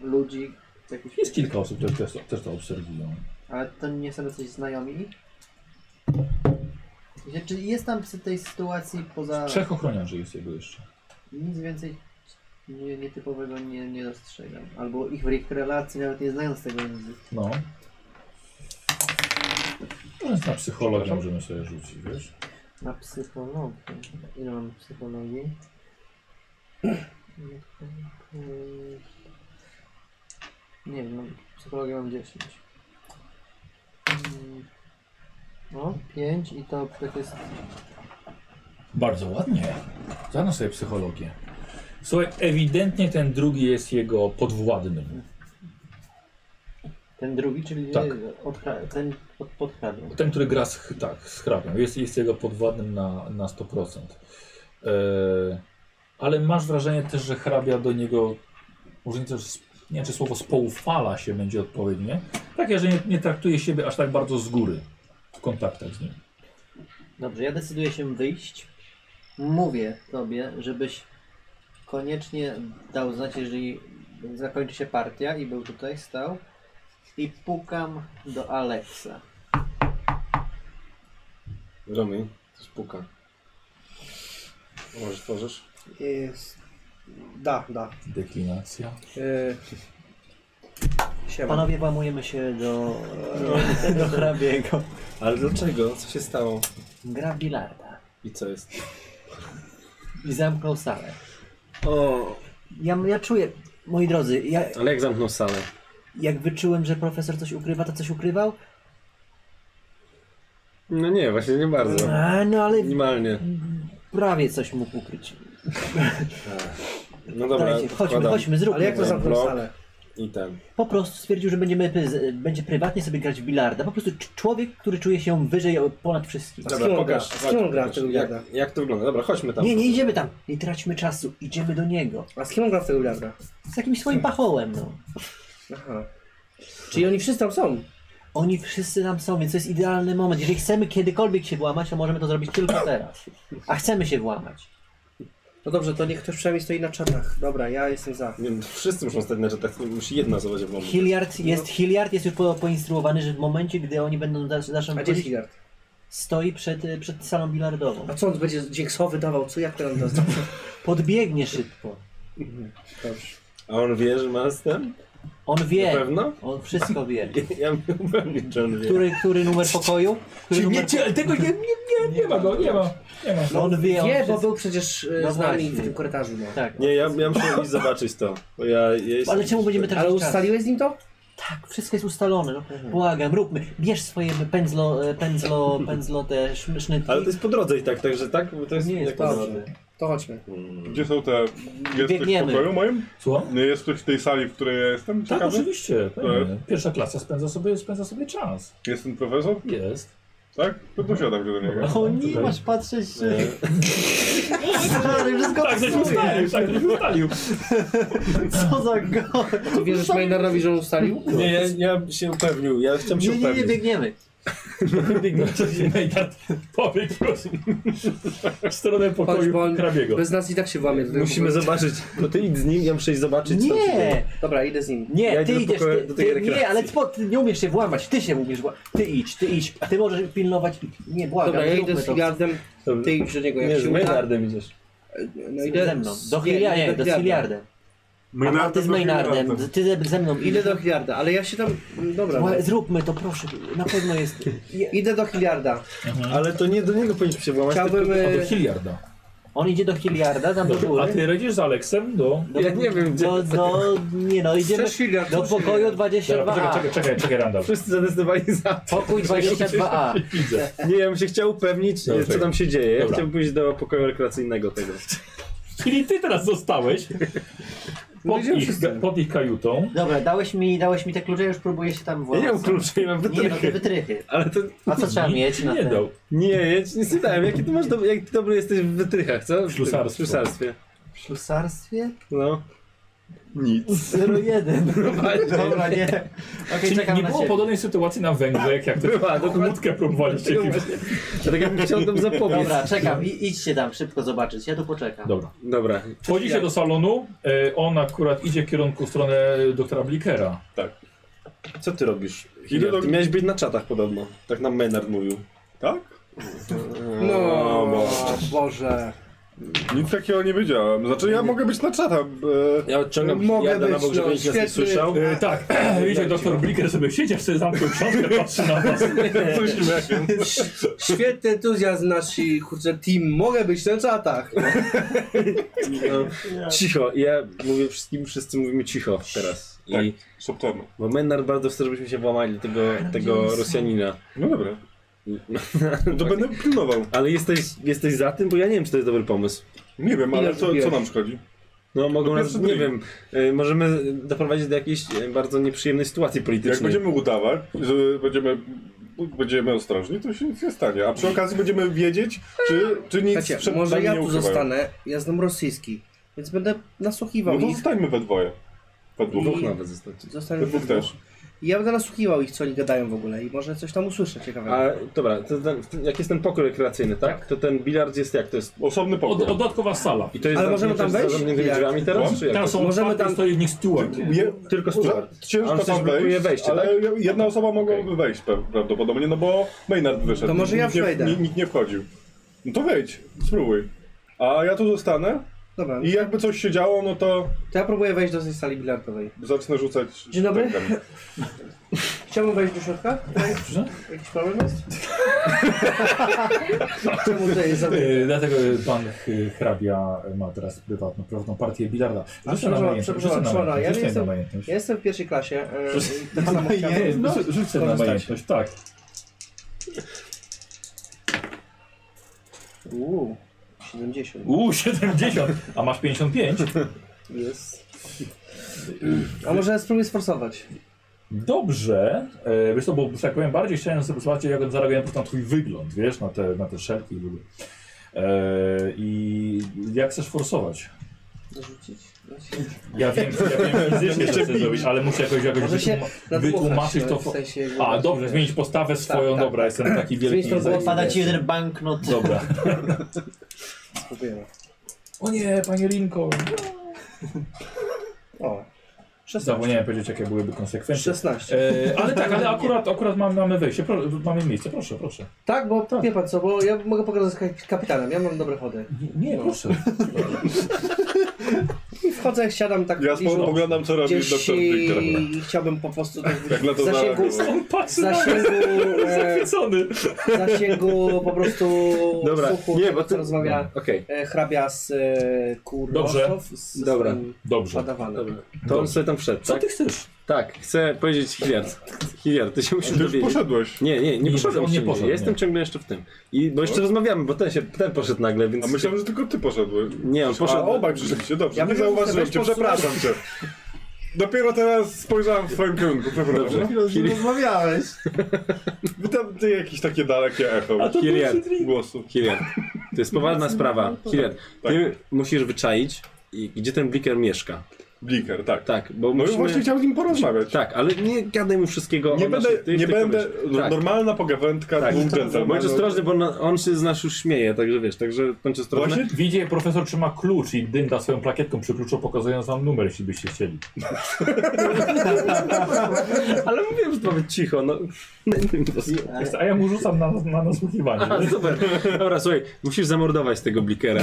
Speaker 11: ludzi, jakichś...
Speaker 1: Jest kilka osób, które też, też to obserwują.
Speaker 11: Ale to nie są coś znajomi? Gdzie- Znaczy, Czy jest tam przy tej sytuacji poza...
Speaker 1: Trzech ochroniarzy jest jego jeszcze.
Speaker 11: Nic więcej nie, nietypowego nie, nie dostrzegam. Albo ich, ich relacji nawet nie znając tego języka.
Speaker 1: No. Więc na psychologię możemy sobie rzucić, wiesz?
Speaker 11: Na psychologię. Ile mam psychologii? Nie wiem, mam- psychologię mam 10. Mm, No, 5 i to tak jest...
Speaker 1: Bardzo ładnie. Zadam sobie psychologię. Słuchaj, ewidentnie ten drugi jest jego podwładnym.
Speaker 11: Ten drugi, czyli
Speaker 1: Tak.
Speaker 11: odkra- ten pod, podkradł.
Speaker 1: Ten, który gra z, ch- tak, z hrabią. Jest, jest jego podwładnym na, na 100%. Eee, ale masz wrażenie też, że hrabia do niego, może nie, też, nie wiem, czy słowo spoufala się będzie odpowiednie. Takie, że nie, nie traktuje siebie aż tak bardzo z góry w kontaktach z nim.
Speaker 11: Dobrze, ja decyduję się wyjść. Mówię tobie, żebyś koniecznie dał znać, jeżeli zakończy się partia i był tutaj, stał. I pukam do Alexa.
Speaker 6: Romy, coś puka. Może tworzysz?
Speaker 5: Jest. Da, da.
Speaker 1: Deklinacja.
Speaker 5: Yy... Siema.
Speaker 3: Panowie, łamujemy się do, do, do hrabiego.
Speaker 6: Ale dlaczego? Co się stało?
Speaker 11: Gra w bilarda.
Speaker 6: I co jest?
Speaker 11: I zamknął salę.
Speaker 12: O,
Speaker 3: Ja, ja czuję, moi drodzy, ja,
Speaker 12: ale jak zamknął salę?
Speaker 3: jak wyczułem, że profesor coś ukrywa, to coś ukrywał?
Speaker 6: No nie, właśnie nie bardzo.
Speaker 3: A, no ale
Speaker 6: Minimalnie.
Speaker 3: prawie coś mógł ukryć.
Speaker 6: No dobra,
Speaker 3: Dajcie, chodźmy,
Speaker 6: wkładam.
Speaker 3: chodźmy, zróbmy.
Speaker 5: Ale jak to
Speaker 3: to.
Speaker 5: zamknął
Speaker 6: blok.
Speaker 5: salę?
Speaker 6: I ten.
Speaker 3: Po prostu stwierdził, że będziemy, py- będzie prywatnie sobie grać w bilarda. Po prostu cz- człowiek, który czuje się wyżej o- ponad wszystkich.
Speaker 5: Z kim on gra? Z kim on gra w
Speaker 6: pokaż.
Speaker 5: tego bilarda?
Speaker 6: jak, jak to wygląda? Dobra, chodźmy tam.
Speaker 3: Nie, nie idziemy tam. Nie traćmy czasu. Idziemy do niego.
Speaker 5: A z kim on gra w tego bilarda?
Speaker 3: Z jakimś swoim pachołem, no.
Speaker 5: Aha. Czyli oni wszyscy tam są.
Speaker 3: Oni wszyscy tam są, więc to jest idealny moment. Jeżeli chcemy kiedykolwiek się włamać, to możemy to zrobić tylko teraz. A chcemy się włamać.
Speaker 5: No dobrze, to niech ktoś przynajmniej stoi na czarnach. Dobra, ja jestem za.
Speaker 6: Nie, no, wszyscy muszą stać na tak musi jedna osoba się włączyć.
Speaker 3: Hilliard jest, Hilliard jest już po, poinstruowany, że w momencie, gdy oni będą za- naszą
Speaker 5: A gdzie jest
Speaker 3: wchodzić,
Speaker 5: Hilliard?
Speaker 3: stoi przed, y, przed salą bilardową.
Speaker 5: A co on będzie dzięksowy dawał? Co jak teraz dostał?
Speaker 3: Podbiegnie szybko.
Speaker 5: Dobrze.
Speaker 6: A on wie, że ma z tym?
Speaker 3: On
Speaker 6: Na
Speaker 3: wie.
Speaker 6: pewno?
Speaker 3: On wszystko wie.
Speaker 6: Ja bym upewnił, że on wie.
Speaker 3: Który, który numer pokoju? Który numer...
Speaker 1: tego nie, nie, nie, nie ma go, nie ma. Nie ma.
Speaker 3: No, on wie, on
Speaker 5: Nie, bo
Speaker 3: wszystko-
Speaker 5: był przecież e,
Speaker 3: No
Speaker 5: z nami
Speaker 3: właśnie.
Speaker 5: w tym korytarzu. No.
Speaker 3: Tak.
Speaker 6: Nie, ja, ja muszę iść zobaczyć to. Bo ja, ja jestem-
Speaker 3: Ale czemu będziemy teraz
Speaker 5: Ale Mhm. ustaliłeś z nim to?
Speaker 3: Tak, wszystko jest ustalone. No. Błagam, róbmy. Bierz swoje pędzlo, e, pędzlo, pędzlo te szm- sznytki.
Speaker 6: Ale to jest po drodze i tak, także tak? Bo to jest
Speaker 3: Nie jest
Speaker 6: jak
Speaker 3: po
Speaker 6: to
Speaker 3: drodze.
Speaker 6: nazywa?
Speaker 5: To chodźmy.
Speaker 6: No.
Speaker 4: Gdzie są te... Jest ktoś w
Speaker 3: Biegniemy.
Speaker 4: pokoju moim?
Speaker 1: Słucham?
Speaker 4: Nie jest ktoś w tej sali, w której ja jestem?
Speaker 1: Tak,
Speaker 4: Ciekawy?
Speaker 1: oczywiście.
Speaker 4: pewnie.
Speaker 1: Pierwsza klasa spędza sobie, spędza sobie czas.
Speaker 4: Jest ten profesor?
Speaker 1: Jest.
Speaker 4: Tak? To dosiadam się do niego.
Speaker 5: No.
Speaker 1: O
Speaker 3: nie masz patrzeć. Stary, wszystko
Speaker 1: Tak, żeś ustalił, tak, żeś ustalił.
Speaker 3: co za go.
Speaker 5: Ty wierzysz Maynardowi, że on ustalił?
Speaker 6: Nie, ja, ja się upewnił, ja chciałem się
Speaker 3: Nie, nie, nie,
Speaker 6: upewnić.
Speaker 3: biegniemy.
Speaker 1: Maynard, powiedz proszę. W stronę
Speaker 5: Chodź,
Speaker 1: pokoju
Speaker 5: bo on
Speaker 1: hrabiego.
Speaker 5: bez nas i tak się włamie. do tego
Speaker 6: Musimy
Speaker 5: pokoju.
Speaker 6: zobaczyć. No ty idź z nim, ja muszę iść zobaczyć. co tutaj-
Speaker 3: Nie,
Speaker 5: Dobra, idę z nim.
Speaker 3: nie,
Speaker 6: Ja
Speaker 3: ty
Speaker 6: idę do
Speaker 3: idziesz,
Speaker 6: pokoju-
Speaker 3: ty,
Speaker 6: do tej
Speaker 3: ty,
Speaker 6: rekreacji.
Speaker 3: nie, ale po, ty nie umiesz się włamać, ty się umiesz włamać, ty idź, ty idź, ty możesz pilnować, nie, błagam,
Speaker 5: Dobra, ja idę
Speaker 3: zróbmy
Speaker 5: z
Speaker 3: to.
Speaker 5: Hilliardem,
Speaker 6: Dobrze.
Speaker 5: ty idź do niego.
Speaker 6: Nie,
Speaker 5: Jak
Speaker 6: z
Speaker 5: się uda,
Speaker 6: Maynardem idziesz.
Speaker 5: no
Speaker 3: ze mną, do Hilliarda, nie, do Hilliarda.
Speaker 10: A ty z Maynardem, ty ze- ze mną
Speaker 5: Idę
Speaker 10: idę.
Speaker 5: do Hilliarda, ale ja się tam... Dobra, no.
Speaker 10: Zróbmy to, proszę. Na pewno jest. Je-
Speaker 5: Idę do Hilliarda.
Speaker 6: Ale to nie do niego powinniśmy się włamać.
Speaker 5: Chciałbym...
Speaker 1: A do
Speaker 5: e,
Speaker 1: Hilliarda.
Speaker 10: On idzie do Hiliarda, tam do
Speaker 1: A
Speaker 10: góry.
Speaker 1: ty radzisz z Aleksem do...
Speaker 10: Do,
Speaker 6: Ja nie wiem, gdzie-
Speaker 10: Do, do, nie no, idziemy
Speaker 5: Chcesz Hilliard?
Speaker 10: do
Speaker 5: Chcesz Hilliard?
Speaker 10: pokoju
Speaker 1: Dobra, Czekaj,
Speaker 10: 22A.
Speaker 1: czekaj, czekaj, czekaj, Randall.
Speaker 6: Wszyscy zadecydowali za.
Speaker 10: Pokój 22A.
Speaker 1: Widzę.
Speaker 6: Nie, ja bym się chciał upewnić,
Speaker 1: Dobra,
Speaker 6: e, co
Speaker 1: czekaj.
Speaker 6: tam się dzieje. Ja
Speaker 1: Dobra.
Speaker 6: chciałbym pójść do pokoju rekreacyjnego tego.
Speaker 1: Czyli ty teraz zostałeś pod,
Speaker 5: Powiedziałem
Speaker 1: ich,
Speaker 5: wszystko.
Speaker 1: pod ich kajutą.
Speaker 10: Dobra, dałeś mi, dałeś mi te klucze, już próbuję się tam
Speaker 6: Ja
Speaker 10: włamać.
Speaker 6: nie mam kluczy, ja mam
Speaker 10: Nie, no te
Speaker 6: wytrychy.
Speaker 10: wytrychy.
Speaker 6: Ale to...
Speaker 10: A co trzeba mieć na
Speaker 1: Nie
Speaker 10: ten?
Speaker 1: dał.
Speaker 6: Nie, ja ci nie słyszałem. Jaki ty masz dobry, jak ty dobry jesteś w wytrychach, co? W
Speaker 1: Ślusarstwo.
Speaker 6: W ślusarstwie.
Speaker 10: W ślusarstwie?
Speaker 6: No. Nic.
Speaker 10: 01. Dobra, nie. Okej,
Speaker 1: Czyli
Speaker 10: czekam
Speaker 1: nie
Speaker 10: na
Speaker 1: było
Speaker 10: ciebie.
Speaker 1: podobnej sytuacji na Węgrzech, jak to
Speaker 6: Była, dokładnie.
Speaker 1: kłódkę próbowaliście.
Speaker 6: Tego właśnie. Dlatego ja bym chciał tam zapobiec.
Speaker 10: Dobra, czekam. I, idźcie tam szybko zobaczyć, ja tu poczekam.
Speaker 1: Dobra.
Speaker 6: Dobra.
Speaker 1: Wchodzicie do salonu, e, on akurat idzie w kierunku w stronę doktora Blikera.
Speaker 6: Co ty robisz?
Speaker 4: Idę do-
Speaker 6: Ty miałeś być na czatach podobno. Tak nam Maynard mówił.
Speaker 4: Tak?
Speaker 5: No,
Speaker 4: bo-
Speaker 5: Boże.
Speaker 4: Nic takiego nie wiedziałem. Znaczy ja mogę być na czata. e,
Speaker 6: Ja odciągam
Speaker 5: Mogę
Speaker 6: Mogę na
Speaker 5: być,
Speaker 6: bok, żeby
Speaker 5: no,
Speaker 6: nikt nas nie
Speaker 5: świetny-
Speaker 6: słyszał.
Speaker 1: E, tak, wiecie, doktor Bliker sobie siedzi, sobie zamknął książkę, patrzy na was.
Speaker 5: Świetny entuzjazm nasi, kurczę, team. Mogę być na czatach.
Speaker 6: No, cicho. Ja mówię wszystkim, wszyscy mówimy cicho teraz. I,
Speaker 4: Tak. Szeptamy.
Speaker 6: Bo Maynard bardzo chce, żebyśmy się włamali do tego, tego Rosjanina.
Speaker 4: No dobra. No to będę pilnował.
Speaker 6: Ale jesteś, jesteś za tym? Bo ja nie wiem, czy to jest dobry pomysł.
Speaker 4: Nie wiem, ale
Speaker 5: Ile
Speaker 4: co,
Speaker 5: wiesz?
Speaker 4: co nam szkodzi?
Speaker 6: No mogą
Speaker 4: No
Speaker 6: nas,
Speaker 4: pierwszy
Speaker 6: nie
Speaker 4: drink.
Speaker 6: wiem, y, możemy doprowadzić do jakiejś y, bardzo nieprzyjemnej sytuacji politycznej.
Speaker 4: Jak będziemy udawać, że będziemy, będziemy ostrożni, to się nic nie stanie. A przy okazji będziemy wiedzieć, czy, czy nic
Speaker 5: Słuchajcie,
Speaker 4: przed
Speaker 5: może
Speaker 4: nami
Speaker 5: ja
Speaker 4: nie
Speaker 5: tu
Speaker 4: ukrywają.
Speaker 5: zostanę, ja znam rosyjski, więc będę nasłuchiwał
Speaker 4: No to
Speaker 5: ich.
Speaker 4: zostańmy we dwoje. We dwóch.
Speaker 6: Dwóch nawet zostać.
Speaker 5: Zostanę
Speaker 4: We dwóch też.
Speaker 5: I ja będę nasłuchiwał ich, co oni gadają w ogóle i może coś tam usłyszę ciekawego.
Speaker 6: A dobra, to ten, jak jest ten pokój rekreacyjny, tak? To ten bilard jest jak? To jest...
Speaker 4: Osobny
Speaker 1: Od,
Speaker 4: pokój.
Speaker 1: dodatkowa sala.
Speaker 6: I to jest
Speaker 5: Ale
Speaker 6: za-
Speaker 5: możemy
Speaker 6: to
Speaker 5: tam
Speaker 6: jest za
Speaker 5: wejść?
Speaker 6: zamkniętymi
Speaker 5: Jak?
Speaker 6: drzwiami teraz, czy jak?
Speaker 1: Tam są
Speaker 5: Możemy
Speaker 1: Możemy
Speaker 5: tam-
Speaker 1: tam stoi w nich steward.
Speaker 4: Je,
Speaker 6: Tylko steward.
Speaker 4: Ciężko
Speaker 6: On też
Speaker 4: tam
Speaker 6: blokuje
Speaker 4: wejść,
Speaker 6: wejście, tak?
Speaker 4: ale jedna osoba mogłaby wejść pe- prawdopodobnie, no bo Maynard wyszedł.
Speaker 5: To może ja
Speaker 4: nikt nie,
Speaker 5: wejdę.
Speaker 4: Nikt, nikt nie wchodził. No to wejdź, spróbuj. A ja tu zostanę
Speaker 5: Dobra,
Speaker 4: i jakby coś się działo, no to
Speaker 5: to ja próbuję wejść do tej sali bilardowej.
Speaker 4: zacznę rzucać...
Speaker 5: Dzień dobry.
Speaker 4: sztabkami.
Speaker 5: Chciałbym wejść do środka? Jakiś problem jest? Czemu tutaj jest za...
Speaker 1: E, Dlatego pan Ch- hrabia e, ma teraz prywatną, prywatną partię bilarda. Rzucę na
Speaker 5: przepraszam,
Speaker 1: majętność, rzucę na
Speaker 5: przepraszam,
Speaker 1: majętność,
Speaker 5: ja nie
Speaker 1: rzucę na
Speaker 5: jestem-
Speaker 1: majętność.
Speaker 5: Ja jestem w pierwszej klasie. e, i tak
Speaker 1: Na
Speaker 5: samo chciałem-
Speaker 1: majętność, Rzucę na
Speaker 5: korzystać.
Speaker 1: majętność, tak.
Speaker 5: No. Uuu, 70.
Speaker 1: Uuu, 70, a masz 55?
Speaker 5: Jest. A może spróbuję sforsować?
Speaker 1: Dobrze, e, wiesz co, bo że tak powiem, bardziej chciałem sobie zobaczyć, jak zareagowałem po prostu na twój wygląd, wiesz, na te, na te szelki i w ogóle. E, I jak chcesz forsować?
Speaker 5: Zarzucić?
Speaker 1: Ja wiem, ja wiem fizycznie, że chcesz zrobić, ale muszę jakoś, jakoś
Speaker 5: Może się
Speaker 1: wytłuma-
Speaker 5: nadmuchać,
Speaker 1: wytłumaczyć
Speaker 5: no,
Speaker 1: to.
Speaker 5: w
Speaker 1: fo-
Speaker 5: sensie,
Speaker 1: A,
Speaker 5: właśnie,
Speaker 1: dobrze,
Speaker 5: wiesz.
Speaker 1: zmienić postawę swoją,
Speaker 5: tak,
Speaker 1: dobra,
Speaker 5: tak.
Speaker 1: jestem taki wielki.
Speaker 5: Zmienić to było
Speaker 1: zajebisty.
Speaker 10: Odpada ci jeden banknot.
Speaker 1: Dobra.
Speaker 5: Spróbujemy.
Speaker 1: O nie, panie Rinko.
Speaker 5: O,
Speaker 1: Zapomniałem powiedzieć, jakie byłyby konsekwencje.
Speaker 5: 16.
Speaker 1: E, ale tak, ale akurat, akurat mamy, mamy wejście, pro, mamy miejsce, proszę, proszę.
Speaker 5: Tak, bo wie pan co, bo ja mogę pokazać z kap- kapitanem, ja mam dobre chody.
Speaker 1: Nie,
Speaker 5: No.
Speaker 1: proszę.
Speaker 5: I wchodzę, siadam tak
Speaker 4: Ja
Speaker 5: i rzucam
Speaker 4: spoglądam, co robi
Speaker 5: gdzieś
Speaker 4: doktor Victor.
Speaker 5: i, i chciałbym po prostu tak
Speaker 4: Jak na to
Speaker 5: w zasięgu,
Speaker 4: zareagował.
Speaker 1: On
Speaker 5: w
Speaker 1: patrzy na
Speaker 5: zasięgu, e,
Speaker 1: zachwycony.
Speaker 5: w zasięgu no po prostu
Speaker 6: Dobra,
Speaker 5: słuchu,
Speaker 6: nie,
Speaker 5: tego,
Speaker 6: bo
Speaker 5: co
Speaker 6: ty-
Speaker 5: rozmawia
Speaker 6: Okej,
Speaker 5: e, hrabia z e, Kurnosow z
Speaker 6: Dobra.
Speaker 5: swoim
Speaker 1: Dobrze.
Speaker 5: padawanem.
Speaker 6: dobra. To on sobie tam wszedł,
Speaker 1: Co
Speaker 6: tak?
Speaker 1: ty chcesz?
Speaker 6: Tak, chcę powiedzieć Hilliard. Hilliard, ty się musisz
Speaker 4: Ty już
Speaker 6: dowiedzieć.
Speaker 4: poszedłeś.
Speaker 6: Nie, nie, nie
Speaker 1: Nie,
Speaker 6: poszedłem
Speaker 1: on nie
Speaker 6: jeszcze nigdzie.
Speaker 1: poszedł,
Speaker 6: Ja Jestem
Speaker 1: nie.
Speaker 6: ciągle jeszcze w tym. I, bo jeszcze
Speaker 4: Co?
Speaker 6: rozmawiamy, bo ten się ten poszedł nagle, więc.
Speaker 4: A myślałem, że tylko ty poszedłeś.
Speaker 6: Nie, on
Speaker 4: Poszedł.
Speaker 6: poszedł.
Speaker 4: A obaj przyszliście, dobrze.
Speaker 5: Ja
Speaker 4: nie
Speaker 5: myślę, że
Speaker 4: zauważyłem
Speaker 5: chcę
Speaker 4: cię,
Speaker 5: wejść pod
Speaker 4: przepraszam cię. Dopiero teraz spojrzałem w twoim kierunku, przepraszam.
Speaker 6: Hil-
Speaker 5: Rozmawiałeś.
Speaker 4: Wy tam ty jakieś takie dalekie echo
Speaker 6: Hilliard.
Speaker 4: głosu.
Speaker 6: Kilian, to jest poważna sprawa. Kilian,
Speaker 4: Tak.
Speaker 6: ty musisz wyczaić, i- gdzie ten bliker mieszka.
Speaker 4: Bliker, tak.
Speaker 6: Tak, bo
Speaker 4: No i
Speaker 6: musimy...
Speaker 4: właśnie chciałem z nim porozmawiać.
Speaker 6: Tak, ale nie gadaj mu wszystkiego
Speaker 4: Nie
Speaker 6: o
Speaker 4: będę,
Speaker 6: naszych, tych,
Speaker 4: nie
Speaker 6: tylko
Speaker 4: będę,
Speaker 6: wiesz.
Speaker 4: no,
Speaker 6: Tak,
Speaker 4: normalna pogawędka
Speaker 6: tak.
Speaker 4: dwóch
Speaker 6: Bądź
Speaker 4: dżentelmenów.
Speaker 6: ostrożny, bo on, on się z nas już śmieje, także wiesz, także bądź ostrożny.
Speaker 4: Właśnie
Speaker 1: Widzicie, profesor trzyma klucz i dynda swoją plakietką przy kluczu, pokazując wam numer, jeśli byście chcieli.
Speaker 6: Ale mówiłem, że to ma być cicho, no.
Speaker 1: A ja mu rzucam na, na nasłuchiwanie.
Speaker 6: A, super. Dobra, słuchaj, musisz zamordować tego blikera,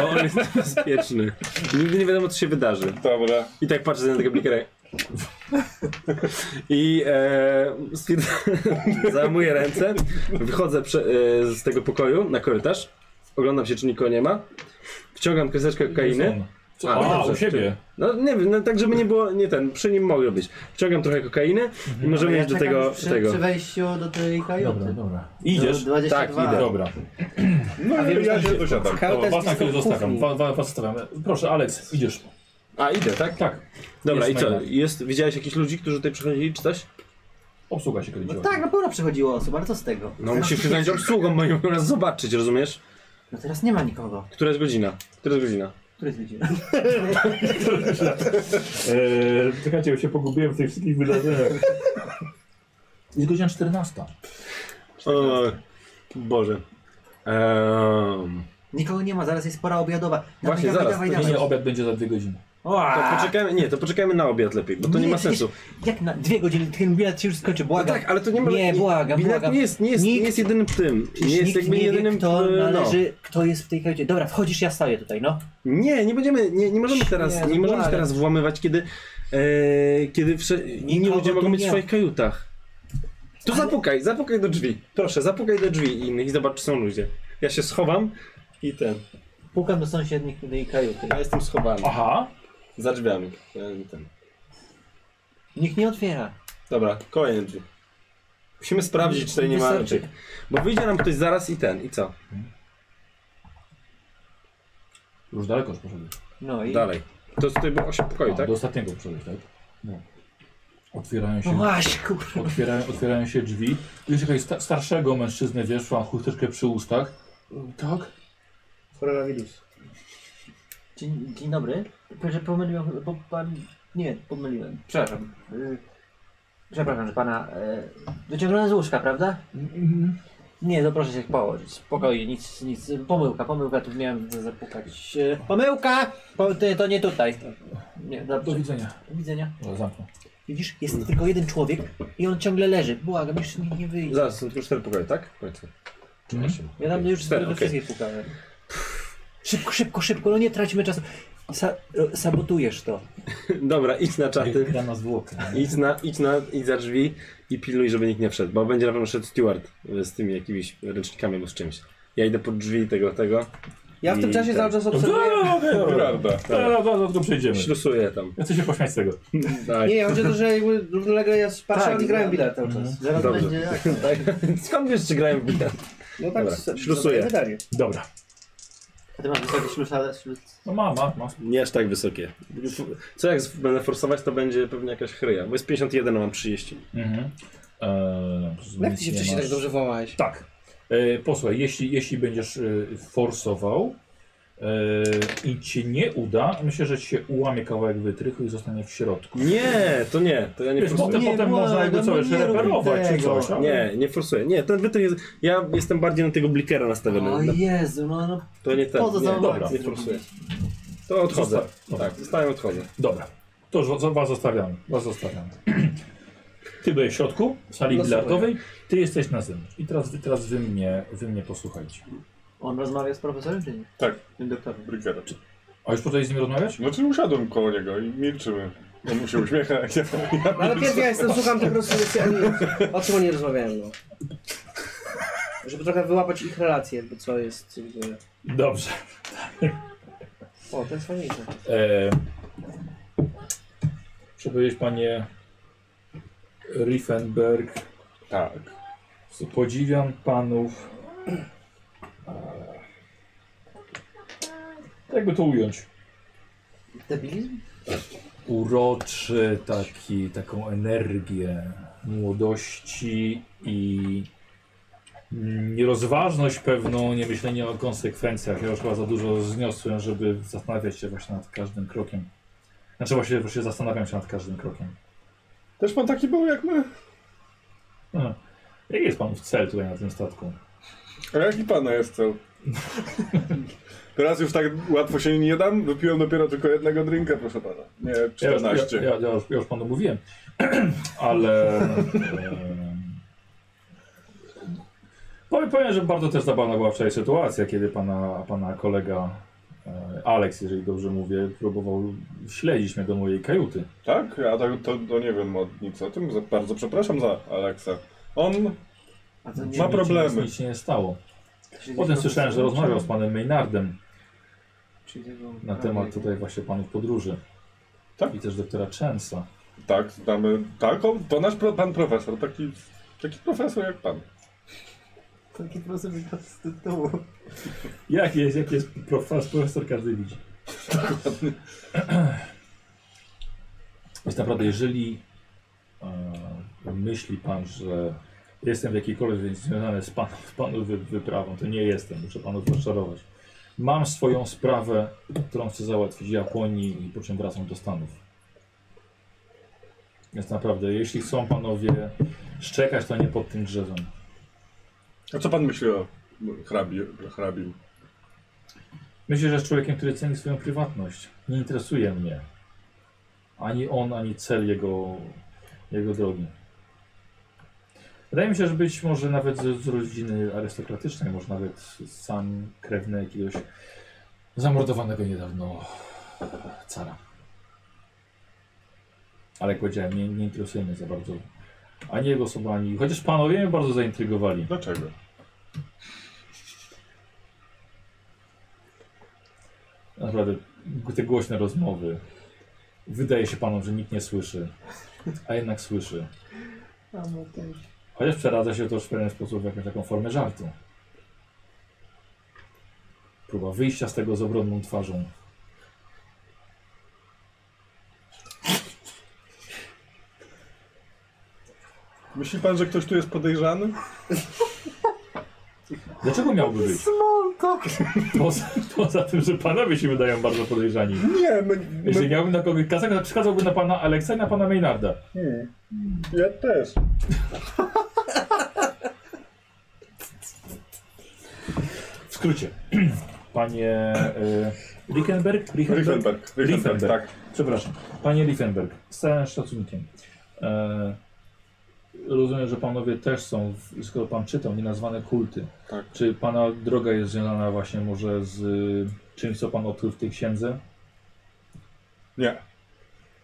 Speaker 6: bo on jest niebezpieczny. Nigdy nie wiadomo, co się wydarzy.
Speaker 4: tam Dobra.
Speaker 6: I tak patrzę na tego blikera. I e, stwierd- zajmuję ręce, wychodzę prze, e, z tego pokoju na korytarz, oglądam się, czy nikogo nie ma, wciągam kreseczkę kokainy.
Speaker 1: Co?
Speaker 6: A,
Speaker 1: A,
Speaker 6: dobrze,
Speaker 1: u siebie.
Speaker 6: No nie wiem, no, tak żeby nie było, nie ten, przy nim mogę być. Wciągam trochę kokainy i możemy
Speaker 3: Mhm. Ja
Speaker 6: iść do
Speaker 3: czekam
Speaker 6: tego,
Speaker 3: już przy,
Speaker 6: tego.
Speaker 3: przy wejściu do tej kajuty.
Speaker 1: Dobra, dobra. Idziesz?
Speaker 3: Do 22.
Speaker 6: Tak, idę.
Speaker 1: Dobra.
Speaker 4: No i ja się dosiadam.
Speaker 1: Dobra,
Speaker 5: Kajuta
Speaker 1: was
Speaker 5: jest
Speaker 1: na chwilę
Speaker 5: blisko
Speaker 1: zostawiam.
Speaker 5: kuchni.
Speaker 1: Was, was zostawiam. Proszę, Aleks, idziesz.
Speaker 6: A idę, tak?
Speaker 1: Tak,
Speaker 6: Dobra,
Speaker 1: Jest
Speaker 6: i co?
Speaker 1: mega.
Speaker 6: Jest, widziałeś jakichś ludzi, którzy tutaj przychodzili, czy coś?
Speaker 1: obsługa się kręciła.
Speaker 3: Tak, na pewno przychodziło osób, ale co z tego?
Speaker 6: No musisz się zająć obsługą, bo nie mogą nas zobaczyć, rozumiesz?
Speaker 3: No teraz nie ma nikogo.
Speaker 6: Która jest godzina? Która jest godzina?
Speaker 3: Który z ludzi?
Speaker 7: Eee,
Speaker 1: E,
Speaker 7: czekajcie, ja się pogubiłem w tych wszystkich wydarzeniach.
Speaker 1: Jest godzina 14.
Speaker 6: O, Boże. Ehm,
Speaker 3: Nikogo nie ma, zaraz jest pora obiadowa. Dawaj,
Speaker 6: Właśnie,
Speaker 3: dawaj,
Speaker 6: zaraz,
Speaker 3: dawaj,
Speaker 6: to
Speaker 1: Nie,
Speaker 3: dawaj.
Speaker 1: nie, obiad będzie za dwie godziny.
Speaker 6: to
Speaker 3: Oa!
Speaker 6: poczekajmy, nie, to poczekajmy na obiad lepiej, bo to nie, ma
Speaker 3: przecież
Speaker 6: sensu.
Speaker 3: Jak na dwie godziny, ten bilet się już skończy,
Speaker 6: No
Speaker 3: błagam.
Speaker 6: tak, ale to nie ma...
Speaker 3: Nie, błagam,
Speaker 6: bilet
Speaker 3: błagam.
Speaker 6: nie jest, nie jest,
Speaker 3: Nikt-
Speaker 6: nie jest jedynym tym.
Speaker 3: Przecież
Speaker 6: Nie jest
Speaker 3: nikt
Speaker 6: jakby
Speaker 3: nie
Speaker 6: jedynym...
Speaker 3: wie, kto
Speaker 6: e,
Speaker 3: należy, kto jest w tej kajucie. Dobra, wchodzisz, ja staję tutaj, no.
Speaker 6: No. Nie, nie będziemy, nie, nie możemy teraz,
Speaker 3: Nie,
Speaker 6: nie możemy się
Speaker 3: błagam.
Speaker 6: teraz włamywać, kiedy, e, kiedy wsze, inni
Speaker 3: Nikogo
Speaker 6: ludzie
Speaker 3: tu
Speaker 6: mogą być w
Speaker 3: nie ma.
Speaker 6: swoich kajutach. To zapukaj, zapukaj do drzwi. Proszę, zapukaj do drzwi innych i zobacz, czy są ludzie. Ja się schowam i ten,
Speaker 3: Pukam do sąsiednich tej kajuty.
Speaker 6: ja jestem schowany.
Speaker 1: Aha,
Speaker 6: Za drzwiami. E, Ten.
Speaker 3: Nikt nie otwiera.
Speaker 6: Dobra, kolejne drzwi. Musimy sprawdzić, czy tutaj nie ma
Speaker 3: Wystarczy.
Speaker 6: raczej. Bo wyjdzie nam ktoś zaraz i ten, i co?
Speaker 1: już daleko już poszedłeś.
Speaker 3: No i...
Speaker 6: Dalej. To tutaj było 8 pokoi,
Speaker 1: A,
Speaker 6: tak?
Speaker 1: Do ostatniego poszedłeś, tak? No. Otwierają
Speaker 3: No
Speaker 1: się,
Speaker 3: właśnie, kurwa.
Speaker 1: otwierają, otwierają się drzwi. Widzisz jakiegoś sta starszego mężczyznę, wiesz, ma chusteczkę przy ustach. Tak?
Speaker 5: Koronawirus.
Speaker 3: Dzień, dzień dobry. Tylko, że pomyliłem, bo pan... Nie, pomyliłem. Przepraszam. Y, Przepraszam, że pana... y, Wyciągnąłem z łóżka, prawda? Nie, to proszę się położyć. Spokojnie, nic, nic. Pomyłka, pomyłka, tu miałem zapukać. Y, Pomyłka! Po, ty, to nie tutaj. Nie,
Speaker 1: Do
Speaker 3: dobrze.
Speaker 1: widzenia. No,
Speaker 3: Do widzenia.
Speaker 1: Dobra, Zamknę.
Speaker 3: Widzisz, jest tylko jeden człowiek i on ciągle leży. Błagam, już nie, nie wyjdzie.
Speaker 6: Zaraz, są tylko 4 pokoje, tak? W końcu. Czy
Speaker 1: Mhm.
Speaker 6: 8?
Speaker 3: Ja tam już
Speaker 6: Cztery,
Speaker 3: do
Speaker 6: okej.
Speaker 3: wszystkich pukałem. Szybko, szybko, szybko, no nie traćmy czasu. Sa e, sabotujesz to.
Speaker 6: Dobra, idź na czaty.
Speaker 1: Gra na zwłokę.
Speaker 6: Idź na, idź na, idź za drzwi i pilnuj, żeby nikt nie wszedł, bo będzie na pewno szedł steward y, z tymi jakimiś ręcznikami albo z czymś. Ja idę pod drzwi tego, tego,
Speaker 5: Ja w tym
Speaker 6: I
Speaker 5: czasie
Speaker 6: tak.
Speaker 5: cały czas
Speaker 4: No,
Speaker 5: obserwuję.
Speaker 1: Dobra,
Speaker 4: Prawda.
Speaker 1: dobra, dobra, to przejdziemy.
Speaker 6: ślusuję tam.
Speaker 1: Ja chcę się pośmiać z tego.
Speaker 6: Tak.
Speaker 5: Nie, chodzi o to, że jakby równolegle ja patrzę,
Speaker 3: Tak,
Speaker 5: tak, i grałem
Speaker 3: tak.
Speaker 5: bilet cały czas.
Speaker 3: Zaraz
Speaker 6: Dobrze. Tak.
Speaker 3: będzie.
Speaker 6: Skąd wiesz, czy grałem w bilet?
Speaker 5: No tak,
Speaker 6: Dobra,
Speaker 5: z-
Speaker 6: ślusuję.
Speaker 5: zadaję Pytanie.
Speaker 1: Dobra.
Speaker 3: A ty masz wysokie ślusale, ślus...
Speaker 1: No ma, ma, ma.
Speaker 6: Nie aż tak wysokie. Co jak z- będę forsować, to będzie pewnie jakaś chryja, bo jest 51, a mam 30.
Speaker 1: Mhm. Eee,
Speaker 5: Jak ty się
Speaker 1: nie
Speaker 5: wcześniej
Speaker 1: masz.
Speaker 5: tak dobrze wołałeś?
Speaker 1: Tak. E, posłuchaj, jeśli, jeśli będziesz e, forsował e, i ci nie uda, myślę, że ci się ułamie kawałek wytrychu i zostanie w środku.
Speaker 6: Nie, to nie, to ja nie
Speaker 1: Wiesz,
Speaker 6: forsuję.
Speaker 1: potem,
Speaker 5: nie,
Speaker 1: potem
Speaker 5: błagam,
Speaker 1: można jakby
Speaker 5: no
Speaker 1: coś
Speaker 5: nie rób
Speaker 1: reperować czy
Speaker 5: tego.
Speaker 1: coś. no. ale-
Speaker 6: Nie, nie forsuję. Nie, ten wytrych jest... Ja jestem bardziej na tego blikera nastawiony.
Speaker 3: O
Speaker 6: Na-
Speaker 3: Jezu, no, no
Speaker 6: To nie ten.
Speaker 3: po co
Speaker 6: Nie,
Speaker 3: za
Speaker 1: dobra,
Speaker 6: nie forsuję. To odchodzę.
Speaker 1: Zostaw-
Speaker 6: Tak, zostałem odchodzę.
Speaker 1: Dobra. To już was- was zostawiamy. Was zostawiamy. Ty byłeś w środku, w sali
Speaker 5: No,
Speaker 1: bilardowej, ty jesteś na zewnątrz. I teraz, wy- teraz wy, mnie, wy mnie posłuchajcie.
Speaker 3: On rozmawia z profesorem czy nie?
Speaker 4: Tak.
Speaker 3: Tym doktorem.
Speaker 4: Brygada.
Speaker 1: A już poczęli z nim rozmawiać?
Speaker 4: Znaczy usiadłem koło niego i milczymy. On mu się uśmiecha, jak ja, ja
Speaker 5: No, ale pierw ja jestem, słucham to po prostu jest, ani, o czym oni rozmawiają, no. Żeby trochę wyłapać ich relacje, jakby co jest. Jakby...
Speaker 1: Dobrze.
Speaker 5: O, to jest fajniejsze.
Speaker 1: E, Muszę powiedzieć, panie Riefenberg,
Speaker 4: Tak.
Speaker 1: że podziwiam panów. E, jakby to ująć?
Speaker 3: Debilizm?
Speaker 1: Uroczy taki, taką energię młodości i mm, nierozważność pewną, nie myślenie o konsekwencjach. Ja już chyba za dużo zniosłem, żeby zastanawiać się właśnie nad każdym krokiem. Znaczy właśnie, właśnie zastanawiam się nad każdym krokiem.
Speaker 4: Też pan taki był jak my?
Speaker 1: No. Jaki jest panów cel tutaj na tym statku?
Speaker 4: A jaki pana jest cel? Teraz już tak łatwo się nie dam. Wypiłem dopiero tylko jednego drinka, proszę pana. Nie,
Speaker 1: Ja już, ja,
Speaker 4: 14.
Speaker 1: ja, ja, już, ja już panu mówiłem, ale. e, em, Powiem, powiem, że bardzo też zabawna była wczoraj sytuacja, kiedy pana, pana kolega E, Alex, jeżeli dobrze mówię, próbował śledzić mnie do mojej kajuty.
Speaker 4: Tak? A tak to, to nie wiem od nic o tym. Za- Bardzo przepraszam za Aleksa. On
Speaker 3: A to
Speaker 4: ma
Speaker 1: Nic-
Speaker 4: problemy.
Speaker 1: Nic się nie stało.
Speaker 3: to się
Speaker 1: Potem
Speaker 3: gdzieś
Speaker 1: słyszałem, że
Speaker 3: tam-
Speaker 1: rozmawiał No. z panem Maynardem
Speaker 3: Czyli tego-
Speaker 1: na
Speaker 3: prawie-
Speaker 1: temat tutaj właśnie panów podróży.
Speaker 4: Tak.
Speaker 1: I też doktora Chensa.
Speaker 4: Tak, znamy. Tak, on, to nasz pro, pan profesor. Taki, taki profesor jak pan.
Speaker 3: Taki profesor wygrał z tytułu.
Speaker 1: Jak jest, jak jest profesor, profesor każdy widzi. Więc naprawdę, jeżeli e, myśli pan, że jestem w jakiejkolwiek związany z pan, z panu wy, wyprawą, to nie jestem, muszę panu rozczarować. Mam swoją sprawę, którą chcę załatwić w Japonii i po czym wracam do Stanów. Więc naprawdę, jeśli chcą panowie szczekać, to nie pod tym drzewem.
Speaker 4: A co pan myśli o hrabi, hrabim?
Speaker 1: Myślę, że jest człowiekiem, który ceni swoją prywatność. Nie interesuje mnie. Ani on, ani cel jego, jego drogi. Wydaje mi się, że być może nawet z, z rodziny arystokratycznej, może nawet sam krewny jakiegoś zamordowanego niedawno cara. Ale jak powiedziałem, nie, nie interesuje mnie za bardzo. Ani jego osoba, ani... Chociaż panowie mnie bardzo zaintrygowali.
Speaker 4: Dlaczego?
Speaker 1: Naprawdę, te głośne rozmowy. Wydaje się panom, że nikt nie słyszy, a jednak słyszy.
Speaker 3: A no też.
Speaker 1: Chociaż przeradza się to w pewien sposób w jakąś taką formę żartu. Próba wyjścia z tego z obronną twarzą.
Speaker 4: Myśli pan, że ktoś tu jest podejrzany?
Speaker 1: Dlaczego miałby być? Poza, poza tym, że panowie się wydają bardzo podejrzani.
Speaker 4: Nie, my,
Speaker 1: Jeżeli miałbym na kogoś kazać, to przekazałbym na pana Aleksa i na pana Maynarda.
Speaker 4: ja też.
Speaker 1: W skrócie. Panie y, Rickenberg? Rickenberg?
Speaker 4: Riefenberg.
Speaker 1: Riefenberg.
Speaker 4: Riefenberg, tak.
Speaker 1: Przepraszam. Panie Liefenberg, z całym szacunkiem. E, rozumiem, że panowie też są, w, skoro pan czytał, nienazwane kulty.
Speaker 4: Tak.
Speaker 1: Czy pana droga jest związana właśnie może z y, czymś, co pan odkrył w tej księdze?
Speaker 4: Nie.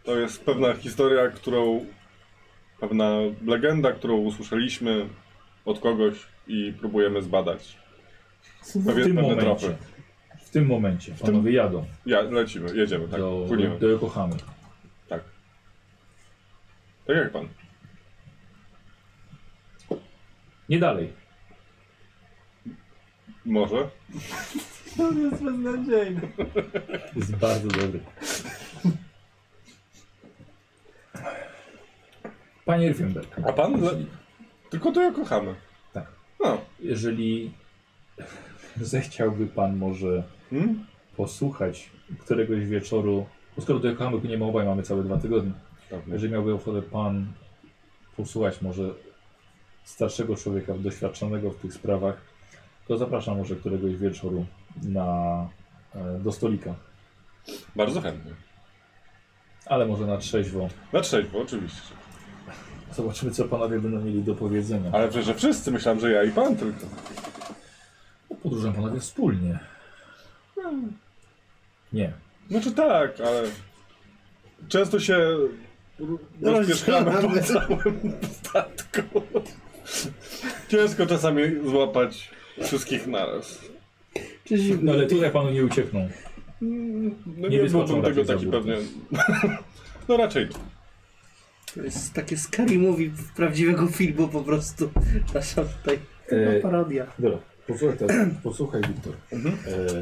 Speaker 4: To jest pewna historia, którą. pewna legenda, którą usłyszeliśmy od kogoś i próbujemy zbadać.
Speaker 1: W
Speaker 4: Pewien,
Speaker 1: tym
Speaker 4: pewne
Speaker 1: momencie.
Speaker 4: tropy.
Speaker 1: W tym momencie.
Speaker 4: tym-
Speaker 1: Panowie jadą
Speaker 4: Ja, lecimy, jedziemy, tak.
Speaker 1: do,
Speaker 4: Płyniemy.
Speaker 1: do Yokohamy.
Speaker 4: Tak. Tak jak pan.
Speaker 1: Nie dalej.
Speaker 4: Może?
Speaker 3: To jest beznadziejne.
Speaker 1: Jest bardzo dobry. Panie Liefenberg.
Speaker 4: A pan? Le... Tylko to ja kochamy.
Speaker 1: Tak.
Speaker 4: No.
Speaker 1: Jeżeli zechciałby pan może
Speaker 4: Hmm?
Speaker 1: posłuchać któregoś wieczoru, bo skoro do Yokohamy nie ma obaj, mamy całe dwa tygodnie.
Speaker 4: Dobra.
Speaker 1: Jeżeli miałby ochotę pan posłuchać może starszego człowieka, doświadczonego w tych sprawach, to zapraszam może któregoś wieczoru na, e, do stolika,
Speaker 4: Bardzo chętnie.
Speaker 1: ale może na trzeźwo.
Speaker 4: Na trzeźwo, oczywiście.
Speaker 1: Zobaczymy, co panowie będą mieli do powiedzenia.
Speaker 4: Ale przecież że wszyscy, myślałem, że ja i pan tylko.
Speaker 1: Podróżują panowie wspólnie. Nie.
Speaker 4: Znaczy tak, ale często się No, rozpieszkamy po całym statku. Ciężko czasami złapać wszystkich naraz.
Speaker 1: No ale tutaj panu nie uciekną.
Speaker 4: No
Speaker 1: Nie
Speaker 4: nie,
Speaker 1: wyskoczą
Speaker 4: byłbym
Speaker 1: raczej
Speaker 4: tego
Speaker 1: za
Speaker 4: taki
Speaker 1: burtę.
Speaker 4: pewnie. No raczej nie.
Speaker 5: To jest takie scary movie prawdziwego filmu po prostu. Nasza tutaj No,
Speaker 1: E,
Speaker 5: parodia.
Speaker 1: Dobra, posłuchaj, teraz, posłuchaj Wiktor.
Speaker 4: Mhm.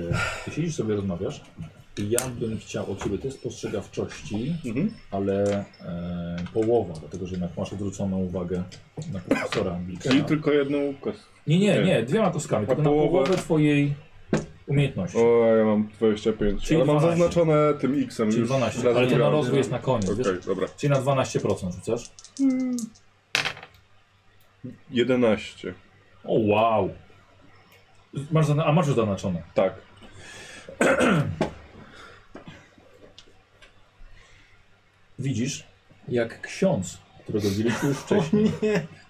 Speaker 1: E, ty siedzisz sobie, rozmawiasz. Ja bym chciał od ciebie test postrzegawczości,
Speaker 4: Mhm.
Speaker 1: ale e, połowa, dlatego że jednak masz odwróconą uwagę na profesora
Speaker 4: Czyli
Speaker 1: Blikera.
Speaker 4: tylko jedną kostkę.
Speaker 1: Nie, nie,
Speaker 4: nie.
Speaker 1: nie, dwiema kostkami, tylko na
Speaker 4: połowa?
Speaker 1: połowę twojej umiejętności.
Speaker 4: O, ja mam 25.
Speaker 1: Czyli
Speaker 4: ale mam
Speaker 1: 12.
Speaker 4: zaznaczone tym X-em.
Speaker 1: Czyli
Speaker 4: już
Speaker 1: 12,
Speaker 4: razem
Speaker 1: ale to na
Speaker 4: grałem.
Speaker 1: rozwój jest na koniec,
Speaker 4: Okej,
Speaker 1: wiesz?
Speaker 4: dobra.
Speaker 1: Czyli na 12% rzucasz.
Speaker 4: 11.
Speaker 1: O wow! Masz, zana- a masz już zaznaczone.
Speaker 4: Tak.
Speaker 1: Widzisz, jak ksiądz, którego widzieliśmy już wcześniej,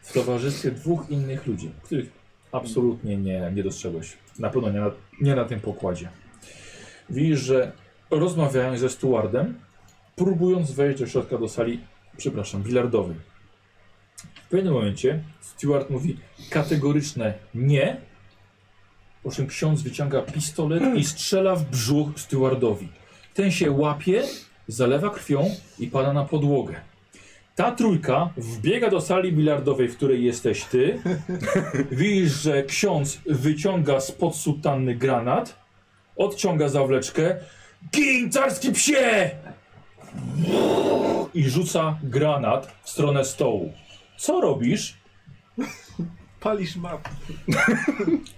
Speaker 1: w towarzystwie dwóch innych ludzi, których absolutnie nie, nie dostrzegłeś. Na pewno nie na, nie na tym pokładzie. Widzisz, że rozmawiają ze stewardem, próbując wejść do środka do sali, przepraszam, bilardowej. W pewnym momencie steward mówi kategoryczne nie, po czym ksiądz wyciąga pistolet i strzela w brzuch stewardowi. Ten się łapie, zalewa krwią i pada na podłogę. Ta trójka wbiega do sali bilardowej, w której jesteś ty. Widzisz, że ksiądz wyciąga spod sutanny granat, odciąga zawleczkę. Gin, carski psie! I rzuca granat w stronę stołu. Co robisz?
Speaker 7: Palisz map.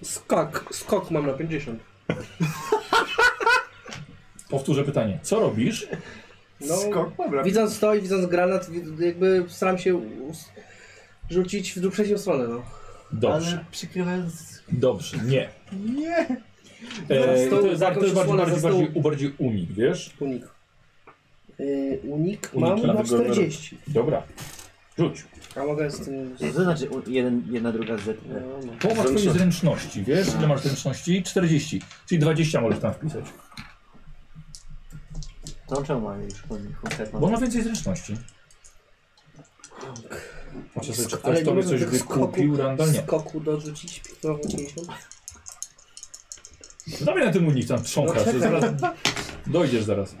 Speaker 5: Skok, skok mam na 50.
Speaker 1: Powtórzę pytanie. Co robisz?
Speaker 5: No,
Speaker 7: Skok, dobra.
Speaker 5: Widząc to i widząc granat, wi- jakby staram się us- rzucić w dół przeciwną stronę, no.
Speaker 1: Dobrze,
Speaker 10: Ale przykrywając...
Speaker 1: dobrze, nie.
Speaker 7: Nie!
Speaker 1: E,
Speaker 5: Zaraz
Speaker 1: to jest,
Speaker 5: stołu,
Speaker 1: to jest
Speaker 5: jakąś
Speaker 1: bardziej,
Speaker 5: osłonę
Speaker 1: bardziej,
Speaker 5: za stołu.
Speaker 1: bardziej, bardziej unik, wiesz?
Speaker 5: Unik. Yy, unik mam
Speaker 1: Uniki
Speaker 5: na
Speaker 1: na
Speaker 5: 40.
Speaker 1: Dobra, rzuć.
Speaker 5: A mogę z tym...
Speaker 10: Co
Speaker 5: Z...
Speaker 10: to znaczy u- jeden, jedna, druga z...
Speaker 5: No, no.
Speaker 1: Połowa twojej zręczności, wiesz? Ile masz zręczności? 40, czyli 20 możesz tam wpisać.
Speaker 10: To czemu mamy już kon- konkretną...
Speaker 1: Bo ma więcej zręczności. Patrzę sobie, czy
Speaker 5: Ale
Speaker 1: ktoś
Speaker 5: nie
Speaker 1: tobie
Speaker 5: można
Speaker 1: coś
Speaker 5: tych skoków-
Speaker 1: wykupił, Randall? Nie.
Speaker 5: Skoku dorzucić no, 50.
Speaker 1: No Dawaj na tym unik tam trząkasz,
Speaker 5: No czekaj.
Speaker 1: zaraz dojdziesz zaraz.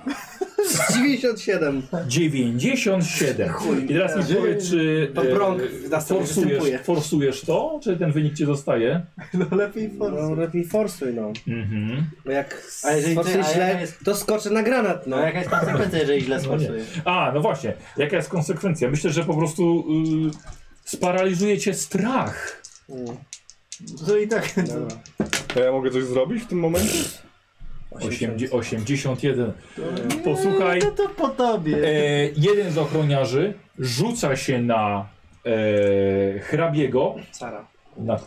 Speaker 5: 97.
Speaker 1: 97. I teraz mi
Speaker 5: Chuj,
Speaker 1: powiedz, czy
Speaker 5: To
Speaker 1: e,
Speaker 5: brąk w nas sobie
Speaker 1: forsujesz,
Speaker 5: występuje.
Speaker 1: forsujesz to, czy ten wynik ci zostaje?
Speaker 7: No lepiej
Speaker 5: No
Speaker 7: force.
Speaker 5: lepiej forsuj, no.
Speaker 1: Mhm.
Speaker 5: Bo jak
Speaker 10: A jeżeli ty-
Speaker 5: forsuj
Speaker 10: a
Speaker 5: źle,
Speaker 10: jaka jest-
Speaker 5: to skoczę na granat, no.
Speaker 10: No jaka jest konsekwencja, jeżeli źle
Speaker 1: No nie.
Speaker 10: skoczujesz?
Speaker 1: A, no właśnie. Jaka jest konsekwencja? Myślę, że po prostu y, sparaliżuje cię strach.
Speaker 5: Mm,
Speaker 7: To i tak.
Speaker 5: Dobra.
Speaker 4: To ja mogę coś zrobić w tym momencie?
Speaker 1: Osiemdzie- 81. Posłuchaj.
Speaker 10: No to po tobie.
Speaker 1: E, jeden z ochroniarzy rzuca się na e, hrabiego.
Speaker 5: Cara.
Speaker 1: Na,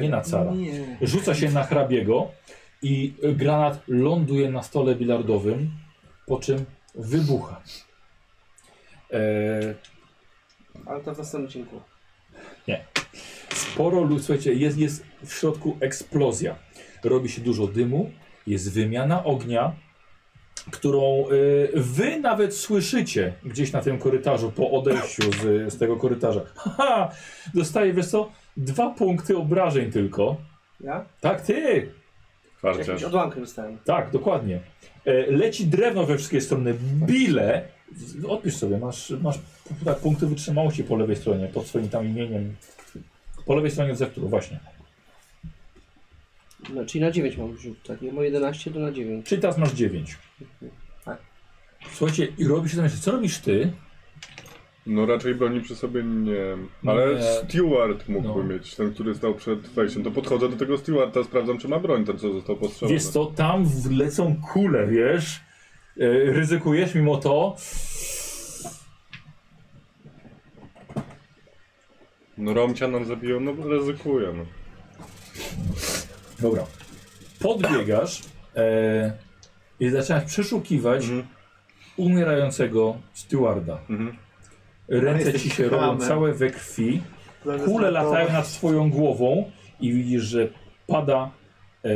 Speaker 1: nie na cara.
Speaker 10: Nie.
Speaker 1: Rzuca się na hrabiego i e, granat ląduje na stole bilardowym, po czym wybucha. E,
Speaker 5: Ale to w następnym odcinku.
Speaker 1: Sporo ludzi, słuchajcie, jest, jest w środku eksplozja. Robi się dużo dymu, jest wymiana ognia, którą y, wy nawet słyszycie gdzieś na tym korytarzu, po odejściu z, z tego korytarza. Haha, dostaje, wiesz co, dwa punkty obrażeń tylko.
Speaker 5: Ja?
Speaker 1: Tak, ty!
Speaker 4: Farciarz.
Speaker 5: Jakimś odłamkiem dostałem.
Speaker 1: Tak, dokładnie. E, leci drewno we wszystkie strony, bile. Z- Odpisz sobie, masz, masz p- tak, punkty wytrzymałości po lewej stronie, pod swoim tam imieniem. Po lewej stronie od zewtór, właśnie.
Speaker 5: No, czyli na 9 mam rzut, tak? Nie, Bo 11 to na 9.
Speaker 1: Czyli teraz masz 9.
Speaker 5: Tak.
Speaker 1: Słuchajcie, i robi się tam jeszcze. Co robisz ty?
Speaker 4: No raczej broni przy sobie nie Ale
Speaker 1: No Nie.
Speaker 4: Steward
Speaker 1: No.
Speaker 4: mógłby mieć, ten, który stał przed wejściem. To podchodzę do tego Stewarda, sprawdzam, czy ma broń, ten co został postrzelony.
Speaker 1: Wiesz co, tam w- lecą kule, wiesz? E, ryzykujesz mimo to.
Speaker 4: No Romcia nam zabiją, no ryzykuję. No.
Speaker 1: Dobra. Podbiegasz e, i zaczynasz przeszukiwać
Speaker 4: Mhm.
Speaker 1: umierającego stewarda.
Speaker 4: Mhm.
Speaker 1: Ręce
Speaker 7: jesteś
Speaker 1: ci się robią
Speaker 7: hamem.
Speaker 1: całe we krwi. Kule latają nad swoją głową i widzisz, że pada e,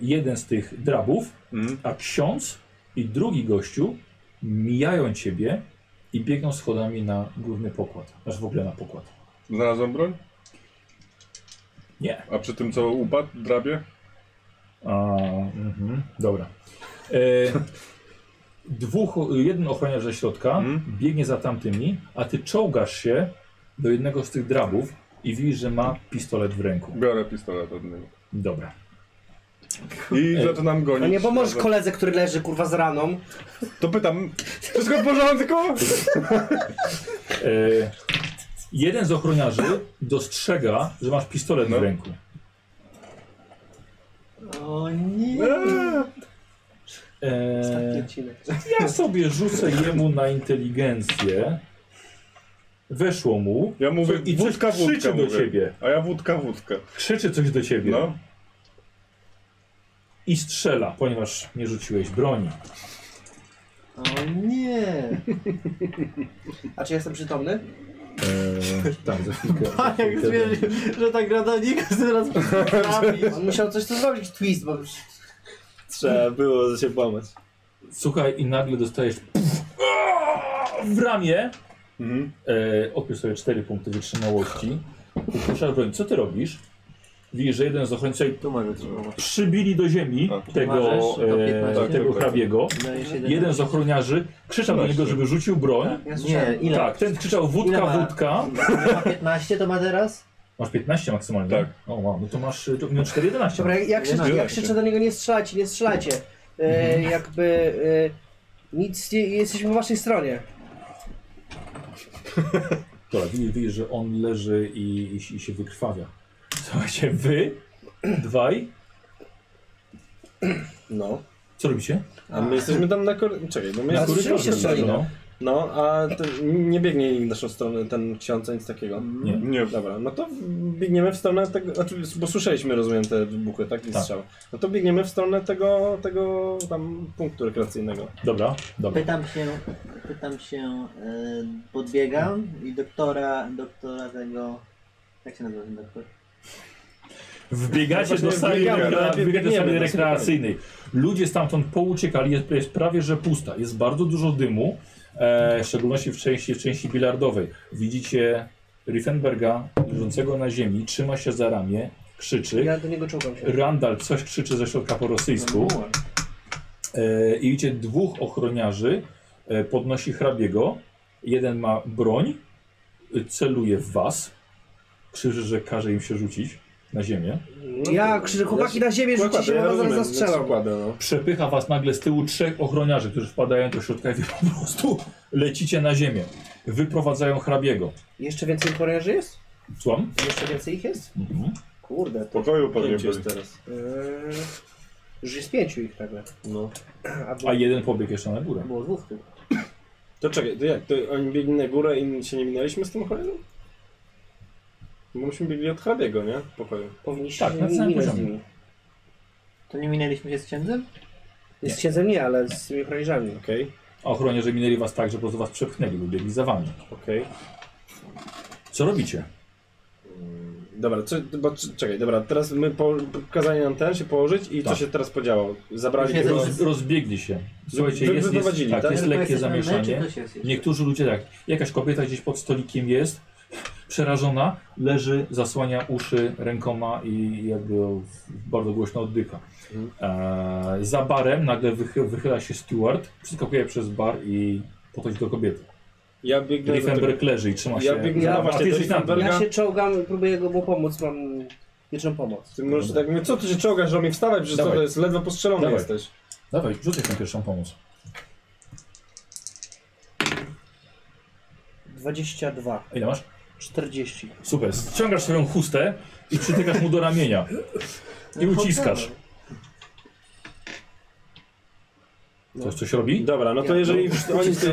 Speaker 1: jeden z tych drabów.
Speaker 4: Mhm.
Speaker 1: A ksiądz i drugi gościu mijają ciebie i biegną schodami na główny pokład. Aż w ogóle na pokład.
Speaker 4: Znalazłem broń?
Speaker 1: Nie.
Speaker 4: A przy tym co upadł, drabie?
Speaker 1: A, mhm, dobra. E, dwóch, jeden ochroniarz ze środka
Speaker 4: Mhm.
Speaker 1: biegnie za tamtymi, a ty czołgasz się do jednego z tych drabów i widzisz, że ma pistolet w ręku.
Speaker 4: Biorę pistolet od niego.
Speaker 1: Dobra.
Speaker 4: I
Speaker 1: Ej.
Speaker 4: zaczynam gonić.
Speaker 5: No nie pomożesz
Speaker 4: Razem.
Speaker 5: koledze, który leży kurwa z raną.
Speaker 4: To pytam, wszystko w porządku?
Speaker 1: E, jeden z ochroniarzy dostrzega, że masz pistolet
Speaker 4: No.
Speaker 1: w ręku.
Speaker 10: O nie.
Speaker 4: Eee.
Speaker 1: E,
Speaker 5: Ostatni odcinek.
Speaker 1: Ja sobie rzucę jemu na inteligencję. Weszło mu.
Speaker 4: Ja mówię,
Speaker 1: I coś
Speaker 4: wódka,
Speaker 1: krzyczy
Speaker 4: wódka
Speaker 1: do
Speaker 4: mówię.
Speaker 1: ciebie.
Speaker 4: A ja wódka, wódkę.
Speaker 1: Krzyczy coś do ciebie.
Speaker 4: No.
Speaker 1: I strzela, ponieważ nie rzuciłeś broni.
Speaker 10: O nie.
Speaker 5: A czy jestem przytomny?
Speaker 1: Eee, tak, za chwilkę. za
Speaker 10: A jak
Speaker 1: chwilkę
Speaker 10: wiesz,
Speaker 1: będzie.
Speaker 10: że ta grada nie teraz
Speaker 5: On musiał coś tu zrobić, twist, bo...
Speaker 6: Trzeba było się błamać.
Speaker 1: Słuchaj i nagle dostajesz puf, aaa, w ramię.
Speaker 4: Mhm.
Speaker 1: E, odpisz sobie cztery punkty wytrzymałości. Upuszczasz broń. Co ty robisz? Widzisz, że jeden z ochrońców
Speaker 10: Tu może trzymać.
Speaker 1: przybili do ziemi
Speaker 4: no. Tak.
Speaker 1: tego,
Speaker 3: Możesz, do
Speaker 1: e,
Speaker 3: 15.
Speaker 1: tego hrabiego.
Speaker 3: Daje się
Speaker 1: Jeden z ochroniarzy krzyczał do niego, żeby rzucił broń.
Speaker 3: Ja
Speaker 10: Nie,
Speaker 3: słyszałem.
Speaker 10: ile?
Speaker 1: Tak, ten krzyczał wódka,
Speaker 3: Ile ma?
Speaker 1: wódka.
Speaker 3: Jak ma 15 to ma teraz?
Speaker 1: Masz 15 maksymalnie?
Speaker 4: Tak.
Speaker 1: O wow, no to masz y, to, no 4, 11.
Speaker 5: Dobra, jak, jak, krzycz,
Speaker 4: Nie,
Speaker 5: jak krzyczę do niego, nie strzelacie, nie strzelacie. E, jakby... E, nic, nie, jesteśmy po waszej stronie.
Speaker 1: Dobra, widzisz, widzisz, że on leży i, i, i się wykrwawia. Słuchajcie, wy, dwaj,
Speaker 6: No.
Speaker 1: co robicie?
Speaker 6: A my jesteśmy tam na korytarzu. Czekaj, bo my
Speaker 5: Na
Speaker 6: jesteśmy-
Speaker 5: korytarzu. się strzeli,
Speaker 1: no.
Speaker 6: No, a to nie biegnie w naszą stronę ten ksiądz, nic takiego.
Speaker 1: Nie.
Speaker 4: Nie,
Speaker 6: Dobra, no to biegniemy w stronę tego, znaczy, bo słyszeliśmy, rozumiem, te wybuchy, tak? I
Speaker 1: Tak.
Speaker 6: strzały. No to biegniemy w stronę tego, tego tam punktu rekreacyjnego.
Speaker 1: Dobra, dobra.
Speaker 10: Pytam się,
Speaker 3: Pytam się, e, podbiegam i doktora, doktora tego... Jak się nazywa ten doktor?
Speaker 1: Wbiegacie
Speaker 6: Właśnie
Speaker 1: do sali,
Speaker 6: biegamy,
Speaker 1: rekre-
Speaker 6: najpierw
Speaker 1: wbiegacie tak. do sali
Speaker 6: biegniemy,
Speaker 1: rekreacyjnej. Ludzie stamtąd pouciekali, jest, jest prawie że pusta. Jest bardzo dużo dymu, e, w szczególności w części, w części bilardowej. Widzicie Riefenberga leżącego na ziemi, trzyma się za ramię, krzyczy.
Speaker 5: Ja do niego czołgam się.
Speaker 1: Randall coś krzyczy ze środka po rosyjsku. E, I widzicie dwóch ochroniarzy e, podnosi hrabiego. Jeden ma broń, e, celuje w was. Krzyczy, że każe im się rzucić na ziemię.
Speaker 6: No
Speaker 5: Ja krzyczę, chłopaki na ziemię, rzućcie się,
Speaker 6: ja
Speaker 5: bo was zaraz
Speaker 6: rozumiem,
Speaker 5: zastrzelam.
Speaker 6: zakładę, no.
Speaker 1: Przepycha was nagle z tyłu trzech ochroniarzy, którzy wpadają do środka i wy po prostu lecicie na ziemię. Wyprowadzają hrabiego.
Speaker 5: Jeszcze więcej poręży jest?
Speaker 1: Słucham?
Speaker 5: Jeszcze więcej ich jest?
Speaker 1: Mhm.
Speaker 5: Kurde.
Speaker 4: w pokoju pewnie
Speaker 6: Pięć
Speaker 4: byli.
Speaker 6: jest teraz.
Speaker 5: Eee, już jest pięciu ich nagle.
Speaker 6: No.
Speaker 5: A
Speaker 1: A
Speaker 5: było,
Speaker 1: jeden pobiegł jeszcze na górę.
Speaker 5: było dwóch tylko.
Speaker 6: To czekaj, to jak? To oni biegli na górę i się nie minęliśmy z tym kolejnym? Bo myśmy biegli od hrabiego, nie? W pokoju.
Speaker 5: Powinniście
Speaker 1: Tak,
Speaker 5: się
Speaker 1: na
Speaker 5: nie
Speaker 1: samym
Speaker 5: minąć z
Speaker 1: poziomie.
Speaker 5: nimi.
Speaker 3: To nie minęliśmy się z księdzem?
Speaker 5: Z księdzem nie, ale z tymi ochroniarzami.
Speaker 6: Okej,
Speaker 1: A ochroniarze minęli was tak, że po prostu was przepchnęli, bo biegli za wami.
Speaker 6: okej.
Speaker 1: Co robicie?
Speaker 6: Dobra, co, bo, c- czekaj, dobra, teraz my po, pokazali nam ten się położyć i co
Speaker 1: Tak.
Speaker 6: się teraz podziało? Zabrali
Speaker 3: Już
Speaker 6: tego...
Speaker 1: Roz, rozbiegli się. Słuchajcie, jest,
Speaker 6: Wy-
Speaker 1: jest,
Speaker 6: wyprowadzili,
Speaker 1: tak,
Speaker 6: tak?
Speaker 1: jest
Speaker 3: Tylko
Speaker 1: lekkie
Speaker 3: jesteśmy my,
Speaker 1: zamieszanie.
Speaker 3: czy ktoś jest jeszcze?
Speaker 1: Niektórzy ludzie tak, jakaś kobieta gdzieś pod stolikiem jest, przerażona, leży, zasłania uszy rękoma i jakby bardzo głośno oddycha. Eee, za barem nagle wychy, wychyla się steward, przeskakuje przez bar i podchodzi do kobiety.
Speaker 6: Ja biegnę do tego...
Speaker 1: Griffenberg leży i trzyma się.
Speaker 6: Ja biegnę,
Speaker 5: Ja-
Speaker 1: a
Speaker 6: no
Speaker 1: ty
Speaker 6: właśnie, do
Speaker 1: jesteś na
Speaker 6: Riefenberga.
Speaker 5: Ja się czołgam, próbuję go mu pomóc, mam liczną pomoc.
Speaker 6: Ty możesz tak, mówię, co ty się czołgasz, że mi wstawaj, przecież co
Speaker 1: Dawaj.
Speaker 6: to jest, ledwo postrzelony
Speaker 1: Dawaj.
Speaker 6: jesteś.
Speaker 1: Dawaj, rzucaj tę pierwszą pomoc.
Speaker 5: 22,
Speaker 1: A Ile masz?
Speaker 5: 40.
Speaker 1: Super. Ściągasz swoją chustę i przytykasz mu do ramienia. I uciskasz. Ktoś coś robi?
Speaker 6: Dobra, no to jeżeli oni to jest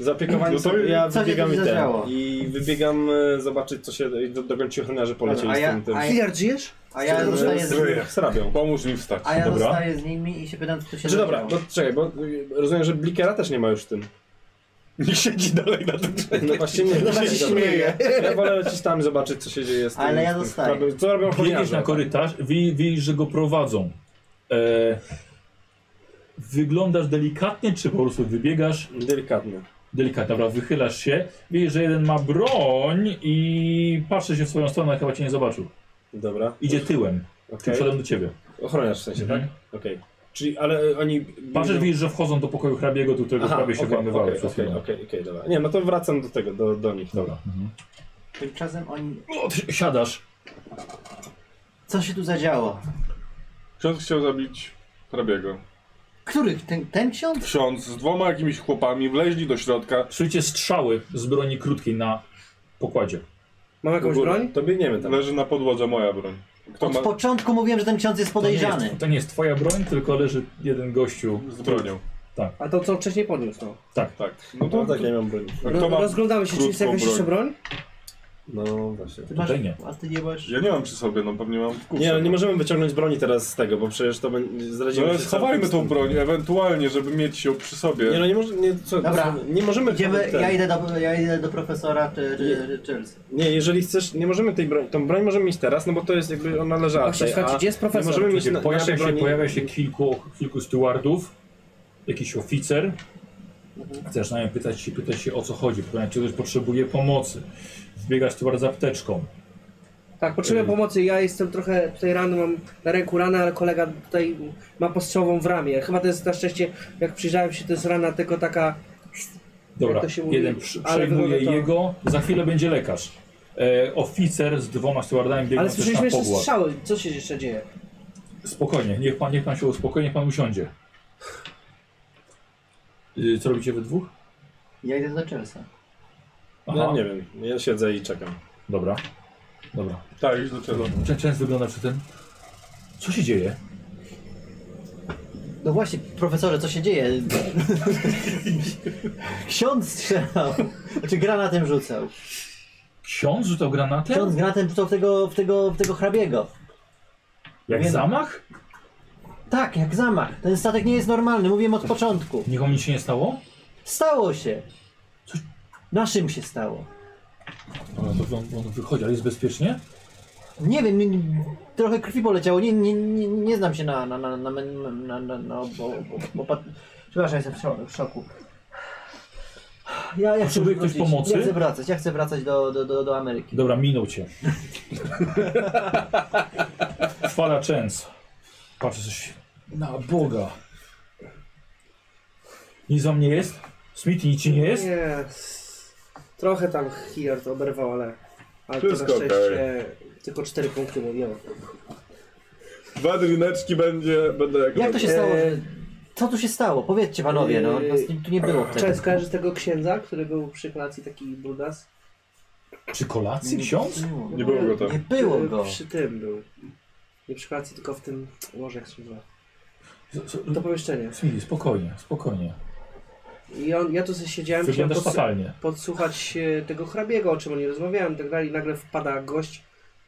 Speaker 6: zapiekowani
Speaker 4: No to
Speaker 6: są, ja
Speaker 3: co się
Speaker 6: wybiegam i
Speaker 3: tu
Speaker 6: ten.
Speaker 3: zadziało?
Speaker 6: I wybiegam e, zobaczyć co się, i do, do końciochniarzy polecieli
Speaker 3: Dobra, a
Speaker 6: z
Speaker 3: ja-
Speaker 6: tym tym.
Speaker 3: a ja-
Speaker 5: Hilliard, żyjesz?
Speaker 3: A ja
Speaker 6: Tylko, że
Speaker 3: zostaję z nimi.
Speaker 6: z- Srabią.
Speaker 4: Pomóż mi wstać.
Speaker 3: A ja
Speaker 1: Dobra.
Speaker 3: zostaję z nimi i się pytam, co się
Speaker 6: Czy dobra,
Speaker 3: zadziało.
Speaker 6: no czekaj, bo y, rozumiem, że Blikera też nie ma już w tym.
Speaker 4: Niech siedzi dalej na tym drzewie.
Speaker 6: No właśnie nie, no
Speaker 5: właśnie śmieje.
Speaker 6: Ja wolę lecieć tam i zobaczyć co się dzieje z tym.
Speaker 3: Ale ja
Speaker 6: z tym
Speaker 3: zostaję.
Speaker 6: chrabem. Co robią
Speaker 1: Biegniesz
Speaker 6: ochroniarze?
Speaker 1: na korytarz, wi- widzisz, że go prowadzą. E, wyglądasz delikatnie, czy po prostu wybiegasz?
Speaker 6: Delikatnie.
Speaker 1: Delikatnie, dobra, wychylasz się. Widzisz, że jeden ma broń i patrzy się w swoją stronę, ale chyba cię nie zobaczył.
Speaker 6: Dobra.
Speaker 1: Idzie tyłem, okay.
Speaker 6: Okej.
Speaker 1: przodem do ciebie.
Speaker 6: Ochroniarz w sensie, tak?
Speaker 1: Mhm.
Speaker 6: Okej. Czyli, ale y, oni...
Speaker 1: Patrzysz, widzisz, że wchodzą do pokoju hrabiego, do którego prawie się
Speaker 6: okej,
Speaker 1: włamywały
Speaker 6: okej,
Speaker 1: przez
Speaker 6: Okej,
Speaker 1: chwilę.
Speaker 6: okej, okej, dobra. Nie, no to wracam do tego, do, do nich.
Speaker 1: Dobra. Mhm.
Speaker 3: Tymczasem oni...
Speaker 1: O, ty siadasz.
Speaker 3: Co się tu zadziało?
Speaker 4: Ksiądz chciał zabić hrabiego.
Speaker 3: Który? Ten, ten ksiądz?
Speaker 4: Ksiądz z dwoma jakimiś chłopami wleźli do środka,
Speaker 1: Słyszycie strzały z broni krótkiej na pokładzie.
Speaker 5: Mam
Speaker 6: Do
Speaker 5: jakąś
Speaker 6: góry.
Speaker 5: broń? No.
Speaker 6: To biegniemy tam.
Speaker 4: leży na podłodze moja broń. Kto
Speaker 3: Od
Speaker 4: ma
Speaker 3: początku mówiłem, że ten ksiądz jest
Speaker 1: To nie
Speaker 3: podejrzany.
Speaker 1: jest, to nie jest twoja broń, tylko leży jeden gościu.
Speaker 4: z bronią?
Speaker 5: A to co wcześniej podniósł, no.
Speaker 1: Tak.
Speaker 4: Tak. No
Speaker 6: No
Speaker 4: to
Speaker 6: tak, ja nie mam broni.
Speaker 4: A
Speaker 5: Ro-
Speaker 4: kto ma
Speaker 5: No, Rozglądamy się, czy jest
Speaker 4: krótką
Speaker 5: jakaś jeszcze broń?
Speaker 6: No właśnie.
Speaker 3: Ty masz,
Speaker 1: Tutaj nie.
Speaker 3: a ty nie masz...
Speaker 4: Ja nie mam przy sobie, no pewnie mam w kursie.
Speaker 6: Nie, no nie możemy wyciągnąć broni teraz z tego, bo przecież to będzie
Speaker 4: No
Speaker 6: zdradzimy
Speaker 4: ale
Speaker 6: się
Speaker 4: schowajmy
Speaker 6: całkiem
Speaker 4: tą broń, ewentualnie, żeby mieć ją przy sobie.
Speaker 6: Nie no, nie, może, nie, co,
Speaker 3: Dobra.
Speaker 6: nie możemy...
Speaker 3: Idziemy,
Speaker 6: ten-
Speaker 3: ja idę do, ja idę do profesora czy, czy, czy Chelsea.
Speaker 6: Nie, jeżeli chcesz, nie możemy tej broń, tą broń możemy mieć teraz, no bo to jest jakby, ona leżała
Speaker 5: Właśnie,
Speaker 6: tutaj,
Speaker 5: słuchajcie,
Speaker 6: a
Speaker 5: gdzie jest
Speaker 6: nie
Speaker 5: profesor?
Speaker 6: możemy mieć
Speaker 1: Słuchajcie,
Speaker 6: na,
Speaker 1: pojawia,
Speaker 6: naszej
Speaker 1: się,
Speaker 6: broni...
Speaker 1: pojawia się kilku, kilku stewardów, jakiś oficer.
Speaker 5: Mhm.
Speaker 1: Zaczynają pytać się, pytać się o co chodzi, pytać, czy ktoś potrzebuje pomocy. Wbiega steward z apteczką.
Speaker 5: Tak, potrzebuję pomocy. Ja jestem trochę tutaj rany, mam na ręku ranę, ale kolega tutaj ma postrzałową w ramię. Chyba to jest na szczęście, jak przyjrzałem się, to jest rana tylko taka...
Speaker 1: Dobra,
Speaker 5: Jak to się mówi?
Speaker 1: jeden przy,
Speaker 5: Ale
Speaker 1: przejmuje
Speaker 5: wygląda to-
Speaker 1: jego, za chwilę będzie lekarz. E, oficer z dwoma stewardami biegną
Speaker 5: Ale
Speaker 1: też na
Speaker 5: słyszeliśmy jeszcze
Speaker 1: pogład.
Speaker 5: strzały. Co się jeszcze dzieje?
Speaker 1: Spokojnie, niech pan, niech pan się uspokoi, niech pan usiądzie. Y, Co robicie wy dwóch?
Speaker 3: Ja idę do Chelsea.
Speaker 6: No nie wiem, ja siedzę i czekam.
Speaker 1: Dobra, dobra.
Speaker 4: Tak, idź do czego.
Speaker 1: Czę- Często wygląda przy tym. Co się dzieje?
Speaker 3: No właśnie, profesorze, co się dzieje? Ksiądz strzelał. Znaczy, Czy granatem rzucał?
Speaker 1: Ksiądz rzucał granatę?
Speaker 3: Ksiądz granatem rzucał w tego, w tego, w tego hrabiego.
Speaker 1: Jak
Speaker 3: Nie.
Speaker 1: zamach?
Speaker 3: Tak, jak zamach. Ten statek nie jest normalny, mówiłem od początku.
Speaker 1: Nikomu nic się nie stało?
Speaker 3: Stało się. Naszym się stało.
Speaker 1: Dobra, No, to on, on wychodzi, ale jest bezpiecznie?
Speaker 3: Nie wiem, nie- nie- trochę krwi poleciało. Nie, nie, nie, nie znam się na. na, na, na, na, na, na, na ob, ob, ob, opat- Przepraszam, jestem w szoku. W szoku. Ja, ja chcę
Speaker 1: Potrzebuje ktoś
Speaker 3: wrócić.
Speaker 1: pomocy?
Speaker 3: Ja chcę wracać, ja chcę wracać do, do, do, do Ameryki.
Speaker 1: Dobra, minął cię. Wpada częs. Patrzę coś. Na Boga. Nic o mnie jest? Smith nic ci nie jest?
Speaker 5: Nie. Trochę tam Hilliard oberwał, ale... Ale to na
Speaker 4: Wszystko
Speaker 5: szczęście tylko 4 punkty mu miał.
Speaker 4: Dwa drineczki będzie, będę jak
Speaker 3: Jak to się
Speaker 5: Eee.
Speaker 3: stało? że- Co tu się stało? Powiedzcie panowie, no.
Speaker 1: Eee,
Speaker 3: Nas nie- tu nie było wtedy.
Speaker 5: Często kojarzysz tego księdza, który był przy kolacji taki brudas?
Speaker 1: Przy kolacji ksiądz?
Speaker 4: Nie było go
Speaker 6: Tak.
Speaker 4: tam.
Speaker 3: Nie było go.
Speaker 5: Przy tym był. Nie przy kolacji, tylko w tym łożek służba.
Speaker 1: Z- z-
Speaker 5: To pomieszczenie.
Speaker 1: Smith, spokojnie, spokojnie.
Speaker 5: I on, ja tu sobie siedziałem, chciałem
Speaker 1: Wyglądasz
Speaker 5: podsu-
Speaker 1: fatalnie.
Speaker 5: podsłuchać e, tego hrabiego, o czym oni rozmawiałem i tak dalej. Nagle wpada gość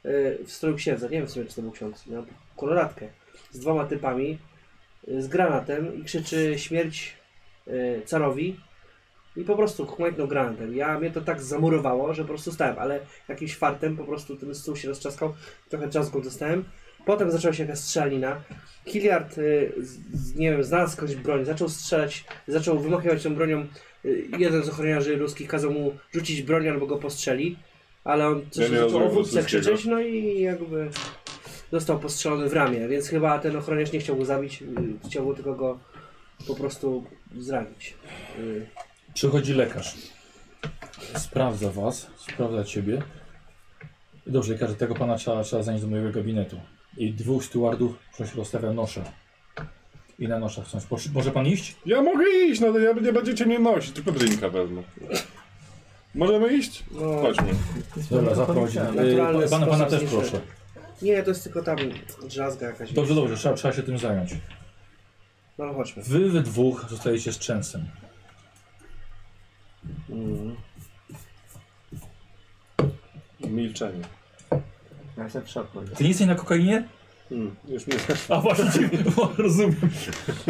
Speaker 5: e, w stroju księdza. Nie wiem w sumie, czy to był ksiądz. Miał koloratkę. Z dwoma typami. e, Z granatem i krzyczy śmierć e, carowi. I po prostu chmętnął granatem. Ja mnie to tak zamurowało, że po prostu stałem, ale jakimś fartem po prostu ten stół się rozczaskał. Trochę drzazgą dostałem. Potem zaczęła się jakaś strzelanina. Hilliard, y, z, z- nie wiem, znalazł jakąś broń, zaczął strzelać, zaczął wymachiwać tą bronią. Y, jeden z ochroniarzy ruskich kazał mu rzucić broń albo go postrzeli, ale on
Speaker 4: Ja
Speaker 5: coś
Speaker 4: nie
Speaker 5: zaczął o
Speaker 4: rozumiem
Speaker 5: wódce
Speaker 4: rosyjskiego.
Speaker 5: krzyczeć, no i jakby został postrzelony w ramię, więc chyba ten ochroniarz nie chciał go zabić, y, chciał go tylko go po prostu zranić. Y,
Speaker 1: Przychodzi lekarz. Sprawdza was, sprawdza ciebie. Dobrze, lekarze, tego pana trzeba, trzeba zanieść do mojego gabinetu. I dwóch stewardów coś rozstawia nosze. I na noszach są. Posz- Może pan iść?
Speaker 4: Ja mogę iść, no to ja nie będziecie mnie nosić, tylko drinka wezmę. Możemy iść?
Speaker 5: No,
Speaker 4: Chodźmy.
Speaker 1: Dobra, zaprowadzi.
Speaker 5: Naturalny
Speaker 1: Yy, Pana, pana
Speaker 5: sposób
Speaker 1: też
Speaker 5: zniszczenia.
Speaker 1: proszę.
Speaker 5: nie, to jest tylko tam drzazga jakaś.
Speaker 1: Dobrze, dobrze, trzeba, trzeba się tym zająć.
Speaker 5: No, no chodźmy.
Speaker 1: Wy we dwóch zostajecie z Częsem.
Speaker 6: Milczenie.
Speaker 3: Ja jestem w szoku.
Speaker 1: Ty nie jesteś na kokainie?
Speaker 6: Hmm, już nie.
Speaker 1: A właśnie, bo rozumiem.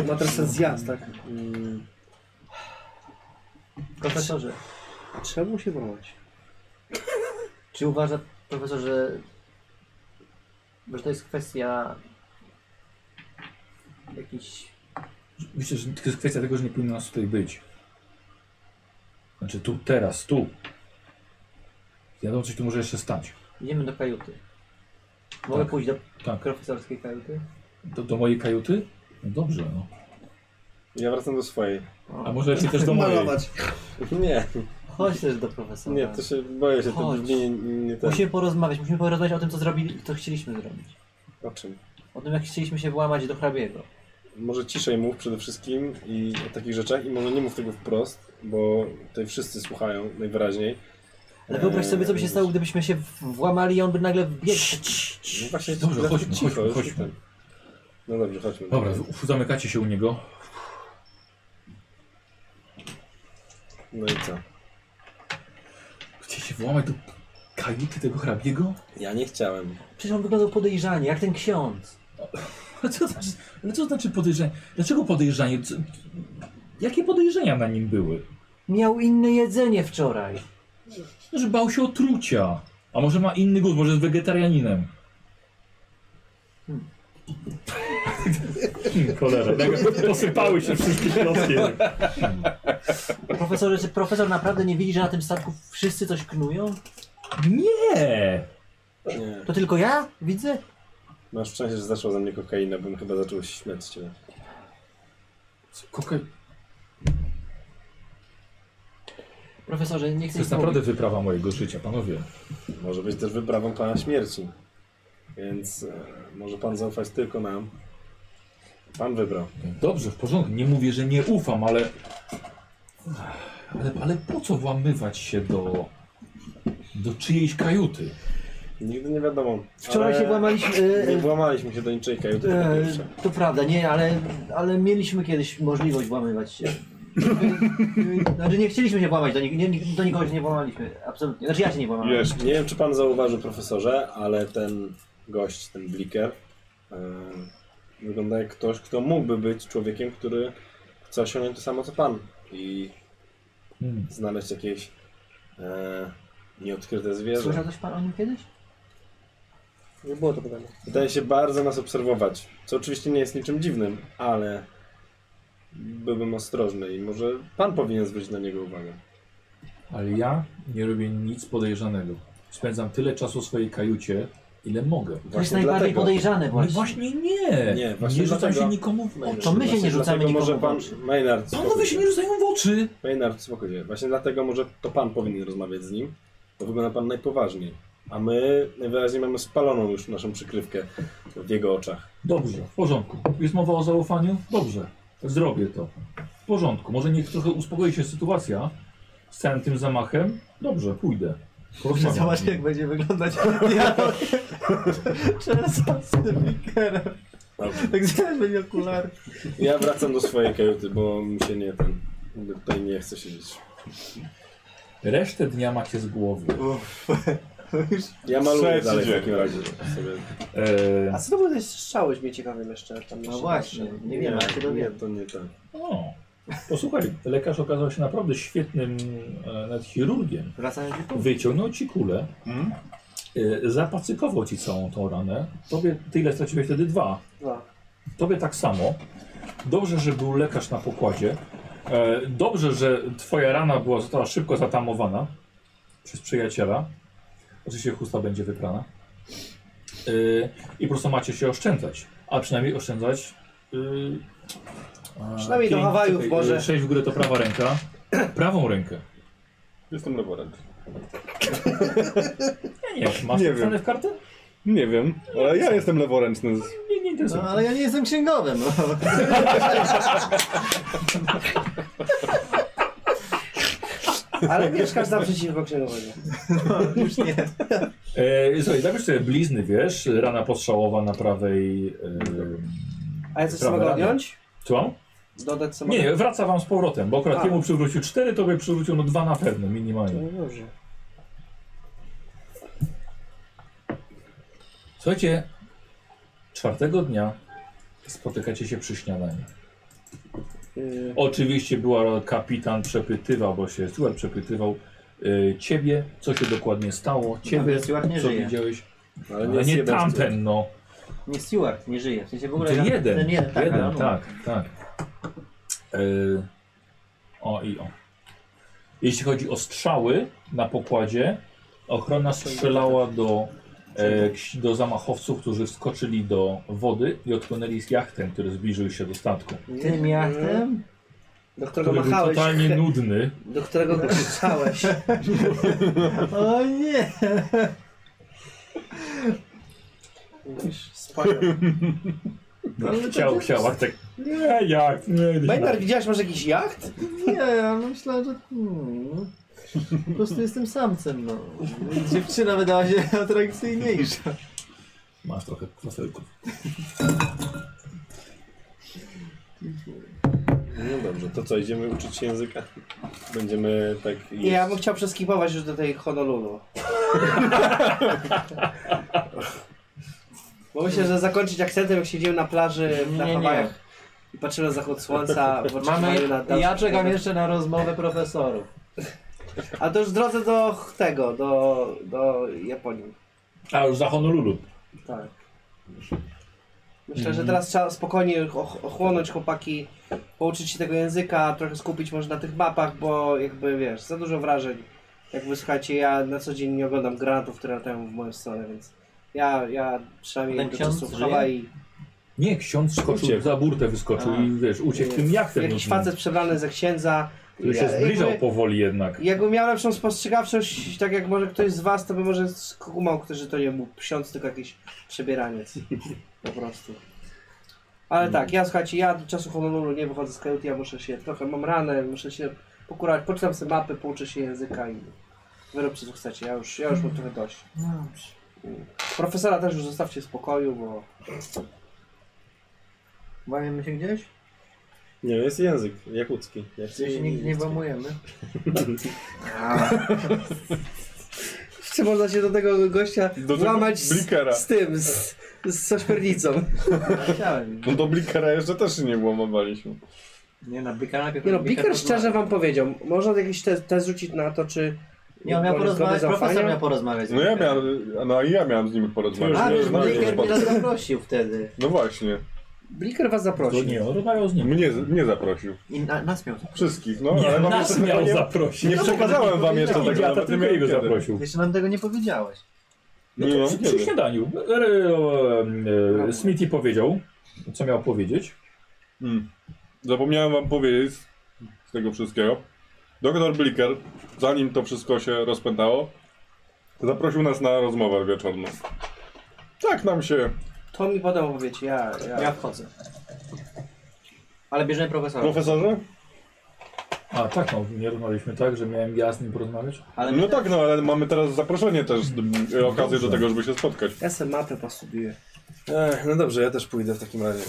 Speaker 5: Ma teraz ten zjazd, tak?
Speaker 3: Profesorze,
Speaker 5: Czemu się wołać?
Speaker 3: czy uważa profesor, że, że to jest kwestia jakichś...
Speaker 1: Myślę, że to jest kwestia tego, że nie powinno nas tutaj być. Znaczy tu, teraz, tu. Wiadomo, coś tu może jeszcze stać.
Speaker 3: Idziemy do kajuty. Mogę
Speaker 1: Tak.
Speaker 3: pójść do
Speaker 1: Tak.
Speaker 3: profesorskiej kajuty?
Speaker 1: Do, do mojej kajuty? No dobrze, no.
Speaker 6: Ja wracam do swojej.
Speaker 1: A może lepiej też do mojej.
Speaker 5: Malować.
Speaker 6: Nie,
Speaker 3: Chodź też do profesora.
Speaker 6: nie, to się boję się, to
Speaker 3: Chodź.
Speaker 6: nie, nie, nie ten.
Speaker 3: Musimy porozmawiać, musimy porozmawiać o tym, co zrobili, co chcieliśmy zrobić.
Speaker 6: O czym?
Speaker 3: O tym, jak chcieliśmy się włamać do hrabiego.
Speaker 6: Może ciszej mów przede wszystkim i o takich rzeczach i może nie mów tego wprost, bo tutaj wszyscy słuchają najwyraźniej.
Speaker 3: Ale wyobraź
Speaker 1: Eee.
Speaker 3: sobie, co by się stało, gdybyśmy się w- włamali i on by nagle wbiegł.
Speaker 6: No właśnie,
Speaker 1: Dobrze,
Speaker 6: dlatego
Speaker 1: chodźmy,
Speaker 6: cicho,
Speaker 1: chodźmy,
Speaker 6: już
Speaker 1: chodźmy.
Speaker 6: ten. No dobrze, chodźmy.
Speaker 1: Dobra, w- zamykacie się u niego.
Speaker 6: No i co? No
Speaker 1: Chcecie się włamać do Kajuty tego hrabiego?
Speaker 6: Ja nie chciałem.
Speaker 10: Przecież on wyglądał podejrzanie, jak ten ksiądz.
Speaker 1: Ale co, to znaczy, ale co znaczy podejrzenie? Dlaczego podejrzenie? Co, jakie podejrzenia na nim były?
Speaker 10: Miał inne jedzenie wczoraj.
Speaker 1: No, Że bał się otrucia. A może ma inny gust, może jest wegetarianinem. Hmm. Cholera, tak posypały się wszystkie klocki.
Speaker 10: Profesorze, czy profesor naprawdę nie widzi, że na tym statku wszyscy coś knują?
Speaker 1: Nie!
Speaker 6: Nie.
Speaker 10: To tylko ja widzę?
Speaker 6: Masz szczęście, że zaszła ze mnie kokaina, bym chyba zaczął śmiać z ciebie.
Speaker 1: Kokaj...
Speaker 10: Profesorze, nie chcę
Speaker 1: To jest
Speaker 10: nic mówić.
Speaker 1: naprawdę wyprawa mojego życia, panowie.
Speaker 6: Może być też wyprawą pana śmierci. Więc e, może pan zaufać tylko nam. Pan wybrał.
Speaker 1: Dobrze, w porządku. Nie mówię, że nie ufam, ale... Ale, ale po co włamywać się do... do czyjejś kajuty?
Speaker 6: Nigdy nie wiadomo.
Speaker 10: Wczoraj
Speaker 6: ale
Speaker 10: się włamaliśmy... e,
Speaker 6: Nie włamaliśmy się do niczej kajuty po
Speaker 10: e,
Speaker 6: pierwsze.
Speaker 10: e, to prawda, nie, ale, ale mieliśmy kiedyś możliwość włamywać się. E, e, Znaczy nie chcieliśmy się włamać, do, nik nie, do nikogo się nie włamaliśmy, absolutnie. Znaczy ja się nie włamałem.
Speaker 4: Jeszcze.
Speaker 6: Nie wiem, czy pan zauważył, profesorze, ale ten gość, ten bliker, e, wygląda jak ktoś, kto mógłby być człowiekiem, który chce osiągnąć to samo co pan i
Speaker 1: Hmm.
Speaker 6: znaleźć jakieś e, nieodkryte zwierzę.
Speaker 10: Słyszał coś pan o nim kiedyś?
Speaker 5: Nie było to pytanie.
Speaker 6: Wydaje się bardzo nas obserwować, co oczywiście nie jest niczym dziwnym, ale byłbym ostrożny i może pan powinien zwrócić na niego uwagę.
Speaker 1: Ale ja nie robię nic podejrzanego. Spędzam tyle czasu w swojej kajucie, ile mogę.
Speaker 10: To jest
Speaker 6: Właśnie
Speaker 10: najbardziej
Speaker 6: dlatego.
Speaker 10: podejrzane
Speaker 1: No
Speaker 10: właśnie.
Speaker 1: właśnie nie. No,
Speaker 6: Nie, właśnie
Speaker 1: rzucam
Speaker 6: dlatego-
Speaker 1: się nikomu w oczy.
Speaker 10: To my się nie
Speaker 6: Właśnie
Speaker 10: rzucamy
Speaker 6: dlatego
Speaker 10: nikomu
Speaker 6: może
Speaker 10: w
Speaker 6: pan...
Speaker 10: oczy. No,
Speaker 6: Maynard,
Speaker 1: Panowie się nie rzucają w oczy!
Speaker 6: Maynard, spokojnie. Właśnie dlatego może to pan powinien rozmawiać z nim, bo wygląda pan najpoważniej. A my najwyraźniej mamy spaloną już naszą przykrywkę w jego oczach.
Speaker 1: Dobrze, w porządku. Jest mowa o zaufaniu? Dobrze, zrobię to. W porządku. Może niech trochę uspokoi się sytuacja z całym tym zamachem. Dobrze, pójdę. Porozmawiam.
Speaker 3: Zobacz jak będzie wyglądać dialog Czesa z tym Wikerem. Tak zaraz będzie okulary.
Speaker 6: Ja wracam do swojej kajuty, bo mi się nie ten. jakby Tutaj nie chce siedzieć.
Speaker 1: Resztę dnia macie z głowy.
Speaker 6: Ja maluję
Speaker 4: Trzeci
Speaker 6: dalej w
Speaker 4: dzień.
Speaker 6: takim razie. Sobie.
Speaker 5: A
Speaker 1: Eee,
Speaker 5: co to były te strzały mnie ciekawe jeszcze tam jeszcze
Speaker 3: No właśnie,
Speaker 5: patrzę.
Speaker 3: nie wiem, ale się
Speaker 6: nie,
Speaker 3: dowiem.
Speaker 6: to nie tak.
Speaker 1: o. no. Posłuchaj, lekarz okazał się naprawdę świetnym e, nawet chirurgiem.
Speaker 3: Wracając do Hmm?
Speaker 1: Wyciągnął ci kulę,
Speaker 4: Mm.
Speaker 1: e, zapacykował ci całą tą ranę. Tobie tyle straciłeś wtedy dwa.
Speaker 5: Dwa.
Speaker 1: Tobie tak samo. Dobrze, że był lekarz na pokładzie. E, dobrze, że twoja rana była została szybko zatamowana przez przyjaciela. Oczywiście chusta będzie wyprana. E, I po prostu macie się oszczędzać. A przynajmniej oszczędzać. E, a,
Speaker 5: Przynajmniej do Hawajów
Speaker 1: czekaj,
Speaker 5: może.
Speaker 1: e, Sześć w górę to prawa ręka. Prawą rękę.
Speaker 4: Jestem laborant.
Speaker 1: Nie, nie masz
Speaker 4: Nie
Speaker 1: nie w karty?
Speaker 4: Nie wiem, ale ja jestem leworęczny.
Speaker 1: Nie, nie interesuje.
Speaker 3: No ale ja nie jestem księgowym. No.
Speaker 5: Ale mieszkasz naprzeciwko księgowego.
Speaker 3: Już nie.
Speaker 1: E, słuchaj, zabierz sobie blizny, wiesz, rana postrzałowa na prawej. E,
Speaker 5: A ja coś
Speaker 1: Prawe
Speaker 5: mogę
Speaker 1: ramię.
Speaker 5: odjąć?
Speaker 1: co?
Speaker 5: Dodać co
Speaker 1: Nie,
Speaker 5: mogę?
Speaker 1: nie, wraca wam z powrotem, bo akurat
Speaker 5: A.
Speaker 1: jemu przywrócił 4, tobie przywrócił no 2 na pewno, minimalnie.
Speaker 5: No dobrze.
Speaker 1: Słuchajcie, czwartego dnia spotykacie się przy śniadaniu.
Speaker 5: Yy,
Speaker 1: Oczywiście była kapitan przepytywał, bo się Stuart przepytywał y, ciebie, co się dokładnie stało, ciebie,
Speaker 10: No,
Speaker 3: Pan Stuart nie
Speaker 1: co
Speaker 3: żyje.
Speaker 1: widziałeś.
Speaker 6: Ale
Speaker 1: No
Speaker 6: jest
Speaker 1: nie
Speaker 6: jeden
Speaker 1: tamten, no.
Speaker 3: Nie Stewart, nie żyje. W sensie w ogóle...
Speaker 1: To
Speaker 3: ja-
Speaker 1: jeden,
Speaker 3: Ten jeden, tak. ale
Speaker 1: jeden,
Speaker 3: on-
Speaker 1: tak, tak. Y, o i o. Jeśli chodzi o strzały na pokładzie, ochrona strzelała do, e, ks- do zamachowców, którzy wskoczyli do wody i odpłynęli z jachtem, który zbliżył się do statku.
Speaker 10: Tym jachtem?
Speaker 5: Do którego
Speaker 1: Który był
Speaker 5: machałeś.
Speaker 1: totalnie nudny.
Speaker 5: Do którego krzyczałeś.
Speaker 3: O nie!
Speaker 5: Mówisz, Wspaniale. No,
Speaker 1: Chciał, chciał, a tak nie, jak, nie, nie.
Speaker 5: Bajnar, widziałeś może jakiś jacht?
Speaker 3: Nie, ja myślałem, że... Hmm. Po prostu jestem samcem, no. Dziewczyna wydała się atrakcyjniejsza.
Speaker 1: Masz trochę kwaselków.
Speaker 6: No dobrze, to co, idziemy uczyć się języka? Będziemy tak
Speaker 5: Nie,
Speaker 6: jeść.
Speaker 5: ja bym chciał przeskipować już do tej Honolulu. Bo myślę, że zakończyć akcentem, jak siedziałem na plaży na
Speaker 3: Nie, nie.
Speaker 5: Hawajach i patrzyłem na zachód słońca, w oczekiwaniu
Speaker 3: Mamy,
Speaker 5: na dalszy
Speaker 3: ja czekam
Speaker 5: podróż.
Speaker 3: jeszcze na rozmowę profesorów.
Speaker 5: A to już w drodze do tego, do, do Japonii.
Speaker 1: A już za Honolulu.
Speaker 5: Tak. Myślę, że teraz trzeba spokojnie och- ochłonąć chłopaki, pouczyć się tego języka, trochę skupić może na tych mapach, bo jakby wiesz, za dużo wrażeń. Jakby słuchajcie, ja na co dzień nie oglądam granatów, które latają w moją stronę, więc ja, ja
Speaker 3: A ten
Speaker 5: przynajmniej do
Speaker 3: ksiądz
Speaker 5: czasu w
Speaker 3: żyje?
Speaker 5: Hawaii.
Speaker 1: Nie, ksiądz skoczył,
Speaker 6: Uciekł.
Speaker 1: za burtę wyskoczył
Speaker 3: A.
Speaker 1: i wiesz, uciekł tym jachtem.
Speaker 5: Jakiś
Speaker 1: nudnym,
Speaker 5: facet przebrany ze księdza.
Speaker 1: Który się
Speaker 5: Ja-
Speaker 1: zbliżał
Speaker 5: jakby-
Speaker 1: powoli jednak.
Speaker 5: Jakbym miał lepszą spostrzegawczość, tak jak może ktoś z was, to by może skumał ktoś, że to nie był ksiądz, tylko jakiś przebieraniec. Po prostu. Ale tak, ja słuchajcie, ja do czasu Honolulu nie wychodzę z kajuty, ja muszę się trochę, mam ranę, muszę się pokurać, poczytam sobie mapy, pouczę się języka i wyróbcie co chcecie, ja już, ja już mam trochę dość.
Speaker 3: No,
Speaker 5: Profesora też już zostawcie w spokoju, bo
Speaker 10: Łamiemy się gdzieś?
Speaker 6: Nie, jest język jakucki. Ja chcę
Speaker 10: Gdzieś się nigdy nie
Speaker 6: jakucki.
Speaker 10: włamujemy.
Speaker 5: czy można się do tego gościa
Speaker 4: Do tego
Speaker 5: włamać z,
Speaker 4: Blikera.
Speaker 5: z tym, z, z ośmiornicą.
Speaker 10: Chciałem.
Speaker 4: No do Blikera jeszcze też nie włamowaliśmy.
Speaker 10: Nie, na Blikara najpierw...
Speaker 5: Nie no,
Speaker 10: Bliker
Speaker 5: Biker
Speaker 10: rozmawia.
Speaker 5: szczerze wam powiedział, można jakiś test, test rzucić na to, czy...
Speaker 10: Nie, on miał
Speaker 5: Bo jest
Speaker 10: porozmawiać,
Speaker 5: zgoda
Speaker 10: profesor
Speaker 5: zaufania?
Speaker 10: miał porozmawiać. z
Speaker 4: No ja
Speaker 10: Blikerem.
Speaker 4: miałem, no i ja miałem z nim porozmawiać.
Speaker 10: A,
Speaker 4: Nie
Speaker 10: wiesz,
Speaker 4: znałem
Speaker 10: Bliker
Speaker 4: go
Speaker 10: mnie
Speaker 4: spod-
Speaker 10: nas zaprosił wtedy.
Speaker 4: No właśnie,
Speaker 5: Bliker was
Speaker 1: To
Speaker 5: zaprosił.
Speaker 1: nie, on rozmawiał z nim.
Speaker 4: mnie, mnie zaprosił.
Speaker 10: I na, nas miał.
Speaker 4: Wszystkich, no.
Speaker 1: Nie,
Speaker 4: ale wam
Speaker 1: nas
Speaker 4: jeszcze tego
Speaker 1: miał
Speaker 4: nie-
Speaker 1: zaprosić.
Speaker 4: Nie przekazałem wam jeszcze
Speaker 1: Nie,
Speaker 4: tego,
Speaker 1: ja
Speaker 4: nawet nie
Speaker 1: tylko
Speaker 4: miałem
Speaker 1: jego
Speaker 4: kiedy.
Speaker 1: zaprosił.
Speaker 10: Jeszcze nam tego nie powiedziałeś.
Speaker 1: No
Speaker 4: Nie
Speaker 1: to
Speaker 4: mam
Speaker 1: przy, przy
Speaker 4: kiedy.
Speaker 1: śniadaniu e, e, e, Smithy powiedział, co miał powiedzieć.
Speaker 4: Mm. Zapomniałem wam powiedzieć z tego wszystkiego. Doktor Bliker, zanim to wszystko się rozpętało, zaprosił nas na rozmowę wieczorną. Tak nam się.
Speaker 5: To mi potem opowiecie, ja, ja...
Speaker 10: Ja wchodzę. Ale bierzemy profesora.
Speaker 4: Profesorze?
Speaker 1: A tak, no nie rozmawialiśmy tak, że miałem ja z nim porozmawiać.
Speaker 10: Ale
Speaker 4: No tak, no ale mamy teraz zaproszenie też,
Speaker 6: Mm,
Speaker 4: e, okazję do tego, żeby się spotkać.
Speaker 5: Ja sobie mapę postudiuję.
Speaker 6: Ech, no dobrze, ja też pójdę w takim razie.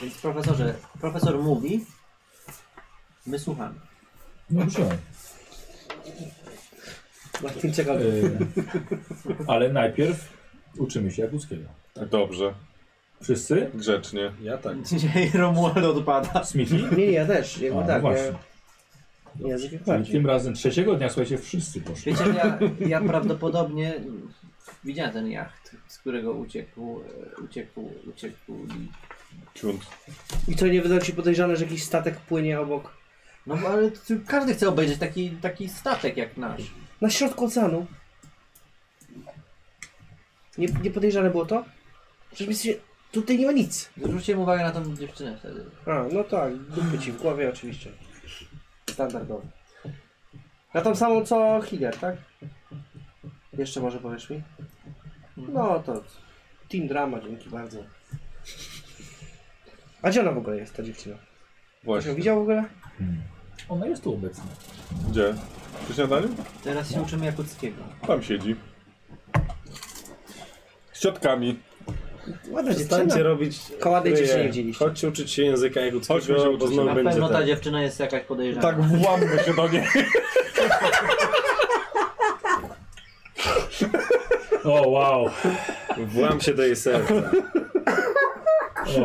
Speaker 10: Więc profesorze, profesor mówi, my słuchamy.
Speaker 1: No wziąłem.
Speaker 5: Na tym czekam.
Speaker 1: E, ale najpierw uczymy się Jakuckiego.
Speaker 4: Dobrze,
Speaker 1: Wszyscy?
Speaker 4: grzecznie.
Speaker 6: Ja tak.
Speaker 10: Dzisiaj Romuald odpada.
Speaker 1: Smithy?
Speaker 5: Nie, nie, ja też,
Speaker 1: A,
Speaker 5: jakby
Speaker 1: no
Speaker 5: tak,
Speaker 1: właśnie.
Speaker 5: ja... Język jak
Speaker 1: Czyli
Speaker 5: bardziej.
Speaker 1: tym razem trzeciego dnia, słuchajcie, wszyscy poszli.
Speaker 10: Wiecie, ja, ja prawdopodobnie widziałem ten jacht, z którego uciekł, e, uciekł, uciekł.
Speaker 4: Ciunt.
Speaker 5: I to nie wydaje ci podejrzane, że jakiś statek płynie obok...
Speaker 10: No bo ale tu każdy chce obejrzeć taki, taki statek jak nasz.
Speaker 5: Na środku oceanu. Nie, nie podejrzane było to? Przecież myślicie, tutaj nie ma nic.
Speaker 10: Zwróćcie uwagę na tą dziewczynę wtedy.
Speaker 5: A, no tak, dupy ci w głowie oczywiście. Standardowo. Na tą samą co Hider, tak? Jeszcze może powiesz mi? No to Team Drama, dzięki bardzo. A gdzie ona w ogóle jest, ta dziewczyna? Ktoś ją
Speaker 4: Właśnie.
Speaker 5: widział w ogóle?
Speaker 1: Ona jest tu obecna.
Speaker 4: Gdzie? Przy śniadaniu?
Speaker 10: Teraz się uczymy Jakuckiego.
Speaker 4: Tam siedzi. Z ciotkami.
Speaker 5: Ładna dziewczyna.
Speaker 6: Przestańcie robić.
Speaker 5: Kołady
Speaker 6: kryje.
Speaker 5: dzieci nie widzieliście.
Speaker 6: Chodźcie uczyć się języka
Speaker 4: Chodźmy się
Speaker 6: jakuckiego, bo
Speaker 4: uczyć.
Speaker 6: znowu
Speaker 10: Na
Speaker 6: będzie
Speaker 10: pewno ta
Speaker 6: tak.
Speaker 10: dziewczyna jest jakaś podejrzana.
Speaker 4: Tak włammy się do niej.
Speaker 1: O wow,
Speaker 6: Włam się do jej serca.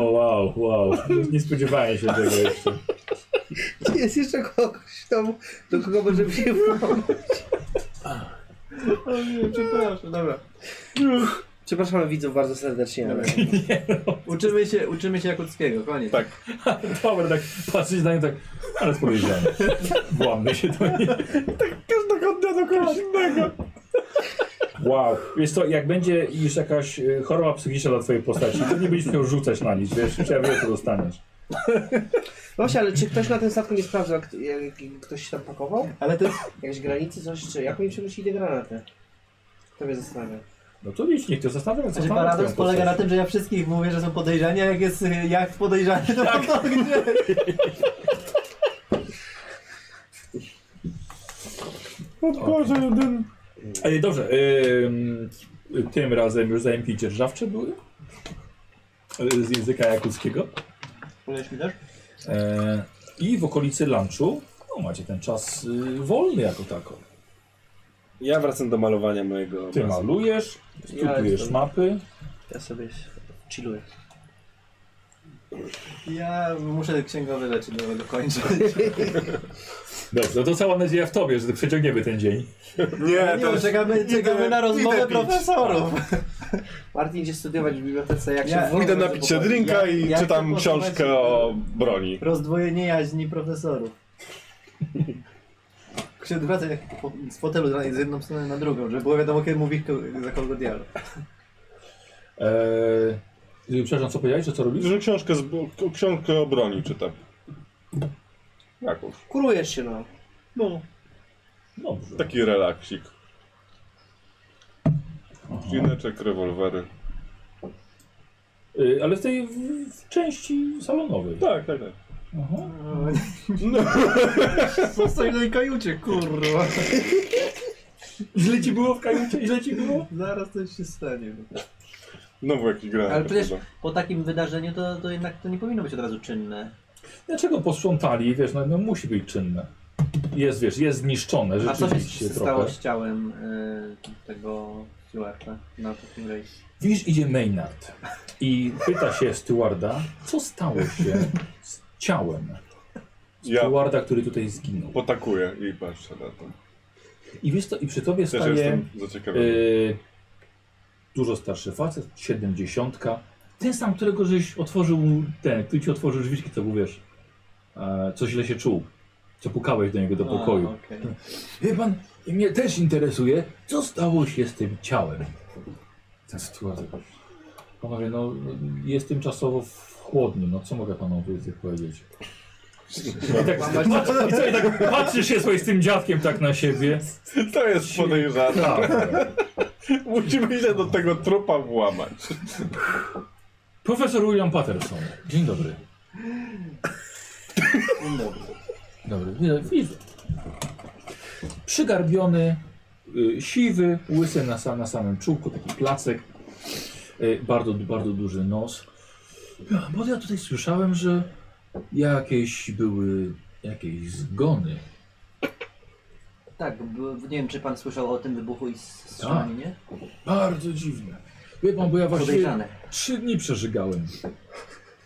Speaker 1: o wow, wow. Nie spodziewałem się tego jeszcze.
Speaker 5: Czy jest jeszcze kogoś w domu, do kogo możemy się wrócić?
Speaker 10: O nie, przepraszam, dobra.
Speaker 5: Przepraszamy widzów bardzo serdecznie. Ale...
Speaker 10: no. Uczymy się, uczymy się Jakuckiego, koniec.
Speaker 4: Tak.
Speaker 1: Dobra, tak patrzeć na nią tak, ale spodziewałem. Włamny się do niej.
Speaker 4: Każdego dnia
Speaker 5: no Tak.
Speaker 4: do kogoś innego.
Speaker 1: Wow, wiesz co, jak będzie już jakaś y, choroba psychiczna dla twojej postaci, to nie będziesz miał rzucać na nic, wiesz, trzeba wie, co dostaniesz.
Speaker 5: Właśnie, ale czy ktoś na tym statku nie sprawdzał, jak, jak, jak ktoś się tam pakował?
Speaker 10: Ale to
Speaker 5: Jakieś granicy, coś, czy jak oni przemyślili te granaty? To mnie zastanawia.
Speaker 1: No to widzisz, niech to zastanawia, co
Speaker 10: Znaczy,
Speaker 1: tam
Speaker 10: paradoks polega na tym, że ja wszystkich mówię, że są podejrzani, a jak jest y, jak podejrzany, to tak. to gdzie?
Speaker 4: O Boże, jeden.
Speaker 1: Ej, dobrze, ym, tym razem już zajęki dzierżawcze były? Y, Z języka jakuckiego.
Speaker 10: Powiesz mi też?
Speaker 1: E, I w okolicy lunchu, no macie ten czas y, wolny jako tako.
Speaker 6: Ja wracam do malowania mojego
Speaker 1: Ty
Speaker 6: obrazu.
Speaker 1: malujesz,
Speaker 5: Ja
Speaker 1: studiujesz
Speaker 5: jestem-
Speaker 1: mapy.
Speaker 5: Ja sobie chilluję.
Speaker 10: Ja muszę księgowy leczy do dokończyć.
Speaker 1: Dobrze, no to cała nadzieja w tobie, że przeciągniemy ten dzień.
Speaker 4: Nie,
Speaker 10: Nie,
Speaker 4: to
Speaker 10: no,
Speaker 4: jest...
Speaker 10: czekamy, czekamy na rozmowę
Speaker 4: idę pić.
Speaker 10: profesorów.
Speaker 5: Martin idzie studiować w bibliotece, jak
Speaker 10: Ja-
Speaker 5: się wolno
Speaker 4: Idę napić się drinka i
Speaker 10: Ja- ja
Speaker 4: czytam
Speaker 10: chcę posłuchać-
Speaker 4: książkę o broni.
Speaker 10: Rozdwojenie jaźni profesorów. Się odwraca jak po, z fotelu z jedną stronę na drugą, żeby było wiadomo, kiedy mówi ko- za kogo dialog.
Speaker 1: Eee, przepraszam, co powiedziałeś, że co robisz?
Speaker 4: Że książkę, z, o- książkę o broni czytam. Tak Jakąś.
Speaker 5: Kurujesz się, no.
Speaker 4: No,
Speaker 1: Dobrze.
Speaker 4: taki relaksik.
Speaker 1: Aha.
Speaker 4: Gineczek, rewolwery.
Speaker 1: Eee, ale w tej w, w części salonowej.
Speaker 4: Tak, tak, tak.
Speaker 1: Aha.
Speaker 10: Zostań w tej kajucie, kurwa.
Speaker 1: Źle ci było w kajucie? Źle ci było?
Speaker 10: Zaraz coś się stanie.
Speaker 4: Znowu jakiś gra.
Speaker 3: Ale przecież- Po takim wydarzeniu to, to jednak to nie powinno być od razu czynne.
Speaker 1: Dlaczego posprzątali? Wiesz, no, no musi być czynne. Jest, wiesz, jest zniszczone
Speaker 3: A co się
Speaker 1: rzeczywiście
Speaker 3: s-
Speaker 1: trochę.
Speaker 3: stało z ciałem y, tego stewarda na takim rejsie?
Speaker 1: Widzisz, idzie Maynard i pyta się stewarda, co stało się z ciałem
Speaker 4: Ja
Speaker 1: stewarda, który tutaj zginął.
Speaker 4: potakuję i patrzę na to.
Speaker 1: I wiesz to, i przy tobie
Speaker 4: Też
Speaker 1: staje
Speaker 4: jestem zaciekawiony.
Speaker 1: y, dużo starszy facet, siedemdziesiątka. Ten sam, którego żeś otworzył, ten, który ci otworzył drzwiczki, co mówisz, e, co źle się czuł, co pukałeś do niego
Speaker 10: No,
Speaker 1: do pokoju.
Speaker 3: A, okej.
Speaker 1: Wie pan, mnie też interesuje, co stało się z tym ciałem. Ten sytuacja. Panowie, no jestem czasowo w chłodni, no co mogę panu więcej powiedzieć? I tak, patrz, i co, i tak patrzysz się sobie z tym dziadkiem tak na siebie.
Speaker 4: To jest podejrzane.
Speaker 10: No.
Speaker 1: Tak.
Speaker 4: Musimy się do tego trupa włamać.
Speaker 1: Profesor William Patterson. Dzień dobry.
Speaker 10: Dzień dobry.
Speaker 1: Dobry. Nie, widzę. Przygarbiony, y, siwy, łysy na, sam, na samym czubku, taki placek. Y, bardzo, bardzo duży nos. Ja, Bo ja tutaj słyszałem, że jakieś były jakieś zgony.
Speaker 3: Tak, bo, nie wiem czy pan słyszał o tym wybuchu i s- strzelaninie.
Speaker 1: Bardzo dziwne. Wie pan, bo ja Tak. właśnie
Speaker 3: Podejrzane.
Speaker 1: trzy dni przeżygałem.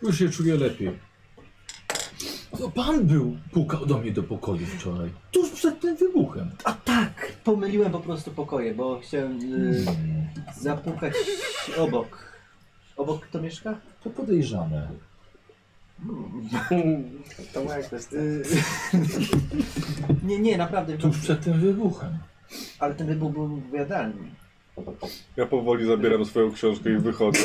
Speaker 1: Już się czuję lepiej. To pan był, pukał do mnie do pokoju wczoraj, tuż przed tym wybuchem.
Speaker 3: tak! Pomyliłem po prostu pokoje, bo chciałem y,
Speaker 1: Hmm.
Speaker 3: zapukać obok. Obok kto mieszka?
Speaker 1: To podejrzane.
Speaker 5: To moja kwestia.
Speaker 3: Y, nie, nie, naprawdę.
Speaker 1: Tuż przed tym wybuchem.
Speaker 3: Ale ten wybuch był w jadalni.
Speaker 4: Ja powoli zabieram swoją książkę i wychodzę.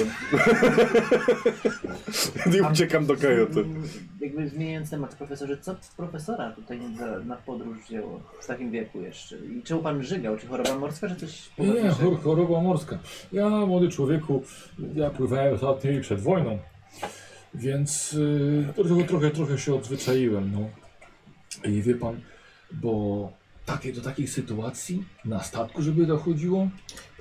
Speaker 4: I uciekam do kajuty.
Speaker 3: Mm, Jakby zmieniając temat, profesorze, co profesora tutaj za, na podróż wzięło w takim wieku jeszcze? I czemu pan żygał? Czy choroba morska, czy coś
Speaker 1: Nie,
Speaker 3: poważniejszego?
Speaker 1: chor- choroba morska. Ja, młody człowieku, ja pływałem ostatnio i przed wojną, więc y, trochę, trochę, trochę się odzwyczaiłem. No. I wie pan, bo takie, do takich sytuacji na statku, żeby dochodziło,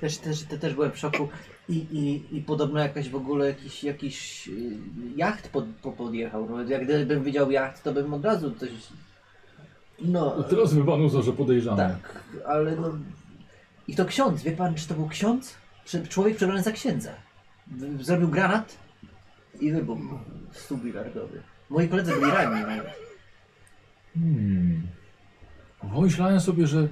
Speaker 3: Też, też, te, też byłem w szoku. I, i, I podobno jakaś w ogóle jakiś, jakiś y, jacht pod, po, podjechał. No, jak gdybym widział jacht, to bym od razu coś...
Speaker 1: to
Speaker 3: No,
Speaker 1: teraz by pan uznał, że podejrzane.
Speaker 3: tak, ale no... I to ksiądz, wie pan, czy to był ksiądz? Czy człowiek przebrany za księdza. W- Zrobił granat i wybuchł. Stół bilardowy. Moi koledzy byli no. ranni nawet.
Speaker 1: Hmm. Pomyślałem sobie, że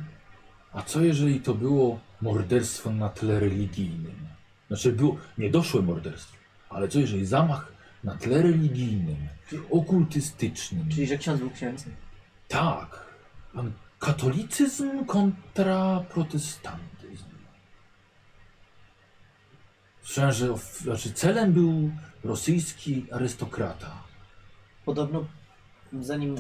Speaker 1: a co jeżeli to było morderstwo na tle religijnym? Znaczy było niedoszłe morderstwo, ale co jeżeli zamach na tle religijnym, okultystycznym?
Speaker 3: Czyli, że ksiądz był księdzem.
Speaker 1: Tak. Pan katolicyzm kontra protestantyzm. Słyszałem, że of- znaczy celem był rosyjski arystokrata.
Speaker 3: Podobno zanim y,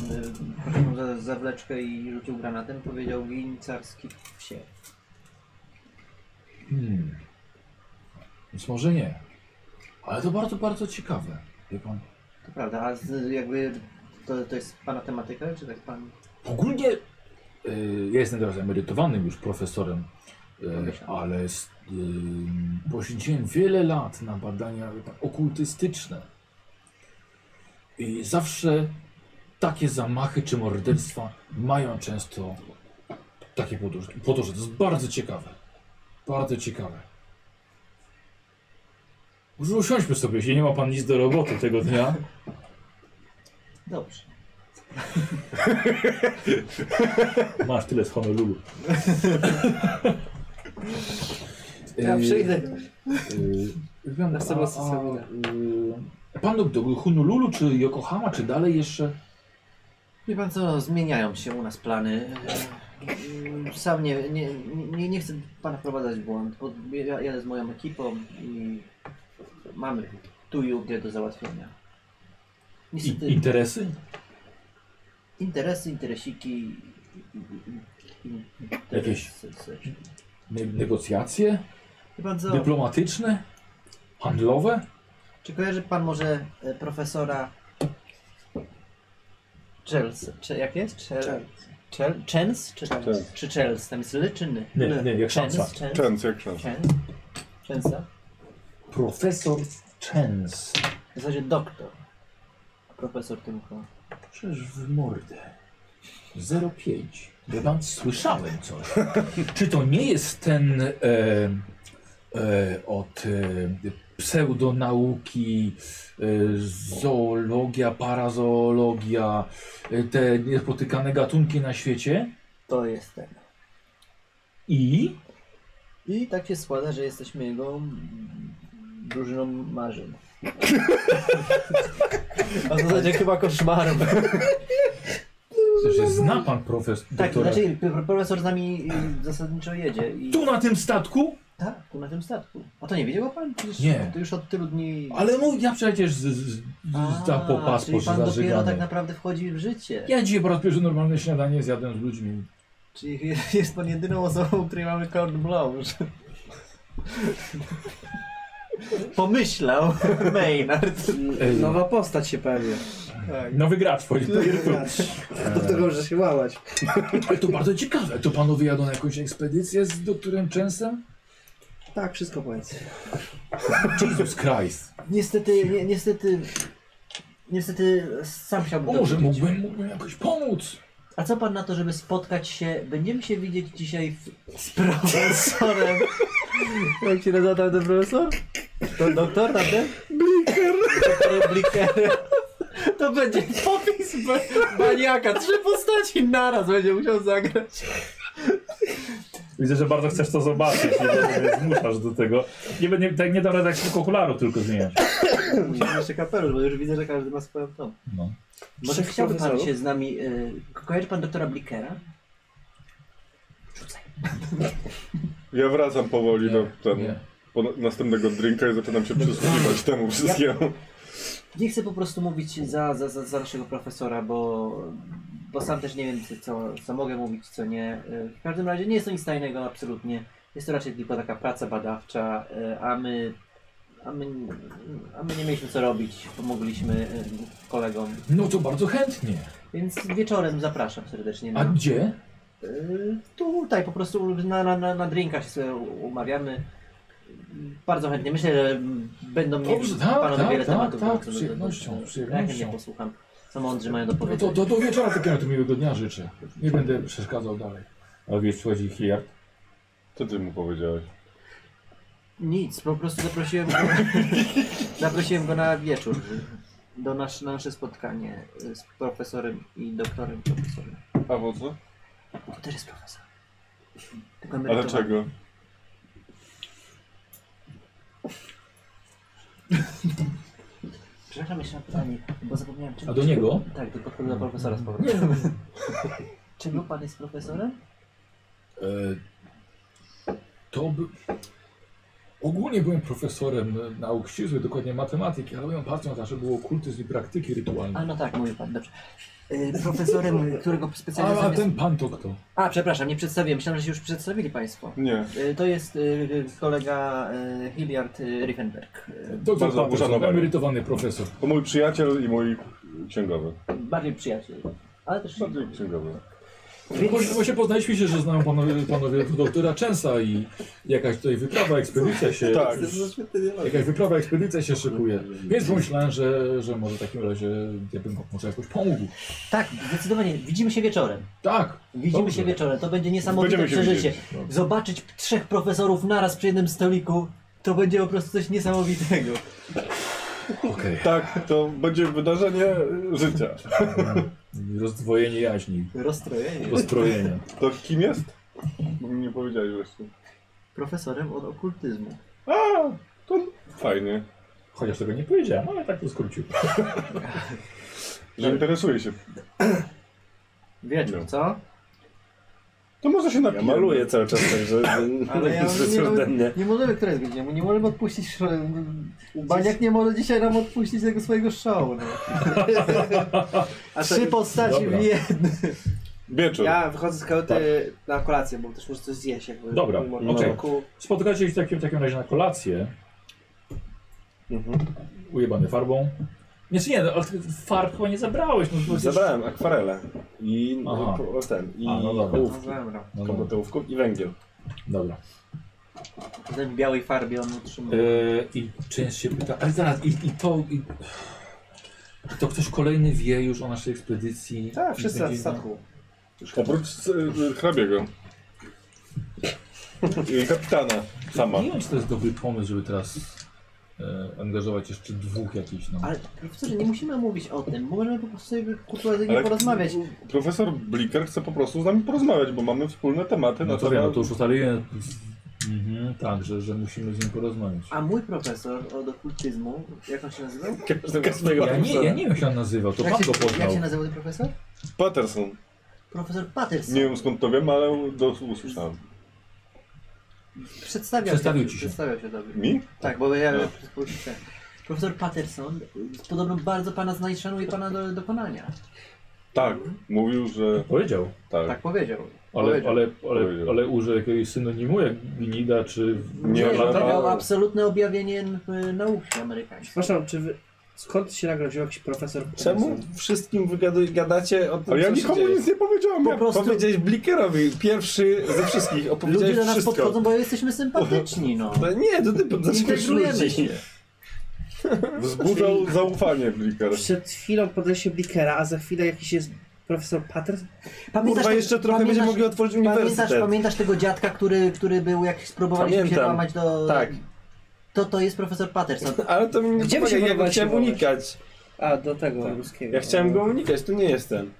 Speaker 3: pociągnął za, zawleczkę i rzucił granatem, powiedział win carski wsie.
Speaker 1: Hmm. Więc może nie. Ale to bardzo, bardzo ciekawe. Wie pan.
Speaker 3: To prawda, a z, jakby to, to jest pana tematyka, czy tak pan
Speaker 1: Ogólnie y, ja jestem teraz emerytowanym już profesorem, y, ale s- y, poświęciłem wiele lat na badania wie pan, okultystyczne. I zawsze takie zamachy czy morderstwa mają często Takie podróże. podróże. To jest bardzo ciekawe. Bardzo ciekawe. Może usiądźmy sobie, jeśli nie ma pan nic do roboty tego dnia.
Speaker 3: Dobrze.
Speaker 1: Masz tyle z Honolulu.
Speaker 5: Ja przyjdę.
Speaker 1: Wygląda
Speaker 5: Następna sesja wina.
Speaker 1: Y, Pan do, do Honolulu, czy Yokohama, czy dalej jeszcze?
Speaker 10: Wie pan co, no, zmieniają się u nas plany. Eee, Sam nie, nie, nie, nie chcę pana wprowadzać w błąd, bo ja jadę z moją ekipą i mamy tu i ówdzie do załatwienia.
Speaker 1: I,
Speaker 10: Niestety
Speaker 1: interesy?
Speaker 10: interesy, interesiki i- i- i- i-
Speaker 1: Jakieś-
Speaker 10: interesy.
Speaker 1: Ne negocjacje?
Speaker 10: Wie pan co,
Speaker 1: Dyplomatyczne? Handlowe?
Speaker 10: czy kojarzy pan może e, profesora Chels, czy jak jest? Chel, Chel, Chens czy,
Speaker 4: Chels.
Speaker 10: czy Chels? Tam jest leczyny.
Speaker 1: Nie, nie, jak szansa.
Speaker 10: Chens, Chens,
Speaker 4: Częc, jak książka.
Speaker 10: Chens, Chensa.
Speaker 1: Profesor Chens.
Speaker 10: W zasadzie doktor. A Profesor tylko.
Speaker 1: Przecież w mordę. 05. Ja tam słyszałem coś. Czy to nie jest ten e, e, od e, pseudonauki, e, zoologia, parazoologia, e, te niespotykane gatunki na świecie?
Speaker 10: To jest ten.
Speaker 1: I
Speaker 10: I tak się składa, że jesteśmy jego mm, drużyną marzeń. A w zasadzie chyba koszmarem.
Speaker 1: że zna pan profesor.
Speaker 10: Tak,
Speaker 1: doktora.
Speaker 10: inaczej p- profesor z nami y, zasadniczo jedzie i...
Speaker 1: Tu na tym statku?
Speaker 10: Tak, tu na tym statku. A to nie wiedział pan? Przecież
Speaker 1: Nie.
Speaker 10: To już od tylu dni...
Speaker 1: Ale mów, ja przecież z, z, z, za po
Speaker 10: A, czyli
Speaker 1: paszport
Speaker 10: pan dopiero
Speaker 1: zażygany.
Speaker 10: tak naprawdę wchodzi w życie.
Speaker 1: Ja dzisiaj po raz pierwszy normalne śniadanie zjadłem z ludźmi.
Speaker 10: Czyli jest pan jedyną osobą, której mamy cold blow. że- Pomyślał Maynard.
Speaker 1: Ej.
Speaker 5: Nowa postać się pojawiła.
Speaker 1: Tak. Nowy gracz powiedział.
Speaker 5: Do tego może się łamać.
Speaker 1: Ale to bardzo ciekawe. To panowie jadą na jakąś ekspedycję z doktorem Częsem?
Speaker 5: Tak, wszystko powiedz.
Speaker 1: Jesus Christ.
Speaker 10: Niestety, ni- niestety, niestety sam
Speaker 1: O,
Speaker 10: chciałbym to
Speaker 1: może
Speaker 10: wiedzieć.
Speaker 1: mógłbym, mógłbym jakoś pomóc.
Speaker 10: A co pan na to, żeby spotkać się, będziemy się widzieć dzisiaj w... z profesorem. Jak się nazywa ten profesor? To doktor tamten? Bliker. Bliker. To będzie popis ba- baniaka. Trzy postaci naraz będzie musiał zagrać.
Speaker 1: Widzę, że bardzo chcesz to zobaczyć. Nie zmuszasz do tego. Nie, nie, tak nie dam rady tak szybko okularów tylko zmieniać.
Speaker 10: Musimy jeszcze kapelusz, bo już widzę, że każdy ma swoją tą.
Speaker 1: No.
Speaker 10: Może
Speaker 5: Trzech
Speaker 10: chciałby pan
Speaker 5: profesorów?
Speaker 10: się z nami... Y, kojarzy pan doktora Blikera?
Speaker 4: Ja wracam powoli do temu.
Speaker 1: Nie.
Speaker 4: Po na- następnego drinka i zaczynam się przysłuchiwać temu wszystkiemu.
Speaker 10: Nie chcę po prostu mówić za, za, za, za naszego profesora, bo, bo sam też nie wiem, co- co, co mogę mówić, co nie. Y, W każdym razie nie jest to nic tajnego, absolutnie. Jest to raczej tylko taka praca badawcza, y, a my, a my, a my nie mieliśmy co robić. Pomogliśmy y, kolegom.
Speaker 1: no to bardzo chętnie.
Speaker 10: Więc wieczorem zapraszam serdecznie.
Speaker 1: A
Speaker 10: Na,
Speaker 1: gdzie?
Speaker 10: y, tutaj po prostu na, na, na, na drinka się sobie u- umawiamy. Bardzo chętnie. Myślę, że mm, będą mieli
Speaker 1: Dobrze, tak,
Speaker 10: panowie
Speaker 1: tak,
Speaker 10: wiele
Speaker 1: tak,
Speaker 10: tematów.
Speaker 1: tak,
Speaker 10: do- do- do-
Speaker 1: z przyjemnością,
Speaker 10: do-
Speaker 1: z
Speaker 10: do- Ja
Speaker 1: przyjemnością.
Speaker 10: chętnie posłucham, co mądrzy mają do
Speaker 1: No
Speaker 10: powiedzenia.
Speaker 1: to, to do wieczora takiego to miłego dnia życzę. Nie będę przeszkadzał dalej. Ale wiesz, przychodzi Hilliard.
Speaker 4: Co ty mu powiedziałeś?
Speaker 10: Nic, po prostu zaprosiłem go, zaprosiłem go na wieczór. Do nas, na nasze spotkanie y, z profesorem i doktorem profesorem.
Speaker 4: A po co?
Speaker 10: To też jest profesor. Tylko
Speaker 4: Ale
Speaker 10: emerytowany.
Speaker 4: czego?
Speaker 10: Przepraszam jeszcze na pytanie, bo zapomniałem czym.
Speaker 1: A do niego?
Speaker 10: Tak, do podchodzę do profesora z powrotem. Czego pan jest profesorem?
Speaker 1: E, to by... Ogólnie byłem profesorem e, nauk ścisłych, dokładnie matematyki, ale moją pasją zawsze było okultyzm i praktyki
Speaker 10: A
Speaker 1: rytualne.
Speaker 10: no tak, mówi pan, dobrze. Y, profesorem, którego
Speaker 1: A,
Speaker 10: specjalizm
Speaker 1: a
Speaker 10: jest...
Speaker 1: ten pan to kto?
Speaker 10: A, przepraszam, nie przedstawiłem, myślałem, że się już przedstawili państwo.
Speaker 4: Nie.
Speaker 10: Y, To jest y, y, kolega y, Hilliard y, Riefenberg. Y,
Speaker 1: Doktor
Speaker 4: Bardzo
Speaker 1: Patterson,
Speaker 4: uszanowany.
Speaker 1: emerytowany profesor.
Speaker 4: To mój przyjaciel i mój księgowy.
Speaker 10: Bardziej E, przyjaciel. Ale też.
Speaker 4: Bardziej księgowy.
Speaker 1: Bo się, bo się poznaliśmy się, że znają panowie, panowie doktora Częsa i jakaś tutaj wyprawa, ekspedycja się...
Speaker 4: Tak.
Speaker 1: Jakaś wyprawa, ekspedycja się szykuje. Więc pomyślałem, że, że może w takim razie ja bym może jakoś pomógł.
Speaker 10: Tak, zdecydowanie. Widzimy się wieczorem.
Speaker 1: Tak.
Speaker 10: Widzimy
Speaker 1: Dobrze.
Speaker 10: się wieczorem. To będzie niesamowite
Speaker 4: Będziemy się
Speaker 10: przeżycie.
Speaker 4: widzieć.
Speaker 6: no.
Speaker 10: Zobaczyć trzech profesorów naraz przy jednym stoliku, to będzie po prostu coś niesamowitego.
Speaker 1: Okej.
Speaker 4: Tak, to będzie wydarzenie życia.
Speaker 1: Rozdwojenie jaźni.
Speaker 10: Rozstrojenie.
Speaker 1: Rozstrojenie.
Speaker 4: To kim jest? Bo mi nie powiedziałeś właśnie.
Speaker 10: Profesorem od okultyzmu.
Speaker 4: A, to fajnie.
Speaker 1: Chociaż tego nie powiedziałem, ale tak to skrócił.
Speaker 4: Że interesuje się.
Speaker 10: Wieczór,
Speaker 4: No.
Speaker 10: co?
Speaker 4: To może się
Speaker 6: Ja
Speaker 4: napijemy.
Speaker 6: maluję cały czas, także
Speaker 10: Ale ja
Speaker 6: że
Speaker 10: nie,
Speaker 6: ode mnie.
Speaker 10: możemy, nie możemy któregoś godziny, nie możemy odpuścić show. Baniak nie może dzisiaj nam odpuścić tego swojego show. No.
Speaker 5: A to,
Speaker 10: Trzy postaci
Speaker 1: Dobra.
Speaker 10: w jednym.
Speaker 4: Wieczór.
Speaker 5: ja wychodzę z kajuty na kolację, bo też muszę coś zjeść. Jakby,
Speaker 1: Dobra,
Speaker 5: mimo
Speaker 6: no
Speaker 1: okej.
Speaker 5: odpoczynku.
Speaker 1: Spotkacie się w takim, w takim razie na kolację.
Speaker 5: Mhm.
Speaker 1: Ujebany farbą. Nie, nie, no, ale ty farb chyba nie zabrałeś. No, przecież-
Speaker 6: Zabrałem akwarele i
Speaker 1: Aha.
Speaker 6: po- ten, i
Speaker 1: A, no dobra.
Speaker 6: ołówki,
Speaker 1: No, no,
Speaker 6: kombatałówków i węgiel.
Speaker 1: dobra.
Speaker 10: W tej białej farbie on utrzymał.
Speaker 1: Eee, I część się pyta, ale zaraz, i, i to... I... i To ktoś kolejny wie już o naszej ekspedycji.
Speaker 5: Tak, wszyscy
Speaker 1: I
Speaker 5: na
Speaker 1: będzie-
Speaker 5: statku.
Speaker 4: Oprócz y, hrabiego. I kapitana. Sama.
Speaker 1: Nie wiem, czy to jest dobry pomysł, żeby teraz e, angażować jeszcze dwóch jakichś. No.
Speaker 10: Ale profesorze, nie musimy mówić o tym. Możemy po prostu sobie
Speaker 4: Ale-
Speaker 10: kurtuazyjnie porozmawiać.
Speaker 4: Profesor Bliker chce po prostu z nami porozmawiać, bo mamy wspólne tematy.
Speaker 1: No
Speaker 4: na
Speaker 1: to
Speaker 4: temat-
Speaker 1: wiem, no to już ustaliłem. Mhm, tak, że, że musimy z nim porozmawiać.
Speaker 10: A mój profesor od okultyzmu, jak on się nazywał?
Speaker 6: Każdego swojego
Speaker 1: Ja nie, ja nie wiem, jak się on nazywał, to
Speaker 10: jak,
Speaker 1: pan
Speaker 10: się,
Speaker 1: go
Speaker 10: jak
Speaker 1: poznał.
Speaker 10: się nazywał ten profesor?
Speaker 4: Patterson.
Speaker 10: Profesor Patterson.
Speaker 4: Nie wiem skąd to wiem, ale do, usłyszałem.
Speaker 10: Przedstawiał
Speaker 1: Przedstawił
Speaker 10: się,
Speaker 1: ci się.
Speaker 10: Przedstawiał się dobrze.
Speaker 4: Mi?
Speaker 10: Tak, bo ja
Speaker 4: No.
Speaker 10: tak. Profesor Patterson y, podobno bardzo pana zna i szanuje pana do dokonania.
Speaker 4: Tak. Mówił, że
Speaker 1: Powiedział,
Speaker 4: tak.
Speaker 10: Tak powiedział.
Speaker 1: ale,
Speaker 10: Powiedział.
Speaker 1: ale, ale,
Speaker 4: Powiedział.
Speaker 1: ale użył jakiegoś synonimu, jak gnida czy... no
Speaker 4: Nie,
Speaker 10: Nie, no tak.
Speaker 4: że-
Speaker 10: to miał absolutne objawienie y, nauki amerykańskiej.
Speaker 5: Przepraszam, czy wy... Skąd się nagle wziął jakiś profesor?
Speaker 6: Czemu wszystkim wygaduj, gadacie o tym,
Speaker 4: Ale ja
Speaker 6: co się
Speaker 4: nikomu
Speaker 6: dzieje?
Speaker 4: nic nie powiedziałem.
Speaker 6: Po
Speaker 4: ja-
Speaker 6: prostu... Powiedziałeś Blikerowi, pierwszy ze wszystkich,
Speaker 10: Ludzie
Speaker 6: opowiedziałeś
Speaker 10: do nas
Speaker 6: wszystko.
Speaker 10: podchodzą, bo jesteśmy sympatyczni, no.
Speaker 6: No nie, to ty zaczniesz
Speaker 10: Integrujemy
Speaker 6: ludzi.
Speaker 4: Wzbudzał zaufanie Bliker.
Speaker 5: Przed chwilą podejście się Blikera, a za chwilę jakiś jest profesor Patterson?
Speaker 6: Kurwa,
Speaker 10: te-
Speaker 6: jeszcze trochę będziemy mogli otworzyć
Speaker 10: pamiętasz,
Speaker 6: uniwersytet.
Speaker 10: pamiętasz tego dziadka, który, który był, jak spróbowaliśmy się
Speaker 6: Pamiętam.
Speaker 10: łamać do...
Speaker 6: Tak,
Speaker 10: To, to jest profesor Patterson.
Speaker 6: ale to mi nie
Speaker 5: Gdzie wy się
Speaker 6: pomaga, ja go
Speaker 5: próbowaliście
Speaker 6: chciałem
Speaker 5: łamać?
Speaker 6: unikać.
Speaker 5: A, do tego ruskiego.
Speaker 6: Tak. Ja chciałem go unikać, tu nie jestem.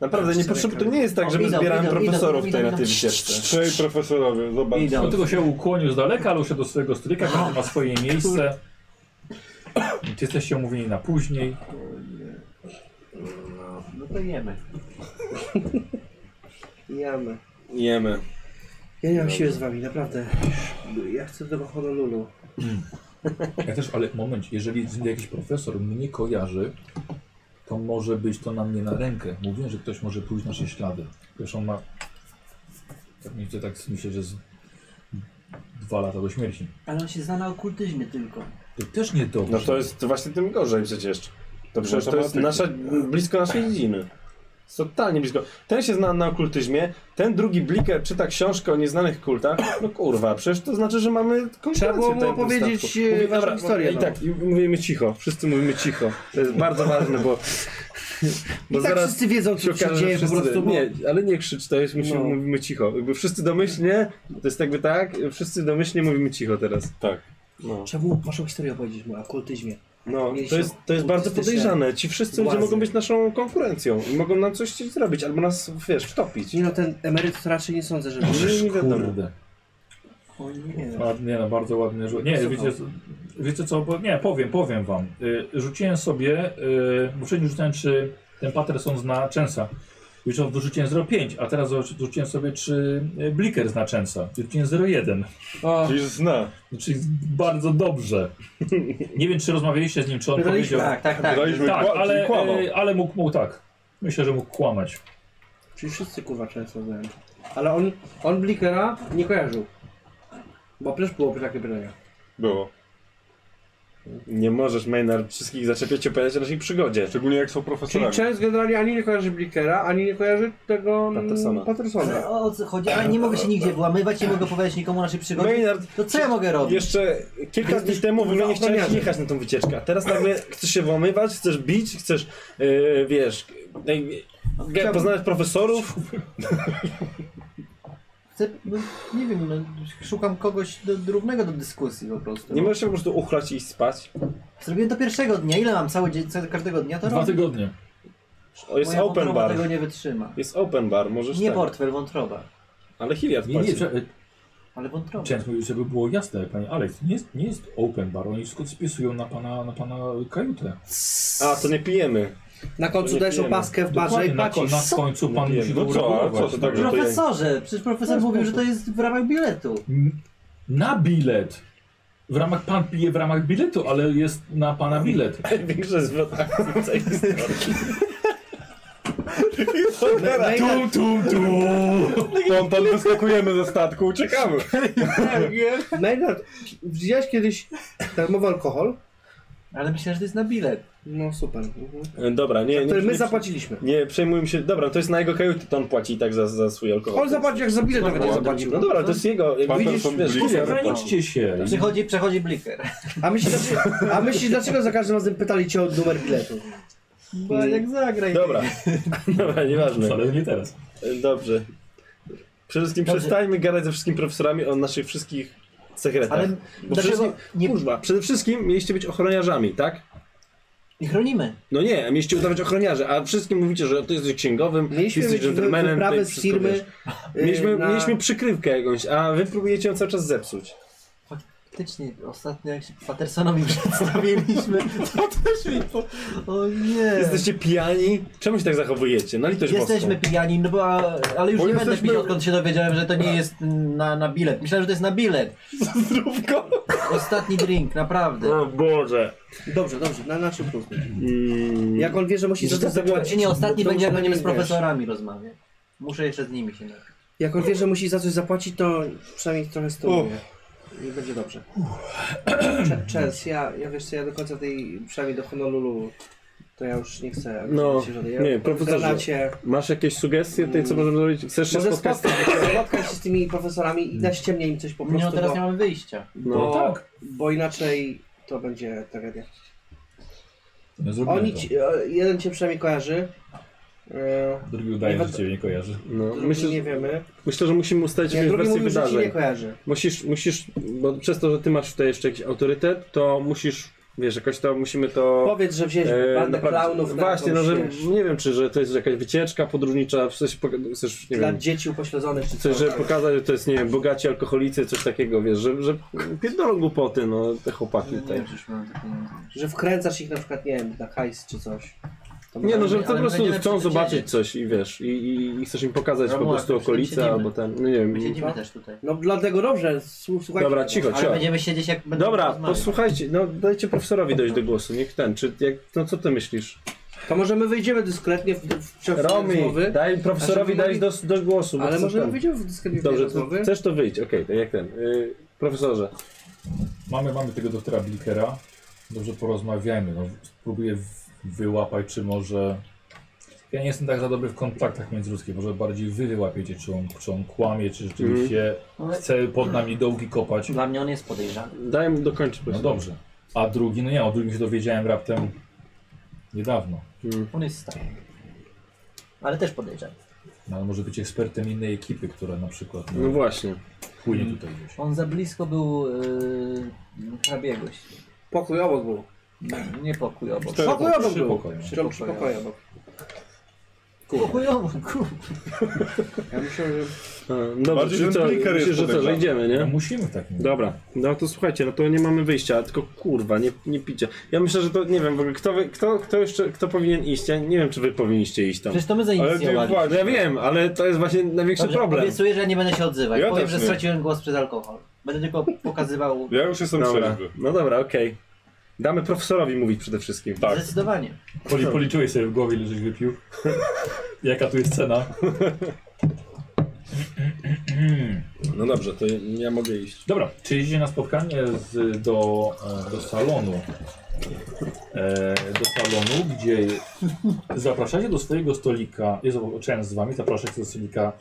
Speaker 6: Naprawdę, nie potrzebuję, to nie jest tak,
Speaker 10: O,
Speaker 6: że my
Speaker 10: idą,
Speaker 6: zbieramy
Speaker 10: idą,
Speaker 6: profesorów
Speaker 10: idą,
Speaker 6: tutaj na
Speaker 10: idą, idą.
Speaker 6: tej wycieczce.
Speaker 4: Trzej profesorowie, zobacz.
Speaker 10: Idą.
Speaker 1: Dlatego się ukłonił z daleka, ale usiadł do swojego stryka, każdy ma swoje miejsce. Ty jesteście umówieni na później.
Speaker 10: No to jemy.
Speaker 5: Jamy.
Speaker 6: Jemy.
Speaker 5: Ja nie mam siły z wami, naprawdę. Ja chcę do Honolulu.
Speaker 1: Ja też, ale moment, jeżeli jakiś profesor mnie kojarzy, to może być to na mnie na rękę. Mówiłem, że ktoś może pójść nasze ślady. Wiesz, on ma, tak myślę, tak myślę, że z dwa lata do śmierci.
Speaker 10: Ale on się zna na okultyzmie tylko.
Speaker 1: To też nie dobrze.
Speaker 6: No to jest właśnie tym gorzej przecież. To przecież to jest nasza, blisko naszej dziedziny. Jest Totalnie blisko. Ten się zna na okultyzmie, ten drugi bliker czyta książkę o nieznanych kultach. No kurwa, przecież to znaczy, że mamy konkurencję
Speaker 5: Trzeba było
Speaker 6: tutaj
Speaker 5: mu
Speaker 6: w tym
Speaker 5: opowiedzieć,
Speaker 6: statku.
Speaker 5: e,
Speaker 6: Mówię,
Speaker 5: waszą
Speaker 6: dobra,
Speaker 5: historię,
Speaker 6: I
Speaker 5: no.
Speaker 6: tak, i mówimy cicho, wszyscy mówimy cicho. To jest bardzo ważne, bo...
Speaker 5: I tak wszyscy wiedzą, co się
Speaker 6: okaże, że
Speaker 5: dzieje po
Speaker 6: No wszyscy-
Speaker 5: prostu. bo-
Speaker 6: Nie, ale nie krzycz, to jest, musimy,
Speaker 5: No.
Speaker 6: mówimy cicho. Jakby wszyscy domyślnie, to jest jakby tak, wszyscy domyślnie mówimy cicho teraz.
Speaker 4: Tak.
Speaker 6: No,
Speaker 5: Trzeba było waszą historię opowiedzieć mu, o okultyzmie.
Speaker 6: no to
Speaker 5: Mieliśmy
Speaker 6: jest, to jest bardzo
Speaker 5: autystyczne
Speaker 6: podejrzane. Ci wszyscy ludzie
Speaker 5: władze.
Speaker 6: mogą być naszą konkurencją i mogą nam coś chcieć zrobić, albo nas, wiesz, wtopić.
Speaker 5: Nie no, ten emeryt to raczej nie sądzę, że
Speaker 6: Nie, nie wiadomo.
Speaker 1: Kurde.
Speaker 10: O nie.
Speaker 1: Ładnie, no bardzo ładnie. Rzu- nie, wiecie, wiecie co, bo nie, powiem, powiem wam. Y, rzuciłem sobie, y, bo wcześniej rzucałem, czy ten Patterson zna Częsa. Już wyrzuciłem 0,5, a teraz rzuciłem sobie, czy y, Bliker zna Częsa. Rzuciłem 0,1.
Speaker 5: O,
Speaker 4: Czyli zna.
Speaker 1: Czyli bardzo dobrze. Nie wiem, czy rozmawialiście z nim, czy on
Speaker 5: Pytaliśmy,
Speaker 1: powiedział.
Speaker 10: Tak, tak, tak.
Speaker 4: Daliśmy
Speaker 1: Tak,
Speaker 4: kła-
Speaker 1: ale,
Speaker 4: czyli kłamał.
Speaker 1: e, ale mógł, mógł tak. Myślę, że mógł kłamać.
Speaker 5: czyli wszyscy kurwa często znają. Ale on, on Blikera nie kojarzył. Bo przecież było takie pytania.
Speaker 4: Było.
Speaker 6: Nie możesz, Maynard, wszystkich zaczepiać i opowiadać o naszej przygodzie.
Speaker 4: Szczególnie jak są
Speaker 7: Czyli
Speaker 4: profesorami.
Speaker 7: Chance generalnie ani nie kojarzy Blickera, ani nie kojarzy tego... mm,
Speaker 6: Pattersona.
Speaker 7: Pattersona.
Speaker 10: O, o co chodzi? Ale nie mogę się nigdzie włamywać, nie mogę opowiadać nikomu naszej przygody.
Speaker 6: Maynard,
Speaker 10: To co ja mogę robić?
Speaker 6: jeszcze kilka dni temu w ogóle nie chciałeś jechać na tą wycieczkę, a teraz nagle chcesz się włamywać, chcesz bić, chcesz, yy, wiesz, ej,
Speaker 5: Chciałbym-
Speaker 6: poznać profesorów.
Speaker 10: Chcę, no, nie wiem, no, szukam kogoś do, do równego do dyskusji po prostu.
Speaker 6: Nie możesz się po prostu uchlać i iść spać.
Speaker 10: Zrobiłem to pierwszego dnia. Ile mam cały dzień, co- każdego dnia to
Speaker 1: Dwa
Speaker 10: robię?
Speaker 1: tygodnie.
Speaker 6: O, jest
Speaker 10: Moja
Speaker 6: open
Speaker 10: wątroba
Speaker 6: bar.
Speaker 10: tego nie wytrzyma.
Speaker 6: Jest open bar, możesz
Speaker 10: Nie
Speaker 6: tak.
Speaker 10: portfel, wątroba.
Speaker 6: Ale Hilliard
Speaker 1: Nie, nie,
Speaker 6: płaci.
Speaker 1: że-
Speaker 10: Ale wątroba.
Speaker 1: Chciałem powiedzieć, żeby było jasne, panie Alex, nie jest, nie jest open bar, oni wszystko spisują na pana, na pana kajutę.
Speaker 6: A, to nie pijemy.
Speaker 5: Na końcu
Speaker 6: Nie
Speaker 5: dajesz
Speaker 6: pijemy.
Speaker 5: opaskę w barze
Speaker 1: Dokładnie,
Speaker 5: i
Speaker 1: na, ko-
Speaker 5: płacisz.
Speaker 1: na końcu pan
Speaker 6: No
Speaker 1: musi
Speaker 6: co,
Speaker 1: to
Speaker 4: a co,
Speaker 1: uregulować.
Speaker 4: to tak, że-
Speaker 10: Profesorze, przecież profesor mówił, że to jest w ramach biletu.
Speaker 1: N- Na bilet. W ramach, pan pije w ramach biletu, ale jest na pana bilet.
Speaker 6: Największe zwrot akcji w całej historii.
Speaker 1: Tu, tu, tu.
Speaker 4: No Ponton wyskakujemy ze statku, uciekamy.
Speaker 5: Maynard, widziałeś kiedyś darmowy alkohol?
Speaker 10: Ale myślę, że to jest na bilet.
Speaker 5: No super. Mhm.
Speaker 6: E, Dobra, nie, nie,
Speaker 5: Który my
Speaker 6: nie,
Speaker 5: zapłaciliśmy.
Speaker 6: nie przejmujmy się. Dobra, to jest na jego kajuty, to on płaci i tak za, za swój alkohol.
Speaker 5: On zapłacił, jak za bilet nawet nie zapłacił.
Speaker 6: No dobra, to jest jego. Jak
Speaker 4: Patterson
Speaker 6: widzisz, wiesz,
Speaker 4: Blizzard.
Speaker 1: Chronijcie się.
Speaker 10: Przychodzi, przechodzi bliker.
Speaker 5: A myślisz, dlaczego, a myślisz, dlaczego za każdym razem pytali cię o numer biletu?
Speaker 10: Bo jak zagraj.
Speaker 6: Dobra, dobra, nieważne.
Speaker 1: Ale nie teraz.
Speaker 6: Dobrze. Przede wszystkim
Speaker 10: Dobrze.
Speaker 6: przestańmy gadać ze wszystkimi profesorami o naszych wszystkich sekretach.
Speaker 10: Ale
Speaker 6: Bo
Speaker 10: dlaczego
Speaker 6: przede
Speaker 10: nie,
Speaker 6: Kurwa, przede wszystkim mieliście być ochroniarzami, tak?
Speaker 10: nie chronimy?
Speaker 6: No nie, mieliście udawać ochroniarzy, a wszystkim mówicie, że ty jesteś księgowym,
Speaker 5: Mieliśmy
Speaker 6: jesteś
Speaker 5: mieć wy-
Speaker 6: dżentelmenem,
Speaker 5: wyprawę
Speaker 6: tutaj
Speaker 5: z
Speaker 6: wszystko
Speaker 5: firmy.
Speaker 6: wiesz. Mieliśmy,
Speaker 5: y, na-
Speaker 6: mieliśmy przykrywkę jakąś, a wy próbujecie ją cały czas zepsuć.
Speaker 10: Faktycznie, ostatnio jak się Pattersonowi przedstawiliśmy, to też mi po... O
Speaker 5: E.
Speaker 10: nie.
Speaker 6: Jesteście pijani? Czemu się tak zachowujecie? Na litość
Speaker 10: Jesteśmy
Speaker 6: boską.
Speaker 10: pijani, no bo, a, ale już
Speaker 6: Bo
Speaker 10: nie będę
Speaker 6: jesteśmy-
Speaker 10: pijał, odkąd się dowiedziałem, że to nie jest na, na bilet. Myślałem, że to jest na bilet.
Speaker 6: Zdrówko!
Speaker 10: Ostatni drink, naprawdę.
Speaker 6: O Boże.
Speaker 5: Dobrze, dobrze, na naszym punkcie.
Speaker 6: Mm,
Speaker 5: Jak on wie, że musi za to zapłacić.
Speaker 10: Czy Znaczy nie, ostatni
Speaker 6: No,
Speaker 5: to
Speaker 10: będzie, jak
Speaker 5: już
Speaker 10: będziemy z
Speaker 5: nie wiesz.
Speaker 10: profesorami rozmawiać. Muszę jeszcze z nimi się napić.
Speaker 5: Jak on wie, że musi za coś zapłacić, to przynajmniej trochę stoi. I będzie dobrze. Cze- Czes, ja, ja wiesz co, ja do końca tej, przynajmniej do Honolulu, to ja już nie chcę.
Speaker 6: No,
Speaker 5: się żadnej- ja
Speaker 6: nie,
Speaker 5: w
Speaker 6: profesorze.
Speaker 5: granacie.
Speaker 6: Masz jakieś sugestie tutaj, co możemy zrobić? Chcesz się
Speaker 5: Może
Speaker 6: spotkać?
Speaker 5: spotkać spotkać się z tymi profesorami i dać mnie im coś po prostu,
Speaker 10: No teraz
Speaker 5: bo,
Speaker 10: nie mamy wyjścia.
Speaker 6: No,
Speaker 1: No
Speaker 5: bo,
Speaker 1: tak.
Speaker 5: bo inaczej to będzie tragedia.
Speaker 1: No, zrobimy
Speaker 5: Oni,
Speaker 1: to.
Speaker 5: ci, e, jeden cię przynajmniej kojarzy. E,
Speaker 1: Drugi udaje, że ciebie nie kojarzy.
Speaker 6: no.
Speaker 5: drugi
Speaker 6: Myślę,
Speaker 5: nie wiemy.
Speaker 6: myślę, że musimy ustalić
Speaker 5: Nie,
Speaker 6: jakąś
Speaker 5: drugi
Speaker 6: wersję
Speaker 5: mówił, że ci nie
Speaker 6: wydarzeń.
Speaker 5: kojarzy.
Speaker 6: Musisz, musisz, bo przez to, że ty masz tutaj jeszcze jakiś autorytet, to musisz, wiesz, jakoś to musimy to...
Speaker 5: Powiedz, że wzięliśmy
Speaker 6: e,
Speaker 5: bandę
Speaker 6: naprawić.
Speaker 5: klaunów na
Speaker 6: Właśnie, no
Speaker 5: jakąś,
Speaker 6: że
Speaker 5: wiesz,
Speaker 6: nie wiem, czy że to jest jakaś wycieczka podróżnicza, w sensie, poka- chcesz, nie
Speaker 5: dla
Speaker 6: wiem,
Speaker 5: dzieci upośledzonych czy
Speaker 6: Coś,
Speaker 5: coś. tak.
Speaker 6: żeby pokazać, że to jest, nie wiem, bogaci alkoholicy, coś takiego, wiesz, że, że pierdolą głupoty, no, te chłopaki
Speaker 10: Nie
Speaker 6: tutaj.
Speaker 10: wiem, czy już mamy takie
Speaker 5: Że wkręcasz ich na przykład, nie wiem, na hajs czy coś. To
Speaker 6: Nie no, że
Speaker 10: Ale
Speaker 6: po prostu
Speaker 10: będziemy
Speaker 6: chcą
Speaker 10: przy tym
Speaker 6: zobaczyć
Speaker 10: siedzieć.
Speaker 6: coś i wiesz, i, i, i chcesz im pokazać po
Speaker 10: Romuald,
Speaker 6: prostu
Speaker 10: my przy tym
Speaker 6: okolice
Speaker 10: siedzimy.
Speaker 6: albo ten, no nie
Speaker 10: My
Speaker 6: wiem.
Speaker 10: siedzimy
Speaker 5: Tak?
Speaker 10: też tutaj.
Speaker 5: No dlatego dobrze, słu- słuchajcie.
Speaker 6: Dobra, cicho,
Speaker 10: Ale
Speaker 6: cicho.
Speaker 10: będziemy siedzieć jak będziemy
Speaker 6: Dobra,
Speaker 10: rozmawiać.
Speaker 6: posłuchajcie, no dajcie profesorowi dojść do głosu, niech ten, czy jak, no co ty myślisz?
Speaker 5: To może my wyjdziemy dyskretnie w, w, w czasie
Speaker 6: Romy,
Speaker 5: rozmowy.
Speaker 6: daj profesorowi
Speaker 5: A żeby
Speaker 6: dojść do, do głosu, bo
Speaker 5: Ale
Speaker 6: chcę
Speaker 5: może
Speaker 6: ten.
Speaker 5: wyjdziemy w dyskretnie w tej
Speaker 6: Dobrze, to,
Speaker 5: rozmowy.
Speaker 6: chcesz to wyjść, okej, to jak ten, y, profesorze.
Speaker 1: Mamy, mamy tego doktora Blickera. Dobrze porozmawiajmy. No, spróbuję w- wyłapać, czy może... Ja nie jestem tak za dobry w kontaktach międzyludzkich. Może bardziej wy wyłapiecie, czy on, czy on kłamie, czy rzeczywiście
Speaker 10: Ale-
Speaker 1: chce pod nami dołki kopać.
Speaker 10: Dla mnie on jest podejrzany.
Speaker 6: Daj mu dokończyć,
Speaker 1: No
Speaker 6: profesor.
Speaker 1: dobrze. A drugi, no nie, o drugim się dowiedziałem raptem niedawno.
Speaker 10: On jest stary. Ale też podejrzany.
Speaker 1: No, ale może być ekspertem innej ekipy, która na przykład
Speaker 6: No
Speaker 1: no,
Speaker 6: właśnie.
Speaker 1: płynie tutaj gdzieś.
Speaker 10: On za blisko był yy, hrabiegłeś.
Speaker 5: Pokój obok był.
Speaker 10: Nie pokój obok.
Speaker 4: Cztery
Speaker 5: Pokój obok
Speaker 1: Trzy
Speaker 5: był.
Speaker 1: pokoje.
Speaker 5: Przy przy pokoju obok.
Speaker 10: Pokój obok, kur-
Speaker 5: Ja myślę, że...
Speaker 6: A, Dobra,
Speaker 4: Bardziej
Speaker 6: czyli
Speaker 4: ten
Speaker 6: co,
Speaker 4: bliker jest
Speaker 6: myślisz, że co, że
Speaker 4: podejrzany.
Speaker 6: idziemy,
Speaker 1: No,
Speaker 6: nie?
Speaker 1: musimy w takim
Speaker 6: Dobra, no to słuchajcie, no to nie mamy wyjścia, tylko kurwa, nie, nie picie. Ja myślę, że to, nie wiem, w ogóle, kto, wy, kto, kto jeszcze, kto powinien iść? Ja nie wiem, czy wy powinniście iść tam.
Speaker 10: Przecież to my zainicjowaliśmy.
Speaker 6: No ja wiem, ale to jest właśnie największy
Speaker 10: Dobrze,
Speaker 6: problem.
Speaker 10: Obiecuję, że ja nie będę się odzywać.
Speaker 4: Ja
Speaker 10: Powiem,
Speaker 4: też
Speaker 10: że
Speaker 4: nie.
Speaker 10: straciłem głos przez alkohol. Będę tylko pokazywał
Speaker 4: Ja już jestem
Speaker 6: Dobra,
Speaker 4: trzeźwy.
Speaker 6: no dobra, okej. Damy profesorowi mówić przede wszystkim.
Speaker 4: Tak.
Speaker 10: zdecydowanie.
Speaker 1: Poli, policzyłeś sobie w głowie, ile żeś wypił. Jaka tu jest cena?
Speaker 6: No dobrze, to ja mogę iść.
Speaker 1: Dobra, czy jeździcie na spotkanie z, do, e, do salonu? E, do salonu, gdzie zapraszacie do swojego stolika, jest część z wami, zapraszacie do stolika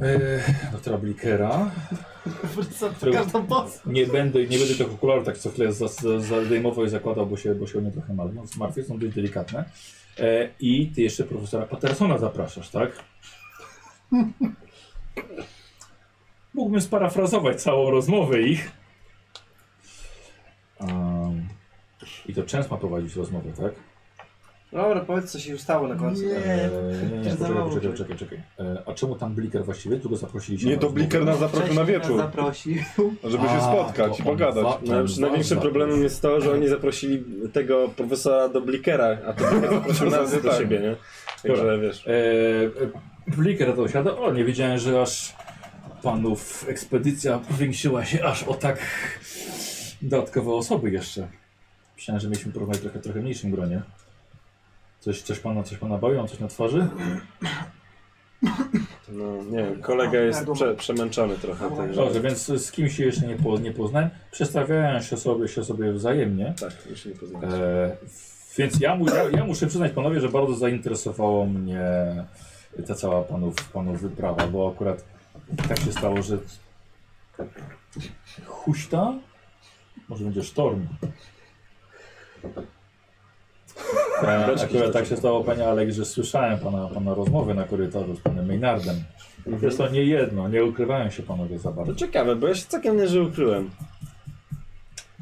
Speaker 1: e, doktora Blikera, którego nie będę, nie będę tych okularów tak co chwilę za- za- zadejmował i zakładał, bo się, bo się o nie trochę martwię, No, martwię są dość delikatne. E, I ty jeszcze profesora Pattersona zapraszasz, tak? Mógłbym sparafrazować całą rozmowę ich. Em, I to Częs ma prowadzić rozmowę, tak?
Speaker 5: Dobra, powiedz co się już stało na końcu.
Speaker 1: Eee, nie, nie, poczekaj, poczekaj, poczekaj, czekaj. Eee, a czemu tam Bliker właściwie? Tu go zaprosiliście.
Speaker 4: Nie,
Speaker 1: na
Speaker 4: to
Speaker 1: rozmowę.
Speaker 4: Bliker nas zaprosił na
Speaker 10: Wcześniej nas
Speaker 4: wieczór,
Speaker 10: zaprosił.
Speaker 4: żeby się
Speaker 1: A,
Speaker 4: spotkać
Speaker 1: to
Speaker 4: i
Speaker 1: on
Speaker 4: pogadać.
Speaker 1: wa-
Speaker 6: No,
Speaker 1: on
Speaker 6: już najwięszym
Speaker 1: was
Speaker 6: problemem jest to, że oni zaprosili tego profesora do Blikera, a to Bliker zaprosił nas do
Speaker 4: Tak.
Speaker 6: siebie, nie? Także wiesz.
Speaker 1: Eee, Bliker to siada. O, nie wiedziałem, że aż panów ekspedycja powiększyła się aż o tak dodatkowe osoby jeszcze. Myślałem, że mieliśmy prowadzić trochę, trochę mniejszym gronie. Coś, coś pana, coś pana boją, coś na twarzy?
Speaker 6: No, nie wiem, kolega jest prze, przemęczony trochę, także...
Speaker 1: Dobrze, więc z kim się jeszcze nie, po, nie poznałem. Przestawiają się sobie, się sobie wzajemnie.
Speaker 6: Tak, już się nie poznaliśmy.
Speaker 1: E, więc ja, mu, ja, ja muszę przyznać panowie, że bardzo zainteresowało mnie ta cała panów, panów wyprawa, bo akurat tak się stało, że huśta, może będzie sztorm. E, akurat tak się stało, panie Alek, że słyszałem pana, pana rozmowę na korytarzu z panem Maynardem. Zresztą nie jedno, nie ukrywają się panowie za bardzo.
Speaker 6: To ciekawe, bo ja się całkiem nie że ukryłem.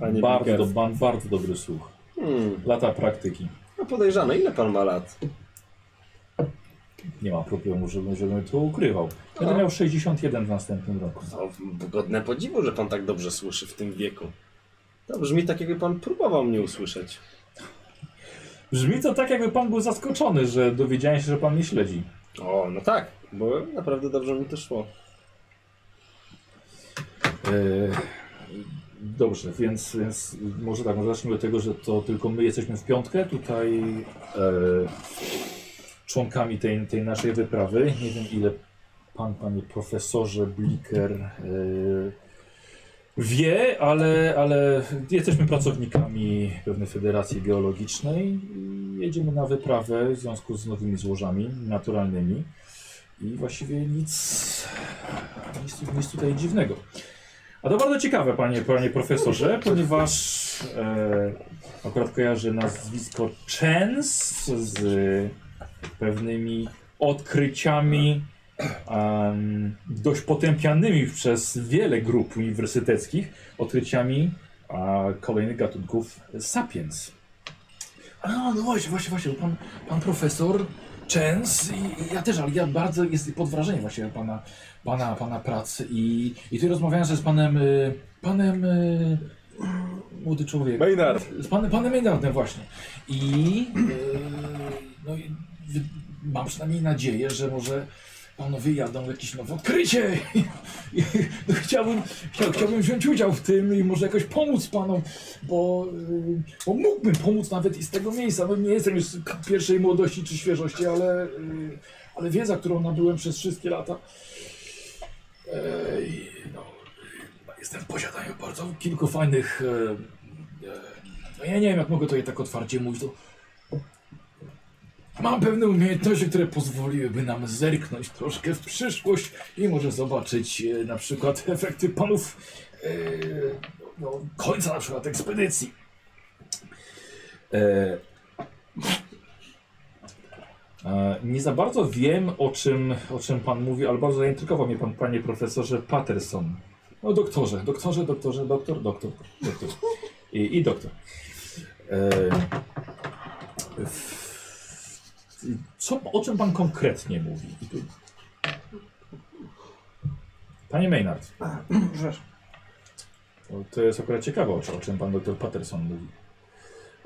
Speaker 6: Panie
Speaker 1: Bardzo,
Speaker 6: Bliker.
Speaker 1: do, ban- bardzo dobry słuch.
Speaker 6: Hmm,
Speaker 1: Lata praktyki.
Speaker 6: no podejrzane, ile pan ma lat?
Speaker 1: Nie ma problemu, żebym, żebym to ukrywał. Będę miał 61 w następnym roku.
Speaker 6: To godne podziwu, że pan tak dobrze słyszy w tym wieku. To brzmi tak, jakby pan próbował mnie usłyszeć.
Speaker 1: Brzmi to tak, jakby pan był zaskoczony, że dowiedziałem się, że pan mnie śledzi.
Speaker 6: O, no tak, bo naprawdę dobrze mi to szło.
Speaker 1: Eee, dobrze, więc, więc może tak, może zacznijmy od tego, że to tylko my jesteśmy w piątkę tutaj eee, członkami tej, tej naszej wyprawy. Nie wiem ile pan, panie profesorze Bliker eee, wie, ale, ale jesteśmy pracownikami pewnej federacji geologicznej i jedziemy na wyprawę w związku z nowymi złożami naturalnymi. I właściwie nic, nic, nic tutaj dziwnego. A to bardzo ciekawe, panie, panie profesorze, ponieważ e, akurat kojarzy nazwisko Chens z e, pewnymi odkryciami em, dość potępianymi przez wiele grup uniwersyteckich odkryciami a, kolejnych gatunków sapiens. A no, no właśnie, właśnie, właśnie, pan, pan profesor Chens i, i ja też, ale ja bardzo jestem pod wrażeniem właśnie pana, pana, pana pracy i, i tutaj rozmawiałem że z panem, y, panem y, młody człowiek.
Speaker 4: Maynard,
Speaker 1: Z panem, panem Maynardem właśnie. I e, no, i wy- mam przynajmniej nadzieję, że może panowie jadą jakieś nowe odkrycie. I, no, chciałbym, chciał, chciałbym wziąć udział w tym i może jakoś pomóc panom, bo, e, bo mógłbym pomóc nawet i z tego miejsca. No, nie jestem już z k- pierwszej młodości czy świeżości, ale, e, ale wiedza, którą nabyłem przez wszystkie lata. e, i, no, jestem w posiadaniu bardzo kilku fajnych e, no ja nie wiem, jak mogę to je tak otwarcie mówić, to... Mam pewne umiejętności, które pozwoliłyby nam zerknąć troszkę w przyszłość i może zobaczyć e, na przykład efekty panów e, no, końca na przykład ekspedycji. E, e, nie za bardzo wiem, o czym, o czym pan mówi, ale bardzo zaintrygował mnie pan, panie profesorze Patterson. No doktorze, doktorze, doktorze, doktor, doktor, doktor i, i doktor. E, w- co, o czym pan konkretnie mówi? I tu- Panie Maynard. O, To jest akurat ciekawe, o, czym- o czym pan doktor Patterson mówi.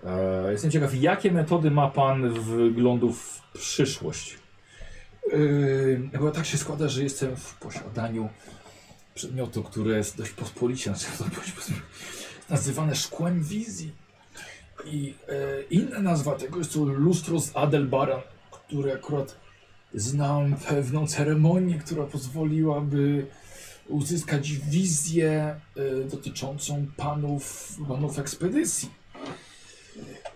Speaker 1: E, jestem ciekaw, jakie metody ma pan wglądu w przyszłość? E, bo tak się składa, że jestem w posiadaniu przedmiotu, które jest dość pospolicie, znaczy dość pospolicie nazywane szkłem wizji. I e, inna nazwa tego jest to lustro z Adelbaran, które akurat Znam pewną ceremonię, która pozwoliłaby uzyskać wizję y, dotyczącą panów, panów ekspedycji.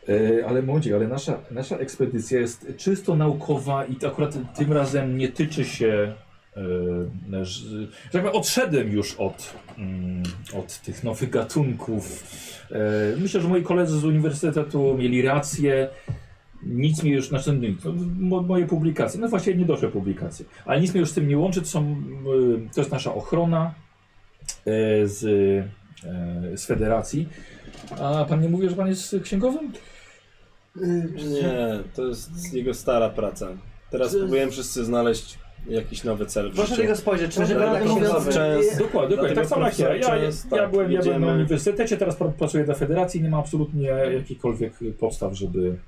Speaker 1: E, Ale młodzi, ale nasza, nasza ekspedycja jest czysto naukowa i to akurat tym razem nie tyczy się. e, ż- że tak powiem, odszedłem już od, mm, od tych nowych gatunków. E, Myślę, że moi koledzy z uniwersytetu mieli rację. Nic mi już, znaczy nic, no, mo, moje publikacje, no właściwie niedoszłe publikacje, ale nic mnie już z tym nie łączy, to, są, e, to jest nasza ochrona e, z, e, z federacji. A pan nie mówi, że pan jest księgowym?
Speaker 6: Nie, to jest jego stara praca. Teraz
Speaker 10: Czy-
Speaker 6: próbujemy wszyscy znaleźć jakiś nowy cel w
Speaker 5: Proszę
Speaker 6: życiu.
Speaker 5: tego spojrzeć, czy
Speaker 10: Może
Speaker 5: żeby
Speaker 10: pan
Speaker 5: tak
Speaker 10: mówiąc-
Speaker 5: mówiąc...
Speaker 1: Dokładnie,
Speaker 6: Często.
Speaker 1: dokładnie.
Speaker 6: Dlatego
Speaker 1: Tak samo jak ja.
Speaker 6: profesor
Speaker 1: Ja, ja,
Speaker 6: Częs, tak,
Speaker 1: byłem, ja byłem na
Speaker 6: jedziemy.
Speaker 1: uniwersytecie, teraz pr- pracuję dla federacji i nie ma absolutnie jakichkolwiek podstaw, żeby, mm,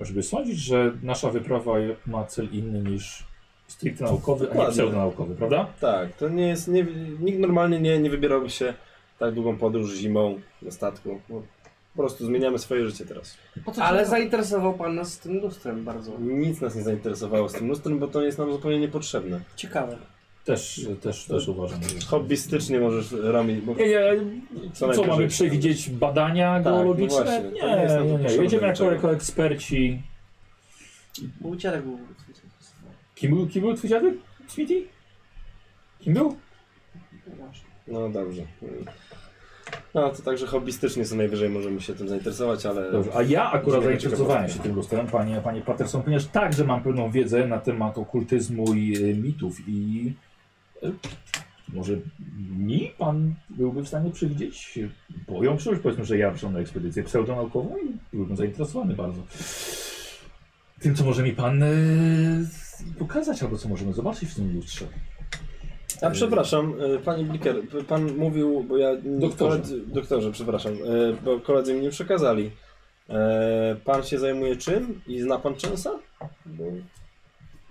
Speaker 1: żeby sądzić, że nasza wyprawa ma cel inny niż stricte naukowy, a nie
Speaker 6: Dokładnie.
Speaker 1: pseudonaukowy, prawda?
Speaker 6: Tak, to nie jest. Nie, nikt normalnie nie, nie wybierałby się tak długą podróż zimą na statku. No, po prostu zmieniamy swoje życie teraz.
Speaker 10: Po co ci-
Speaker 5: Ale zainteresował pan nas tym lustrem bardzo.
Speaker 6: Nic nas nie zainteresowało z tym lustrem, bo to jest nam zupełnie niepotrzebne.
Speaker 5: Ciekawe.
Speaker 1: Też, też, też uważam. że-
Speaker 6: Hobbystycznie możesz robić, bo
Speaker 1: Mhm. Nie, nie,
Speaker 6: Co
Speaker 1: co mamy
Speaker 6: najwyżej. Tak, no
Speaker 1: przewidzieć? Badania geologiczne?
Speaker 6: właśnie, to
Speaker 1: nie,
Speaker 6: nie jest nam
Speaker 1: nie, nie.
Speaker 6: potrzebne
Speaker 1: Jedziemy
Speaker 6: do
Speaker 1: jako,
Speaker 6: niczego.
Speaker 1: jako eksperci.
Speaker 10: Bo uciarek był...
Speaker 1: Kim był, kim był twój dziadek? Sweetie? Kim był?
Speaker 6: No dobrze. No to także hobbystycznie co najwyżej możemy się tym zainteresować, ale.
Speaker 1: Dobrze, a ja akurat
Speaker 6: Dziękuję,
Speaker 1: zainteresowałem
Speaker 6: ciekawe.
Speaker 1: się tym lustrem, panie, panie Patterson, ponieważ także mam pewną wiedzę na temat okultyzmu i e, mitów i e, może mi pan byłby w stanie przewidzieć e, moją przyszłość, powiedzmy, że ja przyszłam na ekspedycję pseudonaukową i byłbym zainteresowany bardzo tym, co może mi pan e, pokazać albo co możemy zobaczyć w tym lustrze.
Speaker 6: A przepraszam, y, panie Bliker, p- pan mówił, bo ja.
Speaker 1: Doktorze.
Speaker 6: Koledzy, doktorze, przepraszam, y, bo koledzy mi nie przekazali. Y, Pan się zajmuje czym i zna pan Częsa? Bo...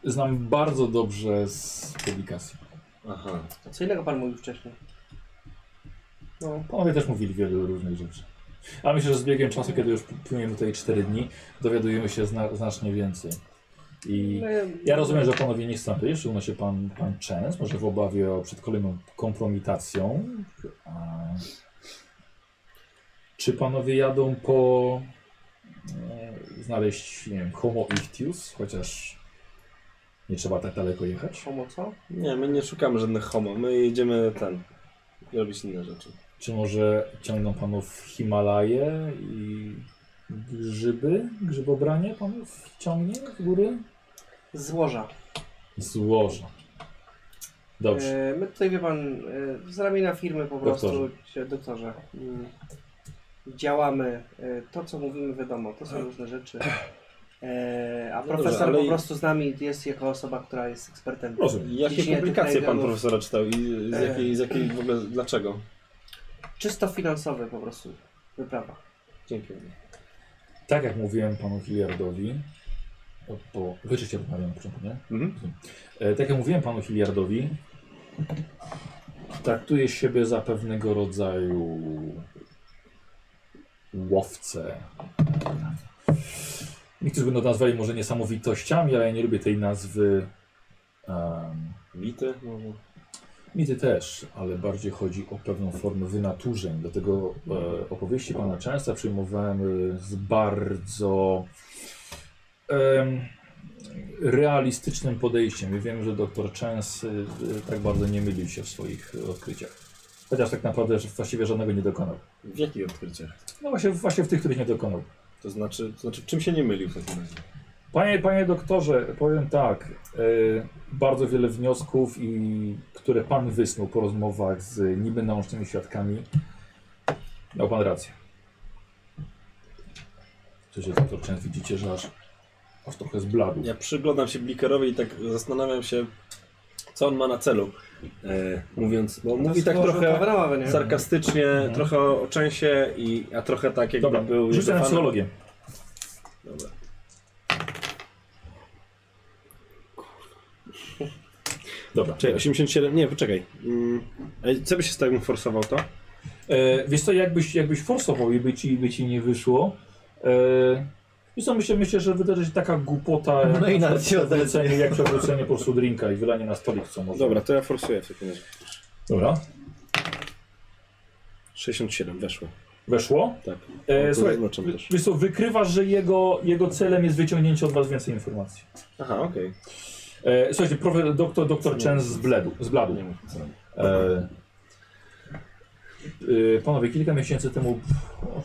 Speaker 1: Znam bardzo dobrze z publikacji.
Speaker 6: Aha.
Speaker 5: A co innego pan mówił wcześniej?
Speaker 1: Panowie też mówili wielu różnych rzeczy. A myślę, że z biegiem czasu, kiedy już płyniemy tutaj 4 dni, dowiadujemy się zna znacznie więcej. I ja rozumiem, że panowie nie chcą tu jeszcze unosi pan, pan Częs, może w obawie o przed kolejną kompromitacją. A... Czy panowie jadą po e, znaleźć, nie wiem, Homo Ictius, chociaż nie trzeba tak daleko jechać?
Speaker 5: Homo co?
Speaker 6: Nie, my nie szukamy żadnych homo, my jedziemy ten. robić inne rzeczy.
Speaker 1: Czy może ciągną panów Himalaje i grzyby? Grzybobranie panów ciągnie w góry?
Speaker 5: Złoża.
Speaker 1: Złoża. Dobrze.
Speaker 5: E, My tutaj, wie pan, e, z ramienia firmy po prostu,
Speaker 1: Doktorze.
Speaker 5: się- doktorze, mm, działamy. E, To, co mówimy, wiadomo, to są różne rzeczy. E, A
Speaker 6: Tak. No dobrze,
Speaker 5: profesor
Speaker 6: ale
Speaker 5: po
Speaker 6: i-
Speaker 5: prostu z nami jest jako osoba, która jest ekspertem.
Speaker 1: Rozumiem.
Speaker 6: Jakie
Speaker 5: Dzisiaj
Speaker 6: publikacje
Speaker 5: tych
Speaker 6: pan
Speaker 5: najgranów-
Speaker 6: profesora czytał i z
Speaker 5: E.
Speaker 6: jakiej, z jakiej w ogóle, dlaczego?
Speaker 5: Czysto finansowy po prostu wyprawa.
Speaker 6: Dzięki.
Speaker 1: Tak jak mówiłem panu Hilliardowi, bo wyczyście rozmawiam na początku, nie?
Speaker 6: Mhm.
Speaker 1: E, tak jak mówiłem panu Hilliardowi, traktuję siebie za pewnego rodzaju łowcę. Niektórzy będą to nazwali może niesamowitościami, ale ja nie lubię tej nazwy. Um,
Speaker 6: Bity? No.
Speaker 1: Mity też, ale bardziej chodzi o pewną formę wynaturzeń. Dlatego e, opowieści pana Częsta przyjmowałem e, z bardzo em, realistycznym podejściem. Ja wiem, że doktor Częs e, e, tak bardzo nie mylił się w swoich e, odkryciach. Chociaż tak naprawdę że właściwie żadnego nie dokonał.
Speaker 6: W jakich odkryciach?
Speaker 1: No właśnie, właśnie w tych, których nie dokonał.
Speaker 6: To znaczy, to znaczy, w czym się nie mylił w takim razie?
Speaker 1: Panie, panie doktorze, powiem tak. e, bardzo wiele wniosków, i, które pan wysnuł po rozmowach z niby naocznymi świadkami. Miał pan rację. Słyszę, doktor Częst, widzicie, że aż, aż trochę zbladł.
Speaker 6: Ja przyglądam się Blikerowi i tak zastanawiam się, co on ma na celu. E, mówiąc, bo mówi tak trochę
Speaker 5: Kawarowa, nie?
Speaker 6: sarkastycznie, trochę o częsie, i, a trochę tak jakby
Speaker 1: Dobra,
Speaker 6: był
Speaker 1: rzucę na
Speaker 6: jego fanem.
Speaker 1: psychologię.
Speaker 6: Dobra.
Speaker 1: Dobra.
Speaker 6: Czekaj, 87, nie, poczekaj. Mm, ej, co by się z tego forsował to?
Speaker 1: E, wiesz co, jakbyś, jakbyś forsował i by ci, by ci nie wyszło. E, I co myślę, myślę, że wydarzy się taka głupota jak
Speaker 10: No i
Speaker 1: na
Speaker 10: na
Speaker 1: przykład przewrócenie, jak przewrócenie po prostu drinka i wylanie na stolik, co może.
Speaker 6: Dobra, to ja forsuję w takim razie.
Speaker 1: Dobra.
Speaker 6: 67 weszło.
Speaker 1: Weszło.
Speaker 6: Tak.
Speaker 1: E,
Speaker 6: To
Speaker 1: słuchaj,
Speaker 6: zaznaczam
Speaker 1: wy-
Speaker 6: też.
Speaker 1: wiesz co, wykrywasz, że jego, jego celem jest wyciągnięcie od was więcej informacji.
Speaker 6: Aha, okej.
Speaker 1: E, słuchajcie, profe, doktor, doktor Chen zbledł. zbladł. E, e, panowie, kilka miesięcy temu... o,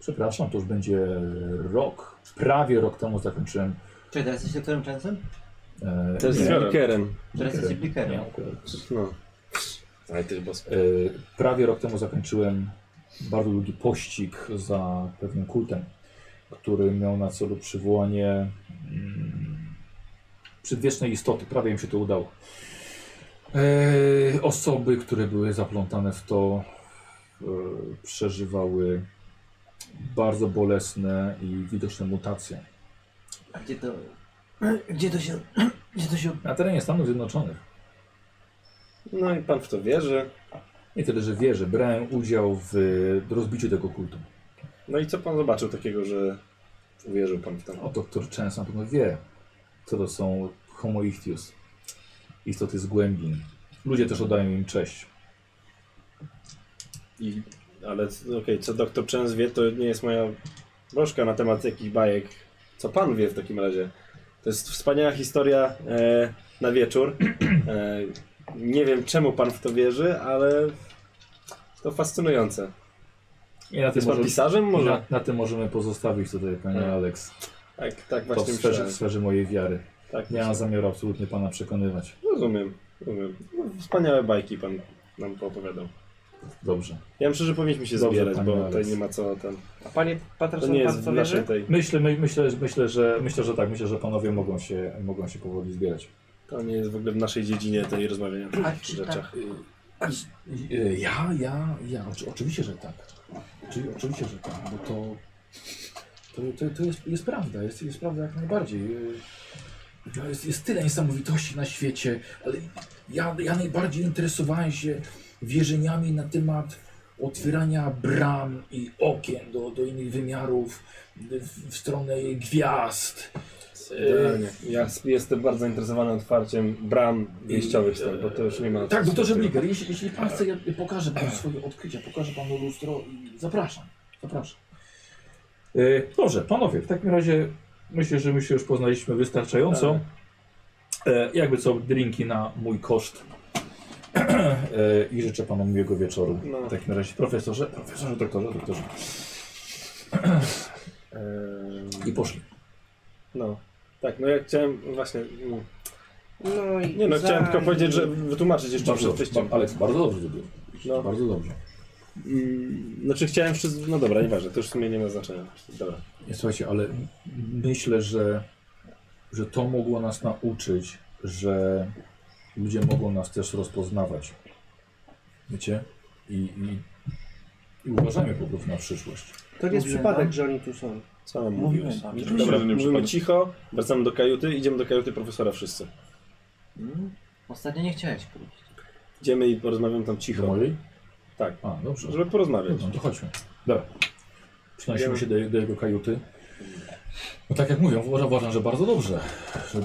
Speaker 1: Przepraszam, to już będzie rok, prawie rok temu zakończyłem...
Speaker 10: Czy teraz jesteś doktorem Chansem?
Speaker 1: E,
Speaker 2: To jest
Speaker 1: nie,
Speaker 2: z Bookerem.
Speaker 10: Teraz jesteś
Speaker 1: nie,
Speaker 10: blikerem.
Speaker 1: akurat.
Speaker 6: No.
Speaker 7: Ale też boss.
Speaker 1: E, Prawie rok temu zakończyłem bardzo długi pościg za pewnym kultem, który miał na celu przywołanie mm, przedwiecznej istoty. Prawie im się to udało. E, Osoby, które były zaplątane w to, e, przeżywały bardzo bolesne i widoczne mutacje.
Speaker 10: A gdzie to... Gdzie to się... Gdzie to się...
Speaker 1: Na terenie Stanów Zjednoczonych.
Speaker 6: no i pan w to wierzy.
Speaker 1: Nie tyle, że wierzę, brałem udział w rozbiciu tego kultu.
Speaker 6: No i co pan zobaczył takiego, że uwierzył pan w to?
Speaker 1: O, doktor Częs na pewno wie, co to są homo ichtius, istoty z głębin. Ludzie też oddają im cześć.
Speaker 6: I, ale c- okej, co doktor Częs wie, to nie jest moja broszka na temat jakichś bajek. Co pan wie w takim razie? To jest wspaniała historia e, na wieczór. E, nie wiem czemu pan w to wierzy, ale to fascynujące.
Speaker 1: I na tym,
Speaker 6: Jest pan
Speaker 1: może,
Speaker 6: pisarzem
Speaker 1: i
Speaker 6: może?
Speaker 1: na, na tym możemy pozostawić tutaj, panie
Speaker 6: Tak.
Speaker 1: Alex.
Speaker 6: Tak, tak
Speaker 1: To w
Speaker 6: właśnie
Speaker 1: sferze,
Speaker 6: myślałem.
Speaker 1: w sferze mojej wiary.
Speaker 6: Tak, No,
Speaker 1: Nie mam zamiaru absolutnie pana przekonywać.
Speaker 6: rozumiem. rozumiem. No, wspaniałe bajki pan nam poopowiadał.
Speaker 1: Dobrze.
Speaker 6: Ja myślę, że powinniśmy się
Speaker 1: Dobrze,
Speaker 6: zbierać,
Speaker 1: panie
Speaker 6: bo
Speaker 1: Alex.
Speaker 6: tutaj nie ma co ten.
Speaker 13: A panie
Speaker 6: To
Speaker 13: Patras,
Speaker 6: nie
Speaker 13: pan
Speaker 6: jest
Speaker 13: w
Speaker 6: w
Speaker 13: to
Speaker 6: naszej
Speaker 13: wierzy?
Speaker 6: tej.
Speaker 1: Myślę, my, myślę, myślę, że, myślę, że tak. Myślę, że panowie mogą się, mogą się powoli zbierać.
Speaker 6: To nie jest w ogóle w naszej dziedzinie tej rozmawiania o takich
Speaker 10: czy tak?
Speaker 6: rzeczach.
Speaker 1: Y, Ja, ja, ja. Oczy- Oczywiście, że tak. Oczy- Oczywiście, że tak, bo to. To, to, to jest, jest prawda, jest, jest prawda jak najbardziej. Y, no Jest, jest tyle niesamowitości na świecie, ale ja, ja najbardziej interesowałem się wierzeniami na temat otwierania bram i okien do, do innych wymiarów, w, w stronę gwiazd.
Speaker 6: Idealnie. Yy, Ja s- jestem bardzo zainteresowany otwarciem bram wyjściowych stąd, bo to już nie ma.
Speaker 1: Tak, doktorze Bliger, jeśli, jeśli pan chce, ja pokażę panu swoje odkrycia, pokażę panu lustro i zapraszam, zapraszam. Y, Dobrze, panowie, w takim razie myślę, że my się już poznaliśmy wystarczająco. E, Jakby co, drinki na mój koszt. E, I życzę panu miłego wieczoru. W takim razie, profesorze, profesorze, doktorze, doktorze.
Speaker 6: Ehm,
Speaker 1: I poszli.
Speaker 6: No. Tak, no ja chciałem właśnie. mm,
Speaker 5: No i
Speaker 6: Nie no,
Speaker 5: za-
Speaker 6: chciałem tylko powiedzieć, że wytłumaczyć jeszcze
Speaker 1: Bardzo
Speaker 6: przed
Speaker 1: dobrze,
Speaker 6: wyjściem.
Speaker 1: ba- Aleks, bardzo dobrze zrobił.
Speaker 6: No.
Speaker 1: Bardzo dobrze.
Speaker 6: Mm, Znaczy chciałem wszystko. No dobra, nieważne, to już w sumie nie ma znaczenia. Dobra.
Speaker 1: Nie, Słuchajcie, ale m- myślę, że, że to mogło nas nauczyć, że ludzie mogą nas też rozpoznawać. Wiecie? I, i, i uważajmy po prostu na przyszłość.
Speaker 5: To nie jest
Speaker 10: Mówiłem tak?
Speaker 5: przypadek,
Speaker 10: wam.
Speaker 5: że oni tu są.
Speaker 6: Co mam
Speaker 10: Mówiłem tak.
Speaker 6: mówić?
Speaker 10: wam.
Speaker 4: Oczywiście,
Speaker 6: Dobra,
Speaker 4: że nie
Speaker 6: mówimy
Speaker 4: przypadek.
Speaker 6: cicho, wracamy do kajuty, idziemy do kajuty profesora wszyscy.
Speaker 10: Mm, Ostatnio nie chciałeś pójść.
Speaker 6: Idziemy i porozmawiamy tam cicho.
Speaker 1: Do mojej?
Speaker 6: Tak.
Speaker 1: A, dobrze.
Speaker 6: Żeby porozmawiać.
Speaker 1: No to chodźmy. Dobra. Przenosimy się do, je- do jego kajuty. No tak jak mówię, uważam, uważam, że bardzo dobrze. Że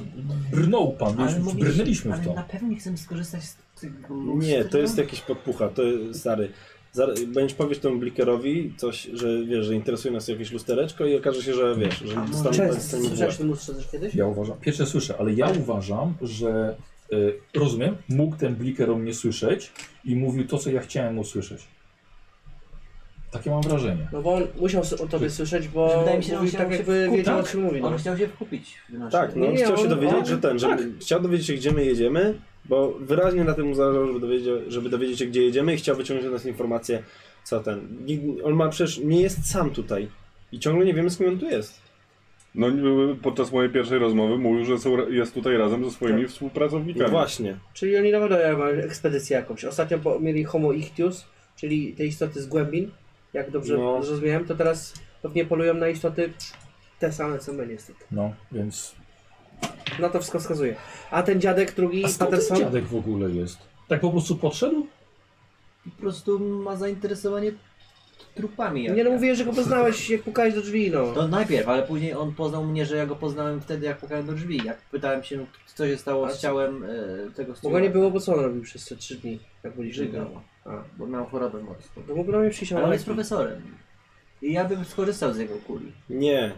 Speaker 1: brnął pan, już brnęliśmy w
Speaker 10: ale
Speaker 1: to.
Speaker 10: na pewno nie chcemy skorzystać z tego
Speaker 6: Nie, to
Speaker 10: lustra.
Speaker 6: jest jakiś podpucha, to jest stary. Zar- Będziesz powiesz temu blikerowi coś, że wiesz, że interesuje nas jakieś lustereczko i okaże się, że wiesz, że
Speaker 10: może
Speaker 6: dostaniemy
Speaker 5: Często
Speaker 6: dostaniemy
Speaker 5: słyszałeś
Speaker 6: bułę.
Speaker 5: ten lustrze też kiedyś?
Speaker 1: Ja uważam, pierwsze słyszę, ale ja uważam, że y, rozumiem, mógł ten bliker o mnie słyszeć i mówił to, co ja chciałem usłyszeć. Takie mam wrażenie.
Speaker 5: No bo on musiał s- o tobie słyszeć, bo
Speaker 10: Wydaje mi się, że on
Speaker 5: mówił
Speaker 10: się-
Speaker 5: tak
Speaker 10: on się
Speaker 5: jakby
Speaker 10: wkuł,
Speaker 5: wiedział o
Speaker 1: tak?
Speaker 5: czym mówi. No.
Speaker 10: On chciał się wkupić w nasze...
Speaker 6: Tak, no
Speaker 5: Nie,
Speaker 6: on
Speaker 5: nie,
Speaker 6: chciał się
Speaker 5: on-
Speaker 6: dowiedzieć,
Speaker 5: on- tak.
Speaker 6: że ten, żeby, chciał dowiedzieć się, gdzie my jedziemy, bo wyraźnie na tym mu zależało, żeby dowiedzieć, żeby dowiedzieć się, gdzie jedziemy i chciał wyciągnąć od nas informację, co ten. Nie- On ma przecież, nie jest sam tutaj i ciągle nie wiemy, z kim on tu jest.
Speaker 4: No nie- podczas mojej pierwszej rozmowy mówił, że są, jest tutaj razem ze swoimi współpracownikami.
Speaker 6: No właśnie.
Speaker 5: Czyli oni na pewno mają ekspedycję jakąś. Ostatnio po- mieli Homo Ichtius, czyli te istoty z głębin, jak dobrze
Speaker 6: No.
Speaker 5: zrozumiałem, to teraz pewnie polują na istoty te same co my niestety.
Speaker 1: No, więc...
Speaker 5: Na to wszystko wskazuje. A ten dziadek drugi,
Speaker 1: A skąd ten
Speaker 5: Patterson,
Speaker 1: dziadek w ogóle jest? Tak po prostu podszedł?
Speaker 10: Po prostu ma zainteresowanie trupami. Jak
Speaker 5: Nie no
Speaker 10: ja.
Speaker 5: mówię, że go poznałeś jak pukałeś do drzwi, no.
Speaker 10: To najpierw, ale później on poznał mnie, że ja go poznałem wtedy, jak pukałem do drzwi. Jak pytałem się, co się stało
Speaker 5: A
Speaker 10: z
Speaker 5: co?
Speaker 10: ciałem e,
Speaker 5: Bo go
Speaker 10: tego
Speaker 5: nie
Speaker 10: stewarda.
Speaker 5: było, bo co on robił przez te trzy dni? Jak byliśmy
Speaker 1: no.
Speaker 10: Żygał,
Speaker 5: tam?
Speaker 10: bo miał chorobę mocną.
Speaker 5: No mógł na mnie przyjść,
Speaker 10: Ale
Speaker 5: ale
Speaker 10: on jest profesorem. I ja bym skorzystał z jego kuli.
Speaker 6: Nie.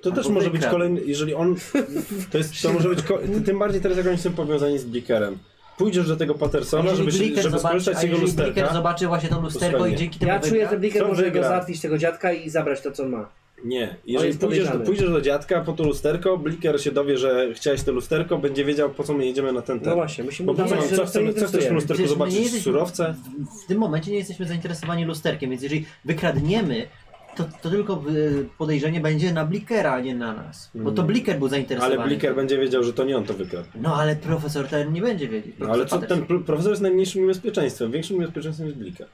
Speaker 6: To
Speaker 10: Albo
Speaker 6: też może być
Speaker 10: Bakerem.
Speaker 6: kolejny, jeżeli on, to jest, to może być, ko- tym bardziej teraz jak oni są powiązani z Blickerem. Pójdziesz do tego Patersona, żeby, się- żeby skorzystać z jego
Speaker 10: Blicker
Speaker 6: lusterka.
Speaker 10: zobaczy właśnie to lusterko
Speaker 6: Posłuchaj
Speaker 10: i
Speaker 6: mnie.
Speaker 10: dzięki temu
Speaker 5: Ja czuję, że Bliker
Speaker 6: Co
Speaker 5: może go
Speaker 6: wygra? No
Speaker 5: załatwić tego dziadka i zabrać to, co on ma.
Speaker 6: Nie,
Speaker 5: On
Speaker 6: jeżeli
Speaker 5: jest
Speaker 6: pójdziesz do,
Speaker 5: podejrzany.
Speaker 6: pójdziesz do dziadka po to lusterko, Blicker się dowie, że chciałeś to lusterko, będzie wiedział po co my jedziemy na ten
Speaker 5: No
Speaker 6: ten.
Speaker 5: właśnie, musimy
Speaker 6: tak. Bo po co,
Speaker 5: udawać,
Speaker 6: mam-
Speaker 5: że
Speaker 6: co
Speaker 5: nas to nie
Speaker 6: chcemy, co chcesz w
Speaker 5: interesuje.
Speaker 6: lusterku
Speaker 10: Przecież my nie
Speaker 6: zobaczyć?
Speaker 10: jesteśmy-
Speaker 6: Surowce?
Speaker 10: W tym momencie nie jesteśmy zainteresowani lusterkiem, więc jeżeli wykradniemy, to, to tylko y, podejrzenie będzie na Blickera, a nie na nas. Bo to Blicker był zainteresowany.
Speaker 6: Hmm. Ale Blicker będzie wiedział, że to nie on to wykradł.
Speaker 10: No ale profesor ten nie będzie wiedzieć.
Speaker 6: No, ale co,
Speaker 10: Profesor
Speaker 6: ten pro- profesor jest najmniejszym niebezpieczeństwem. Większym niebezpieczeństwem jest Blika.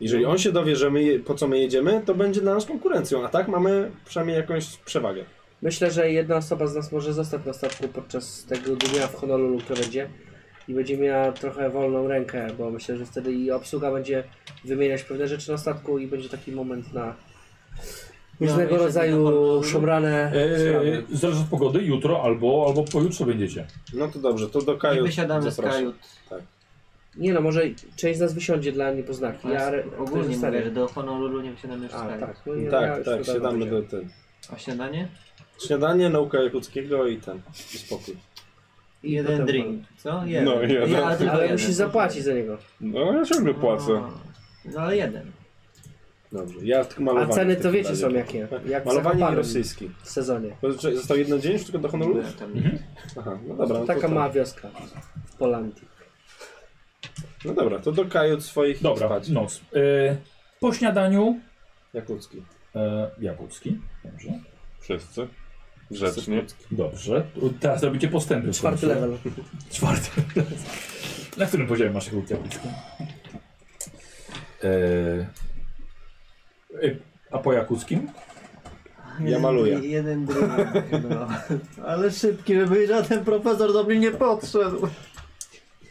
Speaker 6: Jeżeli on się dowie, że my, je- po co my jedziemy, to będzie dla nas konkurencją, a tak mamy przynajmniej jakąś przewagę.
Speaker 5: Myślę, że jedna osoba z nas może zostać na statku podczas tego dnia w Honolulu, które będzie i będzie miała trochę wolną rękę, bo myślę, że wtedy i obsługa będzie wymieniać pewne rzeczy na statku i będzie taki moment na różnego
Speaker 10: No, jeszcze na
Speaker 5: rodzaju
Speaker 10: Honolulu?
Speaker 5: szumrane
Speaker 6: Yy,
Speaker 1: Eee,
Speaker 5: sprawy.
Speaker 1: zależy od pogody, jutro albo, albo pojutrze będziecie.
Speaker 6: No to dobrze, to do
Speaker 10: Nie
Speaker 6: Kaju
Speaker 10: wysiadamy z
Speaker 6: zapraszam.
Speaker 10: kajut.
Speaker 5: Nie no, może część z nas wysiądzie dla niepoznaki, ja
Speaker 10: Ja
Speaker 5: re- ktoś
Speaker 10: ogólnie
Speaker 5: zostanie.
Speaker 10: mówię, że do Honolulu nie wysiadamy już z
Speaker 5: A,
Speaker 10: kajut.
Speaker 5: tak, no, ja- ja
Speaker 6: Tak,
Speaker 5: już
Speaker 6: tak,
Speaker 5: dodam
Speaker 6: siadamy
Speaker 5: będzie.
Speaker 6: do ten.
Speaker 10: A śniadanie?
Speaker 6: Śniadanie, nauka Jakuckiego i ten. I spokój.
Speaker 10: I jeden
Speaker 5: potem-
Speaker 10: drink, co? Jeden.
Speaker 4: No, jeden.
Speaker 10: ale tylko
Speaker 5: Ale
Speaker 10: jeden.
Speaker 5: musisz zapłacić za niego.
Speaker 4: No ja ciągle płacę.
Speaker 10: No, ale jeden.
Speaker 6: Dobrze, ja tylko
Speaker 5: A
Speaker 6: malowanie.
Speaker 5: ceny
Speaker 6: w
Speaker 5: to
Speaker 6: takim
Speaker 5: wiecie
Speaker 6: razie.
Speaker 5: są jakie. Jak w
Speaker 6: Malowanie i
Speaker 5: Zakopanem
Speaker 6: rosyjski.
Speaker 5: w sezonie.
Speaker 6: Bo czy- znaczy, Został jeden dzień już tylko do Honolulu?
Speaker 10: Byłem tam nie.
Speaker 6: Aha, no dobra. No to
Speaker 5: Taka
Speaker 6: tak.
Speaker 5: mała wioska w Polandii.
Speaker 6: No dobra, to do Kaju swoich
Speaker 1: Dobra,
Speaker 6: spać.
Speaker 1: noc. Eee, po śniadaniu
Speaker 6: Jakucki.
Speaker 1: e, Jakucki. Dobrze.
Speaker 4: Wszyscy. Grzecznie.
Speaker 1: Dobrze. Teraz robicie postępy.
Speaker 5: Czwarty
Speaker 1: Proszę.
Speaker 5: level.
Speaker 1: Czwarty. Na którym poziomie masz jakiego Jakucki? Eee, E, a po Jakuckim?
Speaker 6: Ja maluję.
Speaker 10: Jeden drink. No. Ale szybki, żeby żaden profesor do mnie nie podszedł.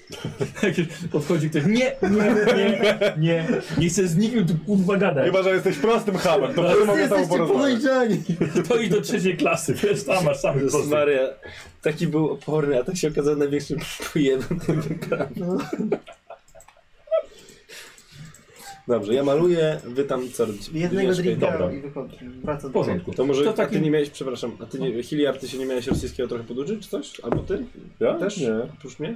Speaker 1: Podchodzi ktoś, nie, nie, nie, nie, nie chcę z nikim tu kurwa gadać.
Speaker 4: Chyba, że jesteś prostym hamem, to wtedy mogę tam porozmawiać.
Speaker 1: To idź do trzeciej klasy, wiesz, tam masz samy
Speaker 6: Jezus
Speaker 1: prosty.
Speaker 6: Maria, taki był oporny, a tak się okazał największym pojemnym tej wyprawy.
Speaker 10: No.
Speaker 6: Dobrze, ja maluję, wy tam co robicie?
Speaker 10: Jednego
Speaker 6: Ty mieszkaj-
Speaker 10: drinka
Speaker 1: dobra.
Speaker 10: i wychodzę. Wracam
Speaker 1: W
Speaker 10: do domu.
Speaker 1: porządku.
Speaker 6: To może,
Speaker 1: To
Speaker 6: a ty
Speaker 1: taki-
Speaker 6: nie miałeś, przepraszam, a ty nie, Hilliard, ty się nie miałeś rosyjskiego trochę poduczyć, czy coś? Albo ty?
Speaker 4: Ja?
Speaker 6: Też?
Speaker 4: Nie.
Speaker 6: Oprócz mnie?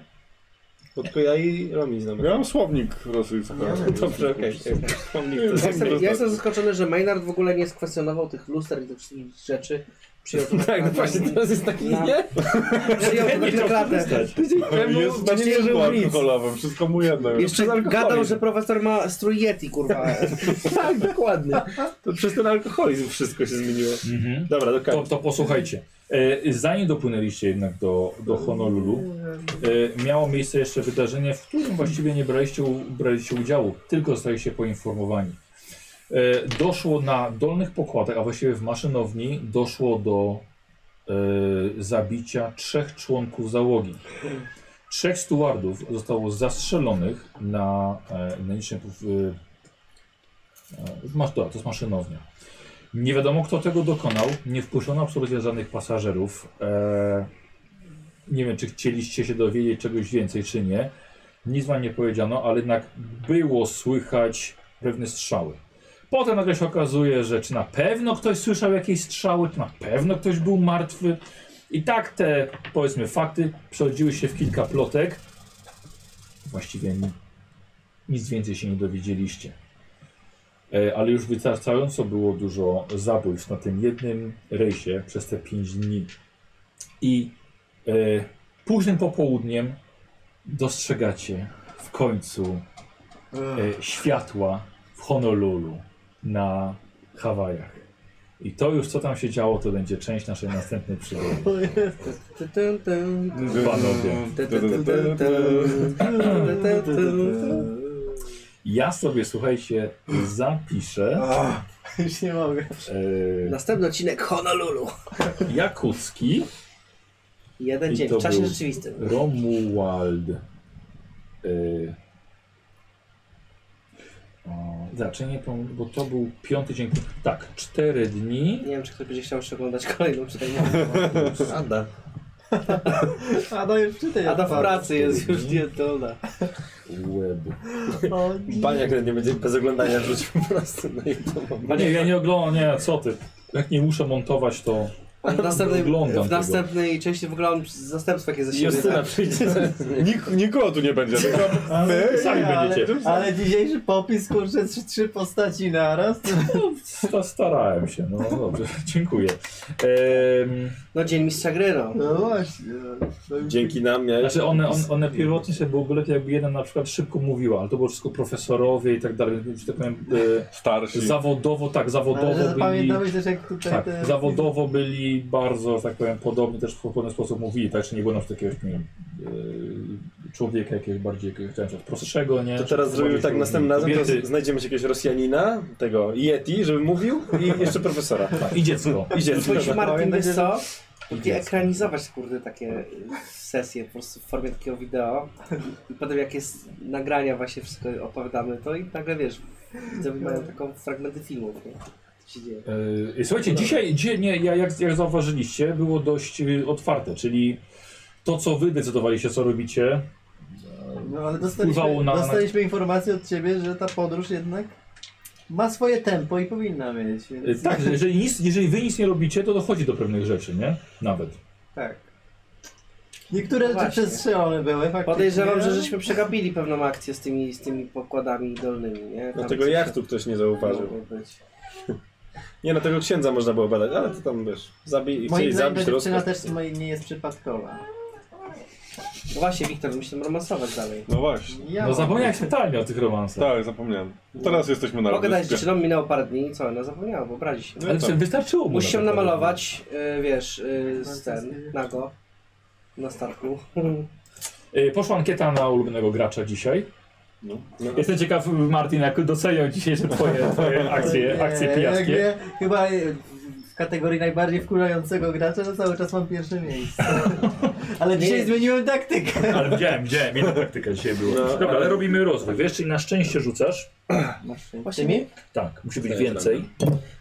Speaker 6: Bo tylko ja i Romi No, znamy.
Speaker 4: Miałem słownik rosyjski.
Speaker 6: Dobrze, okej. Wspomnij,
Speaker 4: Ja
Speaker 6: to
Speaker 5: Ja
Speaker 6: jest-
Speaker 5: jestem,
Speaker 6: tak.
Speaker 5: ja
Speaker 4: tak.
Speaker 5: jestem zaskoczony, że Maynard w ogóle nie skwestionował tych luster i tych wszystkich rzeczy. Przyjął to
Speaker 6: Tak, no
Speaker 5: na-
Speaker 6: właśnie, teraz jest taki,
Speaker 5: Na-
Speaker 6: nie?
Speaker 5: Przyjął to tak na klatę.
Speaker 6: Tydzień
Speaker 4: Jest na
Speaker 6: nie wierzył
Speaker 4: ciężku
Speaker 6: w nic.
Speaker 4: alkoholowym, wszystko mu jedno.
Speaker 5: Jeszcze
Speaker 6: Przez alkoholizm.
Speaker 5: gadał, że profesor ma strój Yeti, kurwa.
Speaker 6: Tak, dokładnie. To przez ten alkoholizm wszystko się zmieniło.
Speaker 1: Mhm.
Speaker 6: Dobra, do
Speaker 1: To,
Speaker 6: końca.
Speaker 1: to posłuchajcie. E, Zanim dopłynęliście jednak do, do Honolulu, e, miało miejsce jeszcze wydarzenie, w którym właściwie nie braliście, u- braliście udziału, tylko zostaliście poinformowani. E, Doszło na dolnych pokładach, a właściwie w maszynowni, doszło do e, zabicia trzech członków załogi. Trzech stewardów zostało zastrzelonych na, e, na niczym, w, e, w, masz- to jest maszynownia. Nie wiadomo, kto tego dokonał. Nie wpuszczono absolutnie żadnych pasażerów. Eee, nie wiem, czy chcieliście się dowiedzieć czegoś więcej, czy nie. Nic wam nie powiedziano, ale jednak było słychać pewne strzały. Potem nagle się okazuje, że czy na pewno ktoś słyszał jakieś strzały, czy na pewno ktoś był martwy. I tak te, powiedzmy, fakty przerodziły się w kilka plotek. Właściwie ni- nic więcej się nie dowiedzieliście. E, ale już wystarczająco było dużo zabójstw na tym jednym rejsie przez te 5 dni. I e, późnym popołudniem dostrzegacie w końcu e, światła w Honolulu na Hawajach. I to już co tam się działo, to będzie część naszej następnej przygody.
Speaker 5: Tę, tę, tę.
Speaker 1: Panowie,
Speaker 4: No.
Speaker 5: Tę, tę, tę, tę, tę. Tę, tę, tę, tę.
Speaker 1: ja sobie słuchajcie, zapiszę.
Speaker 10: Już nie mogę.
Speaker 1: E,
Speaker 5: Następny odcinek Honolulu.
Speaker 1: Jakucki.
Speaker 5: Jeden
Speaker 1: I
Speaker 5: dzień
Speaker 1: to
Speaker 5: w czasie
Speaker 1: był-
Speaker 5: rzeczywistym.
Speaker 1: Romuald. Y, O, raczej nie, pom- bo to był piąty dzień. Tak, cztery dni.
Speaker 5: Nie wiem, czy ktoś będzie chciał jeszcze oglądać kolejną czytajnię.
Speaker 6: Ada.
Speaker 10: Ada no już czytaj.
Speaker 5: Ada w pracy jest już niezdolna.
Speaker 1: Łeb.
Speaker 10: No,
Speaker 6: Baniak nawet nie będzie bez oglądania rzucił po prostu na YouTube.
Speaker 1: Nie, ja nie oglądam, nie, co ty. Jak nie muszę montować, to
Speaker 5: W następnej,
Speaker 1: Oglądam
Speaker 5: w następnej części w ogóle on z zastępstwa jakie ze siebie.
Speaker 6: Justyna
Speaker 5: Tak?
Speaker 6: przyjdzie.
Speaker 4: Nik, nikogo tu nie będzie, tylko my
Speaker 1: sami
Speaker 10: ale,
Speaker 1: będziecie.
Speaker 10: ale dzisiejszy popis, kurczę, trzy, trzy postaci naraz.
Speaker 1: sta- starałem się. No dobrze, dziękuję. Ehm,
Speaker 5: No dzień mistrza gry, no.
Speaker 10: No właśnie. No
Speaker 6: Dzięki nam miałeś.
Speaker 1: Znaczy one, one, one pierwotnie sobie byłoby lepiej, jakby jeden na przykład szybko mówiła, ale to było wszystko profesorowie i tak dalej, więc, że tak powiem, e,
Speaker 4: starsi.
Speaker 1: zawodowo, tak,
Speaker 10: Ale że
Speaker 1: zawodowo byli,
Speaker 10: zapamiętałeś też jak tutaj
Speaker 1: tak,
Speaker 10: te...
Speaker 1: zawodowo byli bardzo, że tak powiem, podobni, też w podobny sposób mówili, tak, czy nie było na przykład jakiegoś, nie wiem, e, człowieka jakiegoś bardziej, jakiegoś, chciałem powiedzieć, prostszego, nie?
Speaker 6: To teraz
Speaker 1: Czy
Speaker 6: zrobimy
Speaker 1: bardziej
Speaker 6: tak następnym razem,
Speaker 1: kobiety.
Speaker 6: to znajdziemy się jakiegoś Rosjanina, tego Yeti, żeby mówił i jeszcze profesora.
Speaker 1: Tak, I dziecko.
Speaker 6: I dziecko.
Speaker 5: Musimy Martin,
Speaker 10: Pamiętaj,
Speaker 5: wiesz
Speaker 10: że-
Speaker 5: co? Będzie ekranizować, kurde, takie y, sesje po prostu w formie takiego wideo. I potem jak jest nagrania właśnie wszystko opowiadamy to i nagle wiesz, widzowie mają taką fragmenty filmów, nie? Co się dzieje.
Speaker 1: Yy, Słuchajcie, dzisiaj, dzisiaj nie, ja- jak, jak zauważyliście, było dość yy, otwarte, czyli to, co wy decydowaliście, co robicie,
Speaker 10: No ale dostaliśmy,
Speaker 1: Wpływało na-
Speaker 10: dostaliśmy informację od ciebie, że ta podróż jednak ma swoje tempo i powinna mieć. Więc...
Speaker 1: Yy, Tak, że jeżeli, nic, jeżeli wy nic nie robicie, to dochodzi do pewnych rzeczy, nie? Nawet.
Speaker 10: Tak. Niektóre rzeczy
Speaker 5: Właśnie.
Speaker 10: przestrzelone były faktycznie.
Speaker 5: Podejrzewam, że żeśmy przegapili pewną akcję z tymi, z tymi pokładami dolnymi, nie? Tam
Speaker 6: No tego
Speaker 5: coś
Speaker 6: jachtu ktoś nie
Speaker 5: tam
Speaker 6: zauważył.
Speaker 5: mogło być.
Speaker 6: Nie, no tego księdza można było badać, ale to tam wiesz, zabij,
Speaker 10: Moim
Speaker 6: chcieli
Speaker 10: zdaniem
Speaker 6: zabić
Speaker 10: ta dziewczyna
Speaker 6: rozkaz.
Speaker 10: też moje nie jest przypadkowa.
Speaker 5: No właśnie, Wiktor, musimy romansować dalej.
Speaker 4: No właśnie.
Speaker 10: Ja
Speaker 1: No zapomniałeś totalnie o tych romansach.
Speaker 4: Tak, zapomniałem. Teraz jesteśmy na
Speaker 5: Mogę dać
Speaker 4: lotnisku.
Speaker 5: dziewczynom, minęło parę dni i co, ona zapomniała, bo obrazi się.
Speaker 1: Ale
Speaker 4: tak.
Speaker 1: wystarczyło mu.
Speaker 5: Musi się
Speaker 1: nawet.
Speaker 5: namalować, y, wiesz, y, z ten, nago, na statku.
Speaker 1: Yy, Poszła ankieta na ulubionego gracza dzisiaj.
Speaker 4: No.
Speaker 1: Jestem ciekaw, Martin, jak docenią dzisiejsze twoje, twoje akcje, akcje
Speaker 10: Nie, jak
Speaker 1: pijackie.
Speaker 10: nie, chyba e, w kategorii najbardziej wkurzającego gracza to cały czas mam pierwsze miejsce. Ale dzisiaj
Speaker 5: Nie.
Speaker 10: zmieniłem taktykę.
Speaker 1: Ale widziałem, widziałem, inna praktyka dzisiaj była.
Speaker 6: No,
Speaker 1: Dobra, ale robimy rozwój, wiesz, czyli na szczęście rzucasz.
Speaker 5: Właśnie mi?
Speaker 1: Tak, musi być
Speaker 6: Tak,
Speaker 1: więcej.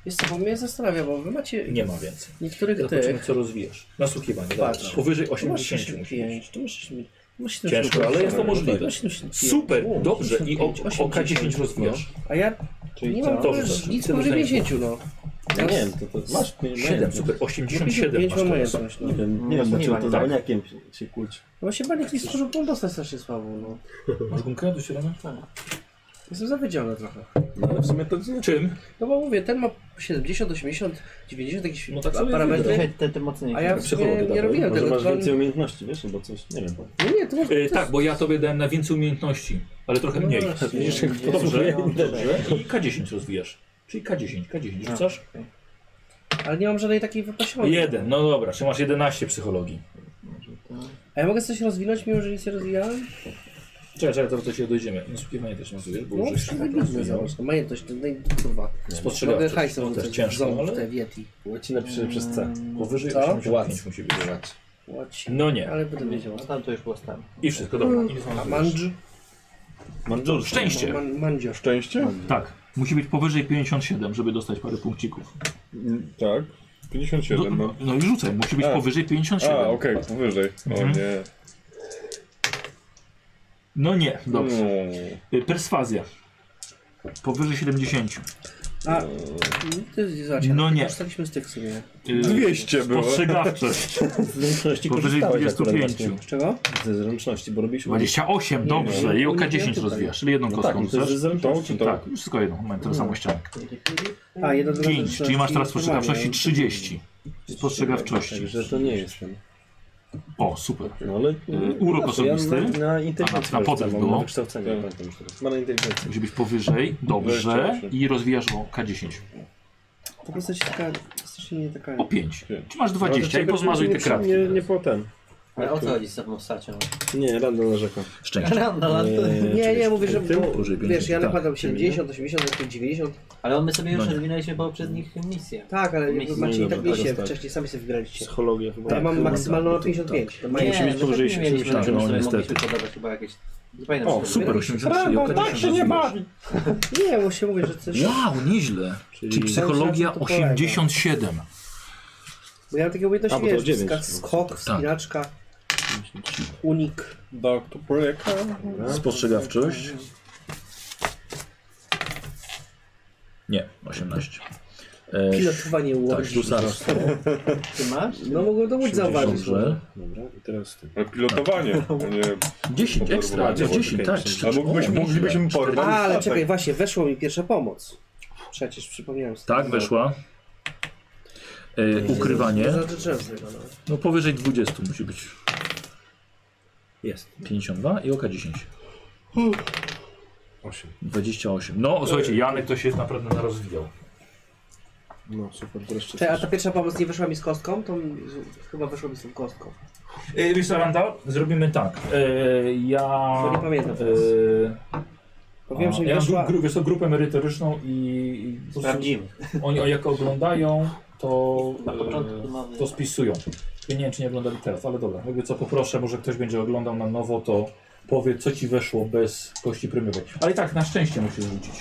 Speaker 5: Jest co, bo mnie zastanawia, bo wy macie
Speaker 1: Nie ma więcej.
Speaker 5: niektórych
Speaker 1: Zobaczymy,
Speaker 5: tych.
Speaker 1: co rozwijasz. Nasłuchiwanie,
Speaker 5: Patrz.
Speaker 1: Patrz. Powyżej
Speaker 6: No,
Speaker 5: Tu masz
Speaker 1: 80 musi być.
Speaker 5: 65, tu masz 70, tu masz
Speaker 1: Ciężko,
Speaker 5: 70,
Speaker 1: ale jest to
Speaker 5: tu masz
Speaker 1: możliwe.
Speaker 5: 75, tu
Speaker 1: Super,
Speaker 5: masz
Speaker 1: dobrze. I o,
Speaker 5: 85,
Speaker 1: o K10 rozwijasz.
Speaker 5: no. A ja nie mam
Speaker 1: co?
Speaker 5: w ogóle
Speaker 1: Dobrze,
Speaker 5: nic
Speaker 1: dobrze.
Speaker 5: powyżej 50, no.
Speaker 6: Ja nie wiem, to, to no, masz pieniądze.
Speaker 1: 7, super. 87
Speaker 5: 5
Speaker 1: masz
Speaker 5: mam
Speaker 1: teraz.
Speaker 5: majątność, no.
Speaker 6: Nie wiem, nie
Speaker 10: Nie,
Speaker 6: wiem,
Speaker 10: nie
Speaker 6: dlaczego
Speaker 10: ma,
Speaker 6: to
Speaker 1: tak.
Speaker 6: zabaniakiem się kłóci.
Speaker 5: No właśnie Banik nie stworzył tą dostać strasznie słabą, no.
Speaker 1: Masz gumkę do 7?
Speaker 5: Jestem zawiedziony trochę.
Speaker 6: No ale w sumie to nie.
Speaker 1: Czym?
Speaker 5: No bo mówię, ten ma 70, 80, 90 jakieś
Speaker 1: No tak
Speaker 5: pa-
Speaker 1: sobie
Speaker 5: parametry.
Speaker 10: Te, te mocniejsze.
Speaker 5: A ja w sumie Znaczy,
Speaker 1: tak
Speaker 5: nie robiłem
Speaker 6: Może
Speaker 5: tego.
Speaker 6: masz
Speaker 5: tylko on-
Speaker 6: więcej umiejętności, wiesz, albo coś, nie wiem.
Speaker 5: Nie, nie, to może...
Speaker 1: E, tak, bo ja tobie dałem na więcej umiejętności, ale trochę
Speaker 5: No
Speaker 1: mniej.
Speaker 5: właśnie.
Speaker 6: Widzisz, jak to
Speaker 1: Dobrze,
Speaker 6: dobrze.
Speaker 1: dobrze. I K10 rozwijasz. Czyli K10, K10 rzucasz?
Speaker 5: Ale nie mam żadnej takiej wypasionej.
Speaker 1: Jeden, no dobra, czyli masz 11 psychologii.
Speaker 5: A ja mogę coś rozwinąć, mimo że nic nie rozwijałem?
Speaker 1: Czekaj, czekaj, to do ciebie dojdziemy. Nasłuchiwanie też nazujesz, bo tak
Speaker 5: No,
Speaker 1: już
Speaker 5: wszystko wygląda, zobacz, to majątność, to naj... kurwa. Mogę
Speaker 1: Spostrzegawczość,
Speaker 5: hajsem
Speaker 1: no, to też
Speaker 5: rzucać w
Speaker 1: ciężko,
Speaker 5: ząb w te
Speaker 1: ale
Speaker 5: Yeti.
Speaker 6: Łacina przy, przez C.
Speaker 1: powyżej
Speaker 5: Co?
Speaker 1: 85 musi być.
Speaker 5: Łoć.
Speaker 1: No nie.
Speaker 5: Ale będę wiedział.
Speaker 10: No tam to już było stanie.
Speaker 1: I wszystko, dobra.
Speaker 5: A mandż?
Speaker 6: Mandżur.
Speaker 1: Szczęście.
Speaker 5: No, Man, mandzio.
Speaker 4: Szczęście?
Speaker 1: Tak, musi być powyżej 57, żeby dostać parę punkcików.
Speaker 4: Mm, Tak. 57,
Speaker 1: No,
Speaker 4: no.
Speaker 1: no i rzucaj, musi być
Speaker 4: A.
Speaker 1: powyżej
Speaker 4: A,
Speaker 1: 57.
Speaker 4: okej, powyżej. O
Speaker 1: Mhm.
Speaker 4: nie.
Speaker 1: No nie, dobrze.
Speaker 4: Mm.
Speaker 6: No.
Speaker 1: Y, Perswazja. Powyżej 70.
Speaker 5: A, to jest, zobacz,
Speaker 1: No
Speaker 5: ale
Speaker 1: nie.
Speaker 5: Dostaliśmy z tych w sumie.
Speaker 1: Y,
Speaker 4: 200 było.
Speaker 1: Spostrzegawczość.
Speaker 6: Z zręczności
Speaker 1: Powyżej
Speaker 6: korzystałeś akurat
Speaker 1: 25.
Speaker 6: właśnie.
Speaker 5: Z czego?
Speaker 6: Ze zręczności, bo robiliśmy...
Speaker 1: 28, dobrze. I oka 10 rozwijasz, czyli jedną
Speaker 6: No tak,
Speaker 1: kostką
Speaker 6: no to No. jest ze
Speaker 1: rzucasz.
Speaker 4: To
Speaker 6: zręczności.
Speaker 4: czy to?
Speaker 1: Tak, już tylko jedną, mamy tę samą ściankę.
Speaker 5: A, jeden do
Speaker 1: 5, czyli masz teraz spostrzegawczości 30. Spostrzegawczości.
Speaker 6: Także to nie jestem.
Speaker 1: O, super.
Speaker 6: No ale...
Speaker 1: Yy, urok
Speaker 6: Zawsze ja
Speaker 1: osobisty.
Speaker 6: Na, na inteligencję
Speaker 1: A, na podryw
Speaker 6: mam,
Speaker 1: było. No,
Speaker 6: Na wykształcenie,
Speaker 4: Tak.
Speaker 6: pamiętam już teraz. Ma na inteligencję.
Speaker 1: Musi być powyżej, dobrze.
Speaker 4: 28.
Speaker 1: I rozwijasz o K10.
Speaker 5: Po prostu jesteś taka, jesteś nie taka...
Speaker 1: O 5.
Speaker 4: Pięć.
Speaker 1: Czy masz 20
Speaker 6: No,
Speaker 1: i pozmazuj
Speaker 6: nie,
Speaker 1: te kratki.
Speaker 6: Nie, nie po ten.
Speaker 10: Ale o co chodzi z tą postacią?
Speaker 6: Nie, random narzekam.
Speaker 1: Szczęście.
Speaker 5: Nie, nie, mówię, że...
Speaker 1: Tym
Speaker 5: bo-
Speaker 1: powyżej
Speaker 5: Wiesz, ja
Speaker 1: 50, tak.
Speaker 5: nakładam 70, 80, jakieś 90.
Speaker 10: Ale my sobie
Speaker 1: No
Speaker 10: już
Speaker 1: nie.
Speaker 10: rozwinęliśmy poprzednich misjach.
Speaker 5: Tak, ale jakby
Speaker 10: Myśli-
Speaker 5: macie i tak
Speaker 6: Dobra,
Speaker 5: mieliście
Speaker 6: tak. no,
Speaker 5: wcześniej, sami sobie wygraliście.
Speaker 6: Psychologia chyba.
Speaker 2: Tak.
Speaker 5: Ja mam maksymalną na 55. To
Speaker 10: Nie,
Speaker 5: mają-
Speaker 6: musi być
Speaker 10: no
Speaker 6: powyżej
Speaker 10: tak nie mieliśmy,
Speaker 6: 70,
Speaker 10: żeby
Speaker 1: no
Speaker 10: sobie
Speaker 1: niestety.
Speaker 10: mogliśmy podawać chyba jakieś Nie pamiętam,
Speaker 2: O,
Speaker 10: czy to
Speaker 2: super,
Speaker 10: było.
Speaker 2: 83.
Speaker 4: Brawo,
Speaker 2: okej,
Speaker 4: tak się nie
Speaker 2: 83.
Speaker 4: bawi.
Speaker 5: Nie, bo się mówię, że coś...
Speaker 1: Wow, nieźle. Czyli,
Speaker 2: Czyli
Speaker 1: psychologia
Speaker 5: to polega.
Speaker 1: 87.
Speaker 5: Bo ja mam takie
Speaker 2: A,
Speaker 5: umiejętności,
Speaker 2: bo to
Speaker 5: wiesz,
Speaker 2: dziewięć.
Speaker 5: skak, skok, spinaczka, unik.
Speaker 4: Doktor Projekt.
Speaker 2: Spostrzegawczość.
Speaker 1: Nie, 18. E,
Speaker 5: Pilotowanie
Speaker 1: tak,
Speaker 5: łodzi.
Speaker 1: ślusarstwo.
Speaker 10: Ty masz?
Speaker 5: No mogłem to łódź zauważyć. no.
Speaker 1: Dobrze.
Speaker 2: Dobra, i teraz ty.
Speaker 4: Ale pilotowanie, a nie...
Speaker 1: 10, ekstra,
Speaker 4: Dobra,
Speaker 1: 10, tak.
Speaker 2: okej,
Speaker 1: trzy-
Speaker 4: A mógłbyś,
Speaker 1: o, nieźle.
Speaker 4: moglibyśmy porwać
Speaker 5: A, ale
Speaker 4: statek.
Speaker 5: czekaj, właśnie, weszło mi pierwsza pomoc. Przecież przypomniałem sobie.
Speaker 1: Tak, weszła. E, ukrywanie.
Speaker 5: Za drzewo, no.
Speaker 1: No powyżej 20 musi być.
Speaker 2: Jest.
Speaker 1: 52 i oka 10.
Speaker 2: 8.
Speaker 1: 28. No słuchajcie, Janek to się naprawdę narozwijał.
Speaker 2: No super, teraz jeszcze
Speaker 5: Czekaj, a ta pierwsza pomoc nie wyszła mi z kostką? To mi- z- chyba wyszła mi z tą kostką.
Speaker 1: E, Wiesz co, Randall? Zrobimy tak. E, ja...
Speaker 5: Bo nie pamiętam teraz.
Speaker 1: E,
Speaker 5: Bo wiem,
Speaker 1: a,
Speaker 5: że mi
Speaker 1: ja mam
Speaker 5: wyszła...
Speaker 1: gru, wiesz, co, grupę merytoryczną i... i po prostu
Speaker 10: Sprawdzimy.
Speaker 1: Oni o, jak oglądają, to,
Speaker 10: Na początku
Speaker 1: e,
Speaker 10: mamy-
Speaker 1: to spisują. Ja nie wiem, czy nie oglądali teraz, ale dobra. Jakby co, poproszę, może ktoś będzie oglądał na nowo, to powie, co ci weszło bez kości premiowej. Ale i tak, na szczęście musisz rzucić.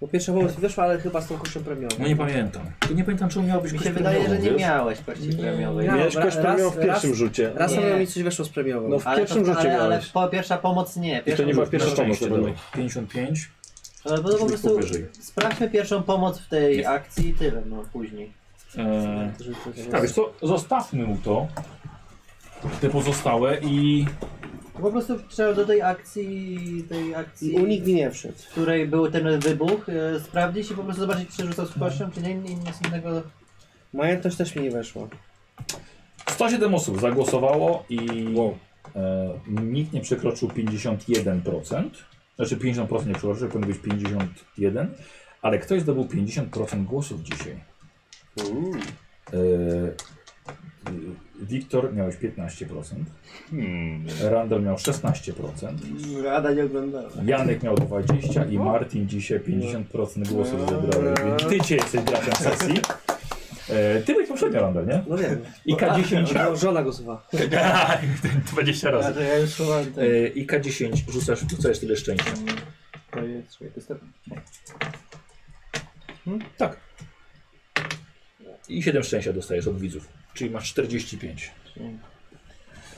Speaker 5: Bo pierwsza pomoc mi wyszła, ale chyba z tą kością premiową.
Speaker 1: No nie pamiętam. To nie pamiętam, czemu miałbyś
Speaker 10: Mi
Speaker 1: kość
Speaker 10: się wydaje, że
Speaker 1: premiową,
Speaker 10: nie
Speaker 1: wiesz?
Speaker 10: miałeś kości premiowej.
Speaker 5: miałem.
Speaker 2: Miałeś
Speaker 5: Dobra,
Speaker 2: kość premiową w
Speaker 5: raz-
Speaker 2: pierwszym
Speaker 5: raz-
Speaker 2: rzucie.
Speaker 5: Raz
Speaker 10: Nie.
Speaker 5: na mi coś weszło z premiową.
Speaker 2: No w
Speaker 10: Ale
Speaker 2: pierwszym
Speaker 10: to,
Speaker 2: rzucie
Speaker 10: ale, ale
Speaker 2: miałeś.
Speaker 10: po, pierwsza pomoc nie.
Speaker 2: I to
Speaker 10: Pierwsza
Speaker 2: nie była
Speaker 1: Na
Speaker 2: pierwsza pomoc.
Speaker 1: szczęście,
Speaker 2: na pewno.
Speaker 1: dawaj. 55.
Speaker 10: Ale to po
Speaker 1: Czyli
Speaker 10: prostu
Speaker 1: powyżej.
Speaker 10: sprawdźmy pierwszą pomoc w tej akcji i tyle, no później.
Speaker 1: Eee, tak, wiesz co, zostawmy mu to. Te pozostałe i...
Speaker 10: To po prostu trzeba do tej akcji, tej
Speaker 5: I
Speaker 10: akcji,
Speaker 5: unik mi nie wszedł.
Speaker 10: w której był ten wybuch, e, sprawdzić i po prostu zobaczyć, czy rzucał z kością, czy nie, nie nic innego.
Speaker 5: Majętność też mi nie weszła.
Speaker 1: 107 osób zagłosowało i e, nikt nie przekroczył 51%. Znaczy 50% nie przekroczył, powinno być 51, ale ktoś zdobył 50% głosów dzisiaj.
Speaker 4: Uuu.
Speaker 1: E, y, Wiktor miałeś 15%,
Speaker 4: Hmm.
Speaker 1: Randall miał 16%,
Speaker 10: Rada nie oglądała.
Speaker 1: Janek miał 20% i Martin dzisiaj 50% głosów zebrał. Ty cię jesteś graczem sesji. E, ty byłeś poprzednio, Randall, nie?
Speaker 5: No wiem.
Speaker 1: I K10
Speaker 5: No, żona głosowała.
Speaker 1: 20 Tak, razy.
Speaker 10: Ja już chowałem ten.
Speaker 1: E, I K10 rzucasz, rzucasz tyle szczęścia.
Speaker 10: To jest, słuchaj, to jest ten-
Speaker 1: Tak. I 7 szczęścia dostajesz od widzów. Czyli masz 45.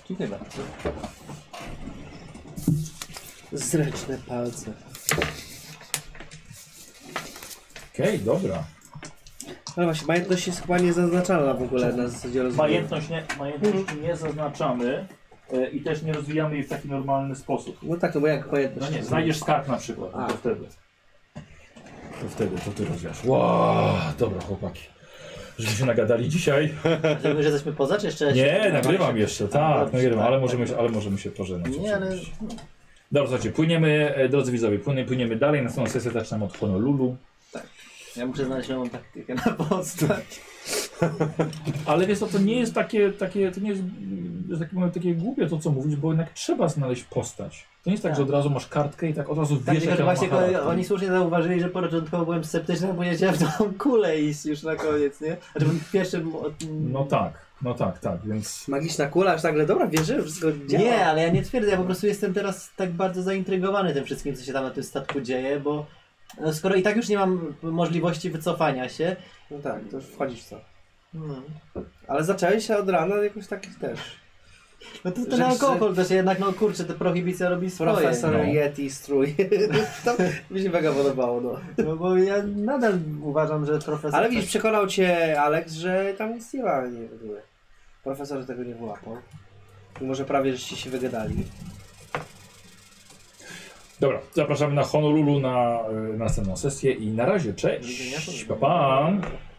Speaker 10: Dziękuję bardzo.
Speaker 5: Zręczne palce.
Speaker 1: Okej, dobra.
Speaker 5: Ale właśnie, majętność jest chyba niezaznaczalna w ogóle na zasadzie rozwoju.
Speaker 1: Majętność nie, majętności nie zaznaczamy e, i też nie rozwijamy jej w taki normalny sposób.
Speaker 5: No tak, no bo jak
Speaker 1: No
Speaker 5: majętność?
Speaker 1: nie, znajdziesz skarb na przykład, no to
Speaker 5: A.
Speaker 1: wtedy. To wtedy, to ty rozwijasz. Wow, dobra chłopaki. Żeśmy się nagadali dzisiaj.
Speaker 10: Że my, że jesteśmy poza, czy jeszcze?
Speaker 1: Nie,
Speaker 10: jeszcze-
Speaker 1: nagrywam jeszcze, tak, nagrywam, ale możemy, się- ale możemy się pożegnać.
Speaker 10: Nie, ale...
Speaker 1: oczywiście. Dobra, słuchajcie, płyniemy, e, drodzy widzowie, płyniemy, płyniemy dalej. Następną sesję zaczynamy od Honolulu.
Speaker 10: Ja muszę znaleźć nową taktykę na postać.
Speaker 1: Ale wiesz co, to nie jest takie, takie to nie jest, mm, że tak powiem, takie głupie to, co mówisz, bo jednak trzeba znaleźć postać. To nie jest tak,
Speaker 10: Tak.
Speaker 1: że od razu masz kartkę i tak od razu
Speaker 10: Tak,
Speaker 1: wiesz,
Speaker 10: tylko
Speaker 1: jaka
Speaker 10: że
Speaker 1: ma
Speaker 10: właśnie
Speaker 1: charakter.
Speaker 10: oni słusznie zauważyli, że początkowo byłem sceptyczny, bo jeździłem w tą kulę i już na koniec, nie? Znaczy bym pierwszym... Od...
Speaker 1: No tak, no tak, tak, więc...
Speaker 5: Magiczna kula, aż nagle, dobra, wierzę, wszystko działa.
Speaker 10: Nie, ale ja nie twierdzę, ja po prostu jestem teraz tak bardzo zaintrygowany tym wszystkim, co się tam na tym statku dzieje, bo no, skoro i tak już nie mam możliwości wycofania się,
Speaker 5: No tak, to już wchodzisz w to.
Speaker 10: no,
Speaker 5: Ale zacząłeś się od rana jakoś takich też.
Speaker 10: no to ten
Speaker 5: Że-
Speaker 10: alkohol też jednak, no kurczę, te prohibicja robi swoje.
Speaker 5: Profesor
Speaker 1: no.
Speaker 5: Yeti strój. to mi się mega podobało, no.
Speaker 10: No bo ja nadal uważam, że profesor...
Speaker 5: Ale widzisz, przekonał cię Alex, że tam nic nie ma nie, w ogóle. Profesor tego nie wyłapał. Mimo, że prawie żeście się wygadali.
Speaker 1: Dobra, e, zapraszamy na Honolulu na, y, na następną sesję i na razie, cześć, pa, pa.